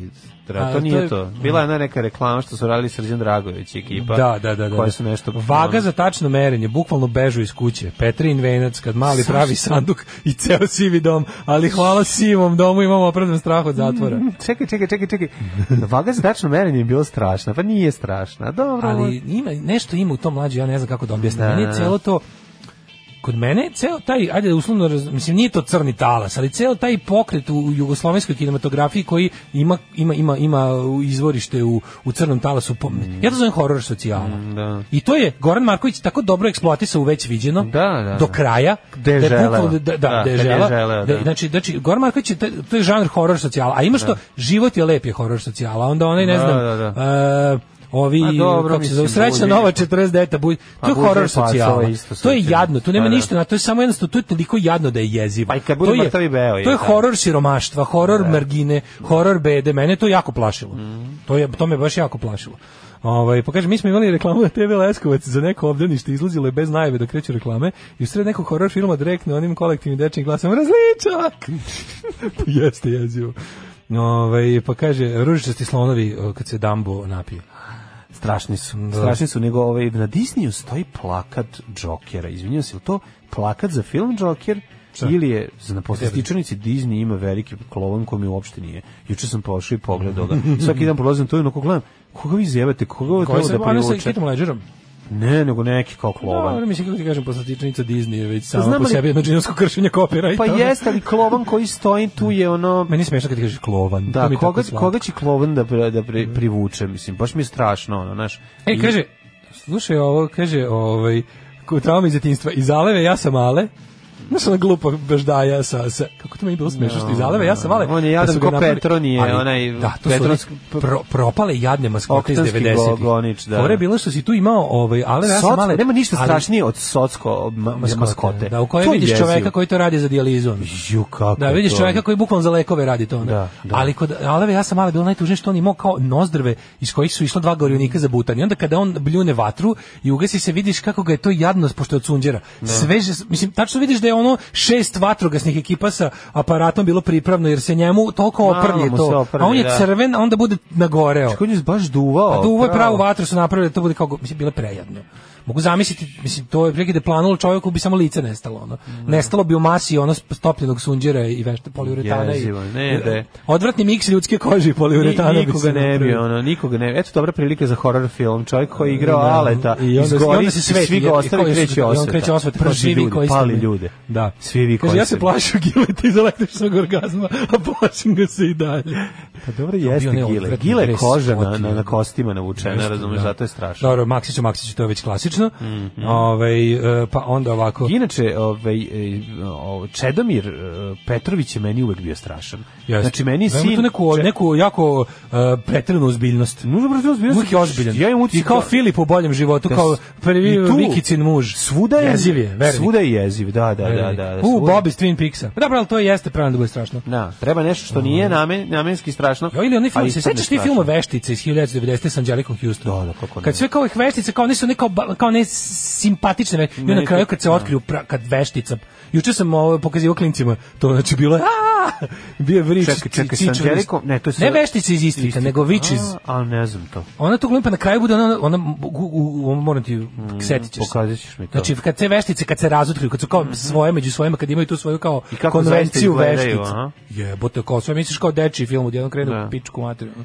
Speaker 6: dra-
Speaker 7: A,
Speaker 6: to
Speaker 7: to
Speaker 6: nije
Speaker 7: je-
Speaker 6: to. Bila je jedna neka reklama što su radili Srđan Dragović i ekipa.
Speaker 7: da, da, da, da.
Speaker 6: Pa, Koje su nešto...
Speaker 7: Vaga za tačno merenje, bukvalno bežu iz kuće. Petrin Venac, kad mali
Speaker 6: Zašto?
Speaker 7: pravi sanduk i ceo sivi dom, ali hvala sivom domu imamo opravdan strah od
Speaker 6: (laughs)
Speaker 7: zatvora.
Speaker 6: Mm, Čekaj, čekaj, čekaj, čekaj. Vaga za tačno merenje je bila strašna. Pa nije strašna. Dobro.
Speaker 7: ali ima nešto ima u tom mlađu, ja ne znam kako da objasnim.
Speaker 6: Da,
Speaker 7: Meni
Speaker 6: da,
Speaker 7: je
Speaker 6: da.
Speaker 7: celo to kod mene je ceo taj, ajde uslovno, raz- mislim nije to crni talas, ali ceo taj pokret u jugoslovenskoj kinematografiji koji ima, ima, ima, ima izvorište u, u crnom talasu, po-
Speaker 6: Mm.
Speaker 7: ja to zovem horor socijala.
Speaker 6: Da.
Speaker 7: I to je Goran Marković tako dobro eksploatisao u već viđeno
Speaker 6: da.
Speaker 7: do kraja. da
Speaker 6: Gde je želeo.
Speaker 7: bukvalno- Da, da,
Speaker 6: Da,
Speaker 7: gde je
Speaker 6: kad je
Speaker 7: želeo,
Speaker 6: želeo, da.
Speaker 7: Znači, znači Goran Marković je, taj- to je žanr horor socijala, a ima što,
Speaker 6: Da.
Speaker 7: život je lep je horor socijala, onda onaj, ne
Speaker 6: Da,
Speaker 7: znam,
Speaker 6: da,
Speaker 7: e, ovi
Speaker 6: Ma
Speaker 7: i
Speaker 6: dobro,
Speaker 7: kako se
Speaker 6: mislim,
Speaker 7: zove, srećna
Speaker 6: Bulj,
Speaker 7: nova
Speaker 6: isto.
Speaker 7: 40 deta buj.
Speaker 6: Pa
Speaker 7: To je
Speaker 6: Bulj je
Speaker 7: horor
Speaker 6: pacova,
Speaker 7: socijala.
Speaker 6: isto
Speaker 7: To je
Speaker 6: socijalno.
Speaker 7: jadno, tu nema
Speaker 6: Pa da.
Speaker 7: ništa, na to je samo jednostavno to je toliko jadno da je jezivo.
Speaker 6: Pa i kad bude
Speaker 7: To je-
Speaker 6: mrtavi beo, je
Speaker 7: To je
Speaker 6: tako.
Speaker 7: horor siromaštva, horor margine, horor bede, mene je to jako plašilo.
Speaker 6: Mhm.
Speaker 7: To je to me baš jako plašilo. Ovaj, pa kaže, mi smo imali reklamu na TV Leskovac za neko obdanište, izlazilo je bez najave dok kreću reklame i u sred nekog horor filma direktno onim kolektivnim dečnim glasom različak! (laughs) Jeste jezivo. Ovaj, pa kaže, ružičasti slonovi o, kad se Dambo napije.
Speaker 6: Strašni su. Strašni su, nego ovaj, na Disneyu stoji plakat Jokera. Izvinjam se, je li to plakat za film Joker? Ili je, na poslastičanici Disney ima veliki klovan koji mi uopšte nije. Juče sam pošao i pogledao ga. Svaki dan prolazim tu i onako gledam, koga vi zjebate, koga ovo
Speaker 7: Koji
Speaker 6: treba
Speaker 7: se
Speaker 6: da
Speaker 7: bavio sa
Speaker 6: privuče?
Speaker 7: Kitom Ledgerom?
Speaker 6: Ne, nego neki kao klovan.
Speaker 7: Dobro, ono mislim kako ti kažem, poslatičnica Disney je već samo
Speaker 6: znam,
Speaker 7: po
Speaker 6: ali-
Speaker 7: sebi jedno džinovsko kršenje kopira.
Speaker 6: Pa jeste, ali klovan koji stoji tu je ono...
Speaker 7: Meni je smešno kad ti kažeš klovan. to
Speaker 6: Da,
Speaker 7: mi je
Speaker 6: koga,
Speaker 7: tako slatko.
Speaker 6: koga će klovan da, pri- da pri- privuče, mislim, baš mi je strašno, ono, znaš.
Speaker 7: E,
Speaker 6: I-
Speaker 7: kaže, slušaj ovo, kaže, ovaj, ko trauma iz djetinjstva, iz Aleve ja sam Ale, Znaš ona glupa beždaja sa, sa kako to meni bilo smešno što iz Aleve ja sam Ale.
Speaker 6: On je jadan
Speaker 7: pa su ga
Speaker 6: ko
Speaker 7: napravili-
Speaker 6: Petronije,
Speaker 7: Ali,
Speaker 6: onaj
Speaker 7: da, to su
Speaker 6: Petronsk-
Speaker 7: one pro, propale jadne maskote iz
Speaker 6: Oktanski
Speaker 7: 90-ih.
Speaker 6: gogonič, da.
Speaker 7: Fora je bilo što si tu imao ovaj Ale ja
Speaker 6: Soc-
Speaker 7: sam Ale.
Speaker 6: nema ništa
Speaker 7: ali-
Speaker 6: strašnije od socko ma, mas- maskote.
Speaker 7: Da, u kojoj
Speaker 6: To je
Speaker 7: vidiš
Speaker 6: jezivo.
Speaker 7: čoveka koji to radi za dijalizu. ono.
Speaker 6: Ju, kako
Speaker 7: Da, vidiš
Speaker 6: to?
Speaker 7: čoveka koji bukvalno za lekove radi to. ono.
Speaker 6: Da, da.
Speaker 7: Ali kod Aleve ja sam malo bilo najtužnije što on imao kao nozdrve iz kojih su išla dva gorionika za butanje. Onda kada on bljune vatru i ugasi se vidiš kako ga je to jadno pošto je od sunđera. Sve že- mislim tačno vidiš da je ono šest vatrogasnih ekipa sa aparatom bilo pripravno jer se njemu toliko
Speaker 6: Malo
Speaker 7: oprlje
Speaker 6: mu se
Speaker 7: to.
Speaker 6: oprlje,
Speaker 7: a on je
Speaker 6: da. Znači,
Speaker 7: crven, a onda bude nagoreo.
Speaker 6: Čekaj, on je baš duvao.
Speaker 7: Pa da uvoj pravu vatru su napravili da to bude kao, go- mislim, bilo je prejadno. Mogu zamisliti, mislim, to je prekide planulo čovjeku bi samo lice nestalo, ono. Nestalo bi u masi ono stopljenog sunđera i vešte poliuretana.
Speaker 6: Jezivo,
Speaker 7: i,
Speaker 6: ne, da je-
Speaker 7: Odvratni miks ljudske kože i poliuretana.
Speaker 6: Ni-
Speaker 7: bi
Speaker 6: nikoga
Speaker 7: se
Speaker 6: ne bi,
Speaker 7: napravio.
Speaker 6: ono, nikoga ne bi. Eto dobra prilika za horror film. Čovjek koji je igrao
Speaker 7: Da.
Speaker 6: Aleta,
Speaker 7: I onda- i
Speaker 6: izgori,
Speaker 7: onda se sveti,
Speaker 6: svi
Speaker 7: jer-
Speaker 6: ga
Speaker 7: i koji
Speaker 6: ostali
Speaker 7: su- i
Speaker 6: kreće
Speaker 7: on
Speaker 6: osveta.
Speaker 7: kreće osveta, pa
Speaker 6: Prži
Speaker 7: svi vi
Speaker 6: ljude,
Speaker 7: koji ste
Speaker 6: pali
Speaker 7: bili.
Speaker 6: ljude.
Speaker 7: Da.
Speaker 6: Svi vi
Speaker 7: Kaže,
Speaker 6: koji
Speaker 7: ja se
Speaker 6: ste-
Speaker 7: plašim gileta iz električnog orgazma, a plašim ga se i dalje.
Speaker 6: Pa dobro
Speaker 7: bio
Speaker 6: jeste
Speaker 7: onaj
Speaker 6: gile.
Speaker 7: odvratni
Speaker 6: Gile je
Speaker 7: dres,
Speaker 6: koža na,
Speaker 7: otio.
Speaker 6: na, na kostima navučena,
Speaker 7: Jeste,
Speaker 6: razumeš,
Speaker 7: da.
Speaker 6: zato je strašno.
Speaker 7: Dobro, Maksiću, Maksiću, to je već klasično. odlično.
Speaker 6: Mhm.
Speaker 7: Ovaj, e, pa onda ovako.
Speaker 6: Inače, ovaj, e, o, Čedomir e, Petrović je meni uvek bio strašan.
Speaker 7: Jeste.
Speaker 6: Znači, meni je
Speaker 7: Da, ima
Speaker 6: sin...
Speaker 7: tu neku- neku jako uh, pretrenu ozbiljnost.
Speaker 6: Nužno pretrenu ozbiljnost.
Speaker 7: Uvijek je ozbiljan.
Speaker 6: Ja imam utisak
Speaker 7: I kao
Speaker 6: da-
Speaker 7: Filip u boljem životu,
Speaker 6: Da
Speaker 7: kao
Speaker 6: s-
Speaker 7: prvi
Speaker 6: i tu-
Speaker 7: Vikicin muž.
Speaker 6: Svuda je,
Speaker 7: Jeziv je, vernik.
Speaker 6: Svuda je jeziv, da, da, da. da, da
Speaker 7: U,
Speaker 6: svuda.
Speaker 7: Bob iz Twin Peaksa. Pa Dobro, ali to jeste pravno da bude strašno.
Speaker 6: Da, treba nešto što nije namen, namenski strašno.
Speaker 7: Jo, ili onaj
Speaker 6: a
Speaker 7: film,
Speaker 6: i
Speaker 7: se
Speaker 6: sad ne
Speaker 7: sećaš ti
Speaker 6: strašno.
Speaker 7: filma Veštice iz 1990. sa Angelikom Houston? Da, da, kako Kad sve kao ovih veštice, kao one su neka, kao ne simpatične, ve- i
Speaker 6: Meni
Speaker 7: na
Speaker 6: je
Speaker 7: kraju
Speaker 6: to-
Speaker 7: kad se
Speaker 6: da.
Speaker 7: otkriju, pra- kad veštica, juče sam ovo pokazivao klincima, to znači bilo je, (laughs) aaa, bio je vrič,
Speaker 6: Čekaj, čekaj, sa
Speaker 7: cičvrist.
Speaker 6: Angelikom, ne, to je
Speaker 7: Ne
Speaker 6: sa-
Speaker 7: veštice iz Istrika,
Speaker 6: Istrika.
Speaker 7: nego Witches.
Speaker 6: A, a, ne znam to.
Speaker 7: Ona tu glumi pa na kraju bude ona ona u, u, u moram ti setit ćeš se.
Speaker 6: Mm, pokazat ćeš mi to. Mhm.
Speaker 7: Znači kad te veštice kad se razotkriju, kad su kao svoje među svojima, kad imaju tu svoju kao
Speaker 6: kako zaista
Speaker 7: konvenciju
Speaker 6: izgledaju,
Speaker 7: veštica.
Speaker 6: aha.
Speaker 7: Jebote, kao sve misliš kao dečiji film, odjednom krenu
Speaker 6: Da.
Speaker 7: u pičku materinu.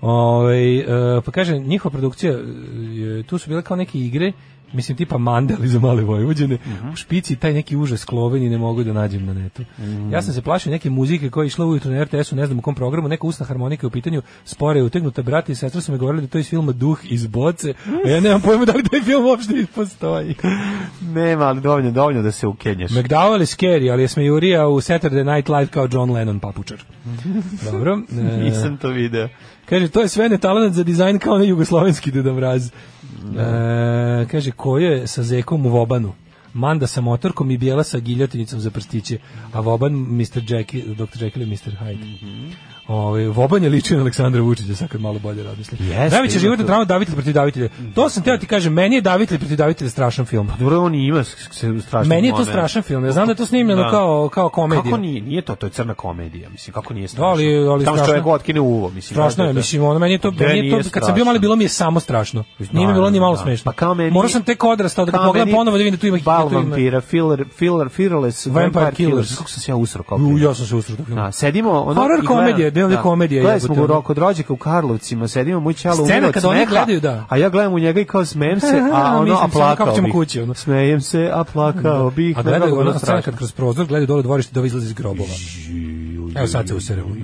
Speaker 7: Ovaj e, pa kaže njihova produkcija e, je- tu su bile kao neke igre Mislim, tipa mandali za male vojvođene,
Speaker 6: Mhm.
Speaker 7: u špici taj neki užas kloveni ne mogu da nađem na netu.
Speaker 6: Mhm.
Speaker 7: Ja sam se plašio neke muzike koja je išla ujutro na RTS-u, ne znam u kom programu, neka usna harmonika je u pitanju, spore je utegnuta, brat i sestra su mi govorili da je to iz filma Duh iz boce, a ja nemam pojma da li taj film uopšte postoji.
Speaker 6: Nema, ali dovoljno, dovoljno da se ukenješ.
Speaker 7: McDowell je scary, ali je smejurija u Saturday Night Live kao John Lennon papučar. Dobro. e,
Speaker 6: Nisam to video.
Speaker 7: Kaže, to je sve netalenat za dizajn kao onaj jugoslovenski deda mraz. E, kaže, ko je sa zekom u Vobanu? Manda sa motorkom i bijela sa giljotinicom za prstiće, a Voban Mr. Jackie, Dr. Jekyll i Mr. Hyde.
Speaker 6: Mhm.
Speaker 7: Ovaj, Voban je ličio na Aleksandra Vučića, sad kad malo bolje razmislim.
Speaker 6: Jeste,
Speaker 7: Najveća
Speaker 6: ima
Speaker 7: životna
Speaker 6: tu.
Speaker 7: drama Davitelj protiv Davitelja. To sam teo ti kažem, meni je Davitelj protiv Davitelja strašan film.
Speaker 6: Dobro, on i ima s- s- strašan
Speaker 7: Meni je to
Speaker 6: moment.
Speaker 7: strašan film, ja znam da je to snimljeno kao- kao komedija.
Speaker 6: Kako nije, nije to, to je crna komedija, mislim, kako nije strašno.
Speaker 7: Da, ali- ali
Speaker 6: Tamo
Speaker 7: strašno.
Speaker 6: čovjek otkine uvo, mislim.
Speaker 7: Strašno je, mislim, ono meni je to,
Speaker 6: Gde
Speaker 7: meni je to
Speaker 6: nije
Speaker 7: kad sam bio mali
Speaker 6: strašno?
Speaker 7: bilo mi je samo strašno. Nije mi bilo ni malo smešno.
Speaker 6: Pa kao meni...
Speaker 7: Morao sam tek odrastao da ga
Speaker 6: kao
Speaker 7: pogledam
Speaker 6: meni
Speaker 7: ponovo da vidim da tu ima
Speaker 6: Bal
Speaker 7: da tu ima-
Speaker 6: vampira, filler, filler, fearless,
Speaker 7: Vampire
Speaker 6: vampire,
Speaker 7: Killers.
Speaker 6: killers. Kako sam se ja usro kao
Speaker 7: U,
Speaker 6: klinac.
Speaker 7: ja sam se usrao.
Speaker 6: Da, sedimo ono
Speaker 7: Horror
Speaker 6: i gledam-
Speaker 7: komedija, deo je komedija,
Speaker 6: Gledali
Speaker 7: jebote,
Speaker 6: smo u
Speaker 7: ono.
Speaker 6: rok od rođaka u Karlovcima, sedimo mu ćalo
Speaker 7: Scena
Speaker 6: umro od
Speaker 7: kad oni
Speaker 6: smeha,
Speaker 7: gledaju, da.
Speaker 6: A ja gledam u njega i kao
Speaker 7: (laughs)
Speaker 6: smejem se, a ono
Speaker 7: Mislim, samo
Speaker 6: a
Speaker 7: kako
Speaker 6: plakao
Speaker 7: ćemo
Speaker 6: bih.
Speaker 7: kući, ono.
Speaker 6: Smejem se, a plakao bih.
Speaker 7: A
Speaker 6: ne mogu,
Speaker 7: gledaju
Speaker 6: ono
Speaker 7: ono scena
Speaker 6: strašno.
Speaker 7: kad kroz prozor gledaju dole u dvorište da izlazi iz grobova. Evo sad se useremo.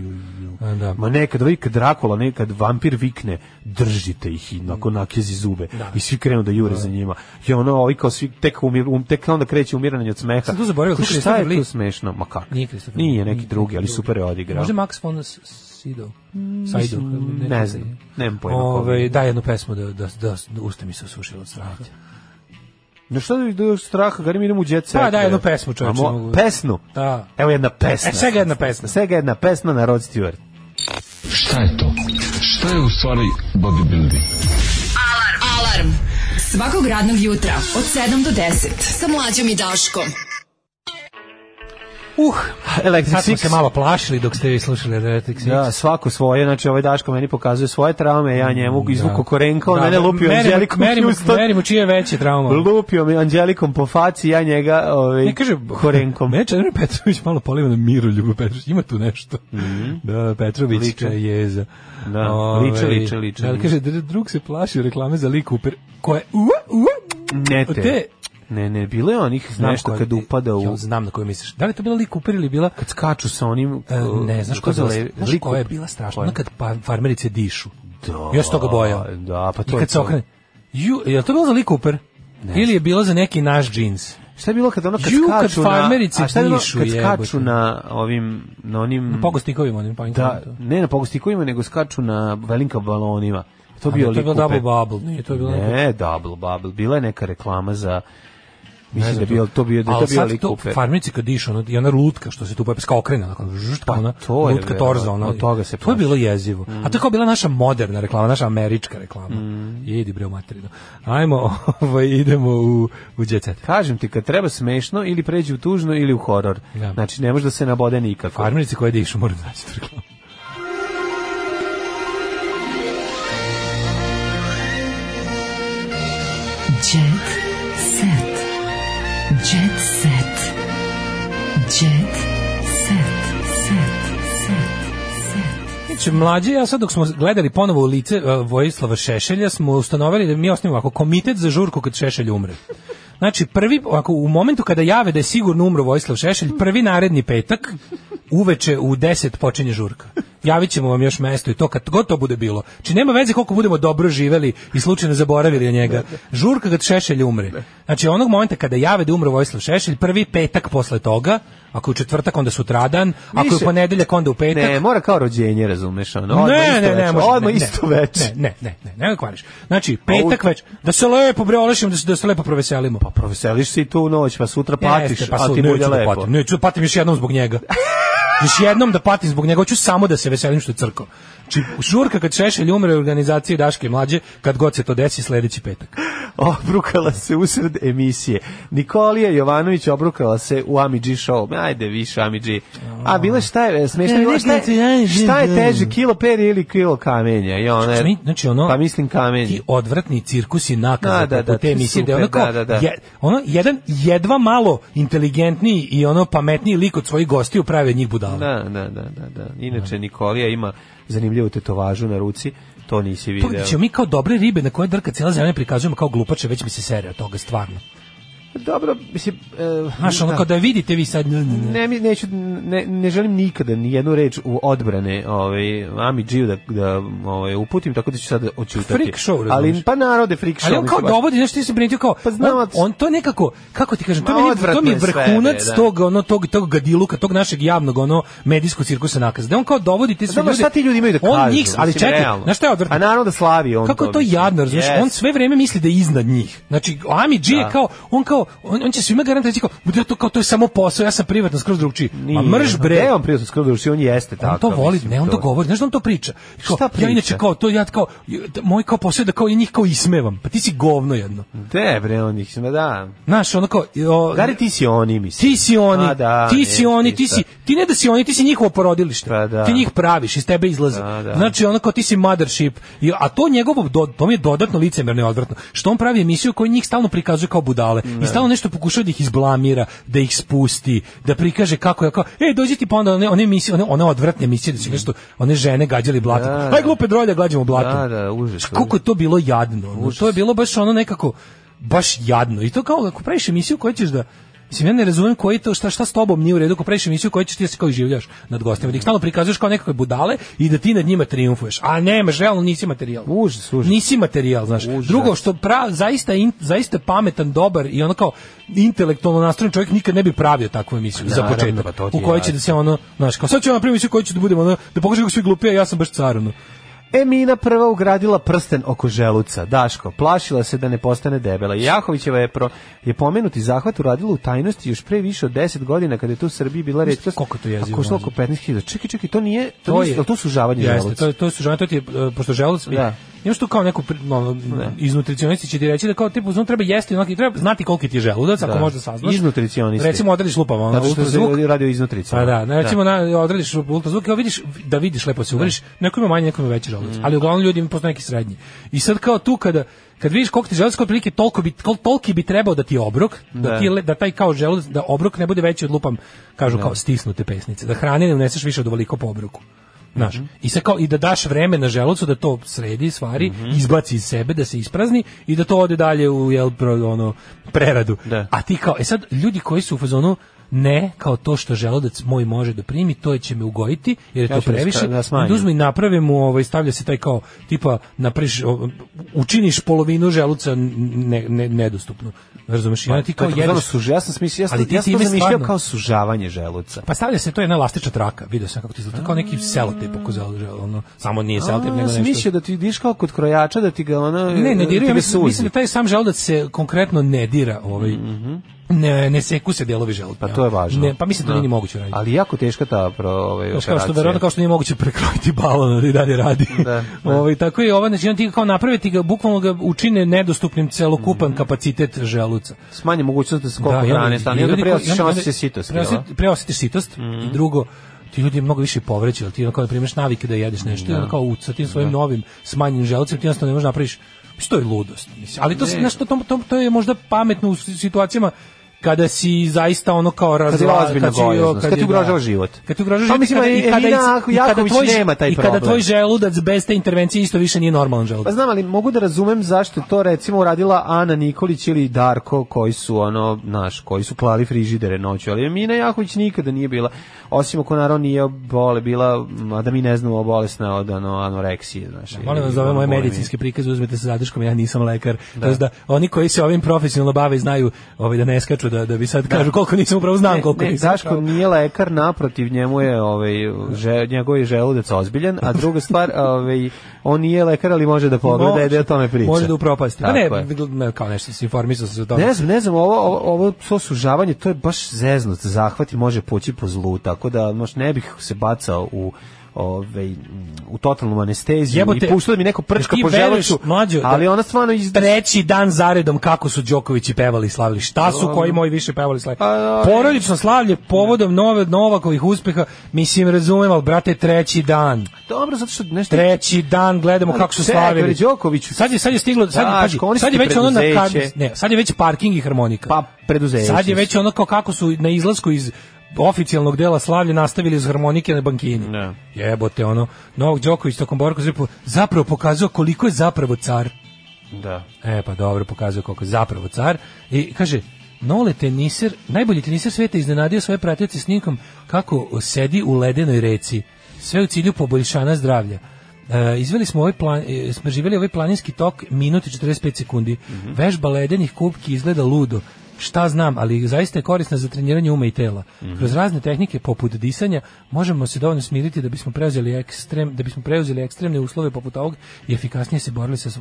Speaker 7: A, Da.
Speaker 6: Ma nekad, ovaj kad Drakula, nekad vampir vikne, držite ih i
Speaker 7: Mm.
Speaker 6: onako nakjezi zube. I svi krenu da jure za njima. I ono, ovi kao svi, tek, umir, um, tek onda kreće umiranje od smeha.
Speaker 7: Sam tu zaboravio,
Speaker 6: Kao,
Speaker 7: Christopher
Speaker 6: Šta je
Speaker 7: Lee?
Speaker 6: tu smešno? Ma kako?
Speaker 7: Nije Christopher Lee.
Speaker 6: Nije, neki drugi, ali super je odigrao. Mm,
Speaker 7: Možda Max von S- Sydow. Sydow.
Speaker 6: ne
Speaker 7: kako se-
Speaker 6: znam, nemam pojma ko
Speaker 7: Ovaj
Speaker 6: je.
Speaker 7: daj jednu pesmu da da da usta mi se osušila od straha.
Speaker 6: No šta da do straha, gari mi idemo u jet set.
Speaker 7: Pa da,
Speaker 6: bre.
Speaker 7: jednu pesmu čovječe.
Speaker 6: A mo-
Speaker 7: mogu-
Speaker 6: Pesnu?
Speaker 7: Da.
Speaker 6: Evo jedna pesma.
Speaker 7: E, svega jedna pesma.
Speaker 6: Svega jedna pesma na Rod Stewart.
Speaker 14: Šta je to? Šta je u stvari bodybuilding?
Speaker 12: Alarm. Alarm. Svakog radnog jutra od 7 do 10 sa mlađom i Daškom.
Speaker 7: Uh,
Speaker 6: Electric
Speaker 7: sad smo se
Speaker 6: Six.
Speaker 7: malo plašili dok ste vi slušali Electric Six.
Speaker 6: Da, svako svoje, znači ovaj Daško meni pokazuje svoje traume,
Speaker 7: Mm,
Speaker 6: ja njemu izvuku korenka, on mene lupio
Speaker 7: merimo-
Speaker 6: Anđelikom
Speaker 7: merimo-
Speaker 6: Houston.
Speaker 7: Merimo čije je veće trauma.
Speaker 6: Lupio me Anđelikom po faci, ja njega
Speaker 7: (laughs)
Speaker 6: ovaj,
Speaker 7: Ne kaže
Speaker 6: korenkom.
Speaker 7: Mene Čedomir Petrović malo poliva na miru Ljubo Petrović. Ima tu nešto. Da, Petrović
Speaker 6: Mhm. Liče.
Speaker 7: je jeza.
Speaker 6: Da,
Speaker 7: Ovaj,
Speaker 6: liče, liče, liče.
Speaker 7: Da, kaže, dr- drug se plaši reklame za Lee Cooper, koje... Ua, ua,
Speaker 6: Ne te.
Speaker 7: te-
Speaker 6: Ne, ne, bilo je onih,
Speaker 7: Znam
Speaker 6: nešto
Speaker 7: koje-
Speaker 6: kad upada u...
Speaker 7: Ja znam na koju misliš. Da li je to bila Lee Cooper ili bila...
Speaker 6: Kad skaču sa onim...
Speaker 7: E, ne, znaš
Speaker 6: kako
Speaker 7: koja je bila,
Speaker 6: zove,
Speaker 7: znaš
Speaker 6: liku-
Speaker 7: koja je bila strašna?
Speaker 6: koja?
Speaker 7: Ona kad pa, farmerice dišu. Ja se toga bojao.
Speaker 6: Da, pa to
Speaker 7: I
Speaker 6: je
Speaker 7: kad se
Speaker 6: to.
Speaker 7: okrene... Ju, je li to bilo za Lee Cooper? Ili je bilo za neki naš džins?
Speaker 6: Šta je bilo kad ono kad
Speaker 7: Ju, kad
Speaker 6: skaču na...
Speaker 7: farmerice
Speaker 6: a šta je bilo
Speaker 7: dišu,
Speaker 6: kad
Speaker 7: jebote.
Speaker 6: skaču na ovim... Na onim...
Speaker 7: Na pogostikovima onim pa
Speaker 6: Da, ne na pogostikovima, nego skaču na velinka balonima. To
Speaker 7: A
Speaker 6: bio
Speaker 7: ne, to je bilo
Speaker 6: Lee
Speaker 7: Double
Speaker 6: Cooper.
Speaker 7: Bubble, nije, to je bilo
Speaker 6: Ne, Double Bubble. Bila je neka reklama za... Mislim da
Speaker 7: znam
Speaker 6: je bio, to bio, da je to
Speaker 7: Ali
Speaker 6: bio
Speaker 7: sad
Speaker 6: Lee
Speaker 7: to
Speaker 6: Cooper.
Speaker 7: farmici kad dišu, ono, i ona lutka što se tu pojavi, kao okrene, onako, žušt, kao ona,
Speaker 6: Pa to je
Speaker 7: lutka
Speaker 6: vero-
Speaker 7: torza, ona,
Speaker 6: od toga se Mm.
Speaker 7: to je
Speaker 6: plaši.
Speaker 7: bilo jezivo. A to je kao bila naša moderna reklama, naša američka reklama.
Speaker 6: Mm.
Speaker 7: Jedi bre u materinu. Ajmo, (laughs) ovaj, idemo u, u jet set.
Speaker 6: Kažem ti, kad treba smešno, ili pređi u tužno, ili u horor.
Speaker 7: Da.
Speaker 6: Znači, ne može da se nabode nikako.
Speaker 7: Farmerice koje dišu, moram naći tu reklamu.
Speaker 12: Jet set. Jet set. Jet set. Set. Set.
Speaker 7: Znači, mlađe, ja sad dok smo gledali ponovo u lice e, Vojislava Šešelja, smo ustanovili da mi osnimo ovako komitet za žurku kad Šešelj umre. Znači, prvi, ako u momentu kada jave da je sigurno umro Vojislav Šešelj, prvi naredni petak, uveče u 10 počinje žurka. Javit ćemo vam još mesto i to kad god to bude bilo. Či nema veze koliko budemo dobro živeli i slučajno zaboravili na njega. Žurka kad Šešelj umre. Znači onog momenta kada jave da umre Vojislav Šešelj, prvi petak posle toga, ako je u četvrtak onda sutradan, ako je
Speaker 6: Više-
Speaker 7: u ponedeljak onda u petak.
Speaker 6: Ne, mora kao rođenje, razumeš, ono. odmah
Speaker 7: Ne,
Speaker 6: isto
Speaker 7: ne, ne,
Speaker 6: veče,
Speaker 7: može,
Speaker 6: odmah
Speaker 7: ne, ne,
Speaker 6: isto veče.
Speaker 7: Ne, ne, ne, ne, ne, kvariš. Znači, petak već, da se lepo bre olešimo, da se, da se lepo proveselimo. Pa
Speaker 6: Proveseliš se i tu noć, pa sutra patiš,
Speaker 7: Jeste, pa
Speaker 6: a
Speaker 7: su-
Speaker 6: ti
Speaker 7: neću
Speaker 6: bude
Speaker 7: da
Speaker 6: lepo.
Speaker 7: Patim, neću da patim još jednom zbog njega. još jednom da patim zbog njega, hoću samo da se veselim što je crko. Znači, žurka kad Šešelj umre u organizaciji Daške i Mlađe, kad god se to desi, sledeći petak.
Speaker 6: (laughs) Obrukala se usred emisije. Nikolija Jovanović obrukala se u Amidži show. Ajde više Amidži. A bila šta je smešno? bila Šta je, šta je teže, kilo perje ili kilo kamenja? I ona je,
Speaker 7: Mi, znači ono,
Speaker 6: pa mislim kamenje.
Speaker 7: odvratni cirkus i
Speaker 6: Da,
Speaker 7: nakaza
Speaker 6: da,
Speaker 7: da,
Speaker 6: da,
Speaker 7: te emisije, da je ono,
Speaker 6: super,
Speaker 7: kao,
Speaker 6: da, da, da.
Speaker 7: Je, ono jedan jedva malo inteligentniji i ono pametniji lik od svojih gostiju pravi od njih budala.
Speaker 6: Da, da, da, da, da. Inače Nikolija ima zanimljivu tetovažu na ruci, to nisi
Speaker 7: Pa, da
Speaker 6: video.
Speaker 7: ćemo mi kao dobre ribe na koje drka cijela zemlja prikazujemo kao glupače, već mi se serija od toga, stvarno.
Speaker 6: Dobro, mislim, e,
Speaker 7: Znaš, ono
Speaker 6: da.
Speaker 7: kao da je vidite vi sad... Ne, ne, ne.
Speaker 6: Ne, mi- neću, ne, ne želim nikada ni jednu reč u odbrane ovaj, Ami Giju da, da ovaj, uputim, tako da ću sada očutati.
Speaker 7: Freak show,
Speaker 6: Ali,
Speaker 7: razumeš?
Speaker 6: pa narode, freak show.
Speaker 7: Ali on kao
Speaker 6: mislim, baš- Pa
Speaker 7: dovodi, znaš ti se primetio kao, on, on to nekako, kako ti kažem, to,
Speaker 6: Ma,
Speaker 7: meni, to
Speaker 6: odvratno
Speaker 7: mi je
Speaker 6: je sve,
Speaker 7: vrhunac
Speaker 6: bre, da.
Speaker 7: tog, ono, tog, tog gadiluka, tog našeg javnog, ono, medijskog cirkusa nakaza. Da on kao dovodi te sve
Speaker 6: Pa Dobro,
Speaker 7: ljude.
Speaker 6: šta ti ljudi imaju da kažu?
Speaker 7: On njih, ali
Speaker 6: Mislim,
Speaker 7: čekaj,
Speaker 6: realno.
Speaker 7: znaš šta je odvratno?
Speaker 6: A naravno da slavi on
Speaker 7: Kako
Speaker 6: to,
Speaker 7: je to
Speaker 6: mislim.
Speaker 7: jadno, razumeš?
Speaker 6: Yes.
Speaker 7: On sve vreme misli da je iznad njih. Znači, Ami G je
Speaker 6: Da.
Speaker 7: kao, on kao, on, on će svima garantati reći kao, "Ma ja to kao, to je samo posao, ja sam privatno skroz drugčiji. Ma
Speaker 6: Nije.
Speaker 7: mrž bre.
Speaker 6: Gde je on prijatno skroz duši, on jeste tako.
Speaker 7: On to voli, ne, on to govori, znaš da on to priča. Kao,
Speaker 6: Šta priča?
Speaker 7: Ja inače kao to, ja kao, moj kao posao je da kao ja njih kao ismevam, pa ti si govno jedno.
Speaker 6: De bre, on ih, ma da.
Speaker 7: Znaš, ono kao... O,
Speaker 6: Gari, ti si oni, mislim.
Speaker 7: Ti si oni,
Speaker 6: A, Pa da,
Speaker 7: ti
Speaker 6: ne,
Speaker 7: si oni,
Speaker 6: ti
Speaker 7: ti si,
Speaker 6: šta.
Speaker 7: ti ne da si oni, ti si njihovo porodilište.
Speaker 6: Pa da.
Speaker 7: Ti njih praviš, iz tebe izlazi.
Speaker 6: Da, da.
Speaker 7: Znači, ono kao ti si mothership. I, a to njegovo, do, to mi je dodatno licemerno i odvratno. Što on pravi emisiju koju njih stalno prikazuje kao budale. I stalno nešto pokušava da ih izblamira, da ih spusti, da prikaže kako je, kao, e, dođi ti pa onda one, one emisije, one, one odvratne emisije, da su nešto, one žene gađali blatom.
Speaker 6: Mm. Da, da.
Speaker 7: Aj, glupe drolje, gađamo blatom.
Speaker 6: Da, da, užas.
Speaker 7: Koliko je to bilo jadno. ono, To je bilo baš ono nekako baš jadno. I to kao ako praviš emisiju koju ćeš da Mislim, ja ne razumem koji to, šta, šta s tobom nije u redu, ako praviš emisiju koju ćeš ti da se kao življaš nad gostima, da ih stalno prikazuješ kao nekakve budale i da ti nad njima triumfuješ. A nemaš, realno nisi materijal.
Speaker 6: Užas, užas.
Speaker 7: Nisi materijal, znaš. Drugo, što pra, zaista, in, zaista pametan, dobar i ono kao intelektualno nastrojen čovjek nikad ne bi pravio takvu emisiju za
Speaker 6: Naravno,
Speaker 7: početak.
Speaker 6: pa to ti
Speaker 7: u
Speaker 6: je
Speaker 7: kojoj će
Speaker 6: jasno.
Speaker 7: da se ono, znaš, kao sad ću vam napraviti emisiju koju ću da budem ono, da pokažem kako svi glupi, a ja sam baš car, ono.
Speaker 6: Emina E, prva ugradila prsten oko želuca. Daško, plašila se da ne postane debela. Jahovićeva je, pro, je pomenuti zahvat uradila u tajnosti još pre više od 10 godina kada je tu u Srbiji bila reč. Koliko
Speaker 7: to jezivo,
Speaker 6: A košlo
Speaker 7: mlađe.
Speaker 6: oko 15.000. Čekaj, čekaj, to nije, to, to je, to sužavanje
Speaker 7: Jeste,
Speaker 6: želuca.
Speaker 7: To, je- to je sužavanje, to ti je, e, pošto želuc,
Speaker 6: Da.
Speaker 7: imaš tu kao neku, pri- ono, iz nutricionisti će ti reći da kao tipu, uzmano treba jesti, onaki, treba znati koliki ti je želudac, ako
Speaker 6: Da.
Speaker 7: možda saznaš.
Speaker 6: Iz nutricionisti.
Speaker 7: Recimo, odradiš lupama, ono,
Speaker 6: Zato što se
Speaker 7: ultrazvuk.
Speaker 6: radi o iznutrica.
Speaker 7: Pa da, ne, recimo, na, odradiš ultrazvuk, evo vidiš, da Mhm. vidiš, lepo se uveriš, neko ima manje, neko ima veći želudac, ali uglavnom ljudi imaju postoje neki srednji. I sad kao tu kada, kad vidiš koliko ti želudac, kao otprilike toliko bi, kol- toliki bi trebao da ti je obrok, da,
Speaker 6: Da.
Speaker 7: ti je le- da taj kao želudac, da obrok ne bude veći od lupam, kažu kao stisnute pesnice, da hrane ne uneseš više od ovoliko po obroku. Znaš, i, sad kao, i da daš vreme na želucu da to sredi, stvari, izbaci iz sebe, da se isprazni i da to ode dalje u jel, pro- ono, preradu. A ti kao, e sad, ljudi koji su u fazonu, ne, kao to što želudac moj može da primi, to će me ugojiti, jer je
Speaker 6: Ja
Speaker 7: to
Speaker 6: ću da
Speaker 7: previše.
Speaker 6: ska- da smanjim.
Speaker 7: Onda uzmi i naprave mu, ovaj, stavlja se taj kao, tipa, napraviš, o, učiniš polovinu želuca ne, ne, nedostupnu. Razumeš? I onda ti
Speaker 6: Pa, To
Speaker 7: kao
Speaker 6: je takozvano
Speaker 7: jedeš.
Speaker 6: suž, ja sam smislio, ja sam,
Speaker 7: Ali ti
Speaker 6: ja sam to
Speaker 7: time
Speaker 6: zamišljao
Speaker 7: stvarno-
Speaker 6: kao sužavanje želuca.
Speaker 7: Pa stavlja se to je jedna elastična traka, video sam kako ti izgleda, kao neki selotip oko želuca, ono, samo nije
Speaker 6: A,
Speaker 7: selotip, nego
Speaker 6: ja
Speaker 7: nešto.
Speaker 6: sam mislio da ti diš kao kod krojača, da ti ga ona...
Speaker 7: Ne, ne
Speaker 6: da ti
Speaker 7: diraju,
Speaker 6: ga
Speaker 7: ja mislim,
Speaker 6: suzi.
Speaker 7: mislim da taj sam želudac se konkretno ne dira, ovaj. Ne, ne seku se delovi želuca.
Speaker 6: Mhm. Pa to je važno.
Speaker 7: Ne, pa mislim da
Speaker 6: Da.
Speaker 7: nije ni moguće raditi.
Speaker 6: Ali jako teška ta pro, ovaj,
Speaker 7: Znaš, kao što
Speaker 6: operacija.
Speaker 7: verovatno kao što nije moguće prekrojiti balon da i dalje radi. (laughs) Ovaj tako je ovo znači on ti ga kao napraviti ga bukvalno ga učine nedostupnim celokupan kapacitet želuca.
Speaker 6: Smanje mogućnost da se koliko
Speaker 7: i onda-
Speaker 6: hrane
Speaker 7: i
Speaker 6: stane. Onda
Speaker 7: ljudi koji-
Speaker 6: preosiš
Speaker 7: i onda-
Speaker 6: osjećaj sitosti. jel?
Speaker 7: preosit- Preosjetiš sitost
Speaker 6: Mm.
Speaker 7: i drugo ti ljudi mnogo više povreće, ali ti ono kao da primiš navike da jedeš nešto i onda kao u, sa tim svojim novim smanjenim želucem ti jednostavno ne možeš napraviš, što je ludost. Mislim. Ali to, se- znaš, to, to, to, to je možda pametno u s- situacijama kada si zaista ono kao razla,
Speaker 6: ozbiljna
Speaker 7: kad si, o,
Speaker 6: gojaznost, kad
Speaker 7: je,
Speaker 6: ti
Speaker 7: da.
Speaker 6: ugrožava život.
Speaker 7: Kad ti ugrožava
Speaker 6: Pa
Speaker 7: život i
Speaker 6: mislim,
Speaker 7: kada, i kada, i
Speaker 6: Elina
Speaker 7: kada
Speaker 6: Jaković
Speaker 7: tvoj,
Speaker 6: nema taj
Speaker 7: i kada
Speaker 6: problem.
Speaker 7: tvoj želudac bez te intervencije isto više nije normalan želudac.
Speaker 6: Pa znam, ali mogu da razumem zašto je to recimo uradila Ana Nikolić ili Darko koji su ono, naš, koji su klali frižidere noću, ali Mina Jaković nikada nije bila, osim ako naravno nije bole, bila, m, a da mi ne znamo bolesna od ano, anoreksije, znaš. ili
Speaker 7: Molim vas za ove
Speaker 6: ono,
Speaker 7: moje
Speaker 6: bulimije.
Speaker 7: medicinske prikaze uzmete sa zadrškom, ja nisam lekar. Da. da oni koji se ovim profesionalno bave znaju ovaj, da ne skaču, da, da bi sad kažu koliko nisam upravo znam, (laughs) koliko
Speaker 6: ne, ne,
Speaker 7: nisam.
Speaker 6: Daško nije lekar, naprotiv njemu je ovaj že, njegov je želudac ozbiljan, a druga stvar, (laughs) ovaj on nije lekar, ali može da pogleda i da o tome priča.
Speaker 7: Može da upropasti. Pa ne,
Speaker 6: Tako je.
Speaker 7: ne, kao nešto se informisao sam se o tome.
Speaker 6: Ne znam, ne znam, ovo, ovo, ovo to sužavanje, to je baš zeznut, zahvat i može poći po zlu, tako da možda ne bih se bacao u ovaj, m, u totalnu anesteziju
Speaker 7: Jebote,
Speaker 6: i puštao da mi neko prčka
Speaker 7: ti
Speaker 6: po
Speaker 7: veruješ,
Speaker 6: želucu,
Speaker 7: mlađo, da-
Speaker 6: ali ona stvarno iz...
Speaker 7: treći dan zaredom kako su Đokovići pevali i slavili. Šta su
Speaker 6: Um, pa,
Speaker 7: koji moji više pevali i slavili? Porodično slavlje povodom nove Novakovih uspeha, mislim razumem, ali brate treći dan.
Speaker 6: Dobro, zato što nešto...
Speaker 7: Treći dan gledamo kako su
Speaker 6: Čekaj,
Speaker 7: slavili.
Speaker 6: Đokoviću.
Speaker 7: Sad je sad je stiglo, sad,
Speaker 6: Daško,
Speaker 7: pazi,
Speaker 6: oni su
Speaker 7: sad je
Speaker 6: ti
Speaker 7: već ono na kad,
Speaker 6: preduzeće.
Speaker 7: ne, sad je već parking i harmonika.
Speaker 6: Pa preduzeće.
Speaker 7: Sad je već ono kao kako su na izlasku iz oficijalnog dela slavlja nastavili uz harmonike na bankini.
Speaker 6: Ne.
Speaker 7: Jebote ono. Novak Đoković tokom borka za Liverpool zapravo pokazao koliko je zapravo car.
Speaker 6: Da.
Speaker 7: E pa dobro pokazuje koliko je zapravo car i kaže Nole teniser, najbolji teniser sveta iznenadio svoje pratioce snimkom kako sedi u ledenoj reci. Sve u cilju poboljšanja zdravlja. E, izveli smo ovaj plan, e, smo živjeli ovaj planinski tok minut i 45 sekundi. Vežba ledenih kupki izgleda ludo. Šta znam, ali zaista je korisna za treniranje uma i tela. Kroz razne tehnike poput disanja možemo se dovoljno smiriti da bismo preuzeli ekstrem, da bismo preuzeli ekstremne uslove poput ovog i efikasnije se borili sa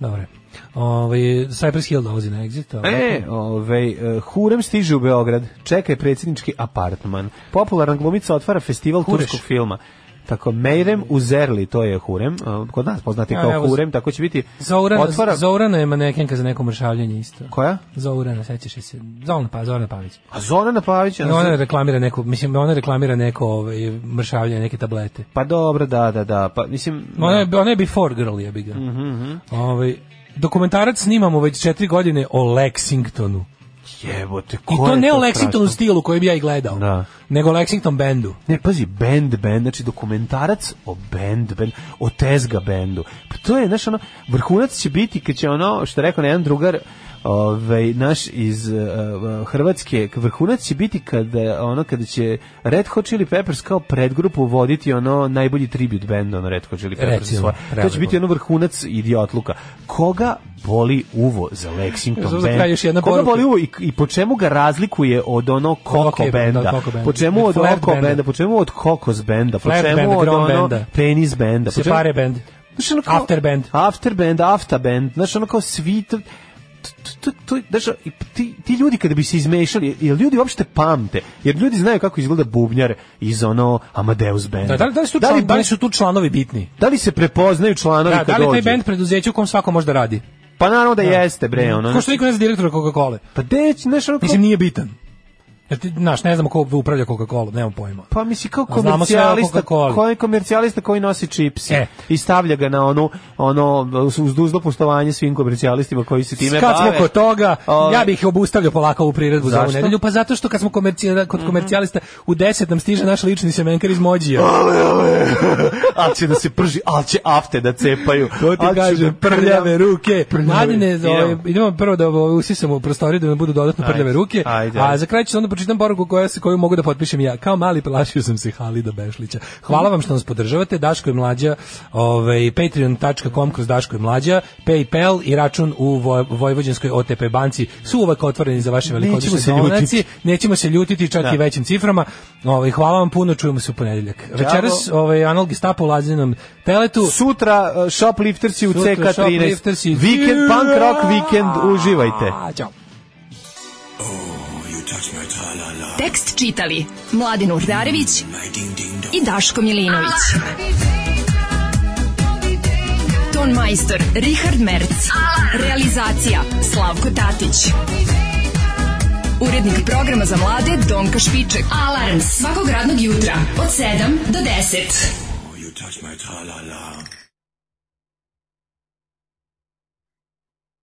Speaker 7: Dobre. Ovaj Cypress Hill dolazi na exit. ali-
Speaker 6: E, ovaj, e, Hurem stiže u Beograd, čeka je predsjednički apartman. Popularna glumica otvara festival
Speaker 7: Hureš.
Speaker 6: turskog filma. Tako, Meirem u Zerli, to je Hurem, e, kod nas poznati
Speaker 7: Ja,
Speaker 6: kao
Speaker 7: evo,
Speaker 6: Hurem, tako će biti.
Speaker 7: Zourana,
Speaker 6: otvara,
Speaker 7: Zourana je manekenka za neko mršavljanje isto.
Speaker 6: Koja?
Speaker 7: Zourana, sećaš li se. Zorana, pa, Zorana Pavić.
Speaker 6: A Zorana Pavić,
Speaker 7: I ona reklamira neko, mislim, ona reklamira neko ovaj, mršavljanje, neke tablete.
Speaker 6: pa dobro, da, da, da, pa mislim...
Speaker 7: Ona je, ona je before girl, jebi ga.
Speaker 6: Mhm, mhm.
Speaker 7: Ovaj, dokumentarac snimamo već četiri godine o Lexingtonu.
Speaker 6: Jebote, ko
Speaker 7: I to
Speaker 6: je
Speaker 7: ne o
Speaker 6: strašno?
Speaker 7: Lexingtonu stilu kojem ja i gledao,
Speaker 6: Da.
Speaker 7: nego Lexington bendu.
Speaker 6: Ne, pazi, band, band, znači dokumentarac o band, band, o tezga bendu. Pa to je, znaš, ono, vrhunac će biti kad će ono, što je rekao na jedan drugar, ovaj, naš iz eh, eh, Hrvatske, vrhunac će biti kada, ono, kada će Red Hot Chili Peppers kao predgrupu voditi ono najbolji tribute band, ono Red Hot Chili Peppers.
Speaker 7: Recimo,
Speaker 6: svoje. to će
Speaker 7: prelepo.
Speaker 6: biti ono vrhunac idiotluka. Koga boli uvo za
Speaker 7: Još
Speaker 6: Lexington
Speaker 7: za kraj
Speaker 6: band?
Speaker 7: još jedna
Speaker 6: Koga
Speaker 7: poruka.
Speaker 6: boli uvo i, i po čemu ga razlikuje od ono Koko
Speaker 7: Koko benda,
Speaker 6: benda?
Speaker 7: Koko benda.
Speaker 6: Po čemu od
Speaker 7: Flat
Speaker 6: Oko
Speaker 7: benda.
Speaker 6: benda? po čemu od kokos benda, po
Speaker 7: Flat
Speaker 6: čemu
Speaker 7: band,
Speaker 6: od
Speaker 7: grom
Speaker 6: ono
Speaker 7: benda.
Speaker 6: penis benda, po čemu-
Speaker 7: Separe band.
Speaker 6: Znaš, ono kao-
Speaker 7: After band.
Speaker 6: After band, after band, znaš ono kao svi to, to, to, to- znaš, i ti, ti ljudi kada bi se izmešali, jer ljudi uopšte pamte, jer ljudi znaju kako izgleda bubnjar iz ono Amadeus
Speaker 7: Da,
Speaker 6: benda.
Speaker 7: da, li- da, li su tu
Speaker 6: Da li
Speaker 7: član- da li
Speaker 6: baš-
Speaker 7: su tu članovi bitni?
Speaker 6: da li se prepoznaju članovi
Speaker 7: Da,
Speaker 6: kad
Speaker 7: da li taj
Speaker 6: dođu?
Speaker 7: band preduzeće u kom svako može da radi?
Speaker 6: Pa naravno da, jeste, bre, ono.
Speaker 7: Ko što niko ne zna direktora Coca-Cola?
Speaker 6: Pa deć, znaš, ono kao-
Speaker 7: Mislim, nije bitan. Jer ti, znaš, ne znamo ko upravlja Coca-Cola, nemam pojma.
Speaker 6: Pa misli kao
Speaker 7: A znamo sve o
Speaker 6: komercijalista,
Speaker 7: Coca-Coli.
Speaker 6: koji komercijalista koji nosi čipsi
Speaker 7: E.
Speaker 6: i stavlja ga na ono ono uz dužno poštovanje svim komercijalistima koji se time
Speaker 7: kad smo
Speaker 6: bave.
Speaker 7: kod toga,
Speaker 6: Ovaj,
Speaker 7: ja bih obustavljao polako ovu priredbu za ovu
Speaker 6: Zašto? Mhm.
Speaker 7: nedelju, pa zato što kad smo komercija, kod komercijalista u 10 nam stiže naš lični semenkar iz
Speaker 6: (laughs)
Speaker 7: Mođija.
Speaker 6: ali će da se prži, ali će afte da cepaju.
Speaker 7: To ti
Speaker 6: ali će
Speaker 7: kažem,
Speaker 6: da
Speaker 7: prljave ruke.
Speaker 6: prljave.
Speaker 7: Mladine, za ovaj,
Speaker 6: Idemo.
Speaker 7: idemo prvo da ovaj, usisamo u prostoriju da nam budu dodatno
Speaker 6: Ajde,
Speaker 7: prljave ruke,
Speaker 6: ajde,
Speaker 7: a
Speaker 6: ajde.
Speaker 7: za kraj ću onda pročitam poruku koja se, koju mogu da potpišem ja. Kao mali plašio sam se Halida Bešlića. Hvala vam što nas podržavate, Daško i Mlađa, ovaj, patreon.com kroz Daško i Mlađa, Paypal i račun u Voj- Vojvođanskoj OTP banci su uvek otvoreni za vaše velikodušne
Speaker 6: Nećemo se
Speaker 7: donacije.
Speaker 6: ljutiti.
Speaker 7: Nećemo se ljutiti čak
Speaker 6: Da.
Speaker 7: i većim ciframa. Ovaj, hvala vam puno, čujemo se u ponedeljak. Večeras ovaj, Anal Gestapo u Lazinom teletu.
Speaker 6: Sutra uh, shopliftersi u
Speaker 7: Sutra
Speaker 6: CK13.
Speaker 7: shopliftersi.
Speaker 6: Vikend, punk rock vikend, uživajte.
Speaker 7: A, Ćao.
Speaker 12: Tekst čitali Mladin Urdarević i Daško Milinović. Ton majstor Richard Merc. Realizacija Slavko Tatić. Urednik programa za mlade Donka Špiček. Alarms svakog radnog jutra od 7 do 10.
Speaker 1: You touch my tra-la-la.